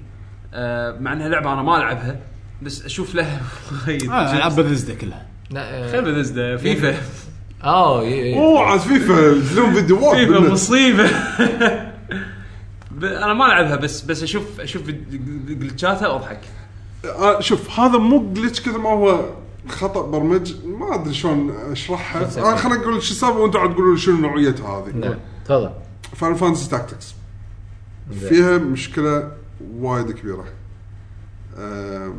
آه مع انها لعبه انا ما العبها بس اشوف لها وايد
آه، العاب بذزدا كلها
لا، آه،
خير بذزدا فيفا
اه ي- ي-
اوه عاد فيفا اليوم فيديوهات
فيفا
منه.
مصيبه ب- انا ما العبها بس بس اشوف اشوف جلتشاتها واضحك
آه، شوف هذا مو جلتش كثر ما هو خطا برمج ما ادري شلون اشرحها انا خليني اقول لك شو السالفه وانتم عاد تقولوا لي شنو نوعيتها هذه
نعم تفضل
فاينل فانتسي تاكتكس فيها مشكله وايد كبيره أم،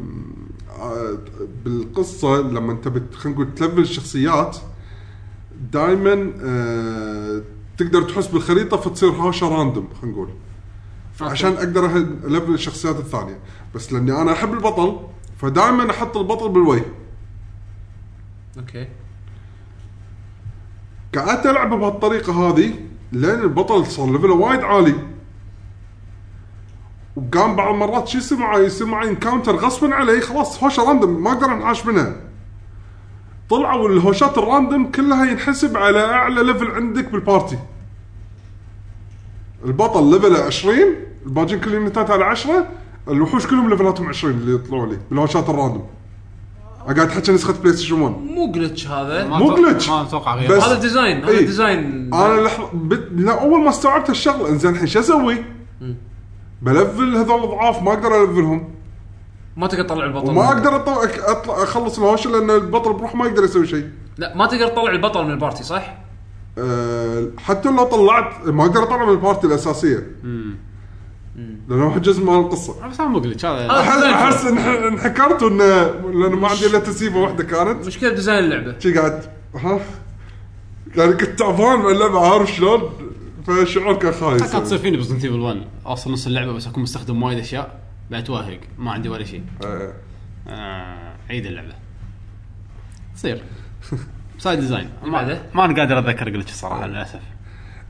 آه، بالقصه لما انت بت- خلينا نقول تلفل الشخصيات دائما تقدر تحس بالخريطه فتصير هوشه راندوم خلينا نقول عشان اقدر أهد- الفل الشخصيات الثانيه بس لاني انا احب البطل فدائما احط البطل بالوجه
اوكي
قعدت العب بهالطريقه هذه لين البطل صار ليفله وايد عالي وقام بعض المرات شو يصير معي يصير معي انكاونتر غصبا علي خلاص هوشه راندوم ما اقدر انحاش منها طلعوا الهوشات الراندوم كلها ينحسب على اعلى ليفل عندك بالبارتي البطل ليفله 20 الباجين كل يونتات على 10 الوحوش كلهم ليفلاتهم 20 اللي يطلعوا لي بالهوشات الراندوم أنا قاعد احكي نسخه بلاي ستيشن 1
مو جلتش هذا
ما
مو
أتوقع-
glitch.
ما اتوقع غير
بس-
هذا ديزاين هذا
إيه.
ديزاين
انا لحظه بت... لا اول ما استوعبت الشغله انزين الحين شو اسوي؟ بلفل هذول ضعاف ما اقدر الفلهم
ما تقدر تطلع البطل
وما اقدر أطلع... أطلع... اخلص الهوشه لان البطل بروح ما يقدر يسوي شيء
لا ما تقدر تطلع البطل من البارتي صح؟
أه... حتى لو طلعت ما اقدر اطلع من البارتي الاساسيه لانه هو جزء من القصه
بس هذا مو جلتش هذا
آه.
احس احس إن- انحكرت وان لانه ما عندي الا تسيبه واحده كانت
مشكله ديزاين اللعبه
شي قاعد ها يعني كنت تعبان من اللعبه عارف شلون فالشعور كان خايس
كانت تصير فيني بريزنت ايفل 1 اوصل نص اللعبه بس اكون مستخدم وايد اشياء بعد توهق ما عندي ولا شيء
أه.
آه، عيد اللعبه تصير سايد ديزاين
بعده؟
ما ما انا قادر اتذكر جلتش صراحه للاسف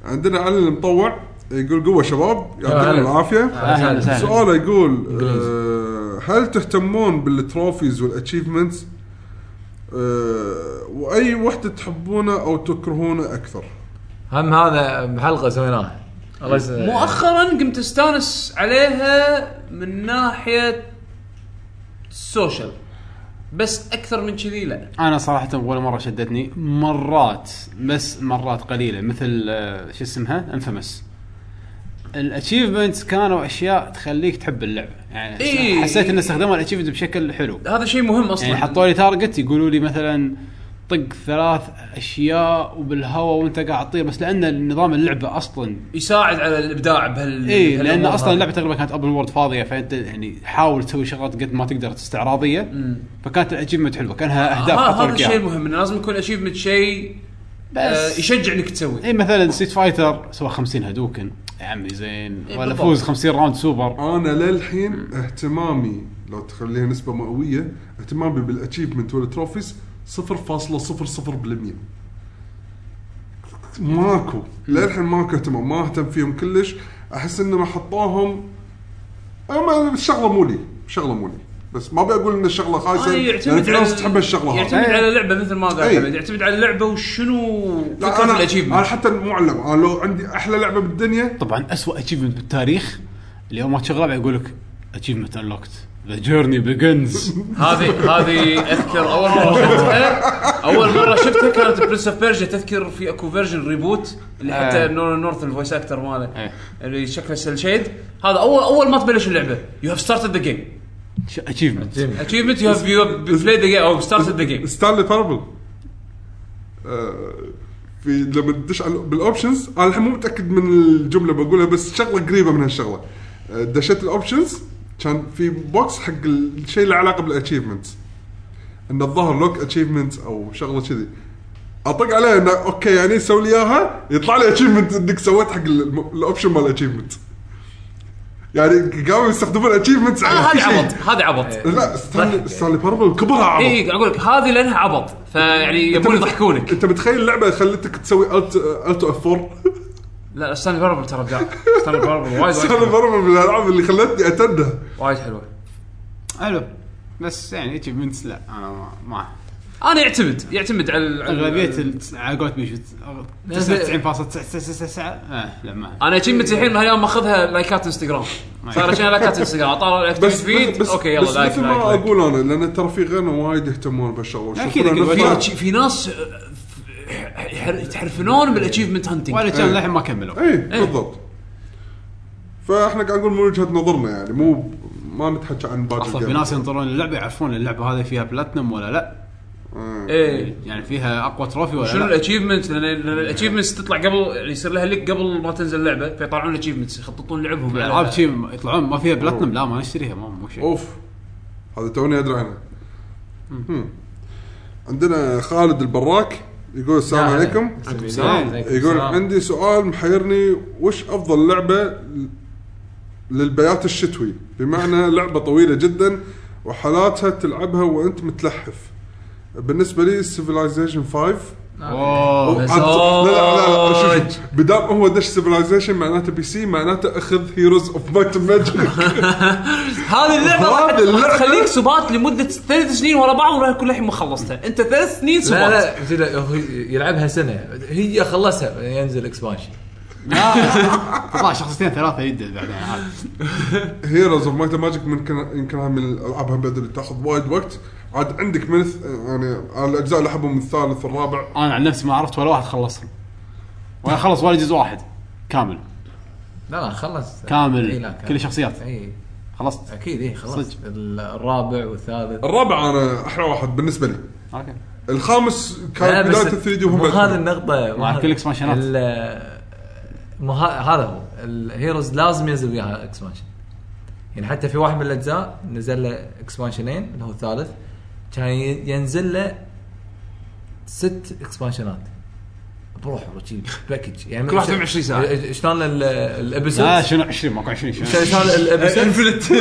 عندنا علي المطوع يقول قوه شباب
هلا.
يعطيكم العافيه
اهلا وسهلا
سؤاله يقول آه، هل تهتمون بالتروفيز والاتشيفمنتس واي وحده تحبونه او تكرهونه اكثر
هم هذا بحلقه سويناها الله يسلمك
مؤخرا قمت استانس عليها من ناحيه السوشيال بس اكثر من كذي لا
انا صراحه ولا مره شدتني مرات بس مرات قليله مثل آه، شو اسمها انفمس الاتشيفمنتس كانوا اشياء تخليك تحب اللعبه يعني
إيه.
حسيت ان استخدموا الاتشيفمنت بشكل حلو
هذا شيء مهم اصلا
يعني حطوا لي تارجت يقولوا لي مثلا طق ثلاث اشياء وبالهواء وانت قاعد تطير بس لان نظام إيه، اللعبه اصلا
يساعد على الابداع بهال
اي لان
بهالأمور
اصلا
هذه.
اللعبه تقريبا كانت ابل وورد فاضيه فانت يعني حاول تسوي شغلات قد ما تقدر استعراضيه فكانت الاتشيفمنت حلوه كانها اهداف
ها-
حطوا
آه، هذا
لك
الشيء
إياها.
المهم انه لازم يكون اتشيفمنت شيء آه،
بس إيه.
يشجع انك تسوي
اي مثلا ستيت فايتر سوى 50 هدوكن يا عمي زين
إيه
ولا
بالضبط.
فوز 50 راوند سوبر
انا للحين اهتمامي لو تخليها نسبه مئويه اهتمامي بالاتشيفمنت والتروفيز 0.00% ماكو للحين ماكو اهتمام ما اهتم فيهم كلش احس انهم حطوهم أما الشغله مو لي الشغله مو لي بس ما ابي اقول ان الشغله خايسه
هذا
لان في ناس تحب الشغله هذه
آه، يعتمد
إيه.
على اللعبه مثل ما قال
إيه.
حمد يعتمد على اللعبه وشنو
لا،
فكره
انا انا
الاتشيفمنت
حتى مو على اللعبة، انا لو عندي احلى لعبه بالدنيا
طبعا اسوء اتشيفمنت بالتاريخ اليوم ما تشغل يقول لك اتشيفمنت انلوكت ذا جيرني بيجنز
هذه هذه اذكر اول مره شفتها اول مره شفتها كانت برنس اوف بيرجا تذكر في اكو فيرجن ريبوت اللي حتى
آه.
نور نورث الفويس اكتر ماله
إيه.
اللي شكله سيل شيد هذا اول اول ما تبلش اللعبه يو هاف ستارتد ذا جيم
اتشيفمنت
اتشيفمنت يو هاف يو بلاي ذا جيم او ستارتد ذا جيم
ستانلي تربل Uh, في لما تدش على- بالاوبشنز انا الحين مو متاكد من الجمله بقولها بس شغله قريبه من هالشغله آه، دشيت الاوبشنز كان في بوكس حق الشيء اللي علاقه بالاتشيفمنتس ان الظهر لوك اتشيفمنتس او شغله كذي اطق عليه انه اوكي يعني سوي لي اياها يطلع لي اتشيفمنت انك سويت حق الم- الاوبشن مال الاتشيفمنت يعني قاموا يستخدمون الاتشيفمنتس
آه، هذه إيه. عبط هذه عبط
لا ستانلي ستانلي باربل كبرها عبط
اي اقول لك هذه لانها عبط فيعني يبون يضحكونك
انت متخيل اللعبه خلتك تسوي الت التو اف 4
لا لا ستانلي باربل ترى ابداع ستانلي باربل وايد وايد
انا
حلوة.
ضربه من الالعاب اللي خلتني اتنه
وايد حلوه
حلو بس يعني اتشيفمنتس لا انا ما- ما
انا يعتمد يعتمد على ال- على-
اغلبيه ال- على قولت بيشو 99.999 آه، لا ما
انا اتشيفمنت الحين هالايام ماخذها لايكات انستغرام صار عشان لايكات انستغرام طالع الاكتيفيتي فيد اوكي يلا
بس
لايك
مثل ما
لايك لايك.
اقول انا لان ترى في غيرنا وايد يهتمون بالشغله
أكيد، أكيد.
شوف، أنا-
وايد.
في ناس آه، يحر- يتحرفنون بالاتشيفمنت هانتنج
ولا كان للحين ما كملوا
اي إيه، بالضبط فاحنا قاعد نقول من وجهه نظرنا يعني مو ب- ما نتحكى عن باقي
اصلا
الجيم.
في ناس ينطرون اللعبه يعرفون اللعبه هذه فيها بلاتنم ولا لا
إيه.
ايه
يعني فيها اقوى تروفي ولا
شنو
لا
الاتشيفمنت لان الاتشيفمنتس تطلع قبل يعني يصير لها لك قبل ما تنزل اللعبه فيطلعون الاتشيفمنتس يخططون لعبهم يعني.
الالعاب شي يطلعون ما فيها بلاتنم لا ما نشتريها ما مو شيء
اوف هذا توني ادري عنها هم. عندنا خالد البراك يقول السلام
هلا.
عليكم
زين.
يقول عندي سؤال محيرني وش افضل لعبه ل- للبيات الشتوي بمعنى لعبه طويله جدا وحالاتها تلعبها وانت متلحف بالنسبه لي سيفلايزيشن 5
اوه
عاد- لا لا لا, لا شوف- شوف بدام هو دش سيفلايزيشن معناته بي سي معناته اخذ هيروز اوف مايت ماجيك
هذه
هذه
اللعبه راح
اللعبة-
راح تخليك سبات لمده ثلاث سنين ورا بعض وراح كل الحين ما خلصتها انت ثلاث سنين سبات
لا لا مش- لا هو يلعبها سنه هي خلصها بعدين ينزل اكسبانشن
طلع شخصيتين ثلاثه يدل بعدين عاد.
هيروز اوف مايت ماجيك ممكن يمكن هاي من الالعاب هالبدل اللي تاخذ وايد وقت عاد عندك من الث- يعني على الاجزاء اللي احبهم الثالث والرابع
انا عن نفسي ما عرفت ولا واحد خلصهم ولا خلص ولا جزء واحد كامل
لا لا خلص إي، لا،
كامل
كامل.
كل الشخصيات
اي
خلصت
اكيد اي خلاص
صدق.
الرابع والثالث
الرابع انا احلى واحد بالنسبه لي
اوكي
الخامس
لا،
كان
بس
بدايه 3 دي وهم
مو هذا
بعد.
النقطه مو
مع
هذا-
كل إكسبانشنات.
ال- مو ه- هذا هو الهيروز لازم ينزل وياها اكسبانشن يعني حتى في واحد من الاجزاء نزل له اكسبانشنين اللي هو الثالث كان ي- ينزل له ست اكسبانشنات بروحه شي باكج يعني
كل واحد 24 ساعة.
ش- شلون ال- الابيسود
لا آه، شنو 20 ماكو 20 شنو
شلون الابيسود
انفلت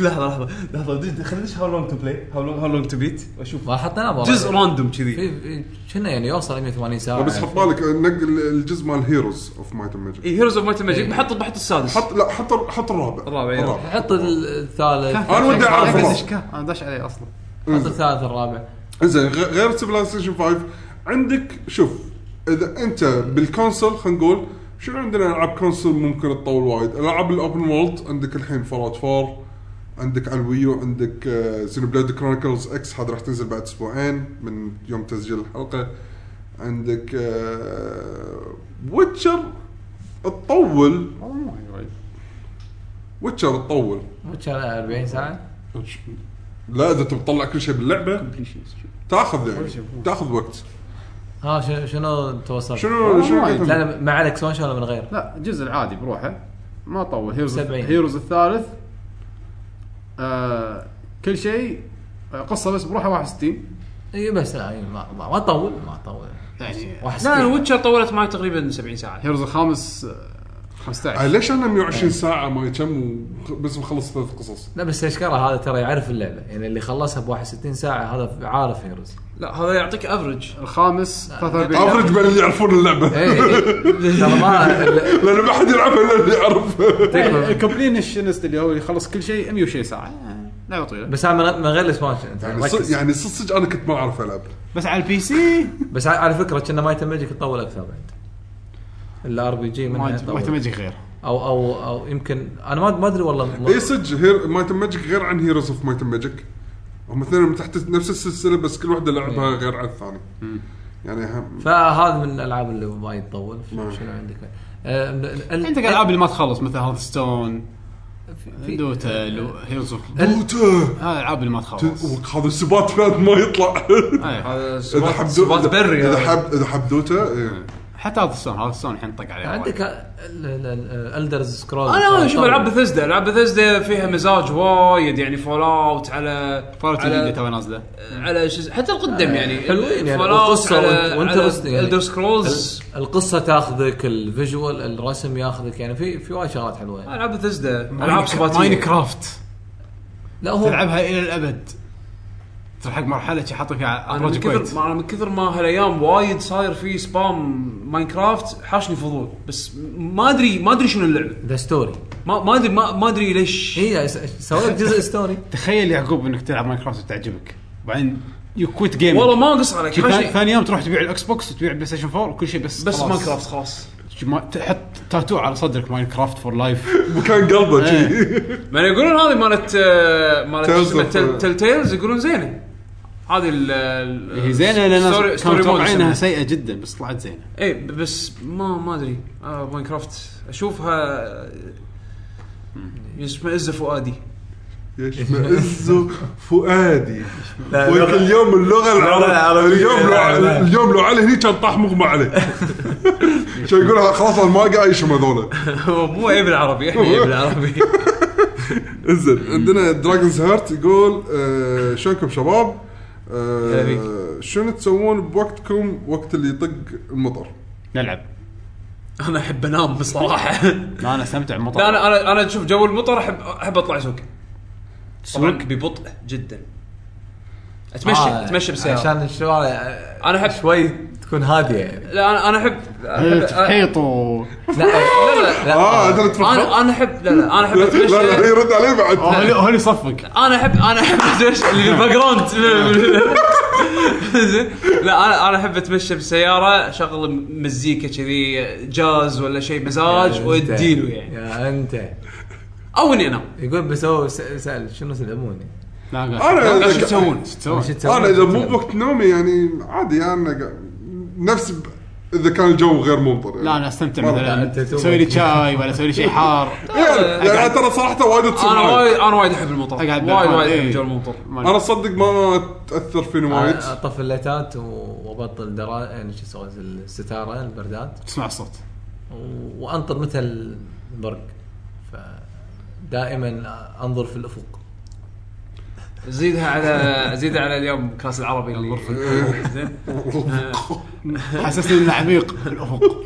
لحظه لحظه لحظه خلينا ندش هاو لونج تو بلاي هاو لونج هاو لونج تو بيت واشوف
ما حطيناه برا.
جزء راندوم كذي
في- في- كنا يعني يوصل 180 ساعه
بس حط بالك نق الجزء مال هيروز اوف مايت
إيه.
ماجيك
اي هيروز اوف مايت ماجيك بحط بحط السادس
حط لا حط الر- حط الرابع
الرابع،
إيه.
إي.
الرابع
حط ال- الثالث
انا ودي اعرف
أنا
الرابع.
دش- انا داش عليه اصلا
حط الثالث الرابع
زين غ- غير سيفلايزيشن 5 عندك شوف اذا انت بالكونسول خلينا نقول شنو عندنا العاب كونسول ممكن تطول وايد؟ العاب الاوبن وولد عندك الحين فولات 4 عندك على الويو عندك آه، سينو بليد كرونيكلز اكس هذا راح تنزل بعد اسبوعين من يوم تسجيل الحلقه عندك ويتشر تطول ويتشر تطول
كان 40 ساعه
لا اذا تبي تطلع كل شيء باللعبه تاخذ يعني تاخذ وقت
ها شنو شنو توصل؟
شنو شنو
لا لا مع الاكسبانشن ولا من غير؟
لا الجزء العادي بروحه ما طول هيروز
70.
هيروز الثالث آه كل شيء آه، قصه بس بروحه 61
اي بس لا إي، ما, ما, ما طول ما طول
يعني
واحد
لا
ستين.
ويتشر طولت معي تقريبا 70 ساعه
هيروز الخامس آه، 15
ليش انا
إيه.
120 ساعه ما كم بس مخلص ثلاث قصص
لا بس اشكره هذا ترى يعرف اللعبه يعني اللي خلصها ب 61 ساعه هذا عارف هيروز
لا هذا يعطيك افرج
الخامس
إيه.
43
افرج بين اللي يعرفون اللعبه
اي إي. ترى ما ال-
لان ما حد يلعبها الا اللي يعرف
تكفى.
الكومبلينشنست اللي هو يخلص كل شيء 100 ساعه آه، لعبه طويله
بس أنا من من غير الاكسبانشن أنت
يعني
ركز.
صدق- يعني صدق صدق انا كنت ما اعرف العب
بس على البي سي
بس على فكره كنا مايت ماجيك تطول اكثر بعد الار بي جي منها
ما ما
يطول.
تمجي غير
او او او يمكن انا ما ما ادري والله م-
اي إيه، صدق هير مايت ماجيك غير عن هيروز اوف مايت ماجيك هم اثنين من تحت نفس السلسله بس كل واحده
إيه.
لعبها غير عن الثاني يعني هم
فهذا من الالعاب اللي وايد تطول شنو عندك؟ آه، ال- ال-
عندك العاب اللي ما تخلص مثل هارد ستون
في-
دوتا لو- هيروز اوف
دوتا
هذا العاب اللي ما تخلص
وك- هذا سبات فات ما يطلع
إيه.
أي.
هذا
اذا حب دو-
سبات بري
اذا
هذا.
حب اذا حب دوتا إيه.
حتى هارد ستون هارد ستون الحين طق عليه
عندك الدرز سكرول
انا اشوف العاب بثزدا العاب بثزدا فيها مزاج وايد يعني فول اوت على
فارت اللي
على
تو نازله
على شو اسمه- حتى القدم يعني
حلوين يعني
فول اوت
القصة وانت- وانت
على
رسل يعني.
الدر سكرولز
القصه تاخذك الفيجوال الرسم ياخذك يعني في في وايد شغلات حلوه
العاب بثزدا العاب سباتيه
كرافت
لا هو
تلعبها الى الابد توصل حق مرحله شي حاطك على
انا من
ابراج
كثر
الكويت
ما انا من كثر ما هالايام وايد صاير في سبام ماينكرافت حاشني فضول بس ما ادري ما ادري شنو اللعبه
ذا ستوري
ما ما ادري ما, ما ادري ليش
هي سووا لك جزء ستوري
تخيل يعقوب انك تلعب ماينكرافت وتعجبك وبعدين يو كويت جيم
والله ما اقص عليك حاشني-
ثاني يوم تروح تبيع الاكس بوكس وتبيع بلاي ستيشن 4 وكل شيء بس
بس
خلاص.
ماينكرافت خلاص
ما- تحط تاتو على صدرك ماينكرافت فور لايف
إيه.
مكان قلبه كذي
ما أنا يقولون هذه مالت آه، مالت
Tales
اسمها
of-
تل تل تيلز يقولون زينه هذه ال ال-
هي زينه لان
story-
أنا
story
كانوا
mode
متوقعينها
يسمونها.
سيئه جدا بس طلعت زينه
اي بس ما ما ادري آه ماينكرافت اشوفها يشمئز فؤادي
يشمئز فؤادي
آه،
لا،
ويك
لا.
اليوم اللغه
لا، لا، العربية.
العربيه اليوم لو
لا، لا.
اليوم لو علي هني كان طاح مغمى عليه شو يقول خلاص أنا ما قايشهم هذول
هو مو عيب العربي احنا عيب العربي
انزين عندنا دراجونز هارت يقول آه، شلونكم شباب؟ آه،
هلا بيك.
شنو تسوون بوقتكم وقت اللي يطق المطر؟
نلعب
انا احب انام بصراحه
ما انا استمتع بمطر
لا انا انا انا شوف جو المطر احب احب اطلع سوق
سوق؟
طبعا ببطء جدا اتمشى
آه،
اتمشى بالسياره
عشان الشوارع
انا أحب-
احب شوي تكون هاديه يعني
لا انا انا احب
آه،
أحب-
تحيط و
أه،
لا لا آه،
اه درت
انا انا احب لا لا انا احب
لا لا
اتمشى
يرد عليه بعد
هو اللي يصفق
انا احب انا احب اتمشى اللي بالباك جراوند زين. لا انا انا احب اتمشى بالسياره شغل مزيكا كذي جاز ولا شيء مزاج واديله يعني
يا انت
او اني انام
يقول بسوي س- سال شنو تلعبون
انا
شو تسوون؟
شو تسوون؟
انا اذا مو بوقت نومي يعني عادي انا قا- نفس ب- اذا كان الجو غير ممطر يعني
لا انا استمتع
مرة.
أنت
مثلا
تومك.
اسوي لي شاي ولا اسوي لي شيء حار
يعني يعني ترى صراحه وايد تصير
انا
معي.
وايد انا وايد احب المطر
أقعد
وايد
بالحال.
وايد احب
إيه.
جو المطر
انا صدق ما تاثر فيني وايد
أنا اطفي الليتات و- وابطل درا يعني شو اسوي الستاره البردات
تسمع الصوت
و- وانطر مثل البرق فدائما انظر في الافق
زيدها على زيدها على اليوم كاس العربي الغرفه زين
حسسني انه عميق الافق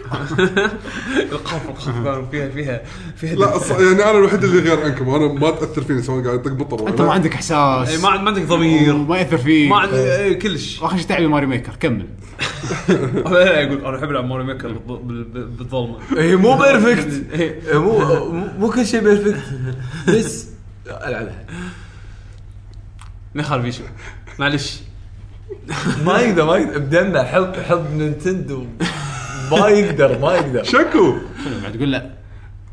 القاف القاف كانوا فيها فيها فيها
لا ص- يعني انا الوحيد اللي غير عنكم انا ما تاثر فيني سواء قاعد يطق مطر ولا
انت ما
لا.
عندك
إيه،
احساس
ما عند- ما عندك ضمير
ما ياثر فيك
ما عند إيه، كلش
واخر شيء تعبي ماري ميكر كمل
يقول انا احب العب ماري ميكر بالض- بال- بال- بالظلمه
هي مو بيرفكت
إيه،
إيه، مو مو كل شيء بيرفكت بس العبها
نخال بيشو معلش
ما يقدر ما يقدر بدمه حب حب نينتندو ما يقدر ما يقدر
شكو
بعد تقول لا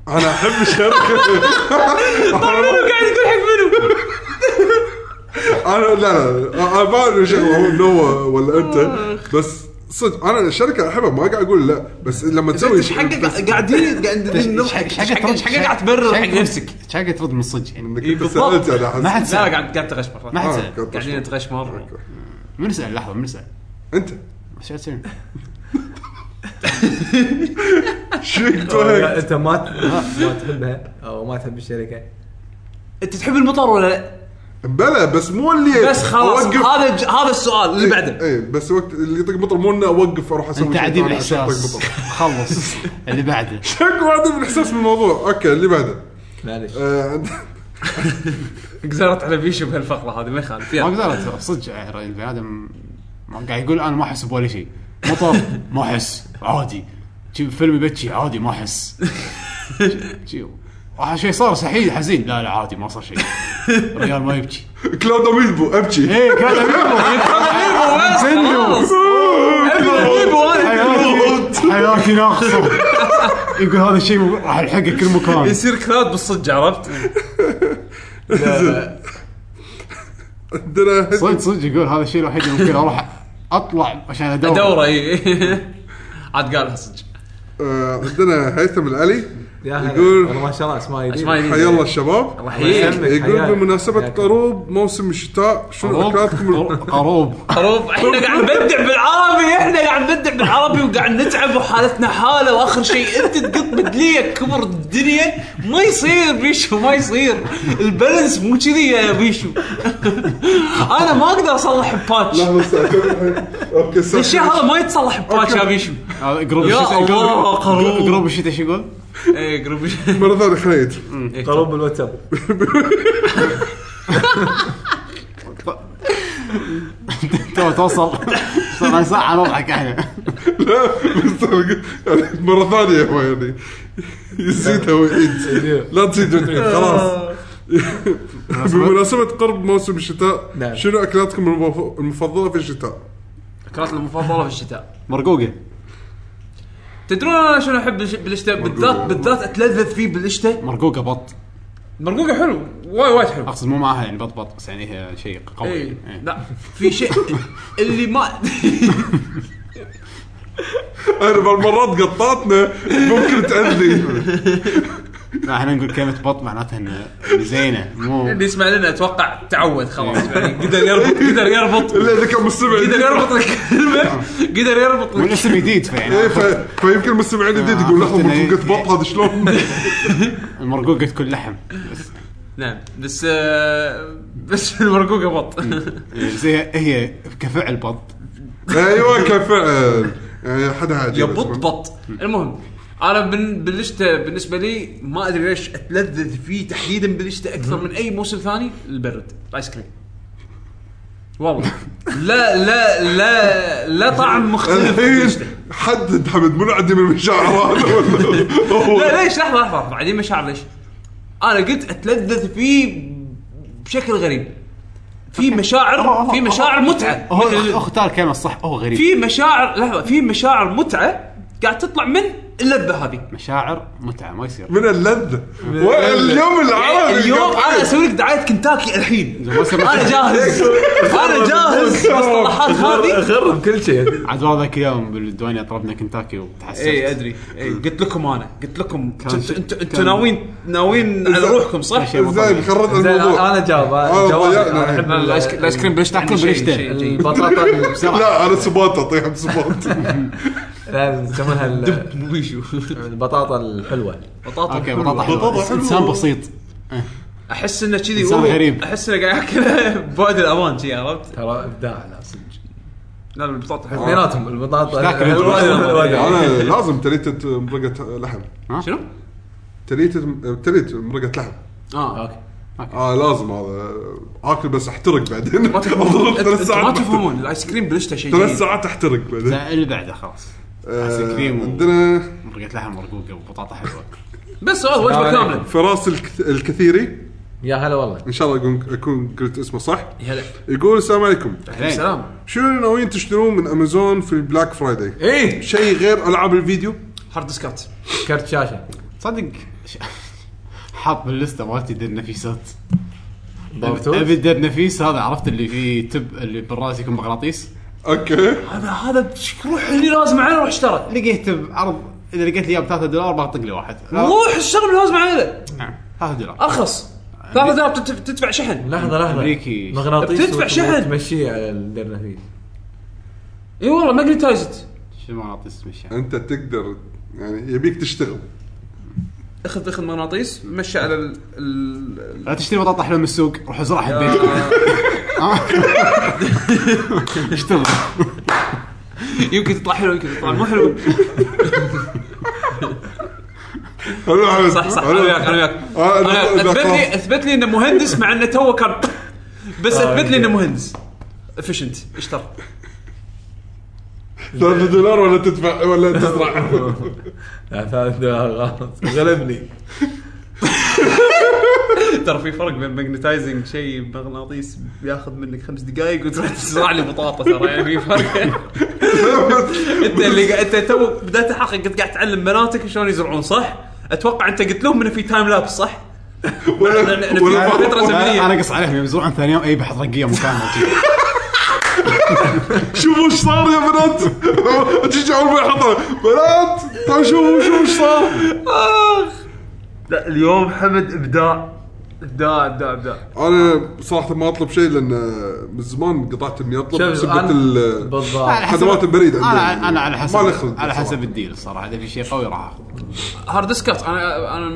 انا احب الشركه
قاعد يقول حق منو
انا لا لا انا بعرف شغله هو نوا ولا انت بس صدق انا الشركه احبها ما قاعد اقول لا بس لما تسوي
ايش حقك قاعدين قاعدين نضحك ايش حقك ايش حقك قاعد تبرر حق نفسك
ايش حقك ترد من الصج يعني
انك انت
بالضبط.
سالت انا
ما حد
احس
يعني
لا
سأل
قاعد قاعد تغشمر
ما حد
آه،
سأل
قاعد
قاعدين
تشوف.
نتغشمر
من سأل لحظه من سأل
انت
ايش قاعد تسوي؟
شيك طيب.
لا،
توهق
انت ما ت- ما تحبها او ما تحب الشركه
انت تحب المطر ولا لا؟
بلا بس مو اللي
بس خلاص
أوقف.
هذا الج- هذا السؤال اللي بعده
اي بس وقت اللي يطق مطر مو انه اوقف اروح اسوي
انت
شيء
عديم
ثاني عشان
الاحساس
أطق مطر.
خلص اللي بعده
شكو عديم الاحساس من الموضوع اوكي اللي بعده
معلش
آه، عند-
قزرت على بيشو بهالفقره هذه ما يخالف
ما
يلا.
قدرت صدق يعني البني ادم ما قاعد يقول انا ما احس بولا شيء مطر ما احس عادي شي فيلم يبكي عادي ما احس شي- آخر شيء صار صحيح حزين لا لا عادي ما صار شيء الرجال ما يبكي
كلاود اميبو ابكي
ايه كان
إيه،
حياتي حياتي ناقصه يقول هذا الشيء راح الحقه كل مكان
يصير كلاود بالصج عرفت؟
عندنا
صدق صدق يقول هذا الشيء الوحيد اللي ممكن اروح اطلع عشان ادور
دوره اي عاد قالها صدق
آه، عندنا هيثم العلي
يا هلا
يقول-
والله ما شاء الله اسماء
أسماء
جديده
جديدة.
حيا الله الشباب
الله يحييك
يسلمك. حياك.
يقول بمناسبة
حياك.
قروب موسم الشتاء شنو
قروب
اكلاتكم
قروب
حروف احنا قاعد نبدع بالعربي احنا قاعد نبدع بالعربي وقاعد نتعب وحالتنا حاله واخر شيء انت تقط بدليه كبر الدنيا ما يصير بيشو ما يصير البالانس مو كذي يا بيشو انا ما اقدر اصلح باتش
اوكي صح.
الشيء هذا ما يتصلح باتش يا بيشو
هذا قروب
يا
الشتاء- قروب-
الله، قروب.
قروب الشتاء شو يقول؟
اي قرب
مرة ثانية خليت
قروب بالواتساب
تو توصل صار ساعه نضحك احنا
لا بس أنا قلت- يعني مره ثانيه هو يعني يزيدها ويعيد لا تزيد وتعيد خلاص بمناسبة قرب موسم الشتاء
نعم.
شنو اكلاتكم المف- المفضلة في الشتاء؟
اكلاتي المفضله في الشتاء
مرقوقه
تدرون انا شنو احب بالش- بالشتاء بالذات بالذات اتلذذ فيه بالشتاء
مرقوقه بط
مرقوقه حلو وايد وايد حلو
اقصد مو معها يعني بط بط بس يعني هي شيء قوي
اي
يعني. إيه.
لا في شيء اللي ما
انا بالمرات قطعتنا ممكن تأذي
لا احنا نقول كلمه بط معناتها انه إنه زينه مو
اللي يسمع لنا اتوقع تعود خلاص
إيه.
يعني قدر يربط قدر يربط
الا اذا كان مستمع
قدر
جديد
يربط الكلمه قدر يربط
مو الاسم جديد فيعني
إيه، ف- فيمكن المستمعين الجديد يقول لحظة
عرفت إنه
ممكن قلت
إيه.
بط هذا شلون؟
المرقوقه تكون لحم بس
نعم بس آه، بس المرقوقه بط
إيه، زي هي كفعل بط
ايوه كفعل يعني حدا عادي
يبط بط المهم انا بن- بالشتاء بالنسبه لي ما ادري ليش اتلذذ فيه تحديدا بالشتاء اكثر من اي موسم ثاني البرد الايس كريم والله لا لا لا لا طعم مختلف
إيه،
بالشتاء.
الحين حدد حمد منعدم المشاعر هذا ولا هو
لا ليش لحظه لحظه بعدين مشاعر ليش؟ انا قلت اتلذذ فيه بشكل غريب في مشاعر في مشاعر متعه
هو
مثل-
هو اختار كلمه صح هو غريب
في مشاعر لحظه في مشاعر متعه قاعد تطلع من اللذه هذه
مشاعر متعه ما يصير
من اللذة واليوم العربي
اليوم
قطعت.
انا اسوي لك دعايه كنتاكي الحين
ما يصير
انا جاهز انا جاهز المصطلحات هذه
خرب كل شيء
عاد والله ذاك اليوم بالدوانية طلبنا كنتاكي وتحسست
اي ادري اي إيه، قلت لكم انا قلت لكم انتوا انتوا انتوا
كان-
ناويين ناويين على روحكم صح؟
شيء مطلع.
زين خربت الموضوع
انا جاوب
آه،
أنا جواب
ضيعنا.
انا احب
لا، لا، الآيس- الآيس كريم
ليش تاكل
يعني شيء-
بالشتاء؟
شيء- شيء.
البطاطا بسرعه
لا انا سباط اطيح بسباط
لا يسمونها ال- البطاطا الحلوه
بطاطا
اوكي بطاطا حلوه
بطاطا
بس
حلوة.
انسان بسيط
احس انه كذي
إنسان
هو-
غريب.
احس انه قاعد ياكلها بواد الامان كذي عرفت؟
ترى ابداع لا
آه.
صدق
لا البطاطا حلوة.
اثنيناتهم البطاطا
ذاك
الحلوة
الواد
والواد
الأبيض.
الأبيض.
انا لازم تريتة مرقة لحم
شنو؟
تريتة تريت مرقة لحم
آه.
اه اوكي
اه لازم هذا اكل بس احترق بعدين
ما تفهمون
أضرب ثلاث
أنتوا ما
ساعات
تفهمون الايس كريم بالشتاء شيء
ثلاث
جديد.
ساعات احترق بعدين
لا، اللي بعده خلاص
آه،
آيس كريم و-
عندنا
مرقه لحم مرقوقه وبطاطا حلوه
بس هذا
آه،
وجبه كامله
فراس الك- الكثيري
يا هلا والله
ان شاء الله يكون- اكون قلت اسمه صح
إيه.
هلا
يقول السلام عليكم
طيب، سلام
شنو ناويين تشترون من امازون في البلاك فرايداي؟
إيه.
ايه
شيء غير العاب الفيديو؟
هارد ديسكات
كرت شاشه
صدق ش- حاط باللسته مالتي دير نفيسات
بارتوز؟
ابي دير نفيس هذا عرفت اللي فيه تب اللي بالراس يكون مغناطيس
اوكي
هذا هذا روح اللي لازم عليه روح اشترى
لقيت بعرض اذا لقيت لي اياه ب 3 دولار بطق لي واحد
روح اشترى اللي لازم عليه
3 دولار
ارخص
آه.
ثلاث دولار بتدف- تدفع شحن
لحظه لحظه
أمريكي.
مغناطيس
بتدفع
وت-
شحن.
وتمشيه على الدرنافيس
اي والله ماجنتايزد
شو مغناطيس مشي
انت تقدر يعني يبيك تشتغل
اخذ اخذ مغناطيس مشى على ال- ال-
لا تشتري بطاطا حلوه من السوق روح ازرعها ببيتكم اشتغل
يمكن تطلع حلو يمكن تطلع مو حلو
حلو حلو
صح صح انا وياك انا وياك
آه،
أنا
لا- لا،
اثبت
خلاص.
لي اثبت لي انه مهندس مع انه توه كان بس اثبت لي انه مهندس افشنت اشتر
ثلاثة دولار ولا تدفع ولا تزرع
لا، ثالث دولار غلط غلبني
ترى في فرق بين ماجنتايزنج شيء مغناطيس بياخذ منك خمس دقائق وتروح تزرع لي بطاطا ترى يعني في فرق انت اللي قا- انت تو بدايه الحلقه كنت قاعد تعلم بناتك شلون يزرعون صح؟ اتوقع انت قلت لهم انه في تايم لابس صح؟
ولا
إحنا في
ولا
فترة زمنية.
انا قص عليهم يوم يزرعون ثاني يوم اي بحط رقيه مكانها
شوفوا ايش صار يا بنات تشجعوا المحطة بنات تعالوا شوفوا شوفوا ايش صار
لا اليوم حمد ابداع ابداع ابداع ابداع
انا صراحة ما اطلب شيء لان من زمان قطعت اني اطلب
شوف
بسبة
أنا-
ال-
بالضبط
خدمات آه، البريد عندهم.
انا انا على حسب
ما له خلق
على
صراحة.
حسب الديل الصراحه اذا في شيء قوي راح اخذ
هارد ديسكات انا انا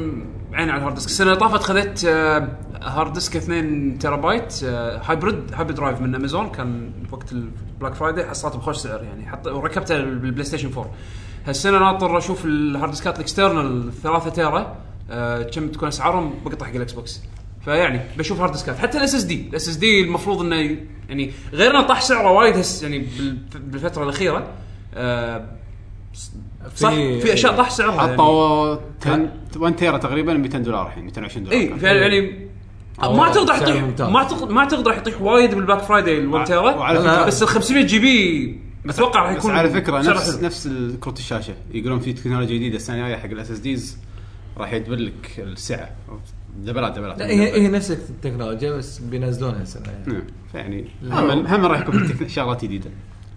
عيني على الهارد ديسك السنه اللي طافت خذيت آه، هارد ديسك 2 تيرا بايت آه، هايبرد هايبرد درايف من امازون كان وقت البلاك فرايداي حصلته بخوش سعر يعني حط وركبته بالبلاي ستيشن 4 هالسنه ناطر اشوف الهارد ديسكات الاكسترنال 3 تيرا آه، كم تكون اسعارهم بقطع حق الاكس بوكس فيعني بشوف هارد ديسكات حتى الاس اس دي الاس اس دي المفروض انه ي- يعني غير انه طاح سعره وايد هس يعني بال- بالفتره الاخيره آه صح في اشياء طاح سعرها يعني.
حطوا 1 تيرا تقريبا 200 دولار الحين 220 دولار
اي فعلا يعني ما اعتقد راح
سعر
يطيح
ممتاز.
ما اعتقد ما اعتقد راح يطيح وايد بالبلاك فرايداي الون تيرا
وعلى فكرة-
بس ال 500 جي بي اتوقع راح
بس
يكون
على فكره
سعره
نفس
حلو.
نفس كروت الشاشه يقولون في تكنولوجيا جديده السنه الجايه حق الاس اس ديز راح يدبر لك السعه دبلات دبلات
لا هي هي نفس التكنولوجيا بس بينزلونها السنه يعني.
نعم. فيعني هم هم راح يكون في تكن- شغلات جديده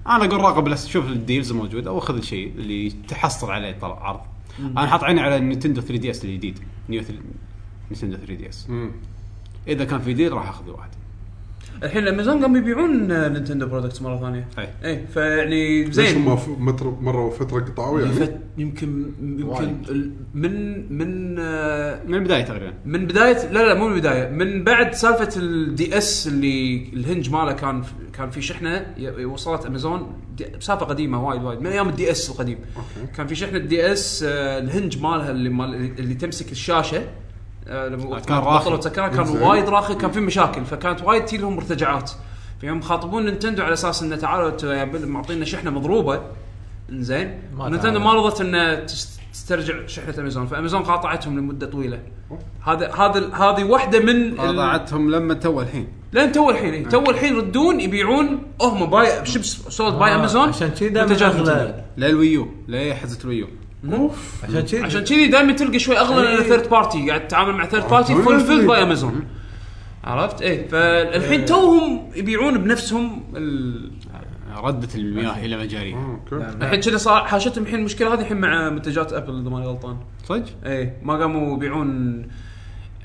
انا اقول راقب لس- شوف الديلز الموجوده او خذ الشيء اللي تحصل عليه طلع عرض انا حاط عيني على النينتندو 3 دي اس الجديد نيو ثل- نينتندو 3 دي اس اذا كان في ديل راح اخذ واحد
الحين امازون قاموا يبيعون آه، نينتندو برودكتس مره ثانيه
أي.
اي إيه، فيعني
ليش
زين
هم ف- متر- مروا فتره قطعوا يعني
فت- يمكن يمكن
وايد.
ال- من من آه،
من البدايه تقريبا
من بدايه لا لا مو من البدايه من بعد سالفه الدي اس اللي الهنج ماله كان كان في شحنه ي- وصلت امازون دي- بسالفه قديمه وايد وايد من ايام الدي اس القديم أوكي. كان في شحنه الدي اس آه، الهنج مالها اللي مال اللي تمسك الشاشه آه، لما وقت
كان
ما
راخي.
بطلوا تسكرها كان
إنزين.
وايد راخي كان في مشاكل فكانت وايد تجي لهم مرتجعات فيوم خاطبون نينتندو على اساس انه تعالوا انتوا يا بل- معطينا شحنه مضروبه انزين
ما
نينتندو ما
تعالوا.
رضت انه تست- تسترجع شحنه امازون فامازون قاطعتهم لمده طويله هذا هذا هذه واحده من ال-
وضعتهم لما تو الحين
لان تو الحين
نعم.
إيه، تو الحين يردون يبيعون هم باي بشبس سولد باي
آه،
امازون
عشان كذي دائما
منتجات
اغلى
نينتندو.
لا الويو لا حزه الويو
عشان كذي
نعم. عشان كذي دائما تلقى شوي اغلى
إيه.
لان ثيرد بارتي قاعد تتعامل مع ثيرد بارتي
آه،
طبيعي.
فولفيلد باي امازون عرفت ايه
آه.
فالحين توهم يبيعون بنفسهم ال...
ردت المياه الى
آه،
مجاريها
اوكي
نعم.
الحين كذا صار حاشتهم الحين المشكله هذه الحين مع منتجات ابل اذا ماني غلطان
صدق؟
ايه ما قاموا يبيعون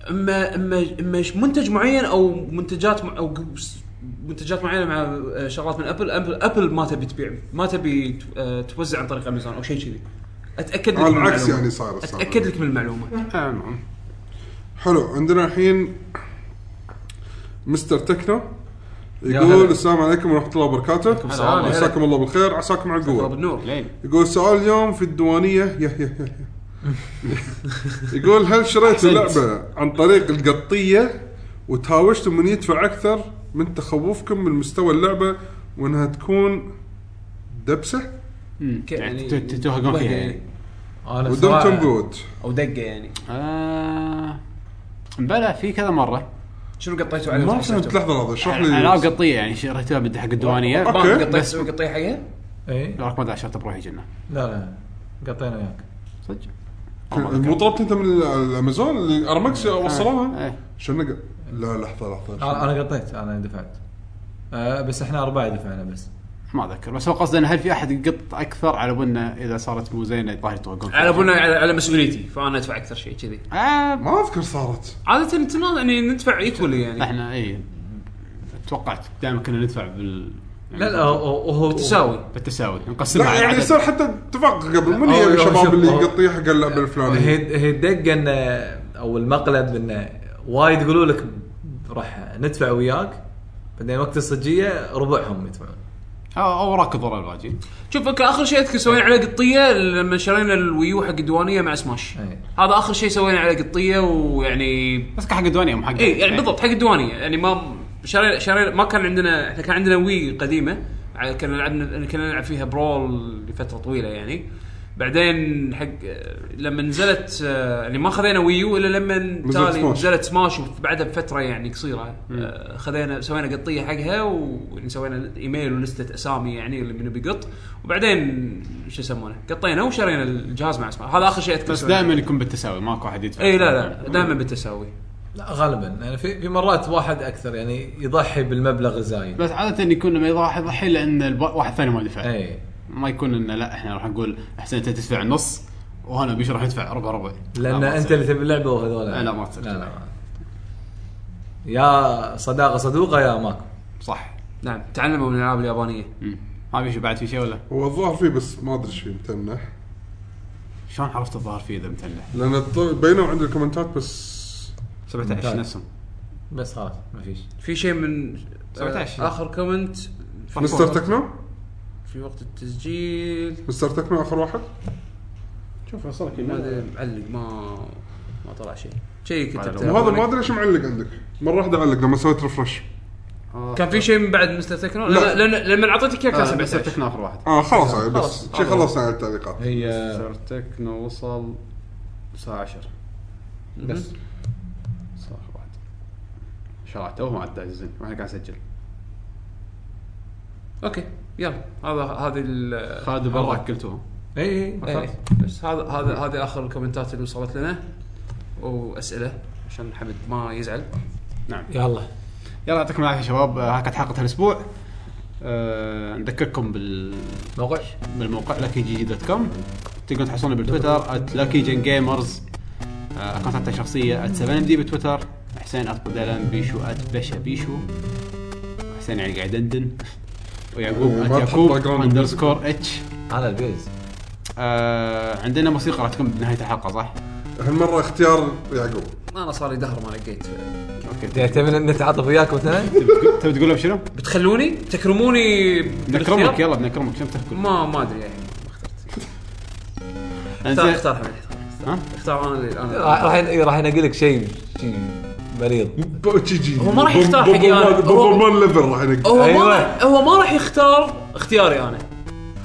اما اما اما ش- منتج معين او منتجات مع- او س- منتجات معينه مع آه، شغلات من ابل ابل, أبل ما تبي تبيع ما تبي ت- آه، توزع عن طريق امازون او شيء كذي اتاكد لك
على
من
العكس
المعلومة.
يعني صار السالفة.
اتاكد لك من المعلومه
آه، نعم.
حلو عندنا الحين مستر تكنو
هلا.
يقول السلام عليكم ورحمه الله وبركاته
السلام.
عساكم الله بالخير عساكم على
ضرب
القوه
النور
لين
يقول سؤال اليوم في الديوانيه يه يه يه يه. يقول هل شريت اللعبه عن طريق القطيه وتهاوشتم من يدفع اكثر من تخوفكم من مستوى اللعبه وانها تكون دبسه
يعني-
يعني ت- ت- تهقون فيها
يعني.
يعني
انا
ودمتم
صراحة-
بود
او دقه يعني
آه، بلى في كذا مره
شنو قطيتوا عليه
ما فهمت لحظه لحظه اشرح
العاب
لي
قطيه يعني شريتها بد حق الديوانيه
أوكي.
ما-
قطيت
بس
قطيه حقها
اي
لو رقم 11 شريتها بروحي جنه
لا لا قطينا وياك
صدق
مو طلبت انت من الامازون اللي ارمكس وصلوها
إيه.
شنو ق- لا لحظه لحظه
انا آه، أنا قطيت انا دفعت آه بس احنا اربعه دفعنا بس
ما اذكر بس هو قصده انه هل في احد يقط اكثر على بنا اذا صارت مو زينه الظاهر يتوقفون
على ابونا على, على مسؤوليتي فانا ادفع اكثر شيء كذي
آه
ما اذكر صارت
عاده نتنا- يعني ندفع ايكولي يعني
احنا اي اتوقعت دائما إيه. كنا ندفع بال يعني
لا لا هو هو
تساوي
بالتساوي
لا
نقسمها على
يعني
عدد.
يصير حتى اتفاق قبل من
أو-
هي
أو شوف،
الشباب اللي
أو-
يقطيه حق اللعبه الفلانيه
هي هي الدقه انه او المقلب انه وايد يقولوا لك راح ندفع وياك بعدين وقت الصجيه ربعهم يدفعون
او أو راكض ورا الباجي
شوف أوكي، اخر شيء اذكر سوينا عليه قطيه لما شرينا الويو حق الديوانيه مع سماش
أي.
هذا اخر شيء سوينا عليه قطيه ويعني
بس كان حق الديوانيه مو حق
اي يعني بالضبط حق الديوانيه يعني ما شرينا شرينا ما كان عندنا احنا كان عندنا وي قديمه ع- كنا لعبنا كنا نلعب فيها برول لفتره طويله يعني بعدين حق لما نزلت آه، يعني ما خذينا ويو الا لما تالي
سماش.
نزلت سماش وبعدها بفتره يعني قصيره آه، خذينا سوينا قطيه حقها يعني وسوينا ايميل ولسته اسامي يعني اللي منو بيقط وبعدين شو يسمونه قطينا وشرينا الجهاز مع سماش هذا اخر شيء اذكر
بس دائما يكون بالتساوي ماكو احد يدفع
اي إيه، لا لا دائما بالتساوي
لا غالبا يعني في في مرات واحد اكثر يعني يضحي بالمبلغ الزايد
بس عاده يكون لما يضحي يضحي لان الب- واحد ثاني ما دفع
اي
ما يكون انه لا احنا راح نقول احسن انت تدفع النص وانا بيش راح يدفع ربع ربع
لان
لا، ما
انت
تصير.
اللي تبي اللعبه وهذول
لا، لا، ما تصير.
لا لا يا صداقه صدوقه يا ماكو
صح
نعم تعلموا من الالعاب اليابانيه
مم. ما في شيء بعد في شيء ولا؟
هو الظاهر فيه بس ما ادري ايش فيه متنح
شلون عرفت الظاهر فيه اذا متنح؟
لان الط- بينوا عند الكومنتات بس
17
ممتاز.
نفسهم
بس خلاص ما فيش
في شيء من
17.
آه، اخر كومنت في
مستر
وقت-
تكنو
في وقت التسجيل
مستر تكنو اخر واحد
شوف وصلك آه،
ما أدري، معلق ما ما طلع شيء شيء كتبته
وهذا ما ادري ليش معلق عندك مره واحده علق لما سويت ريفرش
كان في شيء من بعد مستر تكنو
لا.
لان لأن- لما اعطيتك اياه كان
آه، بس
17
تكنو اخر واحد
اه خلاص يعني بس
خلاص.
شي خلصنا على التعليقات
هي
مستر تكنو وصل الساعه 10
بس
صح واحد شرع توه ما عدى الزين واحنا قاعد نسجل
اوكي يلا هذا هذه ال-
خالد وبراك قلتوهم
اي
خلاص. بس هذا هذا هذه اخر الكومنتات اللي وصلت لنا واسئله عشان حمد ما يزعل
نعم.
يلا
يلا يعطيكم العافيه شباب آه، هاي كانت حلقه هالاسبوع آه، نذكركم بال
موقع
بالموقع لكي جي دوت كوم تقدرون تحصلوني بالتويتر لكي جن جيمرز اكونتات الشخصيه @7 دي بتويتر حسين @بدلان بيشو @بشا بيشو حسين يعني قاعد يدندن ويعقوب
وما تحط
@يعقوب
background
اندرسكور اتش
على البيز
آه، عندنا موسيقى راح تكون بنهايه الحلقه صح؟
هالمره اختيار يعقوب
انا صار لي دهر ما لقيت
اوكي
تعتمد ان نتعاطف وياك مثلا
تبي تقول لهم شنو؟
بتخلوني تكرموني بالاختيار؟
نكرمك يلا بنكرمك شنو بتقول؟
ما ما ادري يعني ما اخترت اختار اختار حمد اختار.
ها؟
اختار انا اللي انا
راح راح- راح انقل لك شيء شيء مريض
تي جي
هو ما راح يختار حقي أنا. هو-
بوبومان ليفل راح ينقل
هو ما
أيوة.
راح هو ما راح يختار اختياري انا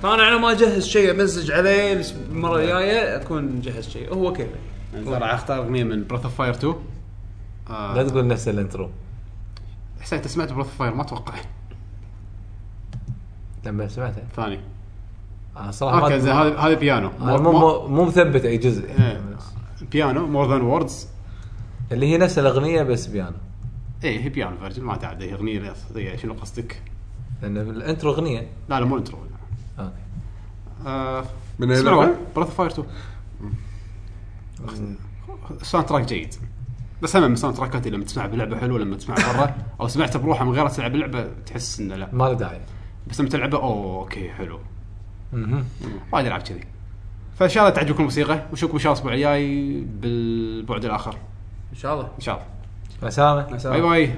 فانا على ما اجهز شيء امزج عليه الأسبوع- المره الجايه اكون مجهز شيء هو كيفه
انزين راح اختار اغنيه من براث اوف فاير 2 آه،
لا تقول نفس الانترو
حسين انت سمعت براث اوف فاير ما اتوقع
لما سمعتها
ثاني
انا صراحه
اوكي زين
آه، ما
هذا هذا بيانو
أنا مو مو مو مثبت اي جزء
إيه. بيانو مور ذان ووردز
اللي هي نفس الاغنيه بس بيانو
ايه هي بيانو فيرجن ما تعد هي اغنيه رياضيه شنو قصدك؟
لان الانترو اغنيه
لا لا مو انترو لا.
اوكي
آه
من أي
اسمعوا
لعبة؟
براث اوف فاير 2 الساوند تراك جيد بس هم من الساوند تراكات لما تسمع بلعبه حلوه لما تسمع برا او سمعتها بروحها من غيرها تلعب لعبه تحس انه لا
ما له داعي
بس لما تلعبها اوه اوكي حلو
مهم.
وايد العاب كذي فان شاء الله تعجبكم الموسيقى واشوفكم ان شاء الله الاسبوع الجاي بالبعد الاخر
ان شاء الله
ان شاء الله
اسامه
باي باي